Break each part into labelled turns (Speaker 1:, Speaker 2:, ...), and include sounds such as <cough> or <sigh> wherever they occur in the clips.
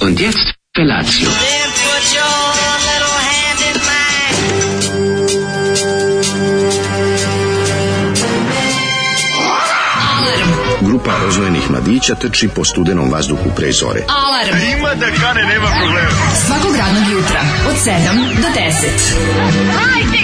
Speaker 1: Und jetzt Felatio.
Speaker 2: Then put your little hand in mine.
Speaker 3: Grupa rozvojenih mladića trči po studenom vazduhu pre zore.
Speaker 4: Alarm. Ima da kane, nema problema. Svakog radnog jutra, od 7 do 10.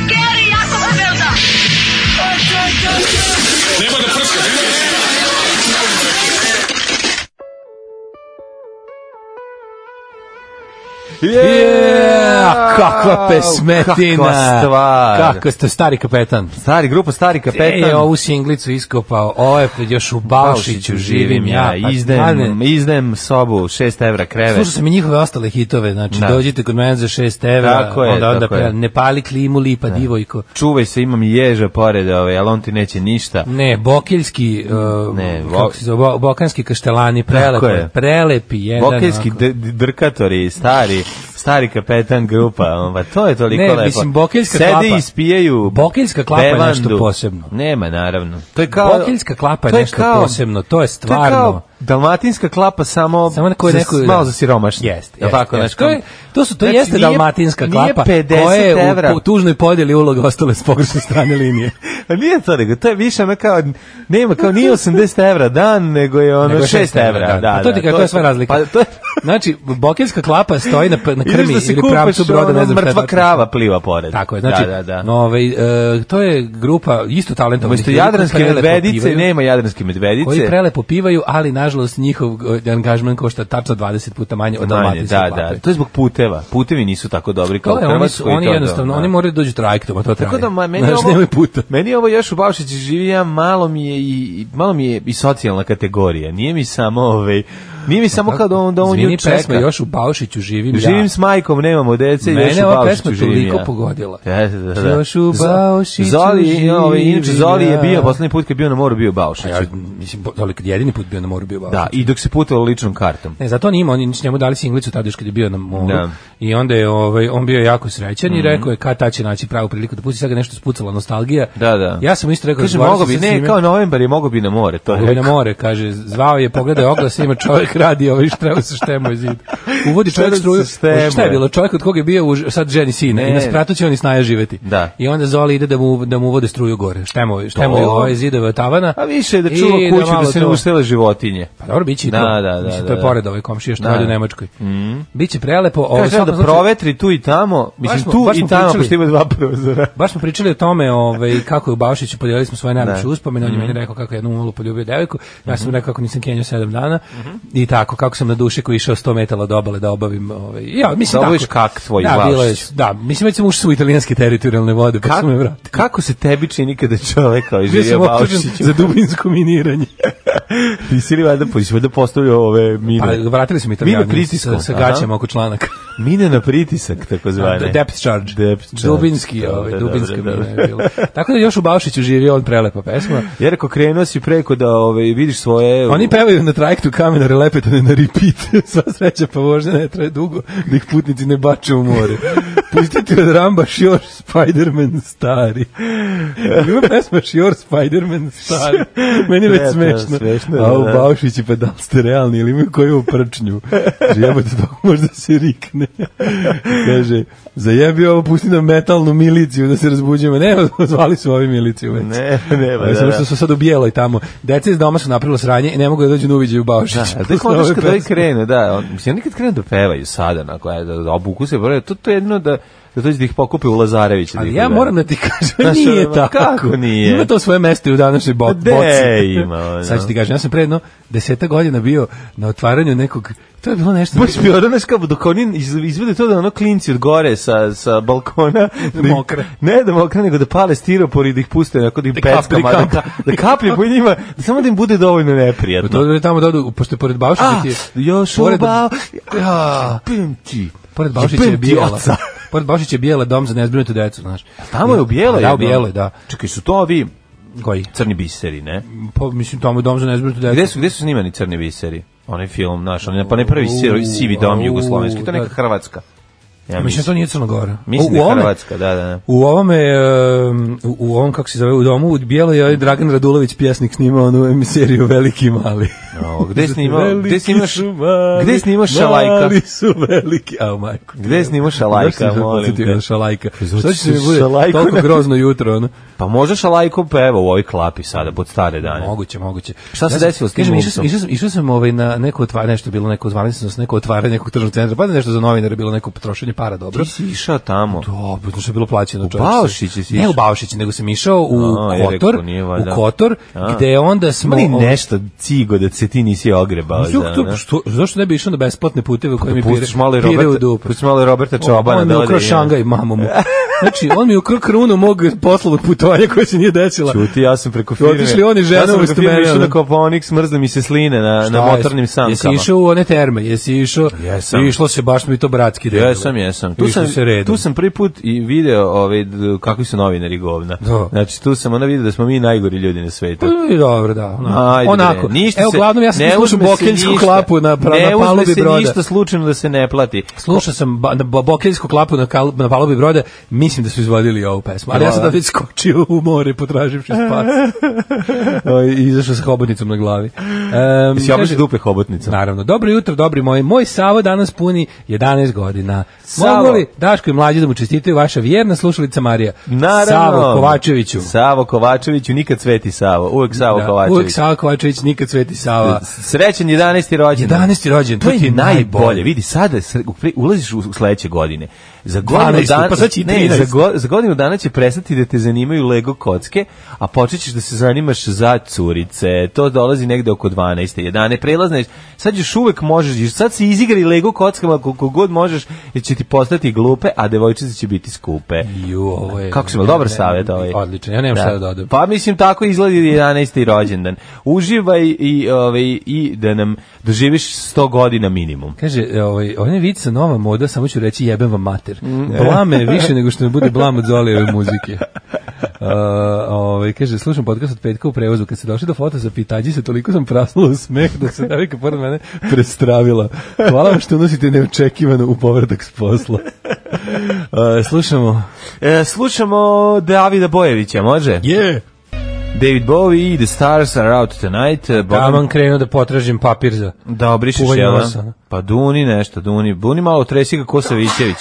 Speaker 5: Yeah, kakva pesmetina.
Speaker 6: Kakva stvar. E,
Speaker 5: Kako ste stari kapetan.
Speaker 6: Stari grupa, stari
Speaker 5: Kapetan.
Speaker 6: kapetan.
Speaker 5: je E, ovu singlicu iskopao. Ovo je još u Balšiću živim ja. Pa
Speaker 6: Izdem,
Speaker 5: stvarno,
Speaker 6: izdem sobu, 6 evra krevet.
Speaker 5: Slušao sam i njihove ostale hitove, znači
Speaker 6: Da.
Speaker 5: dođite kod mene za 6 evra,
Speaker 6: Tako je,
Speaker 5: onda, onda
Speaker 6: tako je.
Speaker 5: peva, ne pali klimu lipa divojko.
Speaker 6: Čuvaj se, imam ježa pored ove, ali on ti neće ništa.
Speaker 5: Ne, bokeljski, uh,
Speaker 6: Ne,
Speaker 5: ne,
Speaker 6: vo-
Speaker 5: kako se zove, bo, bokanski kaštelani, prelepo,
Speaker 6: Tako je.
Speaker 5: je. prelepi jedan.
Speaker 6: Bokeljski
Speaker 5: E, onako.
Speaker 6: d- d- drkatori, stari, stari kapetan grupa, on, pa to je toliko
Speaker 5: Ne,
Speaker 6: lepo.
Speaker 5: mislim, Bokeljska
Speaker 6: Sede
Speaker 5: klapa.
Speaker 6: i spijaju
Speaker 5: Bokeljska klapa je nešto posebno.
Speaker 6: Nema, naravno. To je kao...
Speaker 5: Bokeljska klapa je
Speaker 6: to
Speaker 5: nešto posebno, to je
Speaker 6: To je kao
Speaker 5: stvarno.
Speaker 6: dalmatinska klapa samo,
Speaker 5: Samo na kojoj
Speaker 6: za-
Speaker 5: neko
Speaker 6: malo za siromašni.
Speaker 5: Jeste,
Speaker 6: Jel
Speaker 5: jeste,
Speaker 6: tako,
Speaker 5: jeste.
Speaker 6: znaš,
Speaker 5: To, je, to su to
Speaker 6: Znači,
Speaker 5: jeste
Speaker 6: nije-
Speaker 5: dalmatinska
Speaker 6: nije
Speaker 5: klapa
Speaker 6: 50
Speaker 5: koja je
Speaker 6: evra.
Speaker 5: <laughs> u, po- tužnoj podjeli uloga ostale s pogrešne strane linije.
Speaker 6: A nije to nego, to je više ono kao, nema, kao nije 80 evra dan, nego je <laughs> ono
Speaker 5: Nego je
Speaker 6: 6 evra. Da, da,
Speaker 5: Pa to ti kažem, to je sva razlika.
Speaker 6: Pa to je,
Speaker 5: <laughs> Znači, bokeljska klapa stoji na, na
Speaker 6: ideš
Speaker 5: krmi
Speaker 6: da si
Speaker 5: ili
Speaker 6: kupaš
Speaker 5: pravcu broda,
Speaker 6: ono,
Speaker 5: ne znam šta je
Speaker 6: mrtva
Speaker 5: tačno.
Speaker 6: krava pliva pored.
Speaker 5: Tako je, znači,
Speaker 6: da, da, da.
Speaker 5: no, ovaj, e, to je grupa isto talentovnih
Speaker 6: Umesto
Speaker 5: ljudi koji
Speaker 6: jadranske
Speaker 5: prelepo
Speaker 6: medvedice,
Speaker 5: pivaju,
Speaker 6: nema jadranske medvedice.
Speaker 5: koji prelepo pivaju, ali nažalost njihov e, angažman košta tačno 20 puta manje od
Speaker 6: Manje,
Speaker 5: dalmatinske
Speaker 6: da,
Speaker 5: klape.
Speaker 6: da. To je zbog puteva. Putevi nisu tako dobri kao
Speaker 5: To
Speaker 6: u
Speaker 5: je, oni, su,
Speaker 6: Hrvatskoj i
Speaker 5: oni
Speaker 6: to, da,
Speaker 5: jednostavno,
Speaker 6: da.
Speaker 5: oni moraju dođu trajektom, a to traje.
Speaker 6: Tako da ma, meni
Speaker 5: Znaš,
Speaker 6: ovo
Speaker 5: nemaju puta.
Speaker 6: Meni ovo još u Bavšići živi ja malo mi je i malo mi je i socijalna kategorija. Nije mi samo ovaj nije mi samo kad on da on
Speaker 5: Izvini,
Speaker 6: nju čeka.
Speaker 5: pesma još u Baušiću živim,
Speaker 6: Živim
Speaker 5: ja.
Speaker 6: s majkom, nemamo dece,
Speaker 5: Mene
Speaker 6: još u
Speaker 5: ova
Speaker 6: Baušiću
Speaker 5: pesma
Speaker 6: živim
Speaker 5: toliko
Speaker 6: ja.
Speaker 5: pogodila.
Speaker 6: Da, da, da.
Speaker 5: Još u
Speaker 6: Zo-
Speaker 5: Baušiću
Speaker 6: Zoli, ovaj, inače,
Speaker 5: živim
Speaker 6: Zoli je
Speaker 5: ja.
Speaker 6: bio, poslednji put kad je bio na moru, bio u Baušiću.
Speaker 5: Ja, mislim, bo- ali kad je jedini put bio na moru bio Baušić.
Speaker 6: Da, i dok se putovalo ličnom kartom.
Speaker 5: Ne, zato on ima, oni su njemu dali singlicu tad još kad je bio na moru.
Speaker 6: Da. Mhm.
Speaker 5: I onda je ovaj on bio jako srećan i rekao je kad ta će naći pravu priliku da pusti sad ga je nešto spucala nostalgija.
Speaker 6: Da, da.
Speaker 5: Ja sam mu isto rekao
Speaker 6: Kaže,
Speaker 5: razgovarao
Speaker 6: mogo
Speaker 5: sam
Speaker 6: bi,
Speaker 5: sa
Speaker 6: ne,
Speaker 5: svime.
Speaker 6: kao novembar je mogo bi na more, to je
Speaker 5: Mogu bi na
Speaker 6: rekao.
Speaker 5: more, kaže, zvao je, pogledaj oglas, ima čovjek radi ovaj štreo sa štemoj zid. Uvodi čovjek
Speaker 6: Štrem
Speaker 5: struju,
Speaker 6: sa štemom.
Speaker 5: šta je bilo, čovjek od koga je bio, už- sad ženi sina,
Speaker 6: Ne.
Speaker 5: i na spratu će on i snaja živeti.
Speaker 6: Da.
Speaker 5: I onda Zoli ide da mu, da mu uvode struju gore, štemo, štemo
Speaker 6: To.
Speaker 5: ovaj zidove od tavana.
Speaker 6: A Pa više je da
Speaker 5: I
Speaker 6: čuva kuću, da
Speaker 5: malo
Speaker 6: se ne
Speaker 5: to-
Speaker 6: ustele životinje.
Speaker 5: Pa dobro, bit će i to.
Speaker 6: Da, da, da,
Speaker 5: Mislim,
Speaker 6: da,
Speaker 5: to je
Speaker 6: da.
Speaker 5: pored ove komšije što
Speaker 6: Da. Mm.
Speaker 5: radi u Nemačkoj. Biće prelepo. Pa, Ovo,
Speaker 6: Kaže da provetri tu i tamo, mislim
Speaker 5: smo-
Speaker 6: tu
Speaker 5: baš
Speaker 6: i
Speaker 5: smo
Speaker 6: tamo,
Speaker 5: pričali.
Speaker 6: pošto ima dva prozora.
Speaker 5: Baš smo pričali o tome ovaj, kako je u Baušiću, podijelili smo svoje najljepše uspomene, on je
Speaker 6: Mhm.
Speaker 5: meni rekao kako je jednu umolu poljubio devojku, ja sam mu rekao kako nisam kenjao sedam dana
Speaker 6: Mhm.
Speaker 5: i tako, kako sam na duše koji išao 100 metala od obale da obavim. Ovaj, ja, mislim,
Speaker 6: Da obaviš
Speaker 5: tako,
Speaker 6: kak svoj u
Speaker 5: da, bilo je,
Speaker 6: Baušiću.
Speaker 5: da, mislim već sam ušao u italijanske teritorijalne vode, pa
Speaker 6: Kako,
Speaker 5: su me vratili.
Speaker 6: <laughs> kako se tebi čini kada čovek kao
Speaker 5: Bio
Speaker 6: živio
Speaker 5: sam optužen
Speaker 6: Baušiću?
Speaker 5: za
Speaker 6: <laughs>
Speaker 5: dubinsko miniranje.
Speaker 6: Ti si li valjda, pa si valjda postavio ove
Speaker 5: Pa,
Speaker 6: mine?
Speaker 5: vratili smo
Speaker 6: Mine
Speaker 5: italijani
Speaker 6: pritiskom,
Speaker 5: sa, sa
Speaker 6: aha.
Speaker 5: gaćama oko članaka.
Speaker 6: Mine na pritisak, tako <laughs> zvane.
Speaker 5: Depth charge.
Speaker 6: Depth charge.
Speaker 5: Dubinski,
Speaker 6: Dobro,
Speaker 5: ovaj,
Speaker 6: dobro,
Speaker 5: dubinska
Speaker 6: dobro.
Speaker 5: mina je bila. Tako da još u Baušiću živi on prelepa pesma.
Speaker 6: Jer ako krenuo si preko da ove, vidiš svoje...
Speaker 5: Oni pevaju na trajektu kamenare lepetane na repeat. <laughs> Sva sreća pa vožnja ne traje dugo, da ih putnici ne bače
Speaker 6: <laughs>
Speaker 5: u more. Pustite od Ramba Šior Spiderman stari. Ima pesma Šior Spiderman
Speaker 6: <laughs>
Speaker 5: stari. Meni je već
Speaker 6: Ne, to je
Speaker 5: smešno.
Speaker 6: smešno,
Speaker 5: A u
Speaker 6: da.
Speaker 5: Baušići pa da li ste realni ili imaju koju u prčnju? Jebate to možda se
Speaker 6: <laughs>
Speaker 5: rikne. Kaže, zajebi ovo, pusti na metalnu miliciju da se razbuđujemo. Ne, <laughs> zvali su ovi miliciju već.
Speaker 6: Ne, ne, ba,
Speaker 5: Ali
Speaker 6: da,
Speaker 5: samo
Speaker 6: da.
Speaker 5: što su sad u bijeloj tamo. Deca iz doma su napravila sranje i ne mogu da dođu na uviđaj u <laughs>
Speaker 6: Da,
Speaker 5: Baušić.
Speaker 6: a to je kao znaš kad ovi krenu, da, on, mislim, oni kad krenu da pevaju sada, onako, e, da, da obuku se, broj, to, to je jedno da, da dođe da ih pokupe u Lazarevića. da
Speaker 5: Ali
Speaker 6: ih
Speaker 5: ja
Speaker 6: odvede.
Speaker 5: moram da ti kažem,
Speaker 6: Znaš,
Speaker 5: nije
Speaker 6: ono,
Speaker 5: tako.
Speaker 6: kako nije?
Speaker 5: Ima to svoje mesto i u današnjoj bo
Speaker 6: Pa
Speaker 5: boci.
Speaker 6: de, ima, ono.
Speaker 5: Sad ću ti kažem, ja sam pre jedno deseta godina bio na otvaranju nekog, to je bilo nešto...
Speaker 6: <laughs>
Speaker 5: Pa
Speaker 6: Baš bi ono, znaš, kao dok oni iz- izvede to da ono klinci od gore sa, sa
Speaker 5: <laughs>
Speaker 6: balkona... Da ih-
Speaker 5: mokre.
Speaker 6: Ne da mokre, nego da pale stiropor i da ih puste, onako da im
Speaker 5: Da
Speaker 6: peckama, da,
Speaker 5: kaplje,
Speaker 6: ka, da kaplje po njima, da samo da im bude dovoljno neprijatno.
Speaker 5: Pa To je tamo dodu, pošto je pored Baušića
Speaker 6: Ah,
Speaker 5: ti je...
Speaker 6: još
Speaker 5: pored,
Speaker 6: ubao, ja, pim ti.
Speaker 5: Pored Baušića
Speaker 6: Jebem
Speaker 5: je
Speaker 6: ti
Speaker 5: bijela.
Speaker 6: oca.
Speaker 5: <laughs> Pored Baušića je bijela dom za nezbrinutu decu, znaš.
Speaker 6: Tamo je u bijeloj.
Speaker 5: Da, u
Speaker 6: jednom.
Speaker 5: bijeloj, da.
Speaker 6: Čekaj, su to ovi
Speaker 5: Koji?
Speaker 6: crni biseri, ne?
Speaker 5: Pa, mislim, tamo je dom za nezbrinutu decu.
Speaker 6: Gde su, gde su snimani crni biseri? Onaj film naš, onaj, pa ne prvi
Speaker 5: U,
Speaker 6: sivi, sivi dom
Speaker 5: au,
Speaker 6: jugoslovenski, to je neka
Speaker 5: da.
Speaker 6: Hrvatska. Ja
Speaker 5: Mislim,
Speaker 6: mislim,
Speaker 5: da to nije Crna Gora.
Speaker 6: mislim da je
Speaker 5: ovome-
Speaker 6: Hrvatska, da, da, da.
Speaker 5: U ovome, em, u- u ovom, kako se zove, u domu, u bijelo je ovaj Dragan Radulović pjesnik snimao onu em- seriju Veliki i mali.
Speaker 6: O, gde snimao,
Speaker 5: Veliki
Speaker 6: gde snimaš,
Speaker 5: su mali,
Speaker 6: gde snimaš šalajka?
Speaker 5: Mali su veliki, a majko.
Speaker 6: Gde je snimao Šalajka,
Speaker 5: Zašto sam se
Speaker 6: molim
Speaker 5: podsjetio
Speaker 6: te? Pa
Speaker 5: na Šalajka.
Speaker 6: Zato
Speaker 5: Što će se mi
Speaker 6: što
Speaker 5: bude
Speaker 6: Šalajku
Speaker 5: toliko
Speaker 6: ne-
Speaker 5: grozno jutro, ono?
Speaker 6: Pa može Šalajko peva u ovoj klapi sada, pod stare dane.
Speaker 5: Moguće, moguće.
Speaker 6: Šta se
Speaker 5: sam-
Speaker 6: desilo s tim
Speaker 5: kažem, išao
Speaker 6: glumcom?
Speaker 5: sam, išao sam, išao sam ovaj na neko otvaranje, nešto je bilo neko otvaranje, sam neko otvaranje nekog tržnog centra, pa da je nešto za novinare bilo neko potrošenje para, dobro.
Speaker 6: Ti si išao tamo.
Speaker 5: Dobro, pa to što je bilo plaćeno čovječe.
Speaker 6: Baušiće si
Speaker 5: Ne
Speaker 6: išao?
Speaker 5: u Baušiće, nego sam išao u
Speaker 6: A, ja
Speaker 5: Kotor,
Speaker 6: rekao, nije valjda.
Speaker 5: u Kotor,
Speaker 6: A.
Speaker 5: gde onda smo...
Speaker 6: Ima li nešto cigo da se ti nisi ogrebao?
Speaker 5: Mislim,
Speaker 6: za
Speaker 5: to-
Speaker 6: ono?
Speaker 5: što, zašto ne bi išao na besplatne puteve u kojima mi pire,
Speaker 6: Pustiš malo i
Speaker 5: pire u
Speaker 6: Roberta,
Speaker 5: dupe?
Speaker 6: pustiš malo i Roberta Čobana
Speaker 5: on
Speaker 6: da
Speaker 5: mi
Speaker 6: ode.
Speaker 5: ukrao
Speaker 6: i-
Speaker 5: Šangaj, mamu mu. Znači, on mi ukrao krunu mog poslovnog putovanja koje se nije desila.
Speaker 6: Čuti, ja sam preko firme.
Speaker 5: Otišli oni žena
Speaker 6: ja sam
Speaker 5: umesto
Speaker 6: preko firme
Speaker 5: mene,
Speaker 6: išao
Speaker 5: ono.
Speaker 6: na Koponik, smrzne mi se sline na, na
Speaker 5: Šta
Speaker 6: motornim
Speaker 5: jesi?
Speaker 6: sankama.
Speaker 5: Jesi išao u one terme, jesi išao,
Speaker 6: Jesam.
Speaker 5: išlo se baš mi to bratski delilo.
Speaker 6: Jesam, jesam. Tu
Speaker 5: Išlo
Speaker 6: sam,
Speaker 5: se redom.
Speaker 6: tu sam prvi put i video ovaj, d- kakvi su novinari govna.
Speaker 5: Da.
Speaker 6: Znači, tu sam onda vidio da smo mi najgori ljudi na svetu.
Speaker 5: Pa, i dobro, da. ono.
Speaker 6: Ajde,
Speaker 5: Onako.
Speaker 6: bre, ništa
Speaker 5: Evo,
Speaker 6: se-
Speaker 5: uglavnom, ja sam
Speaker 6: ne
Speaker 5: slušao
Speaker 6: uzme se
Speaker 5: Bokeljsku
Speaker 6: ništa.
Speaker 5: klapu na, pra- na
Speaker 6: Ne
Speaker 5: palubi
Speaker 6: uzme se
Speaker 5: broda.
Speaker 6: ništa slučajno da se ne plati.
Speaker 5: Slušao sam ba, na bo- Bokeljsku klapu na, kal, na palubi broda, mislim da su izvodili ovu pesmu, ali ja sam da već skočio u more potraživši <laughs> spas. O, i Izašao sa hobotnicom na glavi. Um,
Speaker 6: Jesi obišao dupe hobotnicom?
Speaker 5: Naravno. Dobro jutro, dobri moji. Moj Savo danas puni 11 godina.
Speaker 6: Savo.
Speaker 5: Mogu li Daško i mlađi da mu čestitaju vaša vjerna slušalica Marija?
Speaker 6: Naravno.
Speaker 5: Savo Kovačeviću.
Speaker 6: Savo Kovačeviću, nikad sveti Savo. Uvek Savo
Speaker 5: Da,
Speaker 6: Kovačević.
Speaker 5: Uvijek Savo Kovačević, nikad Sveti Sava.
Speaker 6: Srećan 11. rođendan.
Speaker 5: 11. rođendan,
Speaker 6: To je najbolje. Vidi, sada sre- u pri- ulaziš u- u sledeće godine. Za godinu
Speaker 5: 12.,
Speaker 6: dana,
Speaker 5: pa sad će i
Speaker 6: ne,
Speaker 5: 13.
Speaker 6: za, go- za godinu dana će prestati da te zanimaju Lego kocke, a počet ćeš da se zanimaš za curice. To dolazi negde oko 12. 11. Prelazne, sad još uvek možeš, sad se izigraj Lego kockama koliko god možeš, jer će ti postati glupe, a devojčice će biti skupe.
Speaker 5: Ju, ovo je...
Speaker 6: Kako se bilo,
Speaker 5: ja
Speaker 6: dobar
Speaker 5: ne-
Speaker 6: savjet ovaj.
Speaker 5: Odlično, ja nemam šta da dodam.
Speaker 6: Pa mislim tako izgleda 11. rođendan. Uživaj i ovaj i da nam doživiš 100 godina minimum.
Speaker 5: Kaže, e, ovaj, on je vica nova moda, samo ću reći jebem vam mater. <laughs> Blame je više nego što mi bude blam od Zolijeve <laughs> muzike. Uh, ovaj, kaže, slušam podcast od petka u prevozu, kad se došli do foto za pitađi se, toliko sam prasnula u smeh da se devika pored mene prestravila. Hvala vam što nosite neočekivano u povratak s posla. Uh, slušamo.
Speaker 6: E, slušamo Davida Bojevića, može?
Speaker 5: <laughs> Je!
Speaker 6: David Bowie i The Stars Are Out Tonight. e, Bogdan-
Speaker 5: Taman krenuo Pa da potražim papir za...
Speaker 6: da obrišeš
Speaker 5: Čuvaj
Speaker 6: jel?
Speaker 5: nosa, ne?
Speaker 6: Pa duni nešto, duni. Duni malo otresi ga Kosavićević.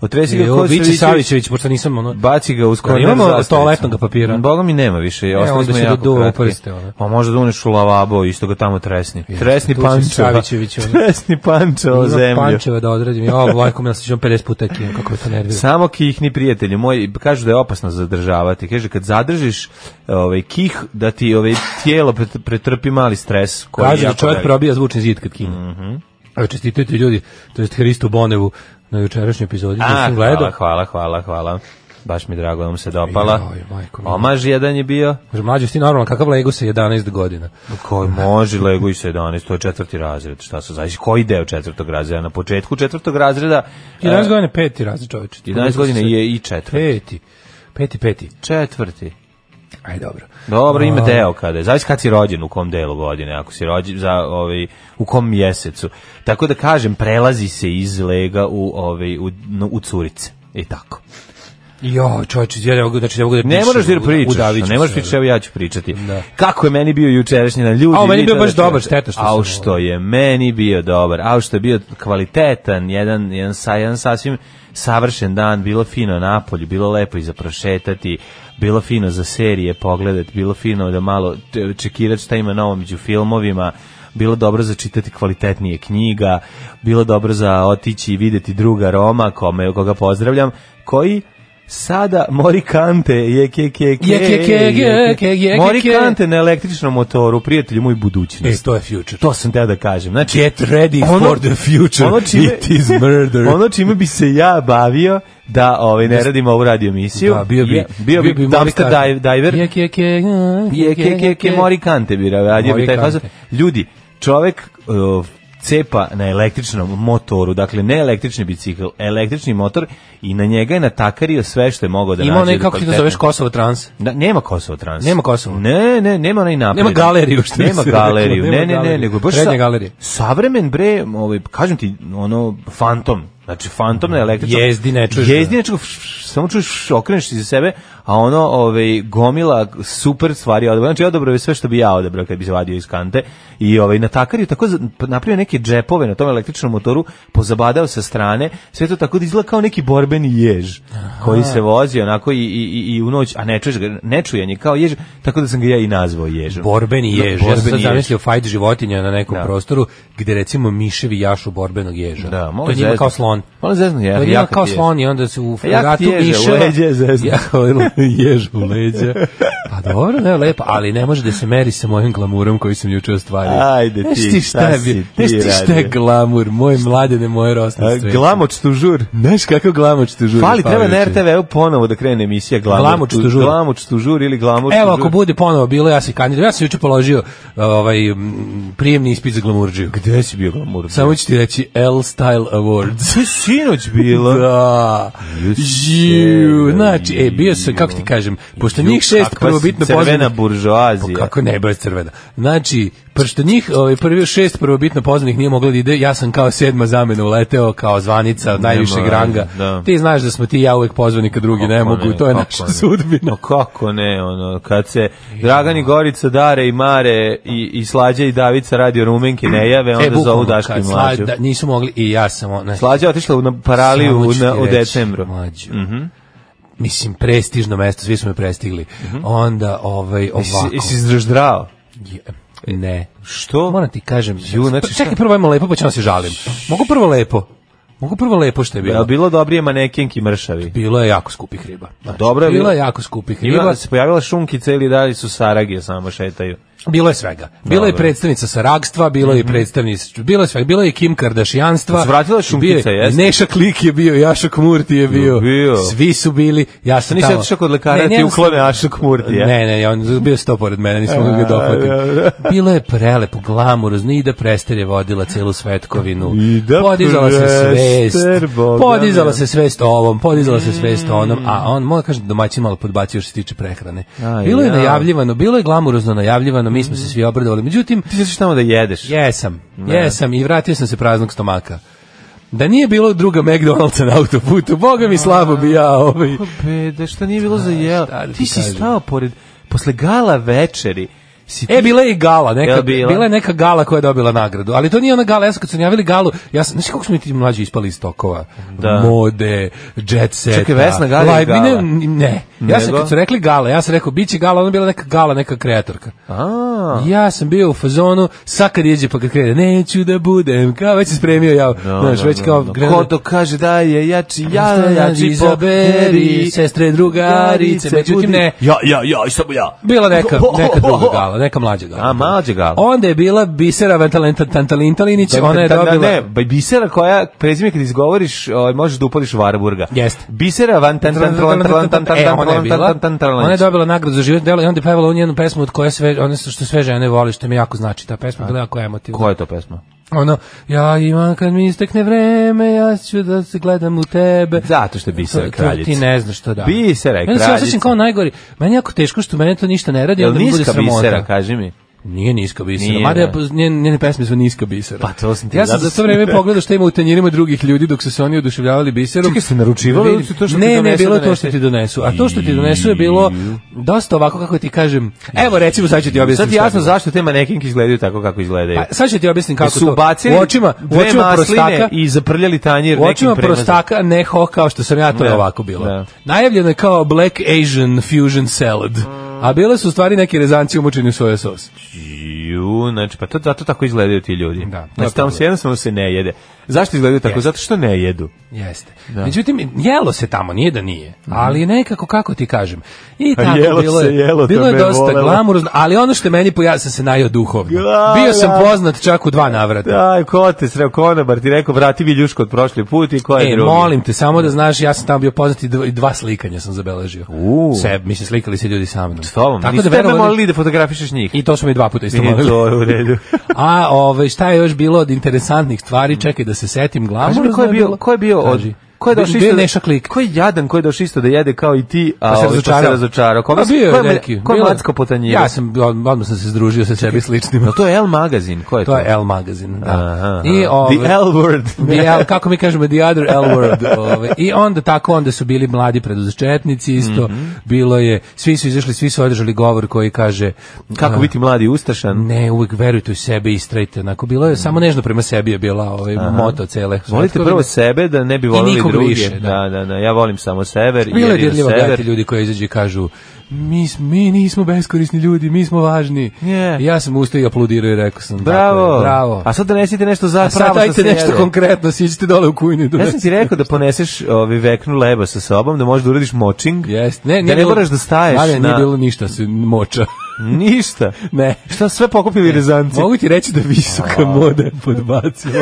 Speaker 6: Otresi ga
Speaker 5: E, ovo biće
Speaker 6: Kosavićević.
Speaker 5: Savićević, pošto nisam ono...
Speaker 6: Baci ga uz korner
Speaker 5: imamo
Speaker 6: zastavicu.
Speaker 5: toaletnog papira?
Speaker 6: Boga mi nema više, ostali
Speaker 5: onda
Speaker 6: smo
Speaker 5: se
Speaker 6: jako
Speaker 5: doduva u
Speaker 6: kratki.
Speaker 5: prste, ono.
Speaker 6: Pa možda da uneš u lavabo, isto ga tamo tresni. tresni
Speaker 5: tu sam
Speaker 6: pančo. <laughs>
Speaker 5: Savićević, ono. <laughs>
Speaker 6: Tresni pančo o
Speaker 5: Ima
Speaker 6: zemlju.
Speaker 5: pančeve da odredim. Ja, Vlajko, ja sam 50 puta kijem, kako me to nervira.
Speaker 6: Samo kihni prijatelju moj, kažu da je opasno zadržavati. Kaže kad zadržiš ovaj kih da ti ovaj tijelo pret- pretrpi mali stres koji je
Speaker 5: Kaže da
Speaker 6: jako
Speaker 5: čovjek
Speaker 6: velik. Mhm.
Speaker 5: probija zvučni zid kad kine. Mm čestitujte ljudi, to jest Hristu Bonevu na jučerašnjoj epizodi, da
Speaker 6: A,
Speaker 5: sam gledao.
Speaker 6: hvala, hvala, hvala, hvala. Baš mi drago da vam se dopala.
Speaker 5: Joj, majko mila.
Speaker 6: Omaž jedan je bio.
Speaker 5: Kaže, mlađo, si ti normalan, kakav lego sa 11 godina?
Speaker 6: Koji može Lego i 17, to je četvrti razred. Šta se zavisi koji deo četvrtog razreda? Na početku četvrtog razreda
Speaker 5: 11
Speaker 6: e,
Speaker 5: godina je peti razred čoveče.
Speaker 6: 11 godina je i četvrti.
Speaker 5: Peti. Peti, peti.
Speaker 6: Četvrti.
Speaker 5: Aj, dobro.
Speaker 6: Dobro, ima deo kada je. Zavisi kad si rođen, u kom delu godine, ako si rođen, za, ovaj, u kom mjesecu. Tako da kažem, prelazi se iz lega u, ovaj, u, no, u curice. I tako.
Speaker 5: Jo, čoveče, ja ne mogu, znači ne mogu da
Speaker 6: Ne moraš da pričaš,
Speaker 5: udavit ću
Speaker 6: ne moraš
Speaker 5: se,
Speaker 6: pričati, evo ja ću pričati.
Speaker 5: Da.
Speaker 6: Kako je meni bio jučerašnji na ljudi.
Speaker 5: A, meni
Speaker 6: vi
Speaker 5: je bio
Speaker 6: to
Speaker 5: baš
Speaker 6: da čujete.
Speaker 5: dobar, šteta što
Speaker 6: Au
Speaker 5: sam-
Speaker 6: što je meni bio dobar, au što je bio kvalitetan, jedan, jedan, sa, jedan sasvim savršen dan, bilo fino napolju, bilo lepo i za prošetati, bilo fino za serije pogledati, bilo fino da malo č- čekirati šta ima novo među filmovima, bilo dobro za čitati kvalitetnije knjiga, bilo dobro za otići i videti druga Roma, kome, koga pozdravljam, koji sada Morikante je ke ke ke
Speaker 5: Je, ke, ke,
Speaker 6: je,
Speaker 5: ke, ke, je, ke,
Speaker 6: Morikante na električnom motoru prijatelju moj
Speaker 5: E,
Speaker 6: budućnost
Speaker 5: to je future.
Speaker 6: to sam teo da kažem znači
Speaker 5: Get ready
Speaker 6: Ono-
Speaker 5: for the future.
Speaker 6: ono čime-
Speaker 5: It is murder.
Speaker 6: <laughs> ono čime bi se ja bavio da ovaj ne radim ovu radio emisiju
Speaker 5: da, bio bi,
Speaker 6: je- bio bi dumpster dive- diver
Speaker 5: Je, ke, ke,
Speaker 6: je ke ke ke Morikante bi radio bi taj
Speaker 5: Morikante.
Speaker 6: fazon ljudi čovek uh, cepa na električnom motoru, dakle ne električni bicikl, električni motor i na njega je natakario sve što je mogao da nađe.
Speaker 5: Ima onaj,
Speaker 6: od
Speaker 5: kako ti to
Speaker 6: kvalitetnog.
Speaker 5: zoveš, Kosovo trans.
Speaker 6: Da, nema Kosovo trans.
Speaker 5: Nema Kosovo.
Speaker 6: Ne, ne, nema onaj napred.
Speaker 5: Nema galeriju, što bi
Speaker 6: Nema
Speaker 5: se reklo.
Speaker 6: galeriju.
Speaker 5: Nema
Speaker 6: Ne, ne, ne,
Speaker 5: galeriju.
Speaker 6: nego baš
Speaker 5: Srednja
Speaker 6: sa-
Speaker 5: galerija.
Speaker 6: Savremen bre, ovaj kažem ti ono fantom. Znači, fantomna električna...
Speaker 5: Jezdi ne čuješ.
Speaker 6: Jezdi ne čuješ, š- š- samo čuješ, š- okreneš iza sebe, a ono, ovaj, gomila super stvari odabrao. Znači, odabrao je sve što bi ja odabrao kad bi se vadio iz kante. I ovaj, natakar je tako za- p- napravio neke džepove na tom električnom motoru, pozabadao sa strane, sve to tako da izgleda kao neki borbeni jež koji se vozi onako i, i, i, i u noć, a ne čuješ ga, ne čujen je kao jež, tako da sam ga ja i nazvao ježom.
Speaker 5: Borbeni
Speaker 6: Da,
Speaker 5: jež. Ja sam
Speaker 6: borbeni
Speaker 5: sad
Speaker 6: jež.
Speaker 5: zamislio fajt životinja na nekom
Speaker 6: Da.
Speaker 5: prostoru gde recimo miševi jašu borbenog ježa.
Speaker 6: Da, malo
Speaker 5: to je njima
Speaker 6: zezno.
Speaker 5: kao slon.
Speaker 6: Malo zezno, ja-
Speaker 5: To je njima
Speaker 6: jakat
Speaker 5: kao
Speaker 6: jež.
Speaker 5: slon i onda se u
Speaker 6: Jakat
Speaker 5: ratu
Speaker 6: ježa, u
Speaker 5: miševa...
Speaker 6: leđa je zezno.
Speaker 5: Ja, ono, jež u leđa. Pa dobro, ne, lepo, ali ne može da se meri sa mojim glamurom koji sam juče ostvario.
Speaker 6: Ajde
Speaker 5: Znaš
Speaker 6: ti,
Speaker 5: ti
Speaker 6: šta
Speaker 5: šta, je bi-
Speaker 6: si
Speaker 5: znaš
Speaker 6: ti
Speaker 5: ti šta je
Speaker 6: radio?
Speaker 5: glamur, moj mladene, moje rosne
Speaker 6: A,
Speaker 5: sve.
Speaker 6: E, Glamoč tu žur.
Speaker 5: Znaš kako glamoč te žuri?
Speaker 6: Fali, treba na
Speaker 5: Pavloviću?
Speaker 6: RTV-u ponovo da krene emisija Glamoč,
Speaker 5: Glamoč tu žur.
Speaker 6: Glamoč tu žur ili Glamoč
Speaker 5: Evo,
Speaker 6: tu žur.
Speaker 5: ako bude ponovo bilo, ja se kandidujem. Ja sam juče položio ovaj, m, prijemni ispit za glamurđiju.
Speaker 6: Gde si bio Glamour?
Speaker 5: Samo ću ti reći L Style Awards.
Speaker 6: Sve sinoć bilo.
Speaker 5: Da. Ju,
Speaker 6: Ju,
Speaker 5: znači, e, bio sam, kako ti kažem, pošto njih šest
Speaker 6: Kakva
Speaker 5: prvobitno
Speaker 6: si Crvena
Speaker 5: poznanih...
Speaker 6: buržoazija.
Speaker 5: Pa Kako ne, baš crvena. Znači, pošto njih ovaj, prvi šest prvobitno poznanih nije moglo da ide, ja sam kao sedma zamena uleteo, kao zvanica od najvišeg
Speaker 6: veze,
Speaker 5: ranga.
Speaker 6: da.
Speaker 5: Ti znaš da smo ti i ja uvek pozvani kad drugi ne
Speaker 6: Kako
Speaker 5: mogu, to je
Speaker 6: kako
Speaker 5: naša
Speaker 6: ne.
Speaker 5: sudbina.
Speaker 6: No kako ne, ono, kad se Dragan i Gorica, Dare i Mare i, i Slađa i Davica radio rumenke ne jave,
Speaker 5: <laughs>
Speaker 6: onda
Speaker 5: E, bukvalno,
Speaker 6: zovu Daška i
Speaker 5: kad
Speaker 6: Mlađu.
Speaker 5: sla- Da, nisu mogli i ja znači, sam... Ona,
Speaker 6: Slađa je otišla u- na paraliju
Speaker 5: Samo
Speaker 6: u,
Speaker 5: ću
Speaker 6: na,
Speaker 5: ti
Speaker 6: u
Speaker 5: reći,
Speaker 6: decembru. Mhm.
Speaker 5: Mlađo. Mislim, prestižno mesto, svi smo me prestigli. Onda, ovaj, ovako.
Speaker 6: Mhm. Jesi- Jesi zdrždrao?
Speaker 5: Je- ne.
Speaker 6: Što?
Speaker 5: Moram ti kažem.
Speaker 6: Ju, znači
Speaker 5: Pa čekaj, prvo ajmo lepo, pa ćemo se žalim. Mogu prvo lepo? Mogu prvo lepo što je
Speaker 6: Jel
Speaker 5: bilo?
Speaker 6: bilo dobrije manekenki mršavi?
Speaker 5: Bilo je jako skupih riba. Znači,
Speaker 6: dobro je
Speaker 5: bilo.
Speaker 6: bilo.
Speaker 5: je jako skupih riba.
Speaker 6: Ima, se pojavila šunkica ili dalje su saragije samo šetaju.
Speaker 5: Bilo je svega. Bilo je
Speaker 6: Dobro. Mhm.
Speaker 5: predstavnica saragstva, bilo je predstavnica, bilo je svega, bilo je i Kim Kardashijanstva.
Speaker 6: Se vratila šunkica,
Speaker 5: bio je-
Speaker 6: jeste?
Speaker 5: Neša Klik je bio, Jašo Kmurti je bio.
Speaker 6: bio.
Speaker 5: Svi su bili. Ja sam
Speaker 6: Nisi
Speaker 5: tamo.
Speaker 6: otišao kod lekara
Speaker 5: Ne,
Speaker 6: da ti
Speaker 5: ne,
Speaker 6: uklone Ašu Kmurtija?
Speaker 5: Ne, ne, ja, on je bio sto pored mene, nisam mogao ga
Speaker 6: dobro.
Speaker 5: dohvatiti. Bilo je prelepo, glamurozno, Ida Prester je vodila celu svetkovinu.
Speaker 6: Ida
Speaker 5: podizala se svest.
Speaker 6: Prester, Boga
Speaker 5: Podizala
Speaker 6: mi.
Speaker 5: se svest ovom, podizala se svest onom, a on, moram kažem, domaćin malo podbacio što se tiče prehrane.
Speaker 6: Aj,
Speaker 5: Bilo je
Speaker 6: ja. Mm.
Speaker 5: najavljivano, bilo je glamurozno najavljivano, mi smo se svi obradovali. Međutim,
Speaker 6: Ti ćeš tamo da jedeš.
Speaker 5: Jesam, jesam i vratio sam se praznog stomaka. Da nije bilo druga McDonald'sa na autoputu, boga mi slabo bi ja ovaj.
Speaker 6: Be, da pa šta nije bilo za jelo?
Speaker 5: šta da ti
Speaker 6: Ti si
Speaker 5: kažem?
Speaker 6: stao pored, posle gala večeri, si ti
Speaker 5: E, bila je i gala, neka,
Speaker 6: Jel bila?
Speaker 5: bila? je neka gala koja je dobila nagradu, ali to nije ona gala, ja sam kad su najavili galu, ja sam, znaš kako smo mi ti mlađi ispali iz tokova,
Speaker 6: Da.
Speaker 5: mode, jet seta,
Speaker 6: Čekaj, Vesna Galić
Speaker 5: live- mi
Speaker 6: gala?
Speaker 5: Ne, ne, ja sam
Speaker 6: Nego?
Speaker 5: kad su rekli gala, ja sam rekao, bit će gala, ona je bila neka gala, neka kreatorka.
Speaker 6: A,
Speaker 5: Ja sam bio u fazonu, sad kad jeđe pa kad krene, neću da budem, kao već se spremio ja, znaš,
Speaker 6: da,
Speaker 5: već
Speaker 6: da,
Speaker 5: kao...
Speaker 6: da.
Speaker 5: krenuo-
Speaker 6: Ko to kaže da je jači, ja
Speaker 5: Šta
Speaker 6: je jači,
Speaker 5: izaberi,
Speaker 6: pobedi,
Speaker 5: sestre drugarice, međutim
Speaker 6: budi-
Speaker 5: ne.
Speaker 6: Ja, ja, ja, i samo ja.
Speaker 5: Bila neka,
Speaker 6: <laughs>
Speaker 5: neka druga gala, neka mlađa gala.
Speaker 6: A, mlađa gala.
Speaker 5: Onda je bila Bisera Tantalin Talinić, Znači, ona je
Speaker 6: Ta- ta-
Speaker 5: dobila...
Speaker 6: Ne, ba- bisera koja, prezime kad izgovoriš, ovaj, možeš da upališ Varburga.
Speaker 5: Jeste.
Speaker 6: Bisera van tan tan tan tan tan tan
Speaker 5: E, ona je
Speaker 6: tan
Speaker 5: bila,
Speaker 6: tan tan tan
Speaker 5: ona je dobila nagradu za život delo i onda je pevala onu jednu pesmu od koje sve, ono što sve žene voli, što mi jako znači, ta pesma je bila jako emotivna.
Speaker 6: Koja je to pesma?
Speaker 5: Ono, ja imam kad mi istekne vreme, ja ću da se gledam u tebe.
Speaker 6: Zato što je Bisera
Speaker 5: To- to
Speaker 6: kraljica.
Speaker 5: Ti ne znaš što da.
Speaker 6: Bisera je
Speaker 5: Meni se
Speaker 6: kraljica.
Speaker 5: osjećam kao najgori. Meni je jako teško što mene to ništa ne radi,
Speaker 6: Jel
Speaker 5: onda mi bude
Speaker 6: niska
Speaker 5: sramota.
Speaker 6: bisera, kaži mi?
Speaker 5: Nije niska bisera.
Speaker 6: Nije,
Speaker 5: Mada ja
Speaker 6: da.
Speaker 5: poz- njene, njene pesme su niska bisera.
Speaker 6: Pa to sam ti
Speaker 5: Ja sam
Speaker 6: zato
Speaker 5: za to vreme pogledao što ima u tanjirima drugih ljudi dok su se oni oduševljavali biserom.
Speaker 6: Čekaj, ste naručivali
Speaker 5: Vidim-
Speaker 6: ili su to što ti
Speaker 5: ne, ne,
Speaker 6: donesu,
Speaker 5: bilo je to
Speaker 6: donese?
Speaker 5: što ti donesu. A to što ti donesu je bilo dosta ovako kako ti kažem. Evo recimo sad ću ti objasniti.
Speaker 6: Sad jasno zašto te manekinke izgledaju tako kako izgledaju.
Speaker 5: Pa, sad ću ti objasnim kako
Speaker 6: su
Speaker 5: to.
Speaker 6: bacili
Speaker 5: u očima, u
Speaker 6: dve
Speaker 5: očima
Speaker 6: masline
Speaker 5: prostaka,
Speaker 6: i zaprljali tanjir
Speaker 5: u
Speaker 6: nekim
Speaker 5: očima
Speaker 6: premazom.
Speaker 5: prostaka ne ho kao što sam ja to je
Speaker 6: Ne,
Speaker 5: ovako bilo.
Speaker 6: ne.
Speaker 5: Najavljeno je kao Black Asian Fusion Salad. A bile su u stvari neke rezanci umočeni u soja sos.
Speaker 6: Ju, znači, pa to, zato tako izgledaju ti ljudi.
Speaker 5: Da, to je
Speaker 6: znači, tamo
Speaker 5: problem.
Speaker 6: se jednostavno se ne jede. Zašto izgledaju tako?
Speaker 5: Jeste.
Speaker 6: Zato što ne jedu.
Speaker 5: Jeste. Međutim, jelo se tamo, nije da nije, ali nekako, kako ti kažem. I
Speaker 6: Mhm. A
Speaker 5: tako
Speaker 6: jelo
Speaker 5: bilo
Speaker 6: se
Speaker 5: je,
Speaker 6: jelo, to
Speaker 5: bilo je
Speaker 6: me
Speaker 5: dosta
Speaker 6: volela.
Speaker 5: glamurozno, ali ono što je meni pojavio, sam se najao duhovno.
Speaker 6: Ja,
Speaker 5: Bio sam
Speaker 6: ja.
Speaker 5: poznat čak u dva navrata.
Speaker 6: Aj, ko te sreo konobar, ti rekao, vrati mi ljušku od prošli put i ko je
Speaker 5: E,
Speaker 6: drugi?
Speaker 5: molim te, samo da znaš, ja sam tamo bio poznat i dva, i dva slikanja sam zabeležio.
Speaker 6: U.
Speaker 5: Se, mislim, slikali se ljudi sa mnom.
Speaker 6: S tobom.
Speaker 5: Tako
Speaker 6: Nisu
Speaker 5: da
Speaker 6: tebe
Speaker 5: verovali-
Speaker 6: molili da fotografišeš njih.
Speaker 5: I to su mi dva puta isto
Speaker 6: Nije
Speaker 5: molili.
Speaker 6: to u redu.
Speaker 5: <laughs> A ovaj, šta je još bilo od interesantnih stvari? Čekaj da se setim glavu.
Speaker 6: Kaži mi, ko je bio, ko je bio od... ko je došao
Speaker 5: Bio je
Speaker 6: isto? da-
Speaker 5: Neša Klik.
Speaker 6: Ko je jadan, ko je došao isto da jede kao i ti, a
Speaker 5: Pa se
Speaker 6: ovaj, pa se
Speaker 5: razočarao.
Speaker 6: razočarao. Ko
Speaker 5: A bio je
Speaker 6: ko me-
Speaker 5: neki.
Speaker 6: Ko je
Speaker 5: bilo-
Speaker 6: Macko Potanjira?
Speaker 5: Ja sam, od- odmah sam se združio sa sebi sličnima.
Speaker 6: Jel to je L magazin, ko je to?
Speaker 5: To je L magazin, da.
Speaker 6: Aha,
Speaker 5: I,
Speaker 6: aha.
Speaker 5: ovaj,
Speaker 6: The L word.
Speaker 5: The L, kako mi kažemo, the other L word. Ove. I onda tako, onda su bili mladi preduzetnici isto,
Speaker 6: Mhm.
Speaker 5: bilo je, svi su izašli, svi su održali govor koji kaže...
Speaker 6: <laughs> Kako
Speaker 5: a,
Speaker 6: biti mladi i ustašan?
Speaker 5: Ne, uvek verujte u sebe i istrajte. Onako, bilo je, samo nežno prema sebi je bila ovaj, moto cele.
Speaker 6: Volite
Speaker 5: Tako
Speaker 6: prvo
Speaker 5: da-
Speaker 6: sebe da ne bi volili druge.
Speaker 5: nikog više,
Speaker 6: da.
Speaker 5: da.
Speaker 6: da, da, Ja volim samo sever i
Speaker 5: Bilo je
Speaker 6: jedino
Speaker 5: dirljivo
Speaker 6: sever.
Speaker 5: gledati ljudi koji izađu i kažu mi, s- mi nismo beskorisni ljudi, mi smo važni.
Speaker 6: Je.
Speaker 5: I Ja sam ustao i aplodirao i rekao sam
Speaker 6: Bravo.
Speaker 5: Tako je, bravo.
Speaker 6: A sad donesite nešto za
Speaker 5: A sad dajte nešto konkretno, siđite dole u kujnu i
Speaker 6: Ja sam
Speaker 5: donesite.
Speaker 6: ti rekao da poneseš ovaj veknu leba sa sobom, da možeš da uradiš močing.
Speaker 5: Jeste. Ne,
Speaker 6: da
Speaker 5: nije
Speaker 6: ne
Speaker 5: bilo-
Speaker 6: moraš da staješ
Speaker 5: Mladen,
Speaker 6: na
Speaker 5: nije bilo ništa se moča. <laughs>
Speaker 6: ništa.
Speaker 5: ne. E,
Speaker 6: Šta sve pokupili rezanci?
Speaker 5: Mogu ti reći da visoka moda je
Speaker 6: <laughs>
Speaker 5: podbacila.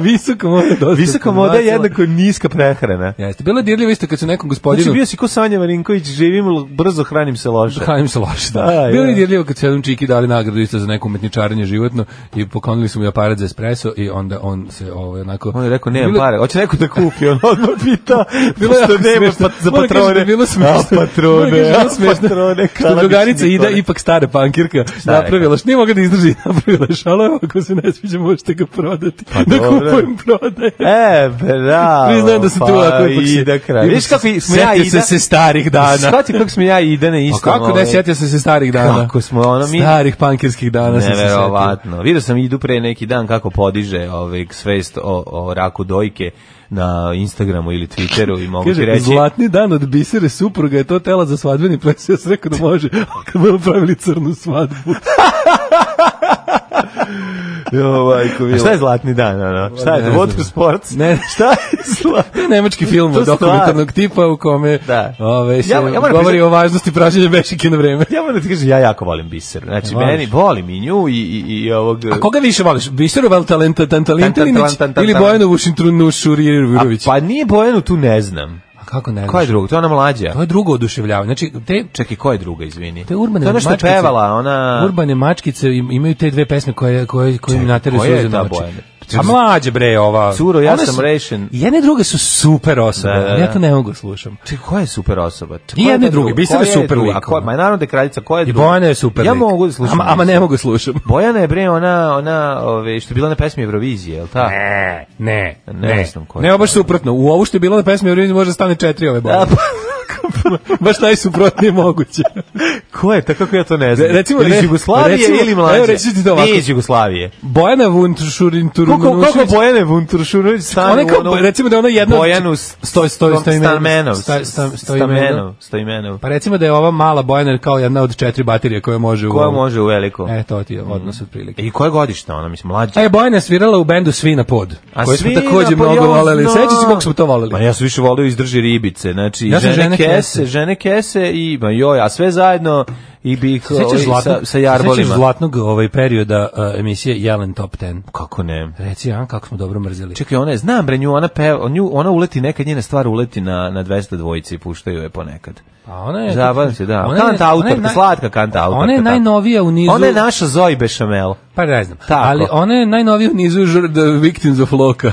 Speaker 5: visoka moda je dosta
Speaker 6: Visoka moda je
Speaker 5: podbacila.
Speaker 6: jednako niska prehrana.
Speaker 5: Jeste. Bilo je dirljivo isto kad su nekom gospodinu...
Speaker 6: Znači bio si ko Sanja Marinković, živim l- brzo, hranim se loše.
Speaker 5: Hranim se loše, da.
Speaker 6: A,
Speaker 5: Bilo
Speaker 6: ja.
Speaker 5: je dirljivo kad su jednom Čiki dali nagradu isto za neko umetničarenje životno i poklonili su mu i aparat za espresso i onda on se ovaj, onako...
Speaker 6: On je rekao, nemam
Speaker 5: Bilo-
Speaker 6: pare, hoće neko da kupi, on odmah pita,
Speaker 5: <laughs> Bilo je
Speaker 6: što
Speaker 5: jako
Speaker 6: nema
Speaker 5: smešno.
Speaker 6: pa, za
Speaker 5: Moram kažem da
Speaker 6: patrone.
Speaker 5: je bilo smešno.
Speaker 6: A patrone,
Speaker 5: Moram kažem da je
Speaker 6: a
Speaker 5: bilo smešno.
Speaker 6: patrone,
Speaker 5: Što
Speaker 6: kalabični
Speaker 5: drugarica Ida,
Speaker 6: patrone.
Speaker 5: ipak stara pankirka,
Speaker 6: je
Speaker 5: napravila, što nije mogla da izdrži, <laughs> napravila je šalo, ako se ne sviđa možete ga prodati, da
Speaker 6: Pa dobro.
Speaker 5: kupujem prodaje.
Speaker 6: E,
Speaker 5: <laughs>
Speaker 6: bravo.
Speaker 5: Priznajem da sam tu ovako
Speaker 6: pa,
Speaker 5: ipak se-
Speaker 6: Ida kraj.
Speaker 5: ipak
Speaker 6: Viš kako i- smo ja
Speaker 5: setio
Speaker 6: Ida.
Speaker 5: sam se starih dana.
Speaker 6: Shvati kako smo ja i Ida na
Speaker 5: A
Speaker 6: istom.
Speaker 5: kako ne,
Speaker 6: ovaj,
Speaker 5: sjetio sam se starih dana.
Speaker 6: Kako smo, ono, mi-
Speaker 5: Starih pankirskih dana sam se setio.
Speaker 6: Neverovatno. Vidio sam Idu pre neki dan kako podiže ovaj svest o, o raku dojke na Instagramu ili Twitteru i mogu ti
Speaker 5: Kaže,
Speaker 6: reći
Speaker 5: zlatni dan od bisere supruga je to tela za svadbeni ples. Ja sam rekao da može, <laughs> a kad budemo pravili crnu svadbu.
Speaker 6: Jo, majko, mila. A šta je zlatni dan, ono? Šta je,
Speaker 5: Ne
Speaker 6: The
Speaker 5: znam.
Speaker 6: Water Sports?
Speaker 5: Ne.
Speaker 6: Šta je zlatni
Speaker 5: Nemački film
Speaker 6: To
Speaker 5: od
Speaker 6: stvar.
Speaker 5: dokumentarnog tipa u kome
Speaker 6: Da.
Speaker 5: ove, se
Speaker 6: Ja- ja moram
Speaker 5: govori
Speaker 6: priznati-
Speaker 5: o važnosti pražnjenja bešike na vreme.
Speaker 6: Ja moram da ti kažem, ja jako volim biser. Znači,
Speaker 5: Voliš?
Speaker 6: meni, volim i nju i, i, i ovog...
Speaker 5: A koga više voliš? Biseru Valtalenta Tantalintinić
Speaker 6: Tan, tan, tan, tan,
Speaker 5: ili
Speaker 6: tan.
Speaker 5: Bojanovu Šintrunu Šurirović?
Speaker 6: A, pa nije Bojanu, tu ne znam.
Speaker 5: A kako ne znaš?
Speaker 6: Ko je drugo? To je ona mlađa.
Speaker 5: To je drugo oduševljavanje. Znači, te
Speaker 6: Čekaj, ko je druga, izvini?
Speaker 5: Te urbane
Speaker 6: to je ono što je
Speaker 5: mačkice.
Speaker 6: pevala, ona...
Speaker 5: Urbane mačkice im- imaju te dve pesme koje koje koje im nateraju
Speaker 6: koja je
Speaker 5: suze na
Speaker 6: ta
Speaker 5: oči.
Speaker 6: Bojana?
Speaker 5: A mlađe bre ova.
Speaker 6: Curo, ja
Speaker 5: One
Speaker 6: sam
Speaker 5: su-
Speaker 6: rešen.
Speaker 5: i Jedne i druge su super osobe.
Speaker 6: Da, da, da.
Speaker 5: Ja to ne mogu slušam.
Speaker 6: Čekaj, ko je super osoba? Čekaj,
Speaker 5: I
Speaker 6: ko je
Speaker 5: jedni
Speaker 6: ta
Speaker 5: i drugi.
Speaker 6: druga?
Speaker 5: Biser
Speaker 6: Ko
Speaker 5: je super
Speaker 6: druga?
Speaker 5: lik,
Speaker 6: A ko je-
Speaker 5: ono.
Speaker 6: Ma naravno da je kraljica, ko je
Speaker 5: I
Speaker 6: druga?
Speaker 5: Bojana je super.
Speaker 6: Ja
Speaker 5: lik.
Speaker 6: mogu da slušam.
Speaker 5: Ama, ama ne
Speaker 6: Bisera.
Speaker 5: mogu slušam.
Speaker 6: Bojana je bre ona, ona, ove, što je bila na pesmi Eurovizije, je li ta?
Speaker 5: Ne, ne,
Speaker 6: Ne
Speaker 5: ne.
Speaker 6: znam koja je
Speaker 5: Ne, baš suprotno. U ovu što je bilo na pesmi Eurovizije može da stane četiri ove
Speaker 6: A,
Speaker 5: boje.
Speaker 6: pa,
Speaker 5: Baš najsuprotnije moguće.
Speaker 6: ko je, tako ja to ne znam.
Speaker 5: Re- recimo,
Speaker 6: ili iz
Speaker 5: re-
Speaker 6: Jugoslavije
Speaker 5: recimo-
Speaker 6: ili mlađe.
Speaker 5: evo, reći ću ti to ovako.
Speaker 6: Nije iz Jugoslavije.
Speaker 5: Bojana Vuntušurin
Speaker 6: Koliko, koliko Bojane Vunturšunović stane
Speaker 5: Ona je
Speaker 6: u
Speaker 5: kao,
Speaker 6: ono-
Speaker 5: recimo da je ona jedna...
Speaker 6: Bojanu
Speaker 5: Stoj, stoj, stoj.
Speaker 6: Stamenov.
Speaker 5: Stoj, stoj, stoj.
Speaker 6: Stamenov. Stamenov.
Speaker 5: Pa recimo da je ova mala Bojana kao jedna od četiri baterije koja može... u
Speaker 6: Koja
Speaker 5: ovu-
Speaker 6: može Mhm. u veliko?
Speaker 5: E, to ti je odnos otprilike.
Speaker 6: I koja godišta ona, mislim, mlađa?
Speaker 5: A je Bojana svirala u bendu Svi na pod,
Speaker 6: A
Speaker 5: koji smo
Speaker 6: svi
Speaker 5: takođe
Speaker 6: na pod,
Speaker 5: mnogo
Speaker 6: ja
Speaker 5: voleli.
Speaker 6: znam.
Speaker 5: Sećaš se kako smo to
Speaker 6: Ma
Speaker 5: voleli?
Speaker 6: Pa ja sam više volio izdrži ribice, znači
Speaker 5: Ja sam
Speaker 6: žene,
Speaker 5: žene
Speaker 6: kese,
Speaker 5: kese.
Speaker 6: žene kese i ma joj, a sve zajedno i bih ovaj,
Speaker 5: Sećaš
Speaker 6: sa,
Speaker 5: zlatnog,
Speaker 6: sa jarbolima.
Speaker 5: Sećaš zlatnog ovaj perioda uh, emisije Jelen Top 10?
Speaker 6: Kako ne?
Speaker 5: Reci, a, kako smo dobro mrzeli.
Speaker 6: Čekaj, ona je, znam bre nju, ona, peva, nju, ona uleti, neka njena stvar uleti na, na 200 dvojice i puštaju je ponekad.
Speaker 5: A ona je...
Speaker 6: Zabavam se, da.
Speaker 5: E, Ona je-
Speaker 6: Kanta
Speaker 5: ona je
Speaker 6: autorka,
Speaker 5: naj-
Speaker 6: slatka kanta autorka.
Speaker 5: Ona je
Speaker 6: tako.
Speaker 5: najnovija u nizu...
Speaker 6: Ona je naša Zoe Bechamel.
Speaker 5: Pa ne znam.
Speaker 6: Tako.
Speaker 5: Ali ona je najnovija u nizu žur- The Victims of Loka.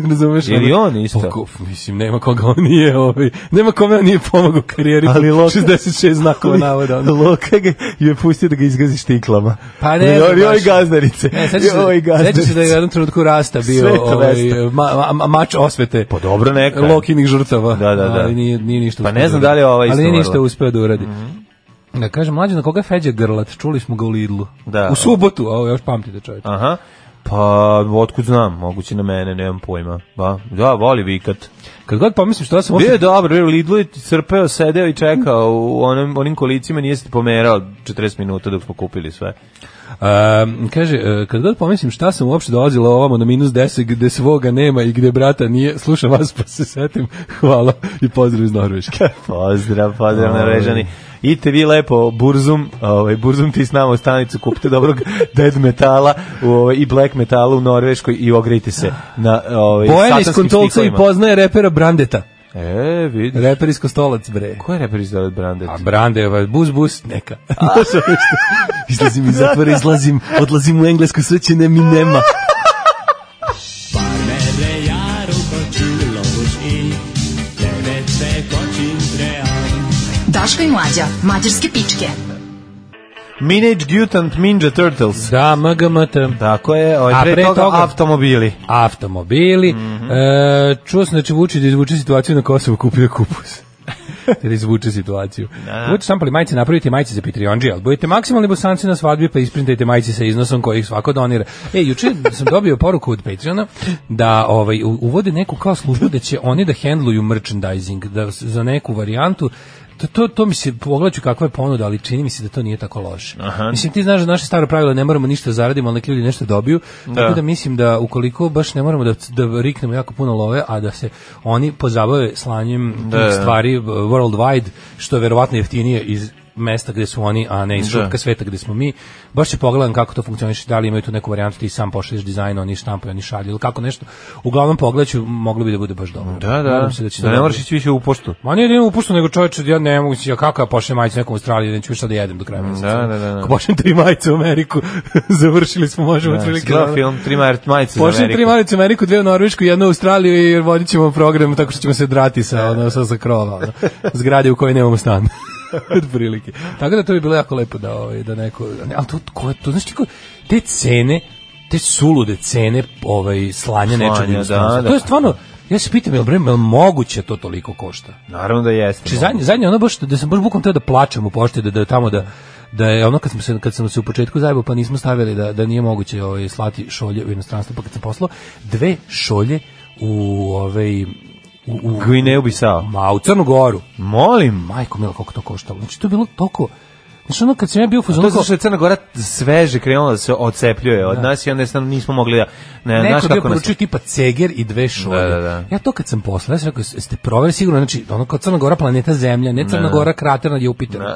Speaker 5: <laughs> Razumeš?
Speaker 6: Ili
Speaker 5: Ono-
Speaker 6: on isto.
Speaker 5: Pa, ko- mislim, nema koga on nije, ovaj, nema kome on nije pomogao u karijeri.
Speaker 6: Ali Loka-
Speaker 5: 66 znakova navoda. ono.
Speaker 6: Luka ga je pustio da ga izgazi štiklama.
Speaker 5: Pa ne znam
Speaker 6: Joj, joj
Speaker 5: baš.
Speaker 6: gazdarice.
Speaker 5: Ne, sećaš
Speaker 6: Joj,
Speaker 5: E, se, sećaš se da je u jednom trenutku rasta
Speaker 6: Sve
Speaker 5: bio
Speaker 6: to
Speaker 5: ovaj,
Speaker 6: Vesta.
Speaker 5: ma, ma, mač osvete.
Speaker 6: Pa dobro, neka je.
Speaker 5: Lokinih žrtava.
Speaker 6: Da, da, da.
Speaker 5: Ali nije, nije ništa
Speaker 6: Pa
Speaker 5: uspeo
Speaker 6: ne znam
Speaker 5: da
Speaker 6: da li je ova
Speaker 5: uradi.
Speaker 6: isto
Speaker 5: Ali nije
Speaker 6: umrla.
Speaker 5: ništa uspeo da uradi. Da kažem, mlađe, na koga je Feđa Grlat? Čuli smo ga u Lidlu.
Speaker 6: Da.
Speaker 5: U subotu, ovo još pamtite čovječe.
Speaker 6: Aha. Pa, otkud znam, moguće na mene, nemam pojma. Ba, da, voli vikat.
Speaker 5: Kad god pomislim što ja sam...
Speaker 6: Bio je
Speaker 5: uopšte-
Speaker 6: dobro, bio je u Lidlu je crpeo, sedeo i čekao u onim, onim kolicima, nije se pomerao 40 minuta dok smo kupili sve.
Speaker 5: Um, kaže, e, kad god pomislim šta sam uopšte dolazila ovamo na minus 10, gde svoga nema i gde brata nije, slušam vas pa se setim, <laughs> hvala i pozdrav iz
Speaker 6: <laughs>
Speaker 5: Norveške.
Speaker 6: Pozdrav, pozdrav
Speaker 5: Ovaj.
Speaker 6: Norvežani. Idite vi lepo, Burzum, ovaj, Burzum ti s nama u stanicu, kupite dobrog <laughs> dead metala u, ovaj, i black metala u Norveškoj i ogrejte se na ovaj,
Speaker 5: Bojan iz
Speaker 6: satanskim
Speaker 5: Kontolca i
Speaker 6: štihovima.
Speaker 5: poznaje repera Brandeta.
Speaker 6: E, vidi.
Speaker 5: Reper iz Kostolac, bre.
Speaker 6: Ko je reper iz Velvet Brandet?
Speaker 5: A brande, ovaj, bus, bus, neka. <laughs> ono izlazim iz zatvora, izlazim, odlazim u englesku srećene mi nema.
Speaker 1: Par med det gjær og kantuler hos i
Speaker 4: Daško i Mlađa, mađarske pičke.
Speaker 6: Minage Mutant Ninja Turtles.
Speaker 5: Da, MGMT.
Speaker 6: Tako je, ovaj,
Speaker 5: A
Speaker 6: pre,
Speaker 5: pre
Speaker 6: toga,
Speaker 5: toga-
Speaker 6: automobili.
Speaker 5: Automobili. e, čuo sam da će Vučić da izvuče situaciju na Kosovo kupio kupus. <laughs> da izvuče situaciju. Budite štampali majice, napravite majice za Patreonđe, ali budite maksimalni bosanci na svadbi pa isprintajte majice sa iznosom koji ih svako donira. E, juče sam dobio poruku od Patreona da ovaj, u- uvode neku kao službu da će oni da handluju merchandising da, s- za neku varijantu To, to, to mi se, pogledat ću kakva je ponuda, ali čini mi se da to nije tako loše. Mislim, ti znaš da naše staro pravilo je ne moramo ništa da zaradimo, ali neki ljudi nešto dobiju, tako da mislim da ukoliko baš ne moramo da, da riknemo jako puno love, a da se oni pozabave slanjem tih
Speaker 6: da.
Speaker 5: stvari uh, worldwide, što je verovatno jeftinije iz mesta gde su oni, a ne iz šupka sveta gde smo mi. Baš će pogledam kako to funkcioniše, da li imaju tu neku varijantu, ti sam pošalješ dizajn, oni štampaju, oni šalju ili kako nešto. Uglavnom pogledaću, moglo bi da bude baš dobro.
Speaker 6: Da, da.
Speaker 5: Nadam se da
Speaker 6: da
Speaker 5: će to
Speaker 6: ne
Speaker 5: dobro
Speaker 6: moraš ići više u poštu.
Speaker 5: Ma nije da imam upuštu, nego čovječe, ja ne mogu, ja kako ja pošljem majicu nekom u Australiji, neću šta da jedem do kraja mjeseca.
Speaker 6: da, da, da.
Speaker 5: Ako pošljem tri majice u Ameriku, <laughs> završili smo, možemo
Speaker 6: Da,
Speaker 5: otprilike.
Speaker 6: Gledao
Speaker 5: da-
Speaker 6: film Tri mar- majice za
Speaker 5: Pošljem tri
Speaker 6: Ameriku.
Speaker 5: majice u Ameriku, dve u Norvešku, jednu u Australiju i vodit ćemo program tako što ćemo se drati sa, ono, sa, sa krova, ono, zgrade u kojoj nemamo stan. <laughs> otprilike. Tako da to bi bilo jako lepo da, ovaj, da neko... Ali to, ko, to znaš ti ko, te cene, te sulude cene ovaj, slanja nečeg u
Speaker 6: da,
Speaker 5: inostranstvo.
Speaker 6: da.
Speaker 5: To je stvarno, ja se pitam, je li moguće to toliko košta?
Speaker 6: Naravno da jeste.
Speaker 5: Znači zadnje zadnje ono baš da sam baš bukom teo da plačem u pošti da da tamo da da je ono kad smo se kad sam se u početku zajebao pa nismo stavili da da nije moguće ovaj slati šolje u inostranstvo pa kad sam poslao dve šolje u ovaj u, u
Speaker 6: Gvineju Bisao.
Speaker 5: ma u Crnu Goru.
Speaker 6: Molim.
Speaker 5: Majko mila koliko to koštalo. Znači to je bilo toliko Znači ono kad sam ja bio u
Speaker 6: To
Speaker 5: fazonu
Speaker 6: je zato
Speaker 5: kao-
Speaker 6: što je Crna Gora sveže krenula da se ocepljuje od nas i onda sam nismo mogli da... Ne, E, znaš
Speaker 5: Neko bio
Speaker 6: kako nas...
Speaker 5: poručio tipa ceger i dve šolje.
Speaker 6: Da, da, da.
Speaker 5: Ja to kad sam poslao, ja sam rekao, ste proveli sigurno, znači, ono kao Crna Gora planeta Zemlja, ne Crna Gora krater na Jupiteru. <laughs>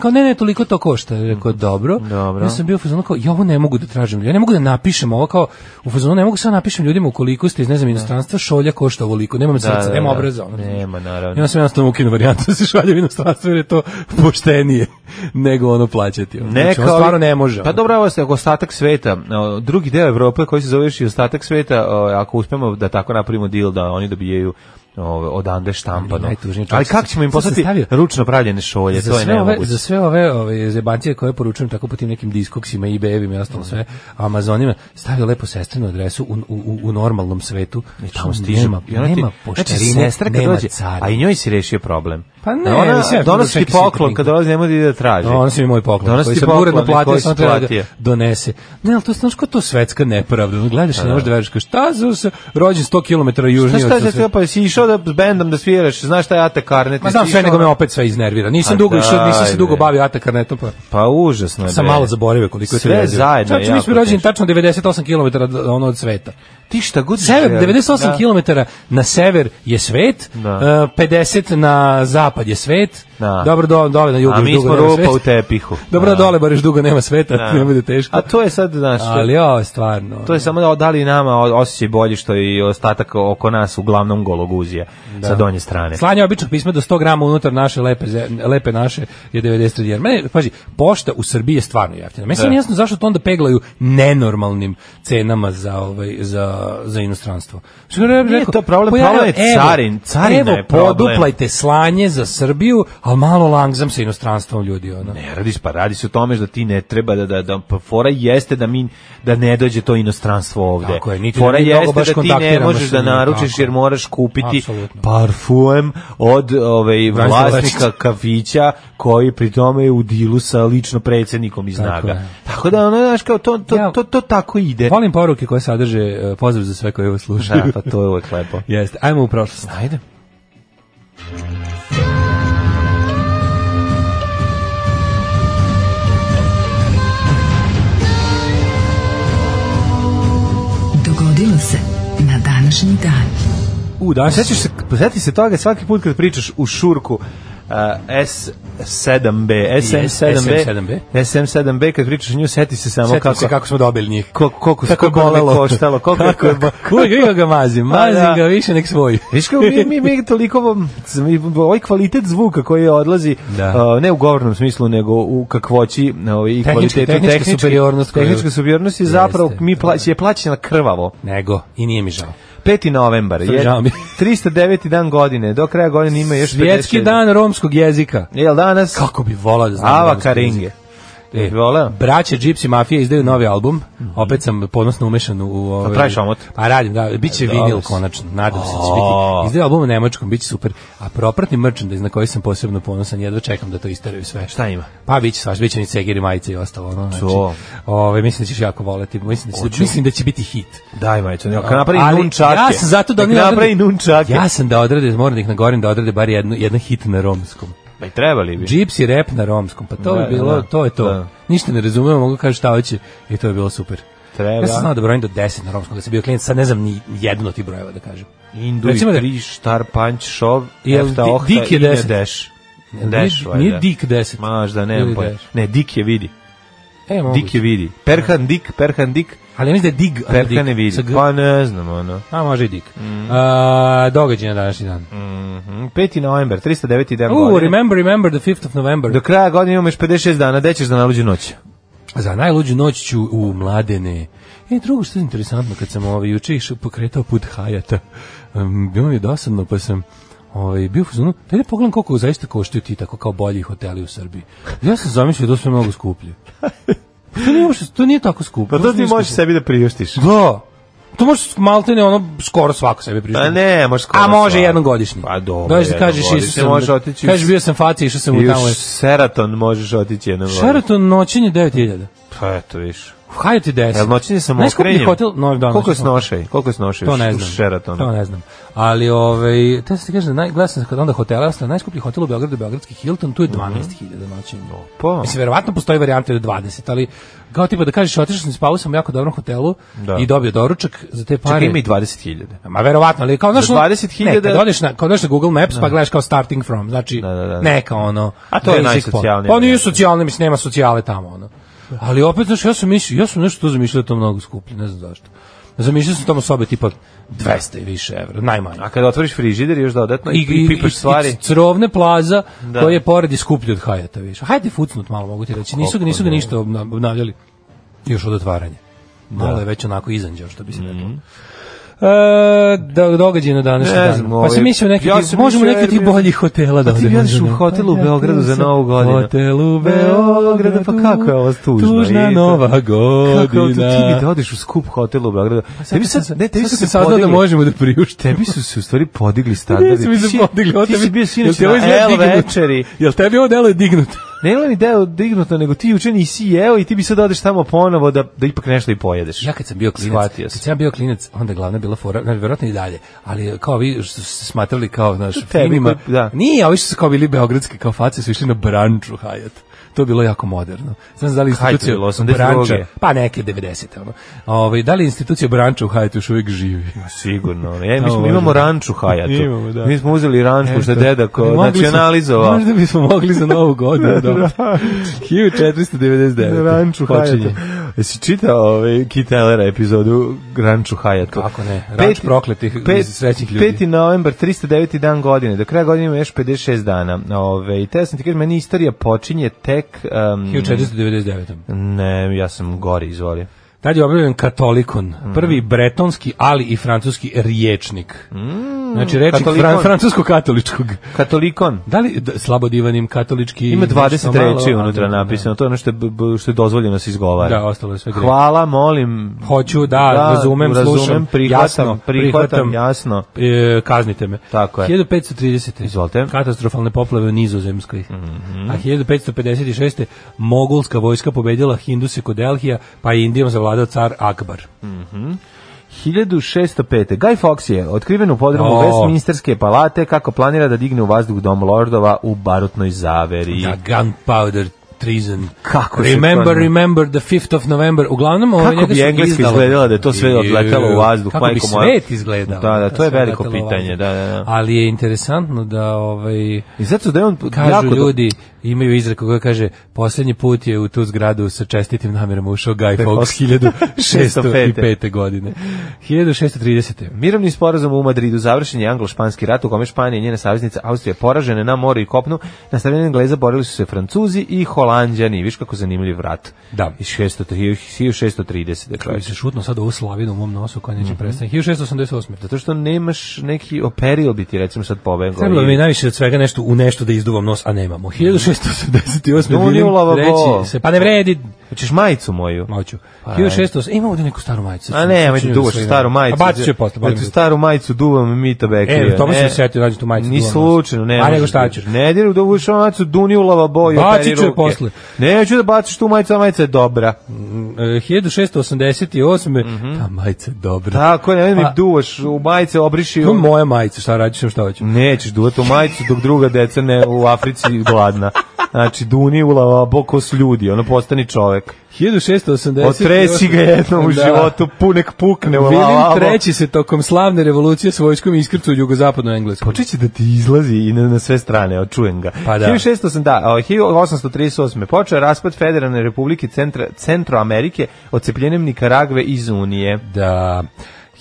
Speaker 5: Kao, ne, ne, toliko to košta. Ja Rekao, dobro.
Speaker 6: Dobro.
Speaker 5: Ja sam bio u fazonu kao, ja ovo ne mogu da tražim. Ja ne mogu da napišem ovo kao, u fazonu ne mogu sad napišem ljudima ukoliko ste iz, ne znam, inostranstva, šolja košta ovoliko. Nemam srca,
Speaker 6: da,
Speaker 5: nema
Speaker 6: da.
Speaker 5: obraza. Ono,
Speaker 6: Nema, naravno.
Speaker 5: Ja sam jednostavno ukinuo varijantu da se šalje u inostranstvo jer je to poštenije <laughs> nego ono plaćati. Ono. znači, ono
Speaker 6: kao-
Speaker 5: stvarno ne može.
Speaker 6: Pa
Speaker 5: ono.
Speaker 6: dobro, ovo ste ako ostatak sveta, o, drugi deo Evrope koji se zove još i ostatak sveta, o, ako uspemo da tako napravimo deal da oni dobijaju o, odande
Speaker 5: Ali
Speaker 6: štampano.
Speaker 5: najtužnije, čovječe,
Speaker 6: Ali kako ćemo im
Speaker 5: sad sam
Speaker 6: poslati
Speaker 5: stavio-
Speaker 6: ručno pravljene šolje,
Speaker 5: za
Speaker 6: to je
Speaker 5: sve ove
Speaker 6: nemoguće.
Speaker 5: za sve ove ove zebancije koje poručujem tako po tim nekim diskoksima i bebima i ostalo sve Amazonima stavio lepo sestrinu adresu u, u, u normalnom svetu
Speaker 6: I
Speaker 5: Što
Speaker 6: tamo stižu.
Speaker 5: nema,
Speaker 6: I ona ti-
Speaker 5: nema
Speaker 6: znači,
Speaker 5: pošterine
Speaker 6: sestra kad
Speaker 5: nema
Speaker 6: dođe,
Speaker 5: carine.
Speaker 6: a i njoj si rešio problem.
Speaker 5: Pa ne,
Speaker 6: ona
Speaker 5: mislim, ja
Speaker 6: donosi ti
Speaker 5: čekaj,
Speaker 6: poklon
Speaker 5: sitnik.
Speaker 6: kad dolazi, nemoj da ide da traži.
Speaker 5: No, on se mi moj poklon,
Speaker 6: Donosi
Speaker 5: koji
Speaker 6: ti
Speaker 5: sam
Speaker 6: poklon
Speaker 5: uredno
Speaker 6: i
Speaker 5: platio,
Speaker 6: koji
Speaker 5: sam
Speaker 6: si
Speaker 5: treba da ga
Speaker 6: platio.
Speaker 5: donese. Ne, ali to znaš kao to svetska nepravda, ono, gledaš i ne možeš da veriš, kao šta za se, rođen 100 km
Speaker 6: Znaš
Speaker 5: južnije
Speaker 6: Pa šta
Speaker 5: od
Speaker 6: je to,
Speaker 5: sve.
Speaker 6: pa si išao da s bendom da sviraš, znaš šta je Ate Karnet?
Speaker 5: Ma
Speaker 6: jesi
Speaker 5: znam sve,
Speaker 6: išao
Speaker 5: nego me
Speaker 6: na-
Speaker 5: opet sve iznervira. Nisam
Speaker 6: A
Speaker 5: dugo išao, nisam
Speaker 6: Pa
Speaker 5: se
Speaker 6: daj,
Speaker 5: dugo
Speaker 6: bre.
Speaker 5: bavio atakarnetom, pa
Speaker 6: Pa užasno je.
Speaker 5: sam
Speaker 6: bre.
Speaker 5: malo zaboravio koliko je to
Speaker 6: Sve
Speaker 5: jezivo.
Speaker 6: zajedno je
Speaker 5: Znači, mi
Speaker 6: jako
Speaker 5: smo rođeni
Speaker 6: teško.
Speaker 5: tačno 98 km od, ono od sveta.
Speaker 6: Ti šta god
Speaker 5: Sever,
Speaker 6: želiš.
Speaker 5: 98
Speaker 6: Da.
Speaker 5: km na sever je svet,
Speaker 6: Da.
Speaker 5: e, 50 na zapad je svet,
Speaker 6: Da.
Speaker 5: dobro do, dole na jugu
Speaker 6: A
Speaker 5: još
Speaker 6: mi
Speaker 5: dugo
Speaker 6: smo
Speaker 5: nema
Speaker 6: rupa
Speaker 5: sveta.
Speaker 6: u tepihu.
Speaker 5: Dobro
Speaker 6: Da.
Speaker 5: da. dole, bar još dugo nema sveta,
Speaker 6: Da.
Speaker 5: ne bude teško.
Speaker 6: A to je sad, znaš, to-
Speaker 5: Ali ovo je stvarno.
Speaker 6: to je samo da da li nama o- osjećaj bolji što i ostatak oko nas uglavnom gologuzija sa donje strane.
Speaker 5: Slanje običnog pisma do 100 grama unutar naše lepe, ze- lepe naše je 93 dinara. Mene, paži, pošta u Srbiji je stvarno jeftina. Meni
Speaker 6: Da.
Speaker 5: sam jasno zašto to onda peglaju nenormalnim cenama za, ovaj, za, za inostranstvo. Što je
Speaker 6: Nije to problem,
Speaker 5: ja,
Speaker 6: problem je
Speaker 5: evo,
Speaker 6: carin, carina
Speaker 5: evo,
Speaker 6: je problem.
Speaker 5: poduplajte slanje za Srbiju, ali malo langzam sa inostranstvom ljudi. Ono.
Speaker 6: Ne radiš, pa radi se o tome da ti ne treba da, da, da pa fora jeste da mi da ne dođe to inostranstvo ovde.
Speaker 5: Tako je, niti da
Speaker 6: fora
Speaker 5: mi mnogo
Speaker 6: jeste
Speaker 5: baš
Speaker 6: da ti ne
Speaker 5: kontaktiramo
Speaker 6: možeš
Speaker 5: sa
Speaker 6: da
Speaker 5: njima,
Speaker 6: naručiš
Speaker 5: tako je.
Speaker 6: jer moraš kupiti
Speaker 5: Apsolutno.
Speaker 6: parfum od ovaj, vlasnika
Speaker 5: Lečića.
Speaker 6: kafića koji pri tome je u dilu sa lično predsjednikom iz
Speaker 5: Tako
Speaker 6: Naga.
Speaker 5: je.
Speaker 6: Tako da ono, znaš, kao, to, to,
Speaker 5: Ja-
Speaker 6: to, to tako ide.
Speaker 5: Volim poruke koje sadrže e, pozdrav za sve koje ovo slušaju.
Speaker 6: Da, pa to je uvek lepo.
Speaker 5: <laughs> Jeste, ajmo u prošlost.
Speaker 6: Ajde.
Speaker 4: Dogodilo se na današnji dan.
Speaker 5: U, danas
Speaker 6: Sećaš se, seti se toga svaki put kad pričaš u šurku uh, S7B, SM7B,
Speaker 5: SM7B.
Speaker 6: SM7B, kad pričaš o nju, seti se samo
Speaker 5: Sjetim
Speaker 6: kako...
Speaker 5: se kako smo dobili njih.
Speaker 6: Koliko, koliko,
Speaker 5: Kako je
Speaker 6: koliko nam je
Speaker 5: bolelo.
Speaker 6: koštalo, koliko je... bo-
Speaker 5: Uvijek ja ga mazim,
Speaker 6: <laughs>
Speaker 5: mazim
Speaker 6: da.
Speaker 5: ga više nek svoj.
Speaker 6: <laughs> Viš kao, mi, mi, mi toliko, vam- ovaj kvalitet zvuka koji odlazi,
Speaker 5: Da.
Speaker 6: uh, ne u govornom smislu, nego u kakvoći ovaj, i
Speaker 5: Tehnički-
Speaker 6: kvalitetu
Speaker 5: tehnička superiornost koju-
Speaker 6: Tehnička superiornost je zapravo, mi pla, je plaćena krvavo.
Speaker 5: Nego, i nije mi žao.
Speaker 6: 5. novembar
Speaker 5: Sa
Speaker 6: je <laughs>
Speaker 5: pidžami.
Speaker 6: 309. dan godine. Do kraja godine ima još
Speaker 5: Svjetski
Speaker 6: 56.
Speaker 5: dan romskog jezika.
Speaker 6: Jel danas?
Speaker 5: Kako bi volao da znam
Speaker 6: Ava
Speaker 5: romski
Speaker 6: Karinge.
Speaker 5: jezik.
Speaker 6: E,
Speaker 5: E,
Speaker 6: voleo? Mhm.
Speaker 5: Braća Gypsy Mafija izdaju novi album. Opet sam ponosno umešan u ovaj.
Speaker 6: Pa praviš omot?
Speaker 5: A radim, da, biće
Speaker 6: Dobro
Speaker 5: vinil
Speaker 6: si.
Speaker 5: konačno. Nadam se da će
Speaker 6: O.
Speaker 5: biti. Izdaju album u nemačkom, biće super. A propratni merchandise na koji sam posebno ponosan, jedva čekam da to isteraju sve.
Speaker 6: Šta ima?
Speaker 5: Pa biće svaš, biće ni cegiri majice i ostalo. Ono, znači,
Speaker 6: To.
Speaker 5: ovaj, mislim da ćeš jako voleti. Mislim da, će, mislim da će biti hit.
Speaker 6: Daj majcu, neka napravi
Speaker 5: Ali
Speaker 6: nunčake.
Speaker 5: Ja sam zato da
Speaker 6: Nek
Speaker 5: oni
Speaker 6: napravi nunčake.
Speaker 5: Ja sam da odrede, moram da ih nagorim da odrede bar jednu, jedan hit na romskom.
Speaker 6: Pa i trebali bi.
Speaker 5: Gypsy rap na romskom, pa to
Speaker 6: Da,
Speaker 5: je bilo,
Speaker 6: da,
Speaker 5: to je to.
Speaker 6: da.
Speaker 5: Ništa ne razumem, mogu kažem šta hoće i to je bilo super.
Speaker 6: Treba.
Speaker 5: Ja sam znao da brojim do 10 na romskom, da sam bio klijent, sad ne znam ni jedno od tih brojeva da kažem.
Speaker 6: Indu
Speaker 5: Recimo
Speaker 6: i
Speaker 5: da-
Speaker 6: tri, štar, panč, šov,
Speaker 5: Jel
Speaker 6: efta,
Speaker 5: Di-
Speaker 6: ohta,
Speaker 5: Dik je
Speaker 6: ine,
Speaker 5: deset?
Speaker 6: deš.
Speaker 5: Nije-
Speaker 6: Deš, valjda.
Speaker 5: Nije Dik 10.
Speaker 6: Maš da,
Speaker 5: Ili
Speaker 6: nemam pojma.
Speaker 5: Deš.
Speaker 6: Ne, dik je vidi.
Speaker 5: E, moguće.
Speaker 6: Dik je vidi. Perhan dik, perhan dik,
Speaker 5: Ali ja mislim da je Dig, a ne
Speaker 6: perhan je
Speaker 5: Dik. Sa
Speaker 6: vidi.
Speaker 5: G.
Speaker 6: Pa Mm. ne znam, ono.
Speaker 5: A može i Dik. A, događaj na današnji dan.
Speaker 6: Mhm, 5. novembar, 309. dan
Speaker 5: Uh,
Speaker 6: godine.
Speaker 5: remember, remember the 5th of November.
Speaker 6: Do kraja godine imamo još 56 dana, gde ćeš da naluđu noć?
Speaker 5: Za najluđu noć ću u mladene. E, drugo što je interesantno, kad sam ovaj, juče išao pokretao put Hajata, um, bilo mi je dosadno, pa sam ovaj, bio u fazonu, daj da pogledam koliko zaista koštaju ti tako kao bolji hoteli u Srbiji. Ja sam zamislio da su sve mnogo skuplje. Pa to nije, uopšte- to nije tako skupo.
Speaker 6: Pa to
Speaker 5: uopšte
Speaker 6: ti
Speaker 5: nije
Speaker 6: možeš
Speaker 5: skupo.
Speaker 6: sebi da priuštiš.
Speaker 5: Da. To možeš maltene ono skoro svako sebi prišlo.
Speaker 6: Pa ne, može skoro
Speaker 5: A može
Speaker 6: svako.
Speaker 5: jednom godišnji.
Speaker 6: Pa dobro,
Speaker 5: Dođeš da
Speaker 6: jednom
Speaker 5: kažeš,
Speaker 6: godišnje,
Speaker 5: Isuse,
Speaker 6: može otići u-
Speaker 5: kažeš bio sam faci, išao sam u
Speaker 6: I
Speaker 5: tamo.
Speaker 6: u Seraton možeš otići jednom godine.
Speaker 5: Sheraton noćenje 9000.
Speaker 6: Pa eto, viš.
Speaker 5: Hajde ti 10.
Speaker 6: Jel noćenje samo
Speaker 5: Najskuplji
Speaker 6: okrenjem?
Speaker 5: hotel, no, da,
Speaker 6: Koliko je
Speaker 5: noćenje samo-
Speaker 6: snošaj? Koliko je snošaj?
Speaker 5: To ne
Speaker 6: u
Speaker 5: znam.
Speaker 6: Sheratonu?
Speaker 5: To ne znam. Ali ovaj te se kaže najglasno kad onda hotela, ostao najskuplji hotel u Beogradu, je Beogradski Hilton, tu je
Speaker 6: Mhm.
Speaker 5: 12.000 noćenje.
Speaker 6: Pa.
Speaker 5: Mislim verovatno postoji varijanta da je 20, ali kao tipa da kažeš otišao sam spavao sam u jako dobrom hotelu
Speaker 6: Da.
Speaker 5: i dobio doručak za te pare.
Speaker 6: Čekaj, ima i 20.000.
Speaker 5: Ma verovatno, ali kao znaš,
Speaker 6: Za
Speaker 5: ono-
Speaker 6: 20.000
Speaker 5: ne, kad odeš na, kad odeš na Google Maps pa gledaš kao starting from, znači
Speaker 6: da, da.
Speaker 5: neka ono.
Speaker 6: A to je
Speaker 5: basic
Speaker 6: najsocijalnije.
Speaker 5: plan. Pa nije socijalno, mislim nema socijale tamo ono. Ali opet znaš, ja sam mislio, ja sam nešto tu zamišljao da je to mnogo skuplje, ne znam zašto. Zamišljao sam tamo sobe tipa 200 i više evra, najmanje.
Speaker 6: A kada otvoriš frižider još dodatno i, i, pipaš stvari,
Speaker 5: Pa i crovne plaza
Speaker 6: Da.
Speaker 5: koja je pored i skuplje od Hajata, više. Hajde fucnut malo, mogu ti reći. Nisu ga, nisu ga ništa obna- obnavljali još od otvaranja. Malo je već onako izanđao, što bi se reklo. E, do, događaj na današnji
Speaker 6: Mhm. Ne
Speaker 5: dan.
Speaker 6: znam,
Speaker 5: pa
Speaker 6: ovaj,
Speaker 5: sam mislio neki,
Speaker 6: ja
Speaker 5: ti-
Speaker 6: sam
Speaker 5: možemo
Speaker 6: mislio
Speaker 5: neki ti
Speaker 6: Airbnb. Pa
Speaker 5: boljih hotela da
Speaker 6: ti
Speaker 5: odemo. Pa
Speaker 6: biraš u hotelu u Beogradu za Novu godinu.
Speaker 5: Hotel u Beogradu,
Speaker 6: pa kako je ovo tužno?
Speaker 5: Tužna
Speaker 6: I to-
Speaker 5: nova godina. Pa
Speaker 6: kako je to, ti bi da odeš u skup hotel u Beogradu. Tebi sad, ne, tebi su
Speaker 5: sad sam
Speaker 6: se
Speaker 5: saznao da
Speaker 6: podigli-
Speaker 5: možemo da priuštimo.
Speaker 6: Tebi su se u stvari
Speaker 5: <laughs>
Speaker 6: podigli standardi.
Speaker 5: Jesu mi
Speaker 6: Ti
Speaker 5: se
Speaker 6: si-
Speaker 5: podigli, ovo
Speaker 6: Ti si
Speaker 5: tebi-
Speaker 6: bio
Speaker 5: jel
Speaker 6: sinoć
Speaker 5: ti ovo
Speaker 6: na
Speaker 5: izgleda
Speaker 6: L
Speaker 5: dignuto?
Speaker 6: večeri.
Speaker 5: Jel tebi ovo delo je dignuto?
Speaker 6: Ne li mi deo dignuto, nego ti juče nisi jeo i ti bi sad odeš tamo ponovo da, da ipak nešto i pojedeš.
Speaker 5: Ja kad sam bio klinac,
Speaker 6: Shvatio
Speaker 5: kad
Speaker 6: sam.
Speaker 5: sam ja bio klinac, onda je glavna bila fora, znači verovatno i dalje, ali kao vi što su se smatrali kao naš
Speaker 6: tebi
Speaker 5: filmima,
Speaker 6: koji- da.
Speaker 5: nije, ovi što su kao bili beogradski kao face su išli na branču Hajat. To je bilo jako moderno. Znam da li
Speaker 6: Hajde,
Speaker 5: institucija
Speaker 6: bilo 82.
Speaker 5: branča, pa neke 90. Ono. Ovaj, da li institucija branča u Hajatu još uvijek živi?
Speaker 6: Sigurno. ono.
Speaker 5: <laughs>
Speaker 6: Ja, mi, smo,
Speaker 5: Ovo,
Speaker 6: imamo
Speaker 5: da.
Speaker 6: ranču Hajatu.
Speaker 5: Imamo, da.
Speaker 6: Mi smo uzeli ranču što je
Speaker 5: Eto.
Speaker 6: deda ko
Speaker 5: Ali mogli smo-
Speaker 6: nacionalizovao.
Speaker 5: Možda bismo mogli za novu <laughs> godinu. da. 1499.
Speaker 6: Ranču Hajatu.
Speaker 5: Počinje.
Speaker 6: Jesi čitao ovaj Kitalera epizodu Ranču Hajatu?
Speaker 5: Kako ne? Ranč prokletih i srećnih ljudi.
Speaker 6: 5. novembar, 309. dan godine. Do kraja godine ima još 56 dana. Ove, I te sam ti kažem, meni istorija počinje tek... Um,
Speaker 5: 1499.
Speaker 6: Ne, ja sam gori, izvoli.
Speaker 5: Tad je objavljen katolikon,
Speaker 6: Mm.
Speaker 5: prvi bretonski, ali i francuski riječnik. znači rečnik
Speaker 6: Mm. katolikon.
Speaker 5: fran, francusko-katoličkog.
Speaker 6: Katolikon.
Speaker 5: Da li da, slabodivanim katolički...
Speaker 6: Ima
Speaker 5: nešto
Speaker 6: 20
Speaker 5: malo,
Speaker 6: reči
Speaker 5: ali
Speaker 6: unutra
Speaker 5: da,
Speaker 6: napisano, to je ono što je, b- b- što je dozvoljeno se
Speaker 5: Da,
Speaker 6: izgovara.
Speaker 5: da, ostalo je sve grešno.
Speaker 6: Hvala, molim.
Speaker 5: Hoću, da, razumem, slušam,
Speaker 6: prihvatam,
Speaker 5: jasno,
Speaker 6: prihvatam,
Speaker 5: prihvatam.
Speaker 6: jasno.
Speaker 5: E, kaznite me.
Speaker 6: Tako je.
Speaker 5: 1530.
Speaker 6: Izvolite. Mhm.
Speaker 5: Katastrofalne poplave u Nizozemskoj. A 1556. Mogulska vojska pobedila Hinduse kod Delhija, pa je Indijom zavladao car Akbar.
Speaker 6: 1605. Guy Fawkes je otkriven u podrumu
Speaker 5: O.
Speaker 6: Westminsterske palate kako planira da digne u vazduh dom lordova u barutnoj zaveri.
Speaker 5: Da, gunpowder treason.
Speaker 6: Kako se to
Speaker 5: remember,
Speaker 6: ne-
Speaker 5: remember the 5th of November. Uglavnom, ovo
Speaker 6: Kako bi Engleska izgledala da je to sve odletelo u vazduh,
Speaker 5: Kako bi
Speaker 6: majko moja?
Speaker 5: svet izgledao?
Speaker 6: Da, da, to je
Speaker 5: sve
Speaker 6: veliko
Speaker 5: odletelo u
Speaker 6: pitanje,
Speaker 5: vazduh.
Speaker 6: da, da, da.
Speaker 5: Ali je interesantno da ovaj,
Speaker 6: I zato da je on
Speaker 5: kažu
Speaker 6: jako do-
Speaker 5: ljudi, imaju izreku koja kaže posljednji put je u tu zgradu sa čestitim namjerama ušao Guy Fawkes
Speaker 6: <laughs>
Speaker 5: 1605. godine. 1630.
Speaker 6: Mirovni sporazum u Madridu završen je anglo-španski rat u kome Španija i njena saveznica Austrija poražene na moru i kopnu. Na strani Engleza borili su se Francuzi i holanđani, viš kako zanimljiv vrat.
Speaker 5: Da.
Speaker 6: Iz 600 1630. Dakle,
Speaker 5: Koji se šutno sad ovu slavinu u mom nosu koja
Speaker 6: Mhm.
Speaker 5: neće prestane. 1688.
Speaker 6: zato što nemaš neki operil bi ti recimo sad pobegao.
Speaker 5: Trebalo
Speaker 6: i-
Speaker 5: bi mi najviše od svega nešto u nešto da izduvam nos, a nemamo. 1688.
Speaker 6: No, nije u
Speaker 5: Vilim
Speaker 6: lavabo.
Speaker 5: treći se, pa ne vredi,
Speaker 6: Hoćeš majicu moju.
Speaker 5: moću.
Speaker 6: Pa,
Speaker 5: 1600, ima ovdje neku staru majicu.
Speaker 6: A ne, ajde duvaš staru majicu.
Speaker 5: A bacit ću je
Speaker 6: Da
Speaker 5: posle. bacit
Speaker 6: ti
Speaker 5: ću.
Speaker 6: staru majicu duvam Mita Bekrija.
Speaker 5: E, to bi se setio, nađem tu majicu,
Speaker 6: Ni
Speaker 5: duvam
Speaker 6: slučajno,
Speaker 5: nos.
Speaker 6: ne.
Speaker 5: A
Speaker 6: možeš
Speaker 5: nego šta
Speaker 6: da-
Speaker 5: ćeš?
Speaker 6: Ne, jer da uviš ovu majicu duni u lavabo i
Speaker 5: Bacit
Speaker 6: operi
Speaker 5: ću je
Speaker 6: ruke.
Speaker 5: posle.
Speaker 6: Ne, ću da baciš tu majicu, a majica je dobra.
Speaker 5: E, 1688.
Speaker 6: Mhm.
Speaker 5: Ta majica je dobra.
Speaker 6: Tako, ne, mi
Speaker 5: Pa-
Speaker 6: duvaš u majice, obriši
Speaker 5: To je moja majica, šta radiš, šta hoću.
Speaker 6: Nećeš duvati u majicu dok druga deca ne u Africi gladna. Znači, duni u lavabo ko su ljudi, ono postani čovek.
Speaker 5: 1688.
Speaker 6: Otresi ga jednom u
Speaker 5: Da.
Speaker 6: životu, punek pukne u
Speaker 5: Vilim
Speaker 6: lavabo.
Speaker 5: treći se tokom slavne revolucije s vojskom iskrcu u jugozapadnoj Engleskoj.
Speaker 6: Počeće da ti izlazi i na, na sve strane, očujem ga.
Speaker 5: Pa da.
Speaker 6: 1608, da, a, 1838. Počeo je raspad Federalne republike centra, Centroamerike ocepljenjem Nikaragve iz Unije.
Speaker 5: Da.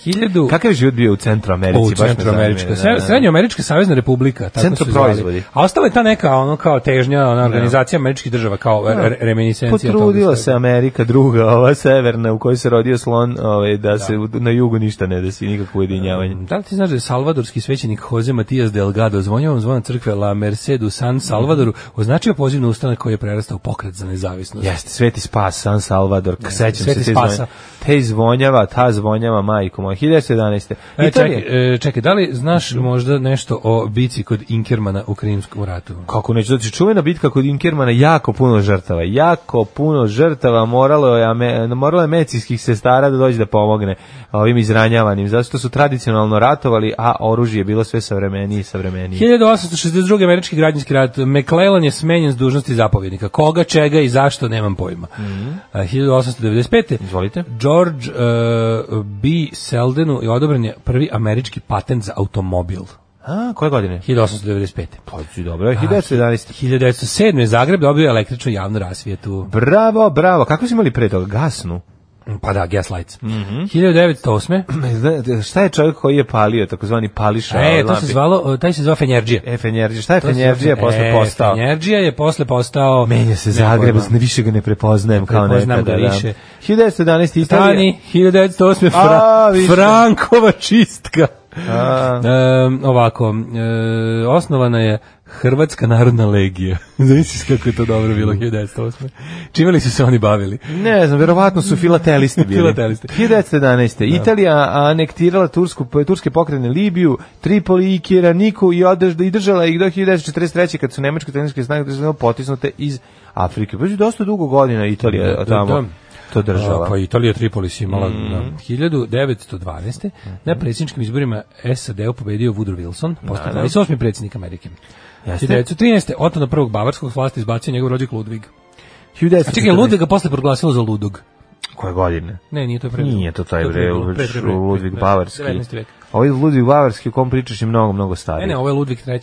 Speaker 5: 1000
Speaker 6: Kakav je život bio u Centroamerici?
Speaker 5: Pa U
Speaker 6: Baš me
Speaker 5: Centroamerička,
Speaker 6: zanima, da, da.
Speaker 5: Srednjoamerička savezna republika, tako
Speaker 6: Centro
Speaker 5: su je zvali.
Speaker 6: proizvodi.
Speaker 5: A ostala je ta neka ono kao težnja, ona organizacija američkih država kao re- reminiscencija toga.
Speaker 6: Potrudila se Amerika druga, ova severna u kojoj se rodio slon, ovaj, da, se u- na jugu ništa ne desi, nikakvo ujedinjavanje.
Speaker 5: Da li ti znaš da je salvadorski svećenik Jose Matias Delgado zvonjavom zvona crkve La Merced u San Salvadoru označio poziv na ustanak koji je prerastao u pokret za nezavisnost?
Speaker 6: Jeste, Sveti Spas, San Salvador, k- sećam
Speaker 5: Sveti
Speaker 6: se te
Speaker 5: Spasa.
Speaker 6: zvonjava. Te zvonjava, ta zvonjava, majko moja, 1911.
Speaker 5: E,
Speaker 6: Italija.
Speaker 5: čekaj, e, čekaj, da li znaš možda nešto o bici kod Inkermana u Krimskom ratu?
Speaker 6: Kako neću, znači čuvena bitka kod Inkermana jako puno žrtava, jako puno žrtava moralo je, ame- moralo je medicinskih sestara da dođe da pomogne ovim izranjavanim, zato što su tradicionalno ratovali, a oružje je bilo sve savremenije i savremenije.
Speaker 5: 1862. američki građanski rat. McClellan je smenjen s dužnosti zapovjednika. Koga, čega i zašto, nemam pojma.
Speaker 6: Mhm.
Speaker 5: Eh, A, 1895.
Speaker 6: Izvolite.
Speaker 5: George uh, B. Seldenu je odobren je prvi američki patent za automobil.
Speaker 6: A, koje godine?
Speaker 5: 1895.
Speaker 6: Pa, dobro, 1911.
Speaker 5: 1907. je Zagreb dobio električnu javnu rasvijetu.
Speaker 6: Bravo, bravo. Kako su imali pre toga? Gasnu.
Speaker 5: Pa da, gaslights.
Speaker 6: Mhm. <clears throat>
Speaker 5: 1908.
Speaker 6: Znate, Šta je čovjek koji je palio, takozvani pališa?
Speaker 5: E,
Speaker 6: od
Speaker 5: to se
Speaker 6: lampi?
Speaker 5: zvalo, taj se zvao Fenjerđija.
Speaker 6: E, Fenjerđija. Šta je Fenjerđija posle
Speaker 5: E,
Speaker 6: postao?
Speaker 5: Fenjerđija je posle postao...
Speaker 6: Menja se
Speaker 5: Nemam
Speaker 6: Zagreb,
Speaker 5: pojma.
Speaker 6: ne više ga ne prepoznajem kao
Speaker 5: Prepoznam
Speaker 6: nekada.
Speaker 5: ga više.
Speaker 6: Da. 1911. Italija.
Speaker 5: Stani, 1908. Fra
Speaker 6: A, više.
Speaker 5: Frankova čistka.
Speaker 6: A,
Speaker 5: E, ovako, e, osnovana je Hrvatska narodna legija. <laughs> Zamisliš kako je to dobro bilo
Speaker 6: Mm.
Speaker 5: 1908. Čime li su se oni bavili?
Speaker 6: ne znam, verovatno su filatelisti bili.
Speaker 5: Filatelisti.
Speaker 6: 1911. Italija anektirala Tursku, turske pokrene Libiju, Tripoli i Kiraniku i, održda, i držala ih do 1943. kad su nemačko-italijanske snage potisnute iz Afrike. Pa je dosta dugo godina Italija
Speaker 5: Da, da,
Speaker 6: tamo
Speaker 5: da.
Speaker 6: to država.
Speaker 5: A, Pa Italija Tripolis imala
Speaker 6: Mm.
Speaker 5: da. 1912. Na predsjedničkim izborima SAD-u pobedio Woodrow Wilson, postao 28. predsjednik Amerike.
Speaker 6: Jeste.
Speaker 5: 1913. Otona prvog bavarskog s vlasti izbacio njegov rođak Ludvig.
Speaker 6: 1914.
Speaker 5: A čekaj, Ludviga posle proglasilo za ludog.
Speaker 6: Koje godine?
Speaker 5: Ne, nije to pre.
Speaker 6: Nije to taj
Speaker 5: je pre
Speaker 6: bre,
Speaker 5: bilo, pre, pre, pre,
Speaker 6: Ludvig
Speaker 5: pre,
Speaker 6: Bavarski.
Speaker 5: 19. vek.
Speaker 6: Ovaj Ludvig Bavarski o kom pričaš je mnogo, mnogo stariji.
Speaker 5: Ne, ne, ovo je Ludvig III.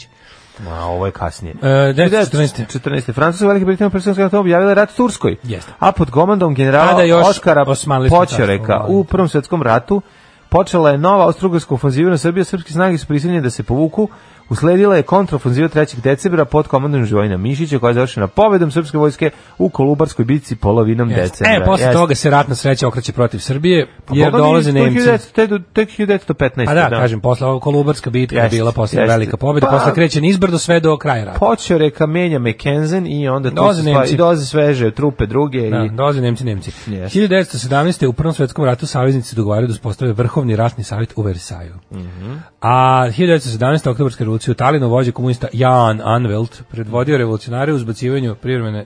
Speaker 6: A ovo je kasnije.
Speaker 5: E, 1914.
Speaker 6: 14. Francuska i Velika Britanija predsjednika to objavila rat Turskoj.
Speaker 5: Jeste.
Speaker 6: A pod komandom generala
Speaker 5: Tada još ovaj-
Speaker 6: Oskara
Speaker 5: Osmanlijsko
Speaker 6: Počereka
Speaker 5: carstvo,
Speaker 6: u
Speaker 5: molim te.
Speaker 6: Prvom svjetskom ratu počela je nova austrougarska ofanziva na Srbiju, srpske snage su prisiljene da se povuku. Usledila je kontraofanziva 3. decembra pod komandom Živojina Mišića koja je završena pobedom srpske vojske u Kolubarskoj bici polovinom decembra.
Speaker 5: E, posle
Speaker 6: Jeste.
Speaker 5: toga se ratna sreća okreće protiv Srbije,
Speaker 6: Pa
Speaker 5: jer
Speaker 6: Boga mi,
Speaker 5: dolaze
Speaker 6: to je
Speaker 5: Nemci.
Speaker 6: 1900 te do- Tek 1915.
Speaker 5: A da, kažem, posle ovo Kolubarska bitka je
Speaker 6: Jeste,
Speaker 5: bila posle
Speaker 6: jeste.
Speaker 5: velika pobjeda,
Speaker 6: Pa-
Speaker 5: posle kreće nizbrdo sve do kraja rata.
Speaker 6: Počeo reka menja McKenzen i onda tu
Speaker 5: Dolaze
Speaker 6: se stvari-
Speaker 5: Nemci.
Speaker 6: i dolaze sveže trupe druge
Speaker 5: Da,
Speaker 6: i
Speaker 5: dolaze Nemci, Nemci.
Speaker 6: Jeste.
Speaker 5: 1917. u Prvom svjetskom ratu saveznici dogovaraju da uspostave Vrhovni ratni savjet u Versaju.
Speaker 6: Mhm.
Speaker 5: A 1917. oktobarska revolucija u Talinu vođe komunista Jan Anvelt predvodio revolucionare u zbacivanju privremene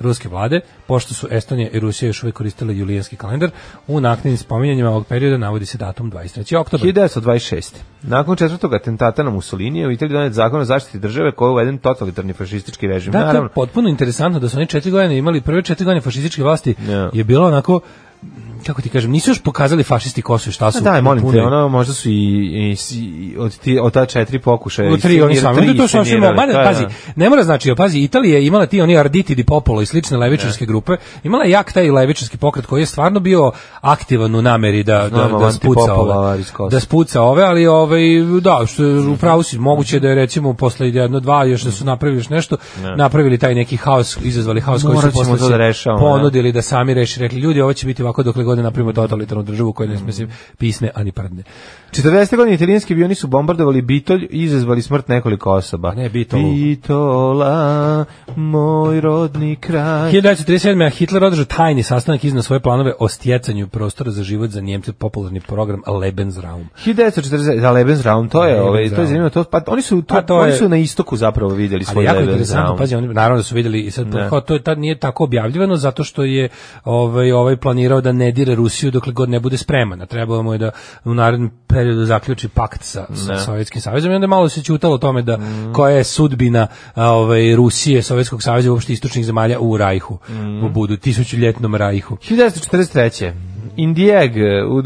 Speaker 5: ruske vlade, pošto su Estonija i Rusija još uvijek koristile julijanski kalendar, u naknadnim spominjanjima ovog perioda navodi se datum 23. oktober.
Speaker 6: 1926. Nakon četvrtog atentata na Mussolini u Italiji donet zakon o zaštiti države koji je uveden totalitarni fašistički režim.
Speaker 5: Da, to je
Speaker 6: Naravno,
Speaker 5: potpuno interesantno da su oni četiri godine imali prve četiri godine fašističke vlasti
Speaker 6: Ja.
Speaker 5: je bilo onako kako ti kažem, nisu još pokazali fašisti ko su i šta su.
Speaker 6: Daj, molim te,
Speaker 5: pune-
Speaker 6: ono, možda su i, i, i od, ti, od ta četiri pokušaja.
Speaker 5: U tri oni
Speaker 6: jer
Speaker 5: sami.
Speaker 6: tri
Speaker 5: Onda to su sasvim
Speaker 6: iscenirali,
Speaker 5: mada
Speaker 6: da, da.
Speaker 5: pazi, ne mora znači, pazi, Italija je imala ti oni Arditi di Popolo i slične levičarske grupe. Imala je jak taj levičarski pokret koji je stvarno bio aktivan u nameri da da,
Speaker 6: Znamo,
Speaker 5: da spuca
Speaker 6: antipopolar
Speaker 5: ove.
Speaker 6: iz Kosova.
Speaker 5: Da spuca ove, ali ovaj da, što je upravo si moguće da je recimo posle jedno dva još da su napravili još nešto, napravili taj neki haos, izazvali haos koji su
Speaker 6: Morat ćemo
Speaker 5: posle
Speaker 6: to
Speaker 5: se
Speaker 6: da rešavamo, da.
Speaker 5: ponudili da sami reši, rekli ljudi, ovo će biti ovako dokle god ne napravimo totalitarnu državu koja ne sme se pisne ani prdne.
Speaker 6: 40. godine italijanski avioni su bombardovali Bitolj i izazvali smrt nekoliko osoba.
Speaker 5: Ne, Bitolu.
Speaker 6: Bitola, moj rodni kraj.
Speaker 5: 1937. je Hitler održao tajni sastanak iznad svoje planove o stjecanju prostora za život za Njemce popularni program Lebensraum.
Speaker 6: 1940 za Lebensraum, to je, ovaj, to je
Speaker 5: Lebensraum.
Speaker 6: zanimljivo, to pa oni su to,
Speaker 5: Pa to
Speaker 6: oni
Speaker 5: je-
Speaker 6: su na istoku zapravo vidjeli
Speaker 5: Ali
Speaker 6: svoj
Speaker 5: jako je
Speaker 6: Lebensraum.
Speaker 5: interesantno, pa pazi, oni naravno da su videli i sad
Speaker 6: Da.
Speaker 5: kao to je tad nije tako objavljivano zato što je ovaj ovaj planirao da ne dire Rusiju dokle god ne bude spreman. A trebalo mu je da u narednom periodu zaključi pakt sa, sa Sovjetskim savezom i onda je malo se ćutalo o tome da
Speaker 6: Mm.
Speaker 5: koja je sudbina a, ovaj Rusije, Sovjetskog saveza i uopšte istočnih zemalja u Rajhu,
Speaker 6: Mm.
Speaker 5: u budu tisućljetnom Rajhu.
Speaker 6: 1943. Indijeg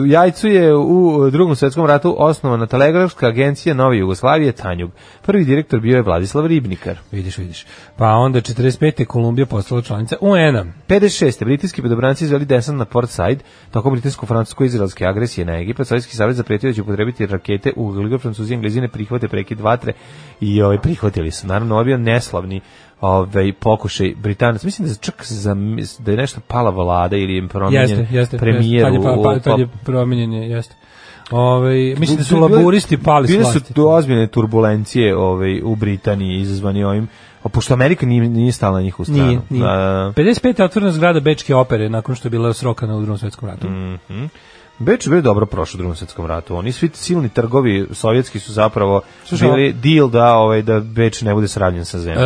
Speaker 6: u Jajcu je u drugom svjetskom ratu osnovana telegrafska agencija Nove Jugoslavije Tanjug. Prvi direktor bio je Vladislav Ribnikar.
Speaker 5: Vidiš, vidiš. Pa onda 45. je Kolumbija postala članica UN-a.
Speaker 6: 56. Britanski pedobranci izveli desant na Port Said tokom britansko-francusko-izraelske agresije na Egipat. Sovjetski savez zapretio da će upotrebiti rakete u ukoliko Francuzi i Englezi ne prihvate prekid vatre i ovaj, prihvatili su. Naravno, ovo je bio neslavni ovaj, pokušaj Britanaca. Mislim da je čak za, da je nešto pala vlada ili je promijenjen
Speaker 5: Jeste, jeste.
Speaker 6: premijer.
Speaker 5: jeste. Tad je, pa,
Speaker 6: u-
Speaker 5: pa, tad je
Speaker 6: pa-
Speaker 5: promenjen, je, jeste. Ove, mislim da su
Speaker 6: Bile-
Speaker 5: laburisti pali s
Speaker 6: Bile su
Speaker 5: vlasti.
Speaker 6: do ozbiljne turbulencije ovaj, u Britaniji izazvani ovim, a pošto Amerika nije, nije stala na njihovu stranu.
Speaker 5: Nije, nije.
Speaker 6: Da, da, da.
Speaker 5: 55. je otvorena zgrada Bečke opere nakon što je bila srokana u drugom svetskom ratu.
Speaker 6: Mm. Beč je bio dobro prošao u drugom svjetskom ratu. Oni svi silni trgovi sovjetski su zapravo
Speaker 5: Slušaj,
Speaker 6: bili deal da ovaj da Beč ne bude sravljen sa
Speaker 5: E,
Speaker 6: zemljom.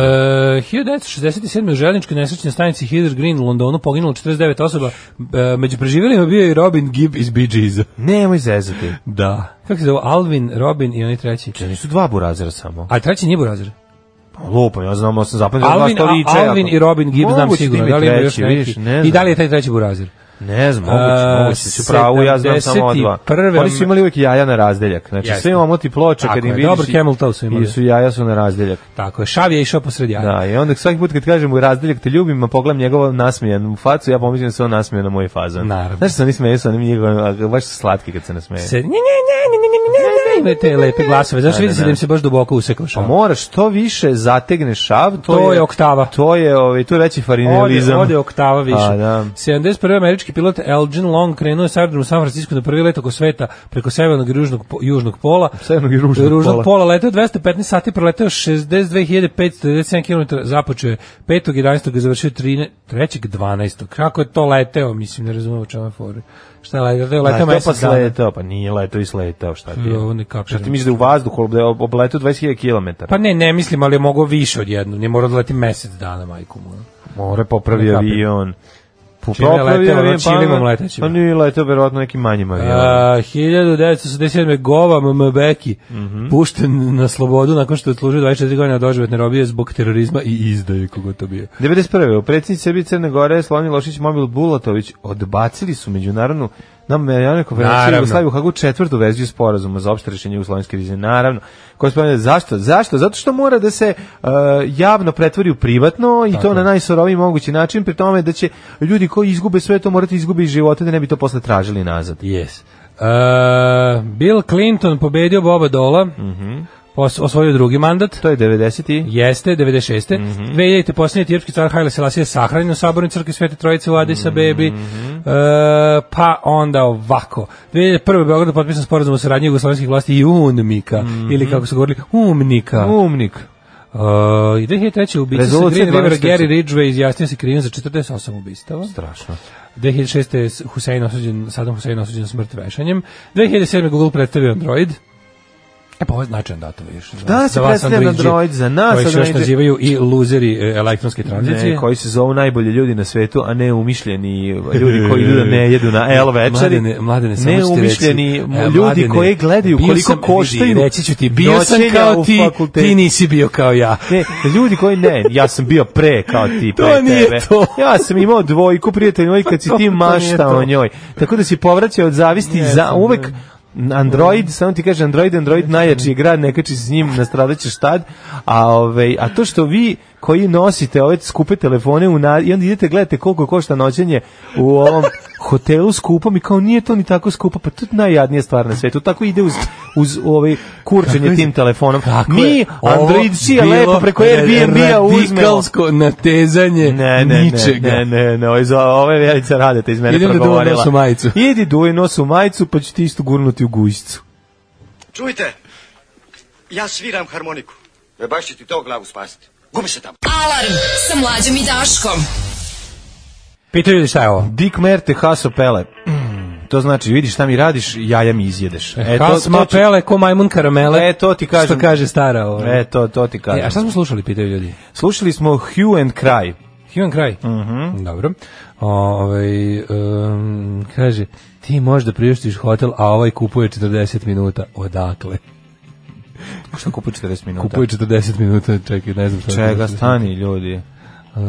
Speaker 5: 1967. u željničkoj nesrećnoj stanici Heather Green u Londonu poginulo 49 osoba. E, među preživjelima bio je i Robin Gibb iz Bee Gees.
Speaker 6: Nemoj zezati.
Speaker 5: Da. Kako se zove? Alvin, Robin i oni treći.
Speaker 6: Čekaj, nisu dva burazera samo.
Speaker 5: A treći nije Burazir.
Speaker 6: Lupam, ja znam, ja sam zapamtio dva
Speaker 5: Alvin,
Speaker 6: što liče.
Speaker 5: a, Alvin
Speaker 6: jako.
Speaker 5: i Robin Gibb znam
Speaker 6: Moguće
Speaker 5: sigurno.
Speaker 6: ti mi
Speaker 5: Da li ima
Speaker 6: treći,
Speaker 5: još neki?
Speaker 6: vidiš, ne
Speaker 5: I da
Speaker 6: znam.
Speaker 5: li je taj treći Burazir?
Speaker 6: Ne znam, moguće,
Speaker 5: A,
Speaker 6: moguće, si u pravu, ja znam samo ova dva.
Speaker 5: 71..
Speaker 6: Oni su imali uvijek jaja na razdeljak, znači
Speaker 5: Jeste.
Speaker 6: sve imamo ti ploče
Speaker 5: Tako
Speaker 6: kad im
Speaker 5: je,
Speaker 6: vidiš.
Speaker 5: dobar
Speaker 6: i-
Speaker 5: Camel Toe su imali.
Speaker 6: I su jaja su na razdeljak.
Speaker 5: Tako je, Šav je išao posred jaja.
Speaker 6: Da, i onda svaki put kad kažem mu razdeljak te ljubim, a pogledam njegovu nasmijenu facu, ja pomislim da se on nasmije na moju fazan.
Speaker 5: Naravno.
Speaker 6: Znaš što se oni smeju sa onim njegovim, a baš su slatki kad se nasmeje.
Speaker 5: Se, ne, ne, ne, ne, ne, ne, ne, ne, imaju te lepe glasove. Znaš,
Speaker 6: Da,
Speaker 5: vidi
Speaker 6: da,
Speaker 5: se da
Speaker 6: da.
Speaker 5: im se baš duboko usekao šav.
Speaker 6: Pa moraš, što više zategneš šav, to,
Speaker 5: To je oktava.
Speaker 6: To je, ovaj, to je veći
Speaker 5: Ode,
Speaker 6: farinelizam.
Speaker 5: ode oktava više.
Speaker 6: A, da.
Speaker 5: 71. američki pilot Elgin Long krenuo je s aerodromu u San Francisco na prvi let oko sveta preko severnog i ružnog, po- južnog pola.
Speaker 6: Severnog i ružnog ono pola.
Speaker 5: pola. Leteo 215 sati, proleteo 62.597 km, započeo je 5.11. i završio 13.12. Kako je to leteo, mislim, ne razumijem u čemu je fora. Šta je leteo? Leteo,
Speaker 6: Letao
Speaker 5: leteo
Speaker 6: pa
Speaker 5: mesec dana.
Speaker 6: sletao, pa nije letao i sletao, šta ti je?
Speaker 5: Ovo ne
Speaker 6: Šta
Speaker 5: kapiram.
Speaker 6: ti misliš da je u vazduhu, da je ob- obletao 20.000 km?
Speaker 5: Pa ne, ne mislim, ali je mogao više odjedno. Nije morao da leti mesec dana, majku mu.
Speaker 6: More popravi
Speaker 5: Ne kapiram.
Speaker 6: avion. Po
Speaker 5: Čime
Speaker 6: popravi
Speaker 5: leteo, ono,
Speaker 6: avion,
Speaker 5: čilivom
Speaker 6: pa-
Speaker 5: letećim.
Speaker 6: Pa nije letao, verovatno nekim manjim
Speaker 5: Uh,
Speaker 6: avionom.
Speaker 5: 1987. Gova Mbeki
Speaker 6: Mhm.
Speaker 5: pušten na slobodu nakon što je odslužio 24 godina doživotne robije zbog terorizma i izdaje kogo to bio.
Speaker 6: 91. U predsjednici Srbije i Crne Gore Slonji Lošić i Mobil Bulatović odbacili su međunarodnu na međunarodnoj konferenciji
Speaker 5: Naravno.
Speaker 6: Jugoslavije u Hagu četvrtu verziju sporazuma za opšte rešenje jugoslovenske krize. Naravno. Ko spomenu, zašto? Zašto? Zato što mora da se uh, javno pretvori u privatno i to na najsoroviji mogući način, pri tome da će ljudi koji izgube sve to morati izgubiti živote da ne bi to posle tražili nazad.
Speaker 5: Yes. Uh, Bill Clinton pobedio Boba Dola, pos- osvojio drugi mandat,
Speaker 6: To je 90. i-
Speaker 5: jeste, 96. 2000. posljednji etiopski car Haile Selassie je sahranjen u sabornoj crkvi Svete Trojice u Addis Abebi. E, pa onda ovako. 2001. u Beogradu potpisan sporazum o saradnji jugoslovenskih vlasti i UNMIKA, ili kako su govorili, UMNIKA.
Speaker 6: Umnik.
Speaker 5: Uh, I 2003. ubica sa
Speaker 6: Rezolucija
Speaker 5: Green Rivera
Speaker 6: 12.
Speaker 5: Gary Ridgway izjasnio se krivim za 48 ubistava.
Speaker 6: Strašno.
Speaker 5: 2006. je Hussein osuđen, Saddam Hussein osuđen smrt vešanjem. 2007. Google predstavio Android. E pa ovo je značajan datum, vidiš. Za
Speaker 6: Da,
Speaker 5: vas-
Speaker 6: se
Speaker 5: za vas
Speaker 6: predstavlja
Speaker 5: androidđe,
Speaker 6: Android, za nas
Speaker 5: Koji se još
Speaker 6: androidđe.
Speaker 5: nazivaju i luzeri e, elektronske tranzicije.
Speaker 6: Ne, koji se zovu najbolji ljudi na svetu, a ne umišljeni ljudi koji idu da ne jedu
Speaker 5: <laughs>
Speaker 6: na L večeri.
Speaker 5: Mladene, mladene, samo
Speaker 6: ne
Speaker 5: ću ti reći,
Speaker 6: umišljeni
Speaker 5: e,
Speaker 6: ljudi
Speaker 5: mladene,
Speaker 6: koji gledaju
Speaker 5: bio
Speaker 6: koliko
Speaker 5: sam-
Speaker 6: koštaju.
Speaker 5: vidi, Reći ću ti, bio sam
Speaker 6: noćenja
Speaker 5: kao
Speaker 6: u
Speaker 5: ti,
Speaker 6: fakultetu.
Speaker 5: ti nisi bio kao ja.
Speaker 6: Ne, ljudi koji ne, ja sam bio pre kao ti,
Speaker 5: To
Speaker 6: pre
Speaker 5: nije
Speaker 6: tebe.
Speaker 5: to.
Speaker 6: Ja sam imao dvojku prijatelj moj kad si
Speaker 5: <laughs> To- to
Speaker 6: ti
Speaker 5: nije
Speaker 6: maštao
Speaker 5: to.
Speaker 6: o njoj. Tako da si povraćao od zavisti za uvek Android, samo ti kaže Android, Android najjači je grad, ne kači se s njim, nastradaćeš tad. A, ovaj, a to što vi koji nosite ove skupe telefone u na, i onda idete gledate koliko košta noćenje u ovom hotelu skupom i kao nije to ni tako skupo, pa to je najjadnija stvar na svetu. Tako ide uz, uz ovaj kurčenje tim telefonom.
Speaker 5: Kako
Speaker 6: Mi,
Speaker 5: je ovo
Speaker 6: Androidci je
Speaker 5: bilo e,
Speaker 6: lepo preko Airbnb-a uzmemo.
Speaker 5: Radikalsko natezanje
Speaker 6: Ne, ne,
Speaker 5: ničega.
Speaker 6: ne, ne, ne, ne, ovo je za- ovo je Vjerica Radeta iz mene
Speaker 5: Idem da duvam
Speaker 6: progovorila.
Speaker 5: nos u majicu.
Speaker 6: Idi duvaj nos u majicu, pa ću ti isto gurnuti u gujicu.
Speaker 1: Čujte, ja sviram harmoniku. E baš će ti to glavu spasiti. Gubi se tamo.
Speaker 4: Alarm sa mlađom i Daškom.
Speaker 5: Pitaju ljudi šta je ovo?
Speaker 6: Dick Merte Haso Pele. Mm, To znači, vidiš šta mi radiš, jaja mi izjedeš.
Speaker 5: E,
Speaker 6: to-
Speaker 5: Hasma
Speaker 6: to ću-
Speaker 5: pele ko majmun karamele.
Speaker 6: E, to ti kažem.
Speaker 5: Što kaže stara ovo.
Speaker 6: E, to, to ti
Speaker 5: E, a šta
Speaker 6: kažem.
Speaker 5: smo slušali, pitaju ljudi?
Speaker 6: Slušali smo Hugh and Cry.
Speaker 5: Human kraj.
Speaker 6: Mhm.
Speaker 5: Dobro. Ovaj um, kaže, ti možda priuštiš hotel, a ovaj kupuje 40 minuta. Odakle?
Speaker 6: Što kupuje 40 minuta?
Speaker 5: Kupuje 40 minuta, čekaj, ne znam šta. je
Speaker 6: Čega,
Speaker 5: 40
Speaker 6: stani ljudi.
Speaker 5: Uh,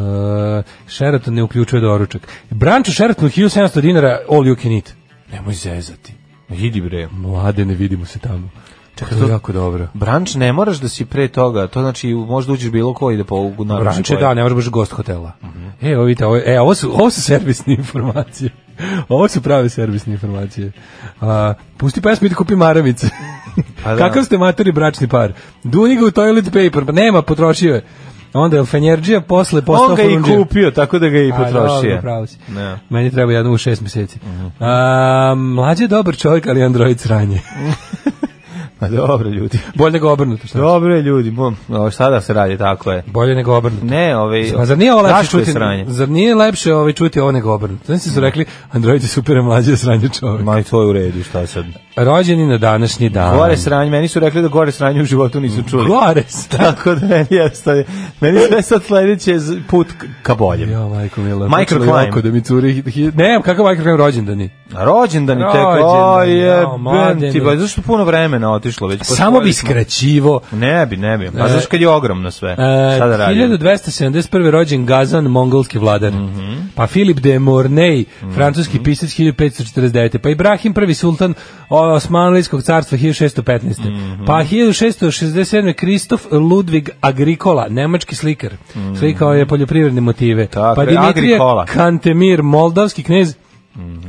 Speaker 5: Sheraton ne uključuje doručak. Branč u Sheratonu 1700 dinara all you can eat. Nemoj zezati.
Speaker 6: Idi bre.
Speaker 5: Mlade, ne vidimo se tamo. Čekaj, to je
Speaker 6: to-
Speaker 5: jako dobro.
Speaker 6: Branč ne moraš da si pre toga, to znači možda uđeš bilo koji da po naručiš
Speaker 5: Branče,
Speaker 6: koji.
Speaker 5: znači, da, ne moraš baš gost hotela. E, ovo vidite, ovo, je- e, ovo, su, ovo su servisne <laughs> informacije. Ovo su prave servisne informacije. A, pusti pesmu, idi kupi maramice.
Speaker 6: <laughs> Pa da.
Speaker 5: Kakav ste materi bračni par? Duni ga u toilet paper, pa nema, potrošio je. Onda je Fenjerđija, posle postao
Speaker 6: On ga je i
Speaker 5: Fulundžija.
Speaker 6: kupio, tako da ga je i
Speaker 5: A,
Speaker 6: potrošio.
Speaker 5: dobro, pravo si.
Speaker 6: Ne. Mhm.
Speaker 5: Meni treba jedno u šest meseci. A, mlađe je dobar čovjek, ali je
Speaker 6: <laughs>
Speaker 5: Android sranje.
Speaker 6: Pa dobro
Speaker 5: <laughs>
Speaker 6: ljudi.
Speaker 5: Bolje nego obrnuto. Šta?
Speaker 6: Dobro je ljudi, bom, o, šta da se radi, tako je.
Speaker 5: Bolje nego obrnuto.
Speaker 6: Ne, ovaj,
Speaker 5: Pa zar nije ovo lepše
Speaker 6: zašto je
Speaker 5: čuti?
Speaker 6: sranje?
Speaker 5: Zar nije lepše ovaj čuti ovo nego obrnuto? Znači su rekli Android je super a mlađe je sranje čovjek.
Speaker 6: Ma i to je u redu, šta sad?
Speaker 5: Rođeni na današnji dan.
Speaker 6: Gore sranje, meni su rekli da gore sranje u životu nisu čuli.
Speaker 5: Gore
Speaker 6: <laughs>
Speaker 5: sranje.
Speaker 6: Tako da meni jednostavno, meni sve sad sledeće z- put k- ka boljem.
Speaker 5: <laughs> Jo, majko mila.
Speaker 6: Michael
Speaker 5: počelo je
Speaker 6: Klein.
Speaker 5: ovako Da mi curi, hi- ne, kakav Michael Klein rođendani?
Speaker 6: A Rođendani tek,
Speaker 5: Rođendani,
Speaker 6: oj,
Speaker 5: jao,
Speaker 6: jebem ti,
Speaker 5: mladene.
Speaker 6: ba, zašto puno vremena otišlo već?
Speaker 5: Samo bi
Speaker 6: Posvojili smo.
Speaker 5: skraćivo.
Speaker 6: Ne bi, ne bi.
Speaker 5: E,
Speaker 6: Pa znaš kad je ogromno sve.
Speaker 5: E,
Speaker 6: Šta da radim?
Speaker 5: 1271. rođen Gazan, mongolski vladar.
Speaker 6: Mhm.
Speaker 5: Pa Filip de Mornay, francuski pisac 1549. Pa Ibrahim prvi sultan Osmanlijskog carstva 1615.
Speaker 6: Mhm.
Speaker 5: Pa 1667. Kristof Ludvig Agricola, nemački slikar. Slikao je poljoprivredne motive.
Speaker 6: Mhm. Tako
Speaker 5: pa
Speaker 6: je,
Speaker 5: Dimitrije
Speaker 6: Agricola.
Speaker 5: Kantemir, moldavski knez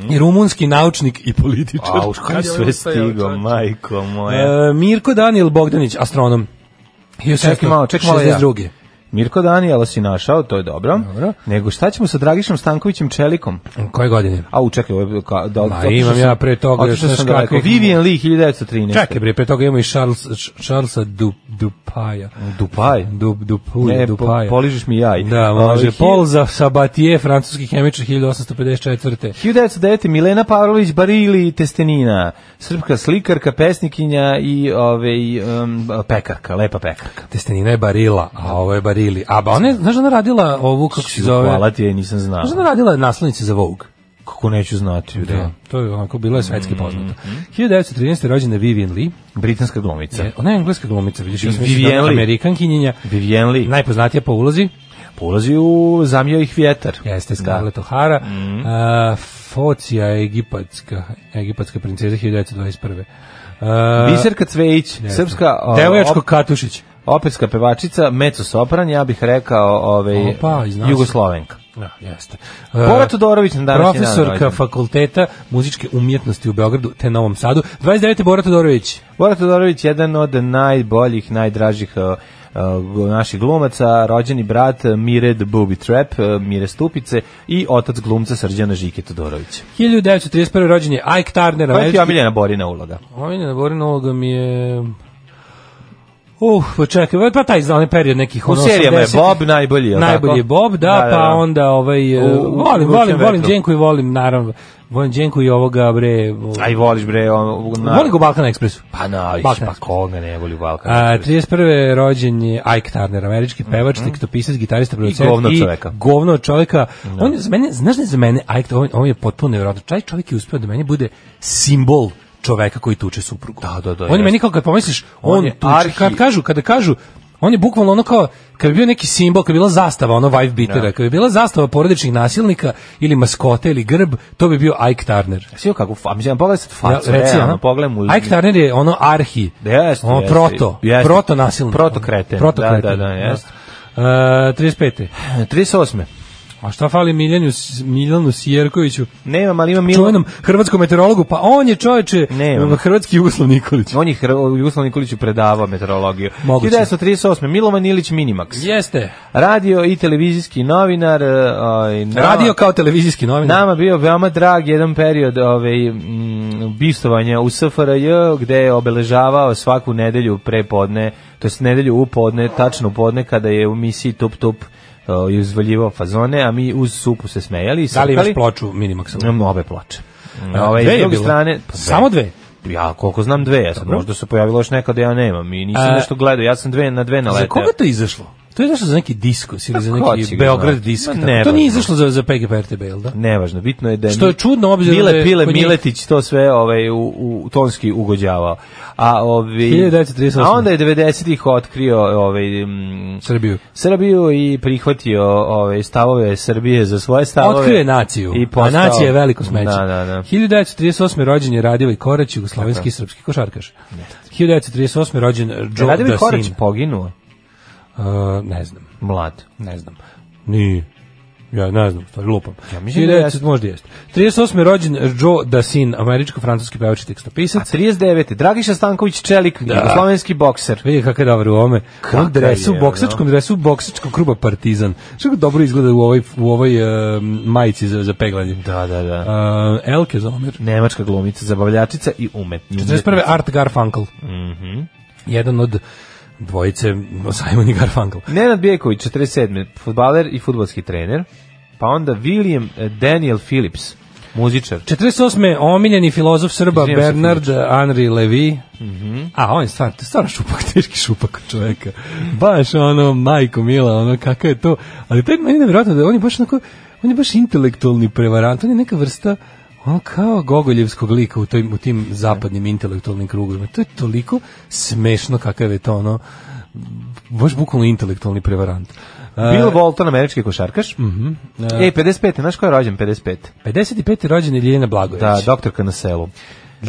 Speaker 5: i rumunski naučnik i političar.
Speaker 6: A u Mhm. šta sve stigo, majko moja.
Speaker 5: ono E, Mirko Daniel Bogdanić, astronom.
Speaker 6: Čekaj malo, čekaj malo ja.
Speaker 5: 1762..
Speaker 6: Mirko Danijela si našao, to je dobro.
Speaker 5: Dobro.
Speaker 6: Nego šta ćemo sa Dragišom Stankovićem Čelikom?
Speaker 5: Koje godine?
Speaker 6: A u čekaj, ovo je ka, da,
Speaker 5: Ma, imam ja pre toga još
Speaker 6: još
Speaker 5: znaš
Speaker 6: sam daleko.
Speaker 5: kakvih-
Speaker 6: Vivian Lee 1913.
Speaker 5: Čekaj bre, pre toga imamo i Charles, Š- Charlesa du, Dupaja.
Speaker 6: Dupaj.
Speaker 5: Du, Dupuja,
Speaker 6: Ne, po,
Speaker 5: Dupaja.
Speaker 6: poližiš mi jaj.
Speaker 5: Da,
Speaker 6: Ovaj,
Speaker 5: može.
Speaker 6: hi-
Speaker 5: Paul za Sabatier, francuski hemičar 1854.
Speaker 6: 1909. Milena Pavlović Barili Testenina, srpska slikarka, pesnikinja i ovaj, um, pekarka, lepa pekarka.
Speaker 5: Testenina je Barila, a ovo je Barili. A ba, ona je, znaš da ona radila ovu, kako se zove?
Speaker 6: Hvala ti, je, nisam znao.
Speaker 5: Znaš da ona radila naslovnice za Vogue?
Speaker 6: Kako neću znati. Da.
Speaker 5: Da, Mhm. to je onako, bila je svetski poznata. 1913. rođena Vivian Lee,
Speaker 6: Britanska glumica.
Speaker 5: je- ona je engleska glumica, vidiš, ja sam mislio da
Speaker 6: Vivian
Speaker 5: je
Speaker 6: Lee.
Speaker 5: Amerikankinjenja,
Speaker 6: Vivian Lee.
Speaker 5: najpoznatija po ulozi,
Speaker 6: Polazi u zamio ih vjetar.
Speaker 5: Jeste Scarlett O'Hara.
Speaker 6: Mhm.
Speaker 5: A, Focija je egipatska, egipatska princeza 1921.
Speaker 6: Da.
Speaker 5: Uh,
Speaker 6: Biserka Cvejić, srpska o,
Speaker 5: Devojačko
Speaker 6: op-
Speaker 5: Katušić.
Speaker 6: operska pevačica, mezzo sopran, ja bih rekao ovaj
Speaker 5: Opa, i znao sam.
Speaker 6: Jugoslovenka.
Speaker 5: Da, jeste.
Speaker 6: Bora Todorović na današnji dan
Speaker 5: Profesorka
Speaker 6: rođena.
Speaker 5: fakulteta muzičke umjetnosti u Beogradu te Novom Sadu. 29. Bora Todorović.
Speaker 6: Bora Todorović jedan od najboljih, najdražih e, e, naših glumaca, rođeni brat e, Mire the Booby Trap, e, Mire Stupice i otac glumca Srđana Žike Todorovića.
Speaker 5: 1931. rođen je Ike Turner.
Speaker 6: Koja ti je
Speaker 5: američki-
Speaker 6: omiljena Borina uloga?
Speaker 5: Omiljena Borina uloga mi je... Uh, pa čekaj, pa taj za onaj period nekih
Speaker 6: U
Speaker 5: ono
Speaker 6: serijama je
Speaker 5: 80-ih.
Speaker 6: Bob najbolji, je li
Speaker 5: Najbolji
Speaker 6: tako?
Speaker 5: je Bob, da, pa onda ovaj e,
Speaker 6: U- u
Speaker 5: volim,
Speaker 6: Vrućem
Speaker 5: volim, volim
Speaker 6: vetru.
Speaker 5: Djenku i volim naravno. Volim Djenku i ovoga bre. o-
Speaker 6: A i voliš bre, on, na,
Speaker 5: Volim ga u Balkan Expressu.
Speaker 6: Pa na,
Speaker 5: Balkan
Speaker 6: pa
Speaker 5: Express.
Speaker 6: koga ne voli u Balkan.
Speaker 5: A, 31. rođen je Ike Turner, američki pevač, tekstopisac, gitarista, producent
Speaker 6: Mhm. govno od čoveka.
Speaker 5: govno od čoveka. On je za mene, znaš da je za mene Ike, on, on je potpuno nevjerojatno. Taj čovjek je uspio da meni bude simbol čoveka koji tuče suprugu.
Speaker 6: Da, da, da,
Speaker 5: On je meni
Speaker 6: jeste.
Speaker 5: kao kad pomisliš,
Speaker 6: On
Speaker 5: on,
Speaker 6: je
Speaker 5: tuče,
Speaker 6: arhi-
Speaker 5: kad kažu, kada kažu, on je bukvalno ono kao kad bi bio neki simbol, kad bi bila zastava, ono wife beatera, kad bi bila zastava porodičnih nasilnika ili maskote ili grb, to bi bio Ike Turner.
Speaker 6: Svi joj kako, a mislim, pogledaj sad
Speaker 5: Ja,
Speaker 6: facu, Pa,
Speaker 5: reci,
Speaker 6: realno,
Speaker 5: a?
Speaker 6: ono, pogledaj mu.
Speaker 5: Ike
Speaker 6: <laughs>
Speaker 5: Turner je ono arhi.
Speaker 6: Da, jeste,
Speaker 5: ono
Speaker 6: jeste.
Speaker 5: proto,
Speaker 6: Jeste.
Speaker 5: proto nasilnik. ono,
Speaker 6: Proto kreten,
Speaker 5: Proto
Speaker 6: da,
Speaker 5: kreten.
Speaker 6: da, da, jeste.
Speaker 5: E, 35.
Speaker 6: 38.
Speaker 5: A šta fali Miljanju, Miljanu Sjerkoviću?
Speaker 6: Nemam, ali imam Milan.
Speaker 5: Čuvenom hrvatskom meteorologu, pa on je čoveče
Speaker 6: Nemam.
Speaker 5: hrvatski Jugoslav Nikolić.
Speaker 6: On je Hr- Jugoslav Nikoliću predavao meteorologiju.
Speaker 5: Moguće.
Speaker 6: 1938. Milovan Ilić Minimax.
Speaker 5: Jeste.
Speaker 6: Radio i televizijski novinar. e, oj, na-
Speaker 5: Radio kao televizijski novinar.
Speaker 6: Nama bio veoma drag jedan period ovaj, mm, bistovanja u SFRJ gde je obeležavao svaku nedelju prepodne, to jest nedelju u podne, tačno u podne kada je u misiji Tup Tup uh, izvaljivao fazone, a mi uz supu se smejali. i
Speaker 5: Da li imaš
Speaker 6: srkali.
Speaker 5: ploču Minimaxa?
Speaker 6: Imam obe ploče. Ove,
Speaker 5: dve
Speaker 6: s
Speaker 5: je
Speaker 6: druge
Speaker 5: bilo?
Speaker 6: strane, pa
Speaker 5: Samo dve?
Speaker 6: Ja koliko znam dve, ja sad možda se pojavilo još neka da ja nemam i nisam
Speaker 5: A-
Speaker 6: nešto gledao, ja sam dve na dve naleteo.
Speaker 5: E. Za koga to izašlo? To je izašlo za neki diskus ili za
Speaker 6: Pa, ko će
Speaker 5: neki
Speaker 6: ga
Speaker 5: Beograd
Speaker 6: znati?
Speaker 5: disk.
Speaker 6: Ma,
Speaker 5: tako.
Speaker 6: ne,
Speaker 5: to nije
Speaker 6: važno.
Speaker 5: izašlo za, za PGP RTB, jel da?
Speaker 6: Nevažno, bitno je da
Speaker 5: Što je čudno, obzirom da
Speaker 6: Bile
Speaker 5: je
Speaker 6: Pile
Speaker 5: kod njih-
Speaker 6: Miletić to sve ovaj u, u tonski ugođavao. A ovi
Speaker 5: 1938.
Speaker 6: A onda je 90-ih otkrio ovaj mm,
Speaker 5: Srbiju.
Speaker 6: Srbiju i prihvatio ovaj stavove Srbije za svoje stavove.
Speaker 5: Otkrio je naciju,
Speaker 6: I
Speaker 5: a
Speaker 6: postao-
Speaker 5: nacija je veliko smeće.
Speaker 6: Da, da, da.
Speaker 5: 1938. rođen je Radivoj Korać, jugoslovenski i srpski košarkaš. 1938. rođen Joe
Speaker 6: Radivoj Korać
Speaker 5: Dasin.
Speaker 6: poginuo.
Speaker 5: Uh, ne znam,
Speaker 6: Mlad.
Speaker 5: ne znam. Ni, ja ne znam, stvari lupam. Ja
Speaker 6: mislim da jeste.
Speaker 5: možda jeste. 38. rođen Joe Dasin, američko-francuski pevač i
Speaker 6: A
Speaker 5: tekstopisac.
Speaker 6: 39. Dragiša Stanković Čelik, da. jugoslovenski bokser.
Speaker 5: Vidi kakav je dobar u ovome. U ovom
Speaker 6: Kakav
Speaker 5: dresu,
Speaker 6: je,
Speaker 5: boksačkom dresu, boksačkog kluba Partizan. Što ga dobro izgleda u ovoj, u ovoj uh, majici za, za peglanje.
Speaker 6: Da, da, da.
Speaker 5: Uh, Elke Zomir.
Speaker 6: Nemačka glumica, zabavljačica i umetnica.
Speaker 5: 41. Art Garfunkel.
Speaker 6: Mhm.
Speaker 5: Jedan od dvojice Simon i Garfunkel.
Speaker 6: Nenad Bijeković, 47. futbaler i futbolski trener. Pa onda William eh, Daniel Phillips, muzičar.
Speaker 5: 48. omiljeni filozof Srba
Speaker 6: Izvinjam se, Mhm.
Speaker 5: Bernard Henri Levy. A, on je stvarno, to je stvarno šupak, <laughs> teški šupak čoveka. Baš ono, majko mila, ono, kakav je to. Ali to je meni nevjerojatno da on je baš onako, on je baš intelektualni prevarant, on je neka vrsta ono kao Gogoljevskog lika u, toj, u tim zapadnim intelektualnim krugovima. To je toliko smešno kakav je to ono, baš bukvalno intelektualni prevarant. E,
Speaker 6: Bill Walton, američki košarkaš.
Speaker 5: Mhm, eh.
Speaker 6: Ej, 55. Znaš ko je rođen 55?
Speaker 5: 55. rođen je Ljeljana Blagojević.
Speaker 6: Da, doktorka na selu.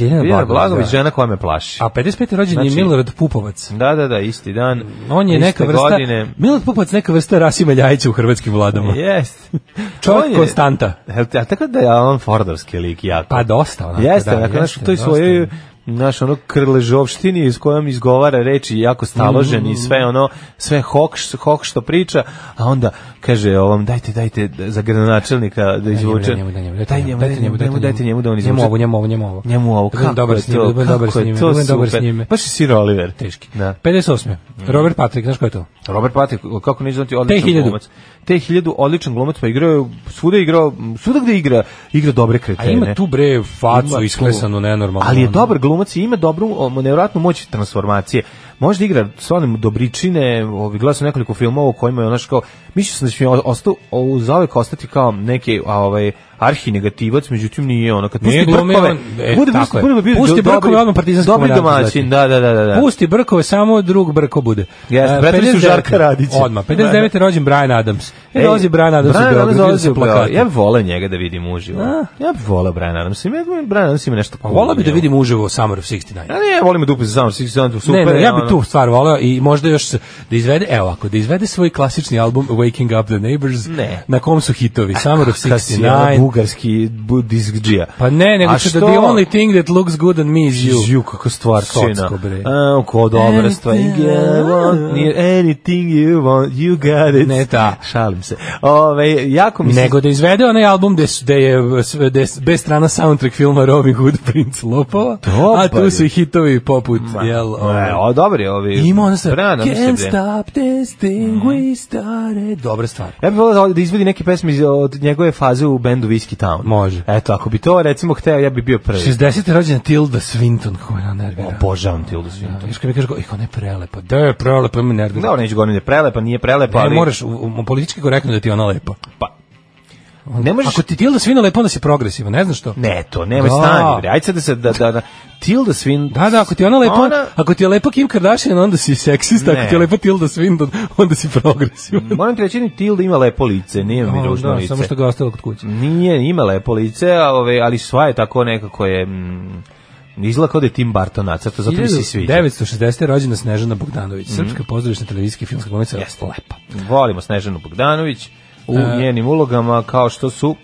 Speaker 5: Ljeljana
Speaker 6: Biljana Blagović,
Speaker 5: da.
Speaker 6: žena koja me plaši.
Speaker 5: A 55. rođen je
Speaker 6: Znači-
Speaker 5: Milorad Pupovac.
Speaker 6: Da, da, da, isti dan.
Speaker 5: On je
Speaker 6: iste
Speaker 5: neka vrsta
Speaker 6: Godine.
Speaker 5: Milorad Pupovac neka vrsta Rasima Ljajića u hrvatskim vladama. <laughs>
Speaker 6: Jest.
Speaker 5: Čovjek
Speaker 6: On je-
Speaker 5: konstanta.
Speaker 6: Jel te- A tako da je Alan Fordovski lik jako.
Speaker 5: Pa dosta onako,
Speaker 6: Jeste,
Speaker 5: da,
Speaker 6: onako, znaš, u
Speaker 5: jeste,
Speaker 6: toj
Speaker 5: dosta.
Speaker 6: svojoj naš ono krležovštini iz kojom izgovara reči jako staložen i
Speaker 5: Mm-hmm.
Speaker 6: sve ono sve hok, š- hok što priča a onda kaže ovom dajte dajte za gradonačelnika da izvuče
Speaker 5: Daj njemu, daj njemu,
Speaker 6: daj njemu dajte njemu dajte njemu da on izvuče
Speaker 5: Njemu ovo, njemu ovo, njemu ovo.
Speaker 6: njemu ovo
Speaker 5: Da budem
Speaker 6: kako
Speaker 5: dobar
Speaker 6: je
Speaker 5: s njime,
Speaker 6: to,
Speaker 5: da budem dobar
Speaker 6: kako
Speaker 5: s
Speaker 6: je
Speaker 5: njime,
Speaker 6: to
Speaker 5: da budem dobar s
Speaker 6: super.
Speaker 5: njime.
Speaker 6: baš je Sir Oliver
Speaker 5: Teški.
Speaker 6: da Mm.
Speaker 5: 58. Robert Patrick, znaš ko je to?
Speaker 6: Robert Patrik, kako neću znati, odličan
Speaker 5: T1000.
Speaker 6: glumac. Te 1000 odličan glumac, pa igrao je svuda je igrao, svuda gde igra, igra dobre
Speaker 5: A
Speaker 6: kretene.
Speaker 5: ima tu bre
Speaker 6: Ima
Speaker 5: facu
Speaker 6: tu.
Speaker 5: isklesanu nenormalno.
Speaker 6: Ali je
Speaker 5: ono.
Speaker 6: dobar glumac i ima dobru, o, nevjerojatnu moć transformacije. Možda igra stvarno dobričine, ovi, gledao sam nekoliko filmova u kojima je onaš kao, mislio sam da će mi ostao, o, zauvek ostati kao neki a, ovaj, arhinegativac, međutim nije ono, kad pusti
Speaker 5: Nije glumio
Speaker 6: brkove,
Speaker 5: on, e,
Speaker 6: bude,
Speaker 5: tako
Speaker 6: pusti,
Speaker 5: je.
Speaker 6: bude, bude, do-
Speaker 5: Pusti
Speaker 6: dobri-
Speaker 5: brkove, odmah partizanski
Speaker 6: Dobri
Speaker 5: komandant
Speaker 6: domaćin, da, da, da. da, da.
Speaker 5: Pusti brkove, samo drug brko bude.
Speaker 6: Jeste,
Speaker 5: E,
Speaker 6: vratili su
Speaker 5: 59.
Speaker 6: Žarka Radića.
Speaker 5: Odmah, 59. rođen Brian Adams. E,
Speaker 6: Ej,
Speaker 5: dolazi Brian Adams u
Speaker 6: Bryan
Speaker 5: Beograd, vidio
Speaker 6: dolazi
Speaker 5: sam
Speaker 6: u Beograd.
Speaker 5: plakate.
Speaker 6: Ja bih volao njega da vidim uživo. Ja bih volao Brian Adams. Ima, Brian Adams ima nešto
Speaker 5: Pa
Speaker 6: cool.
Speaker 5: volao bi da
Speaker 6: njemu.
Speaker 5: vidim uživo Summer of 69.
Speaker 6: Ja ne, ja volim dupe za Summer Six Sound, super.
Speaker 5: ne, ne,
Speaker 6: je,
Speaker 5: ja bih
Speaker 6: ono.
Speaker 5: tu stvar voleo i možda još se- da izvede, evo ovako, da izvede svoj klasični album Waking Up the Neighbors,
Speaker 6: Ne.
Speaker 5: na kom su hitovi Summer of
Speaker 6: Kad si ono
Speaker 5: 69.
Speaker 6: bugarski bu- disk džija.
Speaker 5: Pa ne, nego
Speaker 6: A
Speaker 5: što
Speaker 6: što-
Speaker 5: da the only thing that looks good on me is you.
Speaker 6: Žiju, kako stvar čina.
Speaker 5: Socko, bre.
Speaker 6: A, ko dobra stvar.
Speaker 5: Anything
Speaker 6: You
Speaker 5: you
Speaker 6: want me, anything you want, you got it.
Speaker 5: Ne, ta.
Speaker 6: Šalim se. Ove, jako mi se...
Speaker 5: Nego da izvede onaj album gde, su- gde je sve- gde je bez strana soundtrack filma Robin Hood <laughs> Prince Lopova, a
Speaker 6: Dobar
Speaker 5: tu su
Speaker 6: je.
Speaker 5: i hitovi poput, jel,
Speaker 6: E,
Speaker 5: ovaj,
Speaker 6: o, dobre ovi.
Speaker 5: Ima ona stvar.
Speaker 6: Brana, Mhm. mislim
Speaker 5: Can't
Speaker 6: da je.
Speaker 5: stop this thing we started. Dobra stvar.
Speaker 6: Ja bih volao da izvedi neke pesme iz, od njegove faze u bendu Whiskey Town.
Speaker 5: Može.
Speaker 6: Eto, ako bi to recimo hteo, ja bi bio prvi.
Speaker 5: 60. rođena Tilda Swinton, koja je nervira.
Speaker 6: Obožavam Tildu Swinton.
Speaker 5: Još kad mi kažeš, ih, ona je prelepa. Da je prelepa, ima nervira.
Speaker 6: Da, ono neću govoriti da je prelepa, nije prelepa,
Speaker 5: Ne,
Speaker 6: ali...
Speaker 5: moraš u, u politički korektno da ti je ona lepa.
Speaker 6: Pa, ne možeš...
Speaker 5: Ako ti Tilda Swinton lepa, onda si progresiva, ne znam što.
Speaker 6: Ne, to, nemoj
Speaker 5: Da.
Speaker 6: stani, bre. Ajde sad da se, da, da, da. Tilda Swinton...
Speaker 5: Da, da, ako ti je ona lepa,
Speaker 6: Ona-
Speaker 5: ako ti je lepa Kim Kardashian, onda si seksista,
Speaker 6: Ne.
Speaker 5: ako ti je lepa Tilda Swinton, onda si progresivan.
Speaker 6: Moram ti reći, ni Tilda ima lepo lice, nije mi
Speaker 5: A,
Speaker 6: ružno
Speaker 5: da,
Speaker 6: lice.
Speaker 5: Samo što ga je ostalo kod kuće.
Speaker 6: Nije, ima lepo lice, a ove, ali sva je tako nekako je... Mm, izgleda kao da je Tim Barton nacrta, zato mi se i sviđa. Mhm.
Speaker 5: 960. je rođena Snežana Bogdanović, srpska pozdravišna televizijska i filmska glumica.
Speaker 6: Jeste lepa. Volimo Snežanu Bogdanović u
Speaker 5: E.
Speaker 6: njenim ulogama kao što su...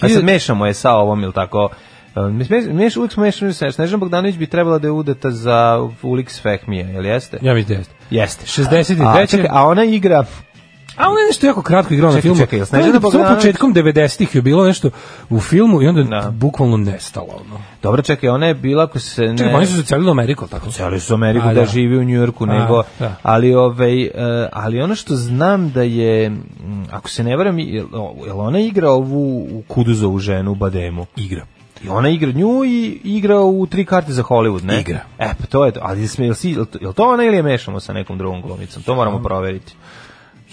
Speaker 6: A sad mešamo je sa ovom, ili tako... E, Meš, meš, uvijek smo mešali sa- Snežana Bogdanović bi trebala da je udata za Ulix Fehmija, jel jeste?
Speaker 5: Ja mislim da jeste.
Speaker 6: Jeste.
Speaker 5: 63.
Speaker 6: A, čekaj, a ona igra...
Speaker 5: A ona je nešto jako kratko igrao na
Speaker 6: Čekaj,
Speaker 5: filmu.
Speaker 6: čekaj, jel Snežana
Speaker 5: To je samo
Speaker 6: Bogdanović?
Speaker 5: početkom 90-ih je bilo nešto u filmu i onda je
Speaker 6: Da.
Speaker 5: bukvalno nestalo. Ono.
Speaker 6: Dobro, čekaj, ona je bila, ako se ne...
Speaker 5: Čekaj, pa oni su se celili u Ameriku, ali tako?
Speaker 6: Celi su Ameriku
Speaker 5: A,
Speaker 6: da,
Speaker 5: da.
Speaker 6: živi u Njujorku, nego
Speaker 5: da.
Speaker 6: ali ovaj e, ali ono što znam da je mm, ako se ne varam jel, jel ona igra ovu u Kuduzovu ženu u Bademu.
Speaker 5: Igra.
Speaker 6: I ona igra nju i igra u tri karte za Hollywood, ne?
Speaker 5: Igra.
Speaker 6: E, pa to je to. Ali smo, jel, si, jel, to- jel to ona ili je mešamo sa nekom drugom glumicom? To moramo proveriti.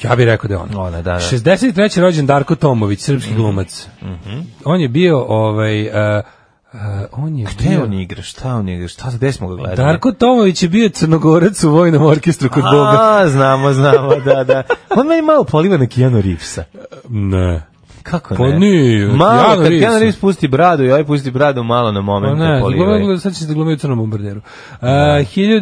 Speaker 5: Ja bih rekao da je ona.
Speaker 6: Ona, da, da. Mhm.
Speaker 5: 63. rođen Darko Tomović, srpski glumac. On je bio, ovaj, uh, uh, on je
Speaker 6: Gde
Speaker 5: bio...
Speaker 6: on igra? Šta on igra? Šta, gde smo ga gledali?
Speaker 5: Darko Tomović je bio crnogorac u vojnom orkestru kod Boga.
Speaker 6: A, znamo, znamo, da, da. On meni malo poliva na Keanu Reevesa.
Speaker 5: Ne.
Speaker 6: Kako ne?
Speaker 5: Pa nije,
Speaker 6: Malo,
Speaker 5: Keanu
Speaker 6: kad
Speaker 5: Reeves.
Speaker 6: Keanu Reeves pusti bradu i ovaj pusti bradu malo na
Speaker 5: Pa
Speaker 6: moment
Speaker 5: ne,
Speaker 6: ne, poliva.
Speaker 5: glumio- sad će se da glumio u crnom bombarderu. Uh,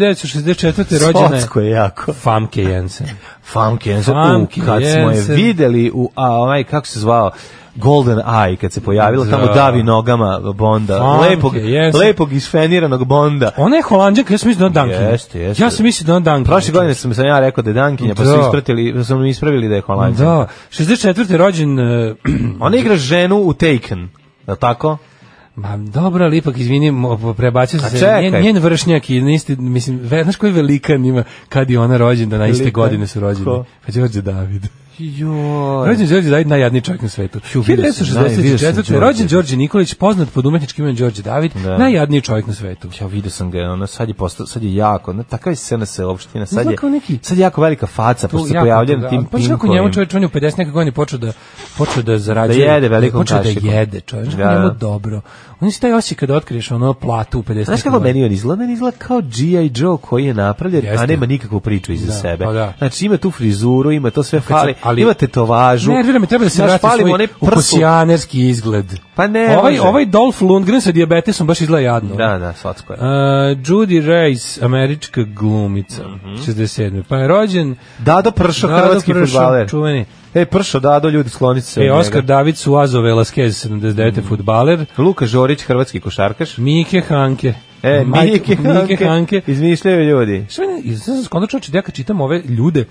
Speaker 5: 1964. rođena je
Speaker 6: Socko je jako.
Speaker 5: Famke Jensen.
Speaker 6: Famke Jensen.
Speaker 5: Famke
Speaker 6: U, kad smo
Speaker 5: Jensen.
Speaker 6: je videli u, a onaj, kako se zvao, Golden Eye, kad se pojavila, tamo
Speaker 5: Da.
Speaker 6: davi nogama Bonda.
Speaker 5: Famke
Speaker 6: lepog,
Speaker 5: Jensen.
Speaker 6: lepog isfeniranog Bonda.
Speaker 5: Ona je holandjanka, ja sam mislio da je ona Dunkin.
Speaker 6: Jeste, jeste.
Speaker 5: Ja sam mislio da je ona Dunkin.
Speaker 6: Prošle godine sam, sam ja rekao da je Dankinja, pa su
Speaker 5: Da.
Speaker 6: ispratili, pa su mi ispravili da je Holandija.
Speaker 5: Da, 64. rođen... e,
Speaker 6: Ona igra ženu u Taken, je li tako?
Speaker 5: Ma dobro, ali ipak, izvini, mo- prebacio sam
Speaker 6: A
Speaker 5: se.
Speaker 6: čekaj.
Speaker 5: Njen, njen vršnjak i isti, mislim, ve, znaš koji velikan ima kad je ona rođena, na iste
Speaker 6: Velikan?
Speaker 5: godine su rođeni.
Speaker 6: Ko?
Speaker 5: Pa Đorđe David.
Speaker 6: Joj.
Speaker 5: Rođen Đorđe David, najjadniji čovjek na svetu.
Speaker 6: vidio sam, da, vidio sam
Speaker 5: 1964.
Speaker 6: Đorđe.
Speaker 5: Rođen Đorđe Nikolić, poznat pod umetničkim imenom Đorđe David,
Speaker 6: Da.
Speaker 5: najjadniji čovjek na svetu.
Speaker 6: Ja vidio sam ga, ono, sad je postao, sad je jako, ono, takav je SNS opština, sad je,
Speaker 5: Izgleda kao neki-
Speaker 6: sad je jako velika faca, pošto se
Speaker 5: jako
Speaker 6: pojavljam
Speaker 5: toga,
Speaker 6: tim
Speaker 5: ali Baš kako njemu
Speaker 6: pinkovim.
Speaker 5: čovječ, on je u 50 nekog godina počeo da, počeo da zarađuje.
Speaker 6: Da jede velikom
Speaker 5: počeo
Speaker 6: kašikom.
Speaker 5: da jede, čovječ.
Speaker 6: Da,
Speaker 5: Da.
Speaker 6: da.
Speaker 5: Njemu dobro. On si taj osjećaj kada otkriješ ono platu u 50
Speaker 6: Znaš
Speaker 5: neke
Speaker 6: kako
Speaker 5: godine.
Speaker 6: meni on izgleda? Meni izgleda kao G.I. Joe koji je napravljen,
Speaker 5: Jeste.
Speaker 6: a nema nikakvu priču iza sebe.
Speaker 5: pa da.
Speaker 6: Znači ima tu frizuru, ima to sve
Speaker 5: Kad
Speaker 6: fali,
Speaker 5: sam- ali-
Speaker 6: ima tetovažu.
Speaker 5: Nervira me, treba da se
Speaker 6: Znaš,
Speaker 5: vrati
Speaker 6: fali mu
Speaker 5: svoj
Speaker 6: onaj prslup.
Speaker 5: okusijanerski izgled.
Speaker 6: Pa ne
Speaker 5: ovaj,
Speaker 6: može.
Speaker 5: ovaj Dolph Lundgren sa diabetesom baš izgleda jadno.
Speaker 6: Da, da, svatsko je.
Speaker 5: Uh, Judy Reis, američka glumica, 67. Pa je rođen
Speaker 6: Dado Pršo,
Speaker 5: Dado
Speaker 6: Mhm. hrvatski
Speaker 5: Pršo,
Speaker 6: futbaler.
Speaker 5: Čuveni.
Speaker 6: E, Pršo, Dado, ljudi, sklonite se.
Speaker 5: E,
Speaker 6: od
Speaker 5: Oskar
Speaker 6: njega. Mhm.
Speaker 5: David Suazo Velasquez, 79. futbaler.
Speaker 6: Luka Žorić, hrvatski košarkaš.
Speaker 5: Mike Hanke.
Speaker 6: E,
Speaker 5: Mike-
Speaker 6: Mike,
Speaker 5: Mike Hanke.
Speaker 6: Izmišljaju ljudi.
Speaker 5: Sve ne, i sad sam skonto čovječe, da ja kad čitam ove ljude,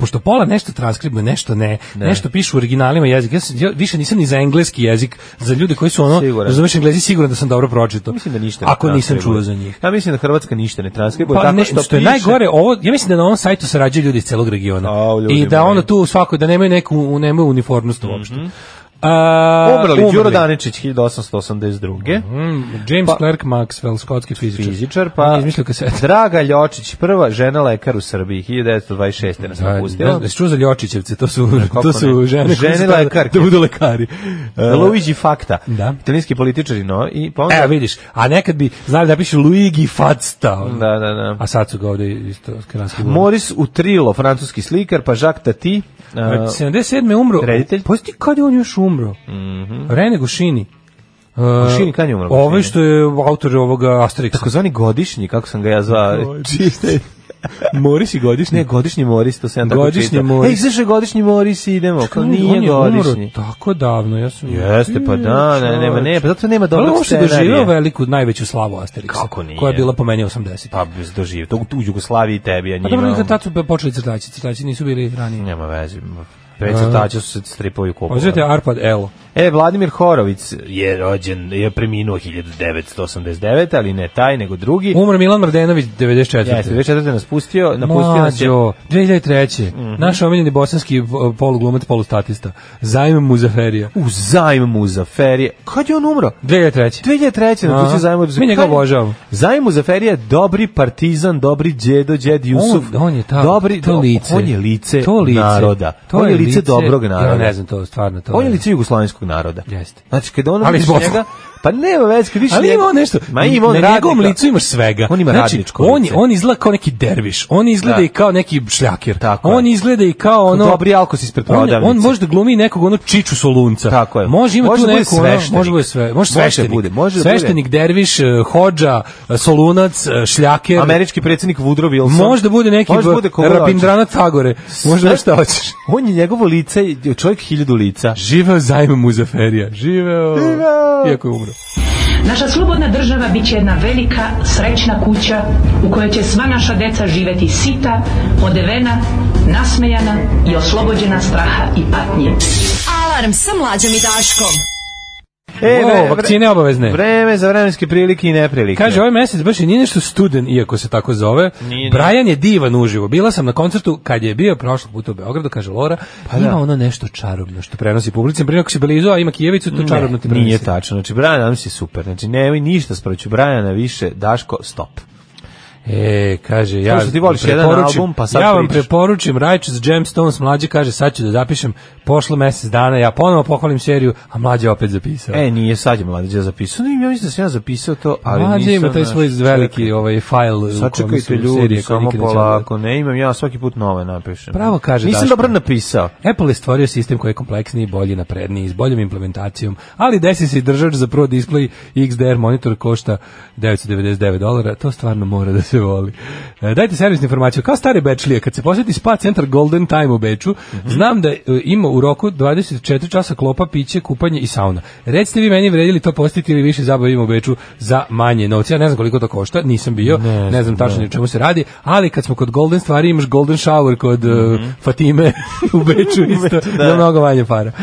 Speaker 5: pošto pola nešto transkribuju, nešto ne, nešto pišu u originalima jezik, ja, sam, ja više nisam ni za engleski jezik, za ljude koji su ono,
Speaker 6: Siguran.
Speaker 5: razumeš englezi, siguran da sam dobro pročitao.
Speaker 6: Pa Mislim da ništa. ne
Speaker 5: Ako nisam
Speaker 6: transkribuje.
Speaker 5: čuo za njih.
Speaker 6: Ja mislim da Hrvatska ništa ne transkribuje.
Speaker 5: Pa
Speaker 6: tako
Speaker 5: ne,
Speaker 6: što,
Speaker 5: što, je
Speaker 6: piše-
Speaker 5: najgore, ovo, ja mislim da na ovom sajtu sarađuju ljudi iz celog regiona.
Speaker 6: Au, ljudi
Speaker 5: I da
Speaker 6: moji.
Speaker 5: ono tu svako, da nemaju neku, nemaju uniformnost uopšte. A,
Speaker 6: Umrli, Đuro Daničić 1882.
Speaker 5: Mm, James
Speaker 6: Pa-
Speaker 5: Clerk Maxwell, skotski fizičar.
Speaker 6: Fizičar,
Speaker 5: On
Speaker 6: pa
Speaker 5: je izmislio kasete.
Speaker 6: <laughs> Draga Ljočić, prva žena lekar u Srbiji, 1926. nas napustila.
Speaker 5: Da, da, čuo za Ljočićevce, to su,
Speaker 6: kako
Speaker 5: to su
Speaker 6: ne.
Speaker 5: žene,
Speaker 6: Žene
Speaker 5: koje su tada-
Speaker 6: lekarke.
Speaker 5: Da budu lekari. E,
Speaker 6: Luigi Fakta,
Speaker 5: Da.
Speaker 6: italijanski političar, i no, i pa onda...
Speaker 5: Evo E, vidiš, a nekad bi znali da piše Luigi Fadsta. ono.
Speaker 6: Da, da, da.
Speaker 5: A sad su ga ovde isto kanadski govori.
Speaker 6: Moris Utrilo, francuski slikar, pa Jacques Tati, uh,
Speaker 5: 77. je Znači, umro.
Speaker 6: reditelj. Mhm.
Speaker 5: Poziti kad je on još umro? Rene Gušini. Uh,
Speaker 6: Gušini, kad je umro
Speaker 5: Ovaj
Speaker 6: Gušini?
Speaker 5: što je autor ovoga Asterixa.
Speaker 6: takozvani godišnji, kako sam ga ja zvao. <laughs> Čiste.
Speaker 5: Moris i godišnji.
Speaker 6: Ne, godišnji Moris, to sam ja tako
Speaker 5: Godišnji
Speaker 6: čitao.
Speaker 5: Moris.
Speaker 6: Ej, izašao je godišnji Moris i idemo, kao
Speaker 5: On
Speaker 6: nije
Speaker 5: je umro
Speaker 6: godišnji.
Speaker 5: tako davno, ja sam...
Speaker 6: Jeste, pa da, ne, nema, ne, pa zato nema
Speaker 5: Hm, Ali
Speaker 6: dobrog
Speaker 5: on se
Speaker 6: scenarija.
Speaker 5: doživio veliku, najveću slavu Asterixa.
Speaker 6: Kako nije?
Speaker 5: Koja je bila po meni 80.
Speaker 6: Pa ono. bez doživio, to u Jugoslaviji tebi, a njima...
Speaker 5: Pa dobro, nikad tad su počeli crtači, crtači nisu bili ranije.
Speaker 6: Nema veze. Pre crtača su se stripovi kupovali.
Speaker 5: Ovo Arpad L.
Speaker 6: E, Vladimir Horović je rođen, je preminuo 1989, ali ne taj, nego drugi.
Speaker 5: Umro Milan Mrdenović 94.
Speaker 6: Jeste, 24. nas pustio, napustio nas je... Mhm.
Speaker 5: Mlađo, 2003. Naš omiljeni bosanski v- poluglumac, polustatista. Zajmem Muzaferija.
Speaker 6: U zajm mu za ferije. Kad je on umro?
Speaker 5: 2003.
Speaker 6: Znači, 2003.
Speaker 5: Aha.
Speaker 6: napustio zajmu za
Speaker 5: Mi njega obožavamo.
Speaker 6: Zajmu za ferije, dobri partizan, dobri djedo, djed Jusuf.
Speaker 5: On, on je ta,
Speaker 6: dobri,
Speaker 5: to lice.
Speaker 6: On je lice, naroda.
Speaker 5: To
Speaker 6: on je lice, dobrog naroda.
Speaker 5: Ja ne znam to, stvarno. To
Speaker 6: On je lice jugoslovenskog naroda.
Speaker 5: Jeste.
Speaker 6: Znači, kada ono
Speaker 5: Ali
Speaker 6: vidiš
Speaker 5: zbog-
Speaker 6: njega, pa nema već, kad vidiš
Speaker 5: Ali
Speaker 6: njega-
Speaker 5: ima on nešto.
Speaker 6: Ma ima on
Speaker 5: na njegovom
Speaker 6: radnika.
Speaker 5: licu imaš svega.
Speaker 6: On ima
Speaker 5: znači,
Speaker 6: radničko
Speaker 5: on,
Speaker 6: lice.
Speaker 5: on izgleda kao neki derviš. On izgleda
Speaker 6: Da.
Speaker 5: i kao neki šljakir.
Speaker 6: Tako
Speaker 5: on
Speaker 6: je.
Speaker 5: izgleda i kao ono...
Speaker 6: Dobri alkos ispred
Speaker 5: On,
Speaker 6: prodavnice.
Speaker 5: on može da glumi nekog ono čiču solunca.
Speaker 6: Tako je.
Speaker 5: Može ima
Speaker 6: Može
Speaker 5: tu
Speaker 6: da bude
Speaker 5: neku, ono,
Speaker 6: sveštenik.
Speaker 5: može da bude sve, može
Speaker 6: Može da
Speaker 5: sveštenik.
Speaker 6: bude, može da bude.
Speaker 5: sveštenik, derviš, eh, hodža, eh, solunac, eh, šljaker.
Speaker 6: Američki predsjednik Woodrow Wilson.
Speaker 5: Može da bude neki
Speaker 6: Može da bude koga
Speaker 5: Rabindranath Tagore. Može da bude šta hoćeš.
Speaker 6: hoćeš. On je njegovo lice, čovjek hiljadu lica.
Speaker 5: Živeo zajmem Muzaferija. Živeo.
Speaker 6: Živeo.
Speaker 5: Iako je umro.
Speaker 7: Naša slobodna država bit će jedna velika, srećna kuća u kojoj će sva naša deca živjeti sita, odevena, nasmejana i oslobođena straha i patnje.
Speaker 4: Alarm sa mlađom i Daškom.
Speaker 6: E,
Speaker 5: O,
Speaker 6: vre-
Speaker 5: vakcine obavezne.
Speaker 6: Vreme za vremenske prilike i neprilike.
Speaker 5: Kaže, ovaj mesec baš i nije nešto studen, iako se tako zove.
Speaker 6: Nije, nije.
Speaker 5: Brian je divan uživo. Bila sam na koncertu kad je bio prošlog puta u Beogradu, kaže Lora. ima
Speaker 6: Pa da.
Speaker 5: ono nešto čarobno što prenosi publici. Prije ako si Belizu, a ima Kijevicu, to čarobno ti
Speaker 6: Ne,
Speaker 5: prenosi.
Speaker 6: Nije tačno. Znači, Brian Adams je super. Znači, nemoj ništa sproću Briana više. Daško, stop.
Speaker 5: E, kaže, ja
Speaker 6: Kao što ti voliš
Speaker 5: vam
Speaker 6: jedan
Speaker 5: preporučim-
Speaker 6: album, pa sad
Speaker 5: Ja vam
Speaker 6: pričaš.
Speaker 5: preporučim Righteous Gemstones, mlađe kaže, sad ću da zapišem, pošlo mesec dana, ja ponovo pohvalim seriju, a mlađe opet zapisao.
Speaker 6: E, nije sad je mladeđa zapisao. No, ja mislim da sam ja zapisao to, ali
Speaker 5: mlađe
Speaker 6: nisam...
Speaker 5: ima taj
Speaker 6: znaš,
Speaker 5: svoj veliki
Speaker 6: čekaj.
Speaker 5: ovaj fajl u kome su
Speaker 6: Sačekajte
Speaker 5: serije
Speaker 6: ljudi,
Speaker 5: koje
Speaker 6: samo
Speaker 5: nikad neće
Speaker 6: polako, ne imam, ja svaki put nove napišem.
Speaker 5: Pravo kaže
Speaker 6: Nisam
Speaker 5: Daško.
Speaker 6: dobro napisao.
Speaker 5: Apple je stvorio sistem koji je kompleksniji, bolji, napredniji, s boljom implementacijom, ali desi se i držač za Pro Display XDR monitor košta 999 dolara, to stvarno mora da se voli. E, dajte servisnu informaciju, kao stare Bečlije, kad se posjeti spa centar Golden Time u Beču, znam da e, ima u roku 24 časa klopa, piće, kupanje i sauna. Recite vi meni vredili to postiti ili više zabavimo u Beču za manje novca. Ja ne znam koliko to košta, nisam bio, ne, znam tačno ni o čemu se radi, ali kad smo kod Golden stvari imaš Golden Shower kod e, Fatime <laughs> u Beču isto, za mnogo manje para. E,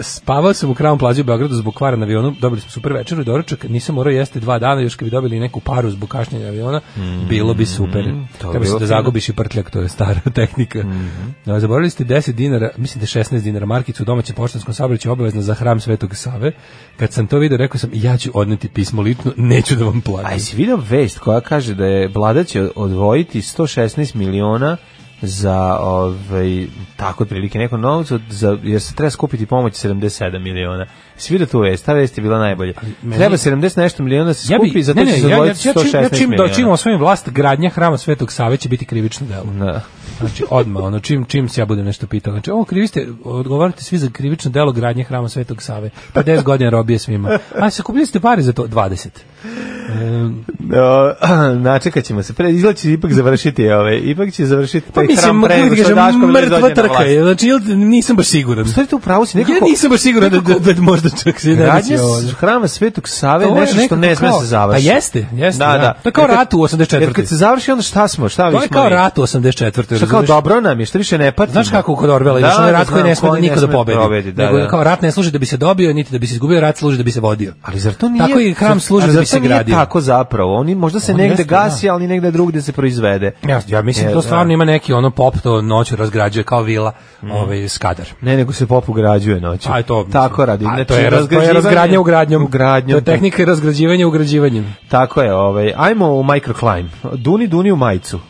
Speaker 5: spavao sam u Crown plazi u Beogradu zbog kvara na avionu, dobili smo super večeru i doručak, nisam morao jesti dva dana, još kad bi dobili neku paru zbog kašnjenja aviona, bilo bi super.
Speaker 6: to bi
Speaker 5: Treba se
Speaker 6: bilo
Speaker 5: da
Speaker 6: fino.
Speaker 5: zagubiš i prtljak, to je stara <laughs> tehnika.
Speaker 6: Mhm.
Speaker 5: Da, Zaboravili ste 10 dinara, mislim da 16 dinara markicu u domaćem poštanskom saobraćaju obavezno za hram Svetog Save. Kad sam to video, rekao sam ja ću odneti pismo lično, <laughs> neću da vam
Speaker 6: A
Speaker 5: platim.
Speaker 6: Pa jesi vidio vest koja kaže da je vlada će odvojiti 116 miliona za ovaj tako otprilike neko novca za jer se treba skupiti pomoć 77 miliona. Jesi vidio tu vest, ta vest je bila najbolja.
Speaker 5: meni-
Speaker 6: Treba 70 nešto miliona da se
Speaker 5: Ja
Speaker 6: skupi
Speaker 5: bi,
Speaker 6: za to
Speaker 5: ne,
Speaker 6: će
Speaker 5: ne,
Speaker 6: se
Speaker 5: ja, ja,
Speaker 6: odvojiti
Speaker 5: ja, čim, ja
Speaker 6: 116
Speaker 5: čim, da, čim
Speaker 6: miliona.
Speaker 5: osvojim vlast, gradnja hrama Svetog Save će biti krivično delo.
Speaker 6: Da.
Speaker 5: Znači, odmah, ono, čim, čim se ja budem nešto pitao. Znači, ovo krivi ste, odgovarate svi za krivično delo gradnje hrama Svetog Save. Pa 10 godina robije svima. A se kupili ste pare za to? 20.
Speaker 6: No, <clears throat> načekat ćemo se. Pre, izgleda će ipak završiti ove. Ipak će završiti
Speaker 5: Pa
Speaker 6: taj hram
Speaker 5: mislim,
Speaker 6: pre nego
Speaker 5: kako ti
Speaker 6: što
Speaker 5: kažem,
Speaker 6: Daško bude
Speaker 5: mrtva
Speaker 6: dođe na
Speaker 5: trka
Speaker 6: vlast.
Speaker 5: je. Znači, ili nisam baš siguran.
Speaker 6: Stvari tu pravo si
Speaker 5: Ja
Speaker 6: nekako...
Speaker 5: nisam baš siguran da, da, da možda čak se i ne
Speaker 6: Gradnja
Speaker 5: desi ovo.
Speaker 6: s- hrama Svetog Save
Speaker 5: To
Speaker 6: je
Speaker 5: je
Speaker 6: nešto što
Speaker 5: nekako
Speaker 6: ne sme
Speaker 5: kao-
Speaker 6: se završi.
Speaker 5: Pa jeste, jeste,
Speaker 6: Da,
Speaker 5: da.
Speaker 6: da.
Speaker 5: To je kao
Speaker 6: Jer kad-
Speaker 5: rat u 84..
Speaker 6: Jer kad se završi, onda šta smo? Šta
Speaker 5: To je kao rat u 84.
Speaker 6: Šta kao
Speaker 5: razumeš?
Speaker 6: dobro nam je, šta više ne patimo.
Speaker 5: Znaš kako kod Orvela imaš
Speaker 6: Da,
Speaker 5: onaj
Speaker 6: da,
Speaker 5: rat koji
Speaker 6: znam,
Speaker 5: ne sme da
Speaker 6: koji
Speaker 5: niko
Speaker 6: ne
Speaker 5: da
Speaker 6: sme da
Speaker 5: pobedi.
Speaker 6: pobedi, da,
Speaker 5: nego
Speaker 6: da.
Speaker 5: kao rat ne služi da bi se dobio, niti da bi se izgubio, rat služi da bi se vodio.
Speaker 6: Ali zar to nije...
Speaker 5: Tako i hram
Speaker 6: zar-
Speaker 5: služi
Speaker 6: ali
Speaker 5: da
Speaker 6: zar
Speaker 5: bi se
Speaker 6: to nije
Speaker 5: gradio.
Speaker 6: tako zapravo. Oni možda se
Speaker 5: On
Speaker 6: negde
Speaker 5: jeste,
Speaker 6: gasi, ali negde drugde se proizvede.
Speaker 5: Ja, ja mislim
Speaker 6: Je,
Speaker 5: to
Speaker 6: da.
Speaker 5: stvarno ima neki ono pop to noću razgrađuje kao vila, ovaj skadar.
Speaker 6: Ne, nego se pop ugrađuje noću.
Speaker 5: A Pa je to mislim.
Speaker 6: Tako radi.
Speaker 5: A,
Speaker 6: Znači,
Speaker 5: to je, raz, to je razgradnja ugradnjom.
Speaker 6: Ugradnjom.
Speaker 5: To je tehnika razgrađivanja ugrađivanjem.
Speaker 6: Tako je, ovaj. Ajmo u microclimb. Duni, duni u majicu.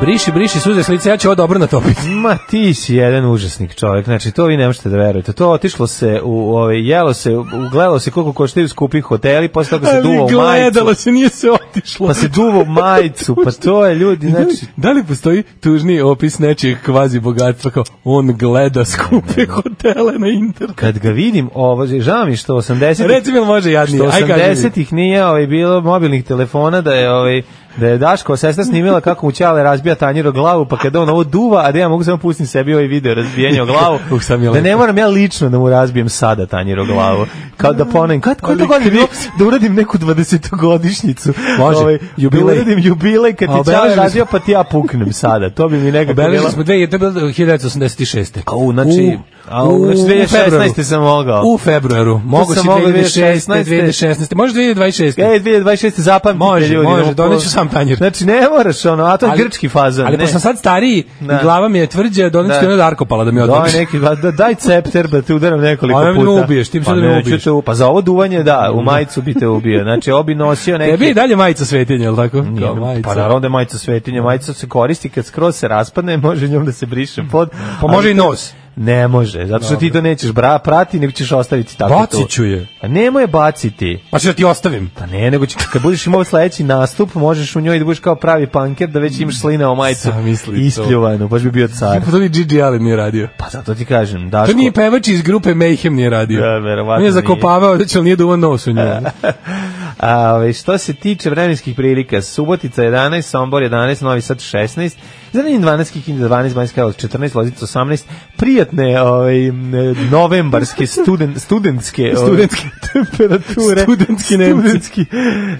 Speaker 5: Briši, briši suze s lica, ja ću ovo dobro natopiti.
Speaker 6: Ma ti si jedan užasnik čovjek, znači to vi ne možete da verujete. To otišlo se, u, ovaj, jelo se, ugledalo se koliko koštaju skupi hoteli, posle toga se duva u majicu,
Speaker 5: gledalo se, nije se otišlo.
Speaker 6: pa se duva u majicu, pa to je
Speaker 5: <laughs>
Speaker 6: ljudi,
Speaker 5: Da li-
Speaker 6: znači...
Speaker 5: da li postoji tužni opis nečijeg kvazi bogatstva kao on gleda skupe hotele na internetu?
Speaker 6: Kad ga vidim, ovo, žao mi što 80
Speaker 5: Reci mi, jel može
Speaker 6: što
Speaker 5: jadnije? Aj, kaži mi.
Speaker 6: 80-ih nije ovaj, bilo mobilnih telefona da je ovaj da je Daško sestra snimila kako mu Ćale razbija tanjiro glavu, pa kada on ovo duva, a da ja mogu samo pustiti sebi ovaj video razbijanja o
Speaker 5: <laughs>
Speaker 6: glavu,
Speaker 5: Uh, sam je
Speaker 6: da ne
Speaker 5: lepo.
Speaker 6: moram ja lično da mu razbijem sada tanjiro glavu. Kao da ponovim, kad koja je to godina bilo da uradim neku 20-godišnjicu.
Speaker 5: Može,
Speaker 6: Da
Speaker 5: jubilej.
Speaker 6: uradim jubilej kad ti
Speaker 5: A
Speaker 6: Ćale
Speaker 5: obeležili smo-
Speaker 6: razbija, pa ti ja puknem sada. To bi mi nekako bilo...
Speaker 5: Obeležili smo dve, to je bilo 1986.
Speaker 6: Au, znači- au, znači 2016. sam mogao.
Speaker 5: U februaru. Mogu
Speaker 6: sam
Speaker 5: si
Speaker 6: mogao
Speaker 5: 2016.
Speaker 6: 2016.
Speaker 5: 2016. Možeš 2026.
Speaker 6: Ej, 2026. zapamtite
Speaker 5: Može,
Speaker 6: ljudi.
Speaker 5: može,
Speaker 6: ono,
Speaker 5: doneću sam tanjir.
Speaker 6: Znači, ne moraš ono, a to je grčki fazan.
Speaker 5: Ali
Speaker 6: ne.
Speaker 5: pošto sam sad stariji,
Speaker 6: Da.
Speaker 5: i glava mi je tvrđa, doneću
Speaker 6: Da.
Speaker 5: ti ono darkopala da mi
Speaker 6: Da,
Speaker 5: odnosi. <laughs>
Speaker 6: neki, da, da, daj cepter, da te udaram nekoliko
Speaker 5: A ne
Speaker 6: puta.
Speaker 5: me ubiješ, tim
Speaker 6: Pa
Speaker 5: sad da me
Speaker 6: neću
Speaker 5: ubiješ.
Speaker 6: te u- pa za ovo duvanje, da, u majicu bi te ubio. Znači, ovo bi nosio neki...
Speaker 5: Tebi je i dalje majica svetinja, jel tako?
Speaker 6: Nije,
Speaker 5: Kao majica.
Speaker 6: Pa naravno da je majica svetinja, majica se koristi kad skroz se raspadne, može njom da se briše pod.
Speaker 5: Pa može
Speaker 6: ali-
Speaker 5: i nos.
Speaker 6: Ne može, zato što ti to nećeš bra, prati, nego ćeš ostaviti tako tu.
Speaker 5: Bacit ću je.
Speaker 6: A nemoj je baciti.
Speaker 5: Pa ću da ti ostavim.
Speaker 6: Pa ne, nego će, kad budeš imao sledeći nastup, možeš u njoj da budeš kao pravi panker, da već imaš slina o majicu
Speaker 5: Zamisli to.
Speaker 6: ispljuvanu, baš bi bio car.
Speaker 5: Pa <laughs> to ni Gigi Allen nije radio.
Speaker 6: Pa zato ti kažem, Daško...
Speaker 5: To nije pevač iz grupe Mayhem nije radio.
Speaker 6: Da, verovatno
Speaker 5: On je
Speaker 6: nije.
Speaker 5: zakopavao, znači, ali nije duvao nos
Speaker 6: <laughs>
Speaker 5: u njoj.
Speaker 6: A, ovaj, što se tiče vremenskih prilika, Subotica 11, Sombor 11, Novi Sad 16, Zrenin 12, Kikinda 12, Banjska Karlovac 14, Loznica 18, prijatne ovaj, m, novembarske studen, studentske, ovaj,
Speaker 5: Studentske.
Speaker 6: temperature.
Speaker 5: Studentski Nemci.
Speaker 6: Studentski.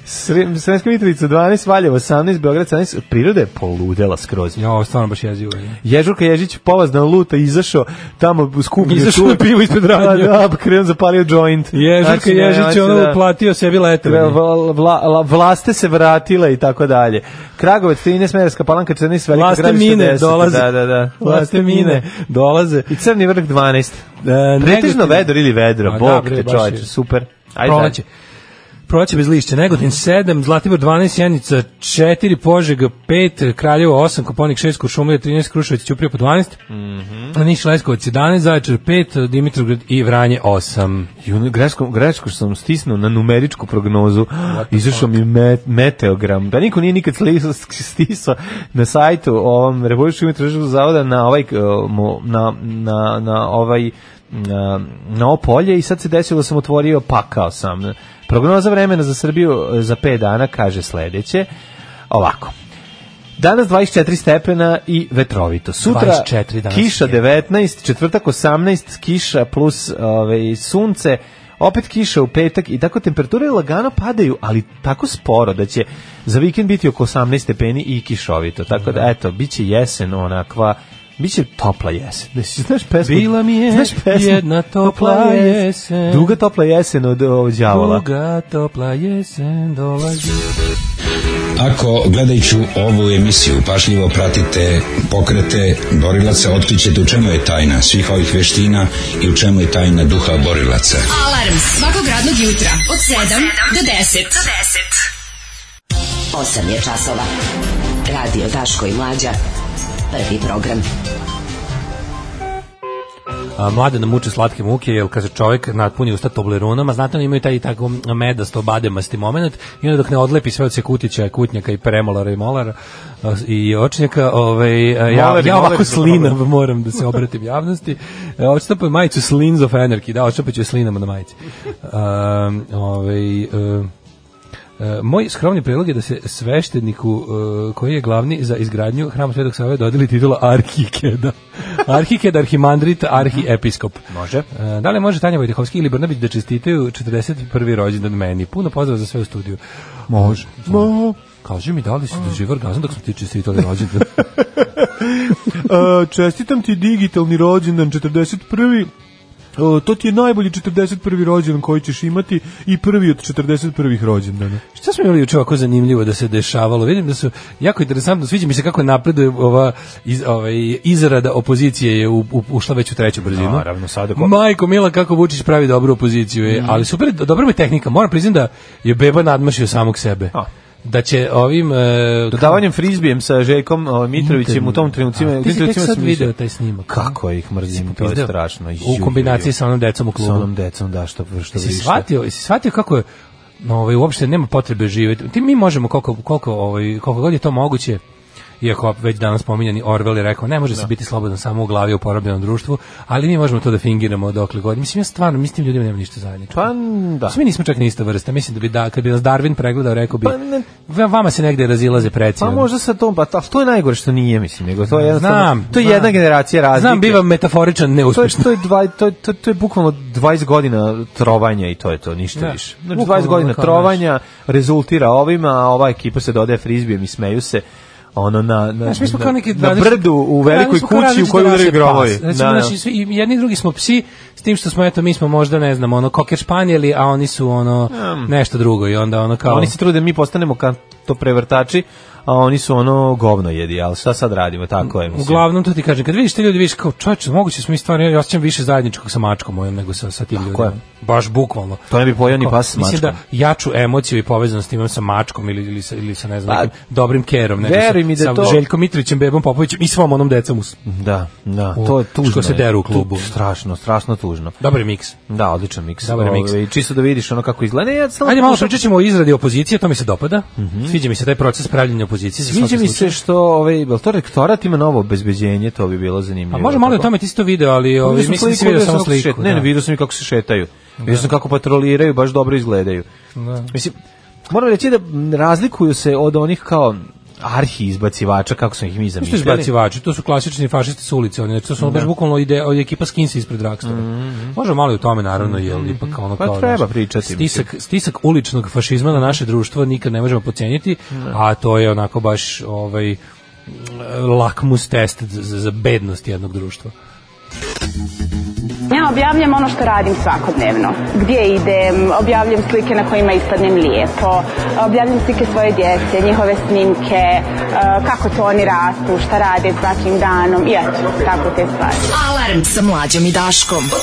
Speaker 6: Sre- Sremska Mitrovica 12, Valjevo 18, Beograd 17, priroda je poludela skroz.
Speaker 5: Jo, stvarno baš jezivo. je.
Speaker 6: Ježurka Ježić polazna luta izašao tamo u skupnju.
Speaker 5: Izašao na pivo ispred radnje.
Speaker 6: Pa Da, da, krenuo zapalio joint.
Speaker 5: Ježurka
Speaker 6: Znači, ne,
Speaker 5: Ježić
Speaker 6: hoće
Speaker 5: je ono
Speaker 6: da-
Speaker 5: uplatio sebi leto.
Speaker 6: Vla, vla, vla, vlaste se vratile i tako dalje. Kragovac 13, Merska Palanka 14, Veliko
Speaker 5: Vlaste
Speaker 6: gradište
Speaker 5: mine
Speaker 6: 10.
Speaker 5: dolaze.
Speaker 6: Da, da, da.
Speaker 5: Vlaste mine dolaze.
Speaker 6: I Crni vrh 12.
Speaker 5: E,
Speaker 6: Pretežno
Speaker 5: Negotin-
Speaker 6: vedro ili vedro,
Speaker 5: A,
Speaker 6: bog
Speaker 5: Pa da, bre,
Speaker 6: te
Speaker 5: baš
Speaker 6: čoveče,
Speaker 5: je.
Speaker 6: super. Ajde,
Speaker 5: Proleće. Proleće bez lišća. Negotin 7, Zlatibor 12, Janica 4, Požega 5, Kraljevo 8, Koponik 6, Kuršumlija 13, Kruševac Ćuprija po 12, mm
Speaker 6: Mhm.
Speaker 5: -hmm. Niš Leskovac 11, Zaječar 5, Dimitrovgrad i Vranje 8.
Speaker 6: Ju, ono, greško, greško sam stisnuo na numeričku prognozu. Izašao mi me, meteogram. Da niko nije nikad stisao, <laughs> stisao na sajtu ovom Republičkog meteorološkog zavoda na ovaj eh, mo- na, na, na ovaj na, na ovo polje i sad se desilo da sam otvorio pakao sam. Prognoza vremena za Srbiju eh, za 5 dana kaže sledeće. Ovako. Danas 24 stepena i vetrovito. Sutra
Speaker 5: 24 danas
Speaker 6: kiša
Speaker 5: je.
Speaker 6: 19, četvrtak 18, kiša plus ovaj, sunce, opet kiša u petak i tako temperature lagano padaju, ali tako sporo da će za vikend biti oko 18 stepeni i kišovito. Tako da, eto, bit će jesen onakva, bit će topla jesen. <laughs> Znaš, znaš pesmu?
Speaker 5: Bila mi je
Speaker 6: znaš pesmu?
Speaker 5: jedna topla jesen.
Speaker 6: Duga topla jesen od, ovaj, od djavola.
Speaker 5: Duga topla jesen dolazi.
Speaker 8: Ako gledajući ovu emisiju pašljivo pratite pokrete borilaca, otkrićete u čemu je tajna svih ovih veština i u čemu je tajna duha borilaca.
Speaker 4: Alarm svakog radnog jutra od 7 do 10. Do
Speaker 9: 10. 8 je časova. Radio Daško i Mlađa. Prvi program.
Speaker 5: A, mlade nam muče slatke muke, jer kaže čovjek natpuni usta toblerunama, znate oni imaju taj i tako medasto bademasti moment i onda dok ne odlepi sve od se kutića, kutnjaka i premolara i molara a, i očnjaka, ovaj, a, ja,
Speaker 6: Molar i
Speaker 5: ja
Speaker 6: molar
Speaker 5: ovako
Speaker 6: su dobro.
Speaker 5: slinav moram da se obratim javnosti. E, Odštapaju majicu Slins of Anarchy, da, odštapaću je slinama na majici. Um, ovaj, um, E, moj skromni predlog je da se svešteniku e, koji je glavni za izgradnju hrama Svetog Save dodeli titula <laughs> Arhikeda. Arhiked, arhimandrit, arhiepiskop. Može. da li može Tanja Vojtehovski ili Brnabić da čestitaju 41. rođendan meni? Puno pozdrav za sve u studiju. Može. Mo. Kaži mi da li si doživio orgazam dok sam ti čestitali rođendan?
Speaker 6: E, čestitam ti digitalni rođendan 41. E, to ti je najbolji 41. rođendan koji ćeš imati i prvi od 41. rođendana.
Speaker 5: Šta smo imali juče ovako zanimljivo da se dešavalo? Vidim da su jako interesantno, sviđa mi se kako napreduje ova iz, ovaj, izrada opozicije je u, u, ušla već u treću brzinu.
Speaker 6: Naravno, sad ako- Mm.
Speaker 5: Majko Mila, kako Vučić pravi dobru opoziciju je, ali super, dobra mu je tehnika. Moram priznati da je Beba nadmašio samog sebe.
Speaker 6: A.
Speaker 5: Da će ovim... E,
Speaker 6: Dodavanjem frizbijem sa Željkom e, Mitrovićem u tom trenucima,
Speaker 5: A, ti si tek
Speaker 6: trenucima
Speaker 5: sad
Speaker 6: sam
Speaker 5: video
Speaker 6: mislio,
Speaker 5: taj snimak.
Speaker 6: Kako ih mrzim, to je
Speaker 5: Video.
Speaker 6: strašno. Ju, ju,
Speaker 5: U kombinaciji
Speaker 6: ju.
Speaker 5: sa onom decom u klubu.
Speaker 6: sa onom decom, da, što, što
Speaker 5: Jesi
Speaker 6: više.
Speaker 5: shvatio, jesi shvatio kako je no, ovaj, uopšte nema potrebe živjeti. Ti mi možemo koliko, koliko, ovaj, koliko god je to moguće iako već danas pominjani Orwell je rekao ne može se biti slobodan samo u glavi u porobljenom društvu, ali mi možemo to da fingiramo dokle god. Mislim ja stvarno mislim ljudima nema ništa zajedničko.
Speaker 6: Pa, n- da.
Speaker 5: Mislim, mi nismo čak ni ista vrsta. Mislim da bi da kad bi nas Darwin pregledao rekao bi
Speaker 6: Pa, ne-
Speaker 5: "Va- vama se negde razilaze preci.
Speaker 6: Pa
Speaker 5: ono."
Speaker 6: možda sa tom, pa ta- to je najgore što nije, mislim, nego to je jednostavno,
Speaker 5: Znam,
Speaker 6: to je
Speaker 5: znam.
Speaker 6: jedna generacija razlike.
Speaker 5: Znam, bivam metaforičan
Speaker 6: To je,
Speaker 5: neuspešno.
Speaker 6: to, je dva, to, je, to, je- to je bukvalno 20 godina trovanja i to je to, ništa
Speaker 5: Da.
Speaker 6: više. Znači,
Speaker 5: Bukvalno
Speaker 6: 20 godina
Speaker 5: kao, znaš.
Speaker 6: trovanja rezultira ovima, a ova ekipa se dodaje frizbijem i smeju se ono na, na,
Speaker 5: Znaš, mi smo
Speaker 6: na-
Speaker 5: kao neki
Speaker 6: na
Speaker 5: različiti-
Speaker 6: brdu u velikoj
Speaker 5: mi smo kao
Speaker 6: kući u
Speaker 5: različite
Speaker 6: kojoj udaraju
Speaker 5: rase
Speaker 6: grobovi.
Speaker 5: pas. Recimo,
Speaker 6: Da, da.
Speaker 5: naši svi, i jedni i drugi smo psi, s tim što smo, eto, mi smo možda, ne znam, ono, koker španjeli, a oni su, ono, nešto drugo i onda, ono, kao...
Speaker 6: Oni se trude da mi postanemo kanto prevrtači, a oni su ono govno jedi, ali šta sad radimo, tako je. Mislim.
Speaker 5: Uglavnom to ti kažem, kad vidiš te ljudi, vidiš kao čoveče, moguće smo i stvarno, ja osjećam više zajedničkog sa mačkom mojom nego sa, sa tim ljudima.
Speaker 6: je.
Speaker 5: Baš bukvalno.
Speaker 6: To ne bi pojeo ni
Speaker 5: Kao,
Speaker 6: pas s
Speaker 5: Mislim da
Speaker 6: mačkom.
Speaker 5: jaču emociju i povezanost imam sa mačkom ili, ili, sa, ili sa ne znam,
Speaker 6: Pa,
Speaker 5: nekim dobrim kerom. nego
Speaker 6: veruj
Speaker 5: sa,
Speaker 6: mi da
Speaker 5: sa
Speaker 6: to- Mhm.
Speaker 5: Željkom Mitrovićem, Bebom Popovićem i svom onom decom. Us...
Speaker 6: Da, da,
Speaker 5: O,
Speaker 6: to je tužno.
Speaker 5: što se
Speaker 6: je.
Speaker 5: deru u
Speaker 6: Tu-
Speaker 5: klubu.
Speaker 6: strašno, strašno tužno.
Speaker 5: Dobar je miks.
Speaker 6: Da, odličan miks.
Speaker 5: Dobar je miks.
Speaker 6: Ove, čisto da vidiš ono kako izgleda. Ne, Ja samo
Speaker 5: Ajde malo
Speaker 6: pokušam-
Speaker 5: pričat ćemo o izradi opozicije, to mi se dopada. Sviđa mi se taj proces pravljenja opozicije. za
Speaker 6: Mhm. Sviđa
Speaker 5: svaki
Speaker 6: mi
Speaker 5: slučaj.
Speaker 6: se što ovaj, jel to rektorat ima novo obezbeđenje, to bi bilo zanimljivo.
Speaker 5: A Pa može malo i o
Speaker 6: Tako.
Speaker 5: tome ti si to video, ali ovi,
Speaker 6: Vidio sam
Speaker 5: mislim da si
Speaker 6: sliku,
Speaker 5: video
Speaker 6: sam
Speaker 5: samo
Speaker 6: kako se šet-
Speaker 5: sliku.
Speaker 6: Ne, ne,
Speaker 5: da.
Speaker 6: vidio sam i kako se šetaju. Vidio sam kako patroliraju, baš dobro izgledaju. Mislim, moram reći da m, razlikuju se od onih kao arhi izbacivača, kako smo ih mi
Speaker 5: To su
Speaker 6: zamišljali.
Speaker 5: izbacivači, to su klasični fašisti s ulice, oni znači, to su ono baš bukvalno ide ekipa skinsi ispred Rakstora.
Speaker 6: Mhm,
Speaker 5: Može malo i o tome naravno, jel ipak ono
Speaker 6: Pa
Speaker 5: kao
Speaker 6: treba
Speaker 5: znaš,
Speaker 6: pričati,
Speaker 5: Stisak, stisak uličnog fašizma na naše društvo nikad ne možemo podceniti, a to je onako baš ovaj lakmus test za, za bednost jednog društva.
Speaker 10: Ja objavljam ono što radim svakodnevno. Gdje idem, objavljam slike na kojima ispadnem lijepo, objavljam slike svoje djece, njihove snimke, eh, kako to oni rastu, šta rade svakim danom i eto, tako te stvari.
Speaker 4: Alarm sa mlađom i Daškom. Od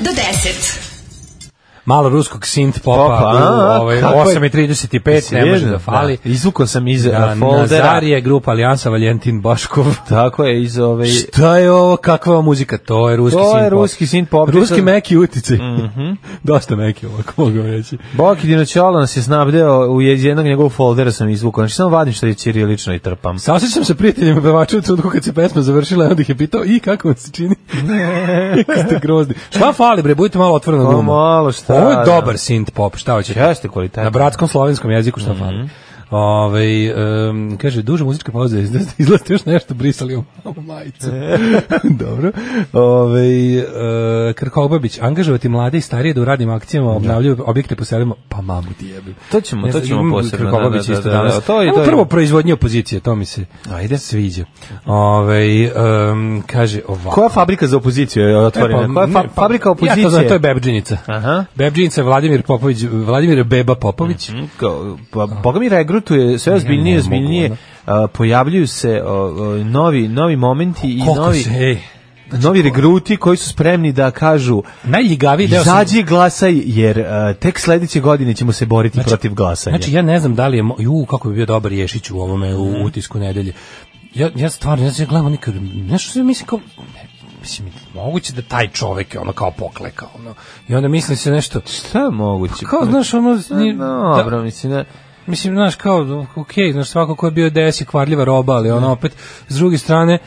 Speaker 4: 7 do 10.
Speaker 5: Malo ruskog synth
Speaker 6: Popa,
Speaker 5: popa,
Speaker 6: a,
Speaker 5: u ovaj,
Speaker 6: kako je?
Speaker 5: 8.35, ne može da fali.
Speaker 6: Da, izvukao sam iz
Speaker 5: Da,
Speaker 6: da, foldera.
Speaker 5: Nazarije, grupa Alijansa Valjentin Baškov.
Speaker 6: Tako je, iz ovaj, ove...
Speaker 5: Šta je ovo, kakva je muzika? To je ruski
Speaker 6: To je
Speaker 5: synth pop.
Speaker 6: ruski synth pop. Mhm.
Speaker 5: Ruski
Speaker 6: Sad-
Speaker 5: meki uticaj. <laughs> Dosta meki ovako mogu vam reći.
Speaker 6: Boki Dinoćolo nas je snabdeo, u iz jednog njegovog foldera sam izvukao, znači samo vadim što je ćirilično i trpam.
Speaker 5: Saosećam se prijateljima pevača u trenutku kad se pesma završila i onda ih je pitao i kako vam se
Speaker 6: <laughs>
Speaker 5: čini? <laughs> Kako ste grozni. Šta fali bre, budite malo otvoreno
Speaker 6: Pa
Speaker 5: gluma.
Speaker 6: malo šta,
Speaker 5: Ovo je
Speaker 6: da.
Speaker 5: dobar synth pop, šta hoćete?
Speaker 6: Jeste kvalitetno.
Speaker 5: Na bratskom slovenskom jeziku šta
Speaker 6: Mhm.
Speaker 5: fali. Ove, um, kaže, duža muzička pauza, izlaz- <laughs> izlazite još nešto, brisali ovu
Speaker 6: <laughs>
Speaker 5: majicu. Dobro. Ove, uh, Krkobabić, angažovati mlade i starije da u radnim akcijama obnavljaju objekte po selima, pa mamu ti jebim.
Speaker 6: To ćemo,
Speaker 5: Ne
Speaker 6: to
Speaker 5: znam,
Speaker 6: ćemo
Speaker 5: imam
Speaker 6: posebno.
Speaker 5: Krkobabić isto danas.
Speaker 6: To je,
Speaker 5: Ajmo
Speaker 6: to je.
Speaker 5: prvo proizvodnje opozicije, to mi se
Speaker 6: Ajde.
Speaker 5: sviđa. Ove, um, kaže ovako.
Speaker 6: Koja fabrika za opoziciju je otvorena?
Speaker 5: E, pa,
Speaker 6: Koja fa
Speaker 5: ne, pa,
Speaker 6: fabrika opozicije?
Speaker 5: Ja to znam, to je Bebđinica.
Speaker 6: Aha.
Speaker 5: Bebđinica je Vladimir Popović, Vladimir Beba
Speaker 6: Mhm.
Speaker 5: Popović.
Speaker 6: Kao, Pa, Boga mi regrutuje sve
Speaker 5: ne
Speaker 6: ozbiljnije,
Speaker 5: mogu, ono.
Speaker 6: ozbiljnije. a, pojavljuju se o, o, novi, novi momenti i
Speaker 5: Koliko
Speaker 6: novi,
Speaker 5: se, znači, ej.
Speaker 6: novi regruti koji su spremni da kažu
Speaker 5: Najljigaviji deo sam-
Speaker 6: izađi glasaj jer a, tek sledeće godine ćemo se boriti protiv glasanja.
Speaker 5: Znači, ja ne znam da li je... mo- Ju, kako bi bio dobar Ješić u ovome, u
Speaker 6: Mhm.
Speaker 5: utisku nedelje. Ja, ja stvarno, ja sam gledam nikad... Nešto se mislim kao... Ne, mislim, moguće da taj čovek je ono kao poklekao. Ono. I onda mislim se nešto...
Speaker 6: šta je moguće?
Speaker 5: Kao, znaš, ono... ni-
Speaker 6: No, Pa dobro, mislim, ne.
Speaker 5: Mislim, znaš, kao, okej, znaš, svako ko je bio DS je kvarljiva roba, ali ono, opet, s druge strane,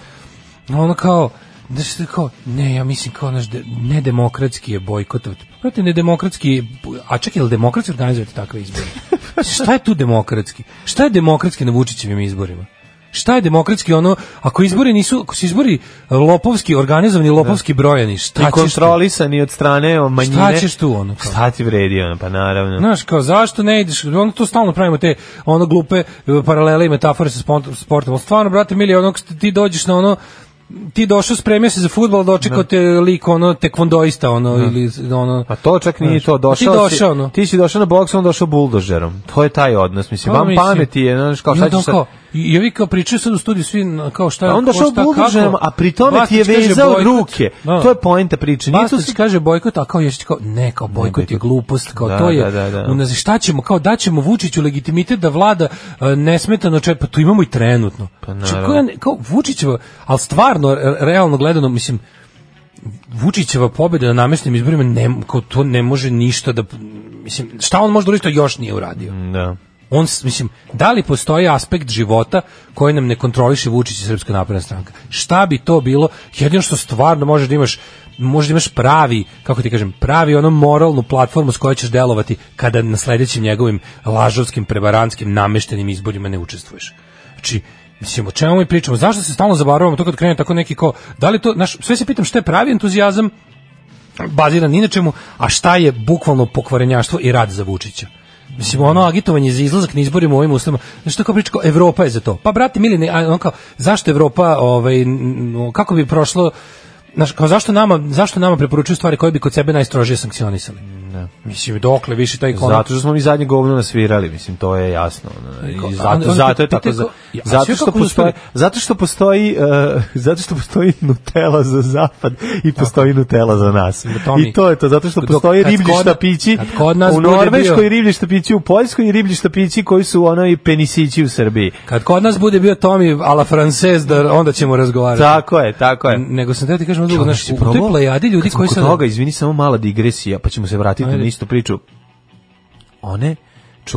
Speaker 5: ono kao, znaš, kao, ne, ja mislim, kao, znaš, de- nedemokratski je bojkotov. Prate, nedemokratski, a čak je li demokratski organizujete takve izbore? Šta je tu demokratski? Šta je demokratski na Vučićevim izborima? Šta je demokratski ono, ako izbori nisu, ako su izbori lopovski, organizovani lopovski brojani, šta
Speaker 6: I
Speaker 5: ćeš tu?
Speaker 6: kontrolisani od strane o, manjine.
Speaker 5: Šta ćeš tu, ono, kao?
Speaker 6: Šta ti vredi, ono, pa naravno.
Speaker 5: Znaš, kao, zašto ne ideš, ono to stalno pravimo te, ono, glupe e, paralele i metafore sa spont- sportom, ali stvarno, brate, mili, ono, kad ti dođeš na ono, ti došao, spremio se za futbol, dočekao te lik, ono, tekvondoista, ono, ili, ono...
Speaker 6: Pa to čak nije
Speaker 5: Znaš,
Speaker 6: to,
Speaker 5: ti
Speaker 6: došao
Speaker 5: došao, ono.
Speaker 6: ti si došao na boks, on došao buldožerom. To je taj odnos, mislim,
Speaker 5: Pa,
Speaker 6: vam
Speaker 5: mislim,
Speaker 6: pameti je, znaš, kao
Speaker 5: i
Speaker 6: šta
Speaker 5: onda
Speaker 6: ćeš sad... Pa
Speaker 5: kao, I i ovi kao pričaju sad u studiju svi na- kao šta
Speaker 6: A on
Speaker 5: ko
Speaker 6: došao
Speaker 5: šta,
Speaker 6: buldožerom,
Speaker 5: kako.
Speaker 6: a pri tome ti je
Speaker 5: Vastić kaže
Speaker 6: vezao
Speaker 5: bojkot.
Speaker 6: ruke.
Speaker 5: Da.
Speaker 6: To je poenta priče. Nije to
Speaker 5: Bastić
Speaker 6: Znači, svi...
Speaker 5: kaže bojkot, a kao Ješić kao ne, kao bojkot je glupost, kao
Speaker 6: Da,
Speaker 5: to je.
Speaker 6: da, da, da.
Speaker 5: unaz- šta ćemo, kao daćemo Vučiću legitimitet da vlada e, nesmetano, če pa to imamo i trenutno. Pa
Speaker 6: naravno.
Speaker 5: kao, kao Vučićeva, ali stvarno re- realno gledano mislim Vučićeva pobeda na namestnim izborima ne, kao to ne može ništa da mislim šta on može da uradi što još nije uradio.
Speaker 6: Da.
Speaker 5: on s- mislim da li postoji aspekt života koji nam ne kontroliše Vučić i Srpska napredna stranka šta bi to bilo jedino što stvarno možeš da imaš možeš da imaš pravi kako ti kažem pravi ono moralnu platformu s kojoj ćeš delovati kada na sledećim njegovim lažovskim prevarantskim nameštenim izborima ne učestvuješ znači Mislim, o čemu mi pričamo? Zašto se stalno zabaravamo to kad krene tako neki ko... Da li to, znaš, sve se pitam šta je pravi entuzijazam baziran ni na čemu, a šta je bukvalno pokvarenjaštvo i rad za Vučića. Mislim, ono agitovanje za izlazak na izborima u ovim uslovima, znaš što kao priča, kao, Evropa je za to. Pa, brate, mili, ne, a, on kao, zašto Evropa, ovaj, n- n- kako bi prošlo, znaš, kao zašto nama, zašto nama preporučuju stvari koje bi kod sebe najstrožije sankcionisali? Ne. Mislim, dokle više taj konak...
Speaker 6: Zato što smo mi zadnje govno nasvirali, mislim, to je jasno. ono,
Speaker 5: Niko-
Speaker 6: I
Speaker 5: a
Speaker 6: zato,
Speaker 5: onda-
Speaker 6: zato je
Speaker 5: pitaj
Speaker 6: tako...
Speaker 5: ko-
Speaker 6: Za,
Speaker 5: Ja, a sve
Speaker 6: zato, što
Speaker 5: kako su
Speaker 6: postoji,
Speaker 5: uspeli?
Speaker 6: zato što postoji <laughs> eh, zato što postoji Nutella za zapad i postoji Nutella za nas.
Speaker 5: to mi-
Speaker 6: I to je to, zato što
Speaker 5: Dok-
Speaker 6: postoje
Speaker 5: kad
Speaker 6: riblji
Speaker 5: kod-
Speaker 6: štapići
Speaker 5: kad kod nas
Speaker 6: u
Speaker 5: bude
Speaker 6: Norveškoj,
Speaker 5: bio-
Speaker 6: riblji štapići u Poljskoj i riblji štapići koji su ono i penisići u Srbiji.
Speaker 5: Kad kod nas bude bio Tomi a la Frances, da onda ćemo razgovarati.
Speaker 6: Tako je, tako je.
Speaker 5: N- Nego sam teo ti kažem,
Speaker 6: Čovječe,
Speaker 5: drugo, znaš,
Speaker 6: si
Speaker 5: u toj
Speaker 6: probao?
Speaker 5: plejadi ljudi
Speaker 6: Kad smo
Speaker 5: koji
Speaker 6: kod
Speaker 5: sad...
Speaker 6: toga, izvini, samo mala digresija, pa ćemo se vratiti
Speaker 5: Ajde.
Speaker 6: na istu priču. One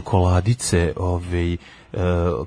Speaker 6: čokoladice, ovaj, e,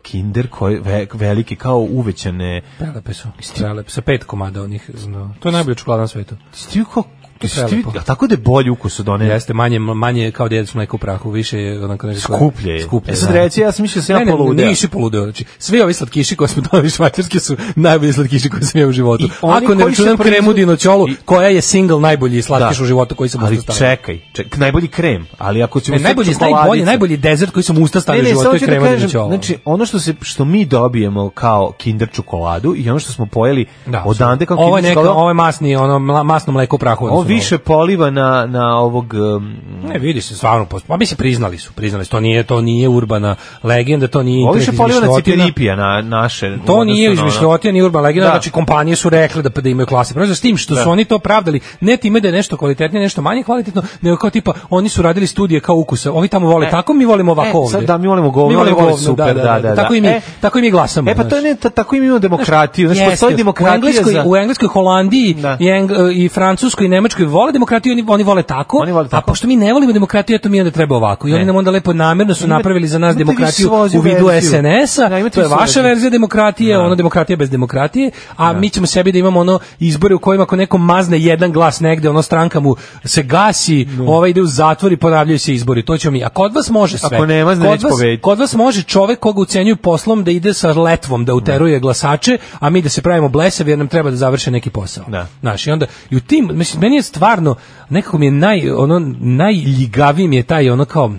Speaker 6: kinder koje ve- velike kao uvećane
Speaker 5: Prelepe su, prelepe, sa pet komada onih, no, to je najbolja čokolada na svetu.
Speaker 6: Sti kao
Speaker 5: To je
Speaker 6: jesi ti-
Speaker 5: prelepo.
Speaker 6: a tako da je bolji ukus od one
Speaker 5: Jeste manje manje kao djeca su mleko u prahu, više je onako nešto
Speaker 6: skuplje je.
Speaker 5: Skuplje.
Speaker 6: E sad reći, ja sam mislio da sam ja
Speaker 5: ne, ne,
Speaker 6: poludeo.
Speaker 5: nisi poludeo, znači svi ovi slatkiši koje smo dobili švajcarski su najbolji slatkiši koje sam jeo u životu.
Speaker 6: oni
Speaker 5: Ako ne
Speaker 6: koji
Speaker 5: računam
Speaker 6: se
Speaker 5: kremu
Speaker 6: proizvode-
Speaker 5: dinoćolu,
Speaker 6: I-
Speaker 5: koja je single najbolji slatkiš
Speaker 6: Da.
Speaker 5: u životu koji sam
Speaker 6: ali
Speaker 5: usta stavio.
Speaker 6: čekaj, ček, najbolji krem, ali ako ćemo
Speaker 5: Ne,
Speaker 6: sad
Speaker 5: najbolji, najbolji,
Speaker 6: čokoladice-
Speaker 5: najbolji dezert koji sam u usta stavio
Speaker 6: Ne, ne,
Speaker 5: u životu
Speaker 6: samo
Speaker 5: je
Speaker 6: ću da
Speaker 5: krema
Speaker 6: kažem,
Speaker 5: dinoćola.
Speaker 6: znači ono što se što mi dobijemo kao Kinder čokoladu i ono što smo pojeli
Speaker 5: Da,
Speaker 6: odande kao
Speaker 5: ovo je
Speaker 6: Kinder
Speaker 5: neka,
Speaker 6: čokoladu,
Speaker 5: ovo je masni, ono mla- masno mleko u prahu.
Speaker 6: ovo
Speaker 5: odnosno na
Speaker 6: više poliva na na ovog um,
Speaker 5: Ne, vidi se stvarno post. Pa mislim priznali su, priznali su. To nije to nije urbana legenda, to nije
Speaker 6: ovo više
Speaker 5: internet
Speaker 6: poliva na
Speaker 5: izmišljotina.
Speaker 6: ciperipija na naše.
Speaker 5: To
Speaker 6: odnosno na
Speaker 5: nije
Speaker 6: ono-
Speaker 5: izmišljotina, ni urbana legenda,
Speaker 6: Da.
Speaker 5: znači kompanije su rekle da, da imaju klase proizvoda, s tim što su oni to pravdali, ne time da je nešto kvalitetnije, nešto manje kvalitetno, nego kao tipa, oni su radili studije kao ukusa, ovi tamo vole
Speaker 6: E,
Speaker 5: tako, mi volimo ovako
Speaker 6: e,
Speaker 5: ovdje.
Speaker 6: sad da, mi volimo govno,
Speaker 5: Mi volimo
Speaker 6: oni vole
Speaker 5: govno,
Speaker 6: super, da, da, da.
Speaker 5: Tako i mi,
Speaker 6: E,
Speaker 5: tako i mi glasamo. znači.
Speaker 6: E pa to
Speaker 5: znaš.
Speaker 6: je ne, ta- tako i mi imamo demokratiju, znači
Speaker 5: Jeste,
Speaker 6: postoji
Speaker 5: u
Speaker 6: demokratija
Speaker 5: Engleskoj,
Speaker 6: za
Speaker 5: u Engleskoj, Holandiji
Speaker 6: Da.
Speaker 5: i, Eng, i Francuskoj i Nemačkoj vole demokratiju, oni, oni vole tako,
Speaker 6: Oni vole tako.
Speaker 5: a pošto mi ne volimo demokratiju, eto mi onda treba ovako. I oni
Speaker 6: Ne.
Speaker 5: nam onda lepo namjerno su
Speaker 6: Imate-
Speaker 5: napravili za nas
Speaker 6: imate vi
Speaker 5: demokratiju
Speaker 6: svoju
Speaker 5: u vidu
Speaker 6: verziju.
Speaker 5: SNS-a,
Speaker 6: Da, imate
Speaker 5: to je
Speaker 6: vi svoju
Speaker 5: vaša
Speaker 6: verziju.
Speaker 5: verzija demokratije, ono demokratija bez demokratije, a mi ćemo sebi da imamo ono izbore u kojima ako neko mazne jedan glas negde, ono stranka mu se gasi, ovaj ide u zatvor i ponavljaju se izbori, to ćemo mi. A kod vas može sve.
Speaker 6: Ako ne mazne,
Speaker 5: Kod
Speaker 6: neće
Speaker 5: vas-
Speaker 6: pobediti.
Speaker 5: Kod vas može čovek koga ucenjuju poslom da ide sa letvom da uteruje glasače, a mi da se pravimo blesavi jer nam treba da završe neki posao.
Speaker 6: Da.
Speaker 5: Znaš, i onda i u tim, mislim, meni je stvarno nekako mi je naj, ono, najljigaviji mi je taj ono kao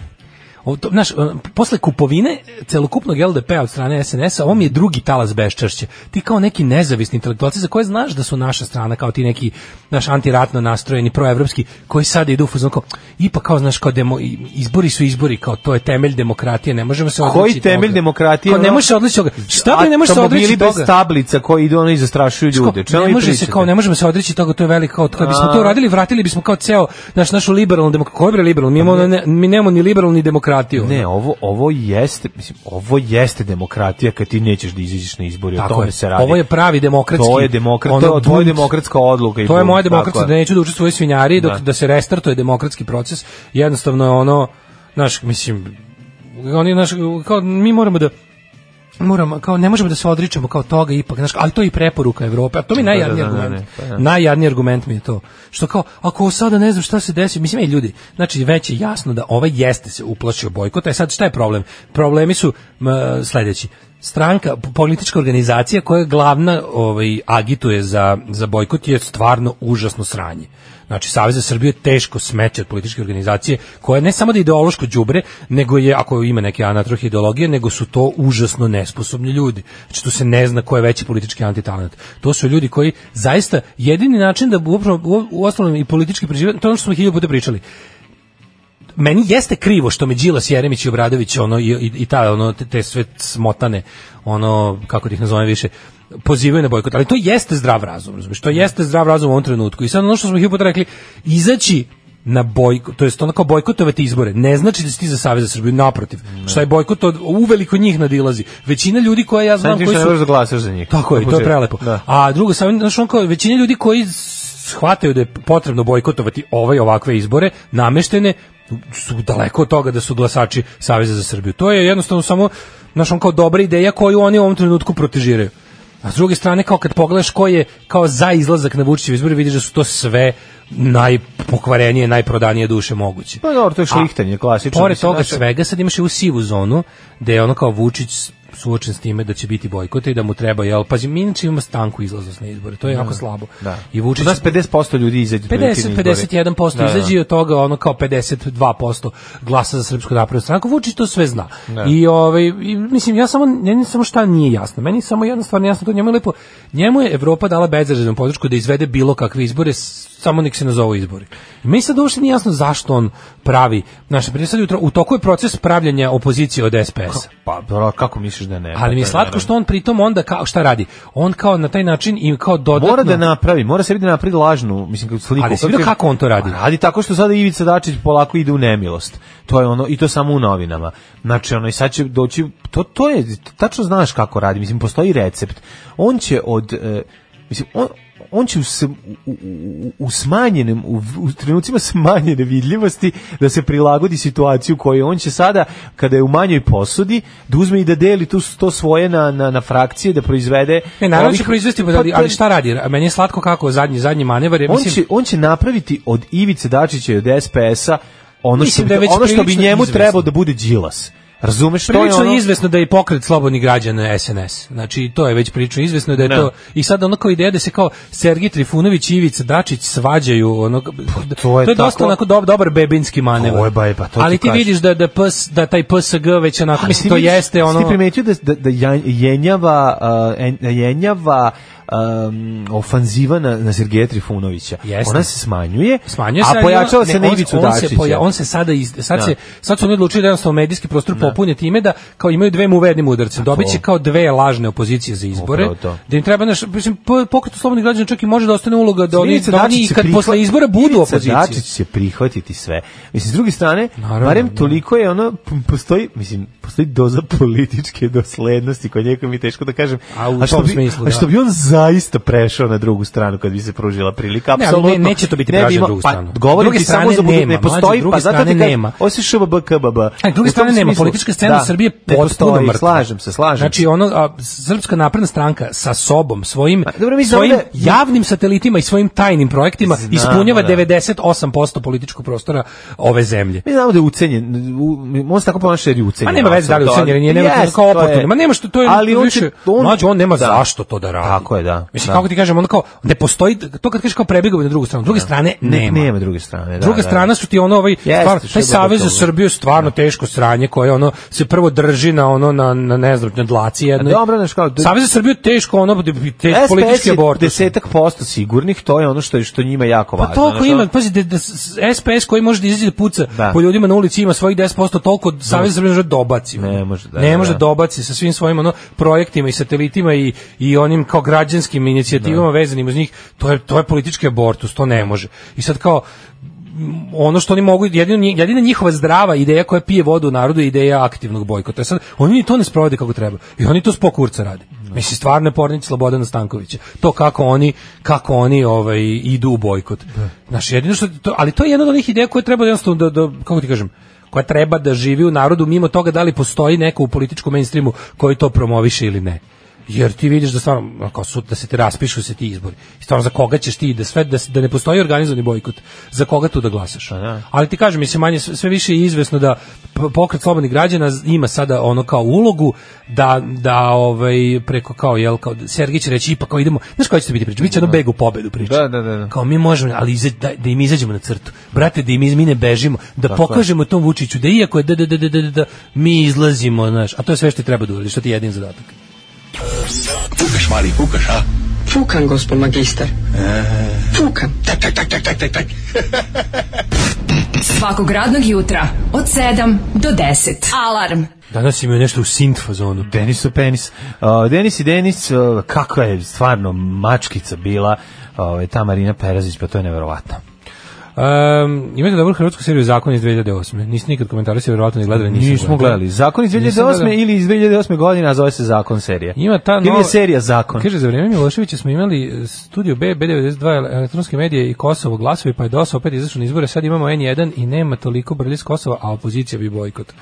Speaker 5: ovo to, znaš, ono, posle kupovine celokupnog LDP-a od strane SNS-a, ovo mi je drugi talas beščašća. Ti kao neki nezavisni intelektualci za koje znaš da su naša strana, kao ti neki naš antiratno nastrojeni, proevropski, koji sada idu u fuzon kao, ipak kao, znaš, kao demo, izbori su izbori, kao to je temelj demokratije, ne možemo se
Speaker 6: Koji
Speaker 5: odličiti
Speaker 6: temelj
Speaker 5: toga.
Speaker 6: demokratije,
Speaker 5: Kao ne
Speaker 6: ono?
Speaker 5: možeš se odličiti toga. Šta bi ne možeš se odličiti
Speaker 6: Automobili
Speaker 5: toga?
Speaker 6: bez tablica koji idu ono i zastrašuju ljude.
Speaker 5: Kao,
Speaker 6: Čemu
Speaker 5: ne
Speaker 6: vi
Speaker 5: može se
Speaker 6: pričate?
Speaker 5: kao ne možemo se odreći toga, to je veliko kao kad bismo to
Speaker 6: A.
Speaker 5: radili, vratili bismo kao ceo naš našu liberalnu demokratiju. Koji je liberalno? Mi imamo ne, mi nemamo ni liberalnu ni demokratiju.
Speaker 6: Pa Ne, ovo ovo jeste, mislim, ovo jeste demokratija kad ti nećeš da izađeš na izbore, o
Speaker 5: Tako
Speaker 6: tome
Speaker 5: je.
Speaker 6: se radi.
Speaker 5: Ovo je pravi demokratski,
Speaker 6: To je demokrat,
Speaker 5: ono,
Speaker 6: to je tvoja
Speaker 5: bunt.
Speaker 6: demokratska odluka i
Speaker 5: To je
Speaker 6: bunt,
Speaker 5: moja
Speaker 6: tako
Speaker 5: demokratska
Speaker 6: je.
Speaker 5: da neću da učestvujem u svinjari dok da.
Speaker 6: Da.
Speaker 5: se restartuje demokratski proces. Jednostavno je ono, znaš, mislim oni naš kao mi moramo da moramo kao ne možemo da se odričemo kao toga ipak znaš ali to je i preporuka Evrope a to mi je
Speaker 6: da,
Speaker 5: najjadniji
Speaker 6: da, da,
Speaker 5: argument
Speaker 6: ne, pa da.
Speaker 5: najjadniji argument mi je to što kao ako sada ne znam šta se desi mislim ej ljudi znači već je jasno da ovaj jeste se uplašio bojkota e sad šta je problem problemi su m, sledeći stranka p- politička organizacija koja je glavna ovaj agituje za za bojkot je stvarno užasno sranje Znači, Savez za Srbiju je teško smeće od političke organizacije, koja ne samo da je ideološko đubre, nego je, ako ima neke anatrohe ideologije, nego su to užasno nesposobni ljudi. Znači, tu se ne zna ko je veći politički antitalent. To su ljudi koji zaista jedini način da upravo, u, u osnovnom i politički preživaju, to je ono što smo hiljadu puta pričali meni jeste krivo što me Đilas, Jeremić i Obradović ono i, i, i ta ono te, te sve smotane ono kako da ih nazovem više pozivaju na bojkot, ali to jeste zdrav razum, razumiješ, to jeste zdrav razum u ovom trenutku i sad ono što smo hiljadu puta rekli, izaći na bojkot, to jest onako bojkotovati izbore, ne znači da si ti za Savez za Srbiju, naprotiv, šta je bojkot od, uveliko njih nadilazi, većina ljudi koja ja
Speaker 6: Sad
Speaker 5: znam
Speaker 6: ti
Speaker 5: koji
Speaker 6: što ne
Speaker 5: su
Speaker 6: možeš da glasaš za njih.
Speaker 5: tako je, to je prelepo.
Speaker 6: Da.
Speaker 5: A drugo, sam, znaš, on kao, većina ljudi koji s- shvataju da je potrebno bojkotovati ove i ovakve izbore, nameštene, su daleko od toga da su glasači Saveza za Srbiju. To je jednostavno samo, znaš, on kao dobra ideja koju oni u ovom trenutku protežiraju. A s druge strane, kao kad pogledaš ko je kao za izlazak na Vučićev izbor, vidiš da su to sve najpokvarenije, najprodanije duše moguće.
Speaker 6: Pa dobro, to je šlihtanje,
Speaker 5: A,
Speaker 6: klasično.
Speaker 5: Pored
Speaker 6: mislim,
Speaker 5: toga
Speaker 6: znaš,
Speaker 5: svega, sad imaš i u sivu zonu, gde je ono kao Vučić suočen s time da će biti bojkota i da mu treba, jel, pazi, mi inače imamo stanku izlaznost na izbore, to je jako slabo.
Speaker 6: Da.
Speaker 5: I Vučić...
Speaker 6: Kod nas 50% ljudi izađe.
Speaker 5: 50-51%
Speaker 6: Da, da.
Speaker 5: izađe i od toga ono kao 52% glasa za Srpsku naprednu stranku. Vučić to sve zna. I ovaj i, mislim ja samo meni samo šta nije jasno. Meni samo jedna stvar nije jasna, to njemu je lepo. Njemu je Evropa dala bezrezervnu podršku da izvede bilo kakve izbore, s- samo nek se nazovu izbori. I meni sad uopšte nije jasno zašto on pravi. Naše prije sad jutro u toku je proces pravljenja opozicije od SPS.
Speaker 6: Pa, dobro, kako misliš da ne? Pa,
Speaker 5: Ali mi je slatko što on pritom onda kao šta radi? On kao na taj način i kao dodatno
Speaker 6: Mora da napravi, mora se vidi da napravi lažnu, mislim kako sliku.
Speaker 5: Ali si vidio kako on to radi?
Speaker 6: Pa, Radi tako što sada Ivica Dačić polako ide u nemilost. To je ono i to samo u novinama. Znači ono i sad će doći to to je tačno znaš kako radi, mislim postoji recept. On će od e, mislim on on će u, s- u, u- u- u smanjenim u, u trenucima smanjene vidljivosti da se prilagodi situaciju koju on će sada kada je u manjoj posudi da uzme i da deli tu to svoje na na na frakcije da proizvede
Speaker 5: Ne, naravno će
Speaker 6: ovih-
Speaker 5: proizvesti,
Speaker 6: Pa
Speaker 5: ali,
Speaker 6: to
Speaker 5: ali
Speaker 6: je-
Speaker 5: šta radi? Meni je slatko kako zadnji, zadnji manevar. Ja
Speaker 6: on
Speaker 5: mislim,
Speaker 6: će, E, on će napraviti od Ivice Dačića i od SPS-a ono, što
Speaker 5: Mislim
Speaker 6: bi,
Speaker 5: da je već
Speaker 6: ono što bi
Speaker 5: prilično
Speaker 6: njemu
Speaker 5: izvesno.
Speaker 6: trebao da bude Đilas. Razumeš? To je
Speaker 5: prilično
Speaker 6: ono...
Speaker 5: je izvesno da je pokret slobodnih građana SNS. Znači, to je već prilično izvesno da je
Speaker 6: Ne.
Speaker 5: to... I sad ono kao ideja da se kao Sergij Trifunović i Ivica Dačić svađaju, ono,
Speaker 6: to je
Speaker 5: dosta
Speaker 6: tako-
Speaker 5: onako dob- dobar bebinski manevar.
Speaker 6: To je, ba, pa to
Speaker 5: Ali
Speaker 6: ti
Speaker 5: e, ti
Speaker 6: kažem.
Speaker 5: vidiš da, da, PS, da taj PSG već onako,
Speaker 6: Ali
Speaker 5: mislim,
Speaker 6: ti
Speaker 5: to
Speaker 6: vidiš-
Speaker 5: jeste ono...
Speaker 6: Ti primetio da, da, da ja- jenjava, uh, en- jenjava um, ofanziva na, na Sergeja Trifunovića.
Speaker 5: Jeste.
Speaker 6: Ona se smanjuje,
Speaker 5: smanjuje
Speaker 6: a
Speaker 5: se,
Speaker 6: pojačava
Speaker 5: ali on-
Speaker 6: se
Speaker 5: ne,
Speaker 6: na
Speaker 5: on-
Speaker 6: Ivicu
Speaker 5: on se
Speaker 6: Dačića.
Speaker 5: poja- on se sada iz, sad
Speaker 6: Da.
Speaker 5: se sad su oni odlučili da jednostavno medijski prostor popune time da kao imaju dve muvernim udarce. Dobiće kao dve lažne opozicije za izbore.
Speaker 6: Upravo to.
Speaker 5: Da im treba naš mislim po- pokret slobodnih građana čak i može da ostane uloga da oni
Speaker 6: Ivica
Speaker 5: da oni
Speaker 6: Dačić će
Speaker 5: kad
Speaker 6: prihva-
Speaker 5: posle izbora budu
Speaker 6: Ivica
Speaker 5: opozicija.
Speaker 6: Dačić će prihvatiti sve. Mislim, s druge strane,
Speaker 5: Naravno,
Speaker 6: barem
Speaker 5: da.
Speaker 6: toliko je ono, p- postoji, mislim, postoji doza <laughs> političke doslednosti koja njega mi je teško da kažem.
Speaker 5: A u tom
Speaker 6: što bi,
Speaker 5: smislu,
Speaker 6: a što
Speaker 5: da.
Speaker 6: bi on zaista prešao na drugu stranu kad bi se pružila prilika,
Speaker 5: Ne, ali
Speaker 6: apsolutno.
Speaker 5: ne- neće to biti
Speaker 6: bi
Speaker 5: tražio
Speaker 6: imao-
Speaker 5: drugu
Speaker 6: pa,
Speaker 5: stranu.
Speaker 6: Govorim
Speaker 5: Druge
Speaker 6: ti samo
Speaker 5: strane
Speaker 6: za budu-
Speaker 5: nema,
Speaker 6: ne
Speaker 5: mlađe,
Speaker 6: postoji,
Speaker 5: druge
Speaker 6: pa zato ti
Speaker 5: strane
Speaker 6: kažem,
Speaker 5: nema.
Speaker 6: osim šbb, kbb.
Speaker 5: A, s druge
Speaker 6: U tom
Speaker 5: strane nema,
Speaker 6: smislu-
Speaker 5: politička scena
Speaker 6: da,
Speaker 5: u Srbiji je
Speaker 6: ne
Speaker 5: potpuno
Speaker 6: postoji,
Speaker 5: mrtva.
Speaker 6: Slažem se, slažem se.
Speaker 5: Znači ono a, srpska napredna stranka sa sobom, svojim
Speaker 6: Pa, dobro, mi znamo
Speaker 5: svojim
Speaker 6: da-
Speaker 5: javnim satelitima i svojim tajnim projektima
Speaker 6: Znamo,
Speaker 5: ispunjava
Speaker 6: da.
Speaker 5: 98% političkog prostora ove zemlje.
Speaker 6: Mi znamo da je ucenjen, u, on se tako ponaša jer je ucenjen.
Speaker 5: Ma Pa nema veze da li ucenjen ili nije, nema to je kao oportuno. Ma nema što to je ali više, on, mlađe, on nema
Speaker 6: da.
Speaker 5: zašto to da radi.
Speaker 6: Tako je, da.
Speaker 5: Mislim,
Speaker 6: Da.
Speaker 5: kako ti kažem, ono kao, ne postoji, to kad kažeš kao prebjegao bi na drugu stranu, druge strane
Speaker 6: Ne-
Speaker 5: nema.
Speaker 6: nema druge strane, da,
Speaker 5: Druga
Speaker 6: da.
Speaker 5: strana su ti ono, ovaj,
Speaker 6: Jeste,
Speaker 5: stvarno,
Speaker 6: što
Speaker 5: taj
Speaker 6: je
Speaker 5: Savez za
Speaker 6: brutalno.
Speaker 5: Srbiju je stvarno teško sranje koje ono, se prvo drži na ono, na, na ne znam, na dlaci jednoj.
Speaker 6: dobro, znaš kao-
Speaker 5: Savez za Srbiju je teško ono, te,
Speaker 6: SPS
Speaker 5: politički
Speaker 6: je
Speaker 5: abortus.
Speaker 6: desetak posto sigurnih, to je ono što je što njima jako
Speaker 5: Pa
Speaker 6: važno.
Speaker 5: toliko
Speaker 6: znaš,
Speaker 5: ima,
Speaker 6: ono-
Speaker 5: pazi, da, da s- SPS koji može da izađe da puca
Speaker 6: Da.
Speaker 5: po ljudima na ulici ima svojih 10%, toliko Savez Srbije može da dobaci. ono.
Speaker 6: Ne može, da,
Speaker 5: ne
Speaker 6: da,
Speaker 5: može
Speaker 6: da.
Speaker 5: dobaci sa svim svojim ono, projektima i satelitima i, i onim kao građanskim inicijativama vezanim uz njih, to je, to je politički abortus, to ne može. I sad kao, m, ono što oni mogu, jedino, nji- jedina njihova zdrava ideja koja pije vodu u narodu je ideja aktivnog bojkota. E Sad, oni ni to ne sprovode kako treba. I oni to s pokurca rade. Mislim, stvarno je pornić Slobodana Stankovića. To kako oni, kako oni ovaj, idu u bojkot. Znaš, jedino što, to, ali to je jedna od onih ideja koja treba da jednostavno, da, da, kako ti kažem, koja treba da živi u narodu mimo toga da li postoji neko u političkom mainstreamu koji to promoviše ili ne. Jer ti vidiš da stvarno ono, kao sud da se ti raspišu se ti izbori. I Stvarno za koga ćeš ti da sve da, s- da ne postoji organizovani bojkot, za koga tu da glasaš.
Speaker 6: Pa
Speaker 5: Ali ti kažem, mislim manje sve sve više je izvesno da p- pokret slobodnih građana z- ima sada ono kao ulogu da da ovaj preko kao jel kao Sergić će reći ipak kao idemo. Znaš koja će to biti priča? Biće ono beg u pobedu priča.
Speaker 6: Da, da, da, da.
Speaker 5: Kao mi možemo, ali iza, da, da im izađemo na crtu. Brate, da im iz mi ne bežimo, da pokažemo tom Vučiću da iako je da, da, da, da, da, da, da, mi izlazimo, znaš. A to je sve što ti treba da uradiš, što ti je jedin zadatak.
Speaker 4: Fukan, gospod magister. Fukan.
Speaker 9: Svakog radnog jutra od 7 do 10. Alarm.
Speaker 5: Danas imaju nešto u synth fazonu.
Speaker 6: Denisu ono- penis. Uh, Denis i Denis, uh, kakva ovaj, je stvarno mačkica bila uh, ta Marina Perazić, pa to je neverovatno.
Speaker 5: Um, imate dobru hrvatsku seriju Zakon iz 2008. Niste nikad komentarisali, verovatno ne gledali. Nisam
Speaker 6: Nismo gledali. Zakon iz
Speaker 5: Nisam
Speaker 6: 2008.
Speaker 5: gledao.
Speaker 6: ili iz 2008. godine, a zove se Zakon serija.
Speaker 5: Ima ta
Speaker 6: Ili
Speaker 5: nova-
Speaker 6: je serija Zakon.
Speaker 5: Kaže, za vrijeme Miloševića smo imali e, studio B, B92, elektronske medije i Kosovo glasovi, pa je DOS opet izašao na izbore, sad imamo N1 i nema toliko brlje s Kosova, a opozicija bi bojkot.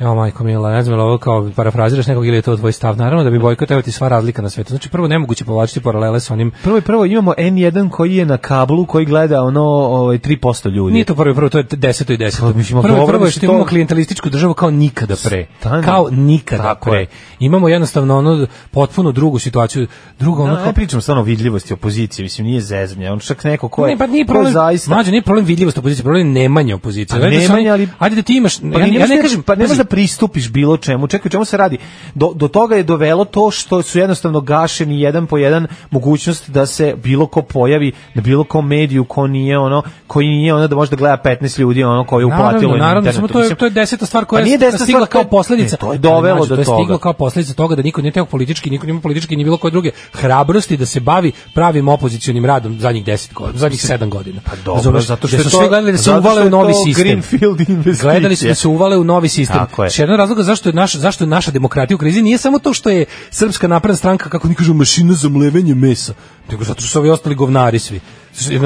Speaker 5: Evo, majko mila, ne znam je li ovo kao parafraziraš nekog ili je to tvoj stav. Naravno da bi bojkot, evo ti sva razlika na svetu. Znači, prvo nemoguće povlačiti paralele sa onim
Speaker 6: Prvo i prvo imamo N1 koji je na kablu koji gleda ono ovaj 3% ljudi.
Speaker 5: Nije to prvo i prvo, to je deseto i deseto.
Speaker 6: Pa, mislim,
Speaker 5: prvo i
Speaker 6: dobro,
Speaker 5: prvo je što
Speaker 6: mislim,
Speaker 5: imamo
Speaker 6: to-
Speaker 5: klijentelističku državu kao nikada pre.
Speaker 6: Stani.
Speaker 5: Kao nikada
Speaker 6: Tako
Speaker 5: pre.
Speaker 6: je.
Speaker 5: Imamo jednostavno ono potpuno drugu situaciju. Drugo ono
Speaker 6: Da,
Speaker 5: kao-
Speaker 6: ne pričam stvarno o vidljivosti opozicije, mislim nije zezanje, on čak neko ko je
Speaker 5: Ne, pa nije
Speaker 6: ko
Speaker 5: problem,
Speaker 6: zaista
Speaker 5: mlađe, nije problem vidljivost opozicije, problem je nemanje
Speaker 6: Pa
Speaker 5: opozicije. Znači da su
Speaker 6: nemanje,
Speaker 5: oni-
Speaker 6: ali-
Speaker 5: Ajde da ti imaš,
Speaker 6: Pa
Speaker 5: ja,
Speaker 6: ne,
Speaker 5: ja ne
Speaker 6: kažem, pa ne možeš
Speaker 5: pazi,
Speaker 6: da pristupiš bilo čemu. Čekaj, o čemu se radi? Do, do toga je dovelo to što su jednostavno gašeni jedan po jedan mogućnost da se bilo ko pojavi na bilo kom mediju ko nije ono, koji nije ono da može da gleda 15 ljudi ono koji je uplatilo
Speaker 5: Naravno,
Speaker 6: na
Speaker 5: naravno,
Speaker 6: internetu.
Speaker 5: samo to je
Speaker 6: Mislim,
Speaker 5: to je deseta stvar koja
Speaker 6: Pa nije
Speaker 5: je
Speaker 6: deseta
Speaker 5: stigla
Speaker 6: stvar,
Speaker 5: kao E,
Speaker 6: to je-
Speaker 5: posljedica.
Speaker 6: ne, to je
Speaker 5: Ali,
Speaker 6: dovelo
Speaker 5: mlađe,
Speaker 6: do
Speaker 5: to je
Speaker 6: toga.
Speaker 5: stiglo kao posljedica toga da niko nije teo politički, niko nije imao politički ni bilo koje druge hrabrosti da se bavi pravim opozicionim radom zadnjih 10 godina, zadnjih 7 godina.
Speaker 6: Pa dobro,
Speaker 5: Razumeš?
Speaker 6: zato što
Speaker 5: Gde
Speaker 6: je
Speaker 5: su
Speaker 6: to-
Speaker 5: svi gledali da se
Speaker 6: zato što
Speaker 5: uvale
Speaker 6: je
Speaker 5: u novi
Speaker 6: to
Speaker 5: sistem.
Speaker 6: greenfield investicija.
Speaker 5: Gledali su da se uvale u novi sistem.
Speaker 6: Tako je.
Speaker 5: Še- jedan od razloga zašto je naš zašto je naša demokratija u krizi nije samo to što je srpska napredna stranka kako oni kažu mašina za mlevenje mesa, nego zato što su ovi ostali govnari svi.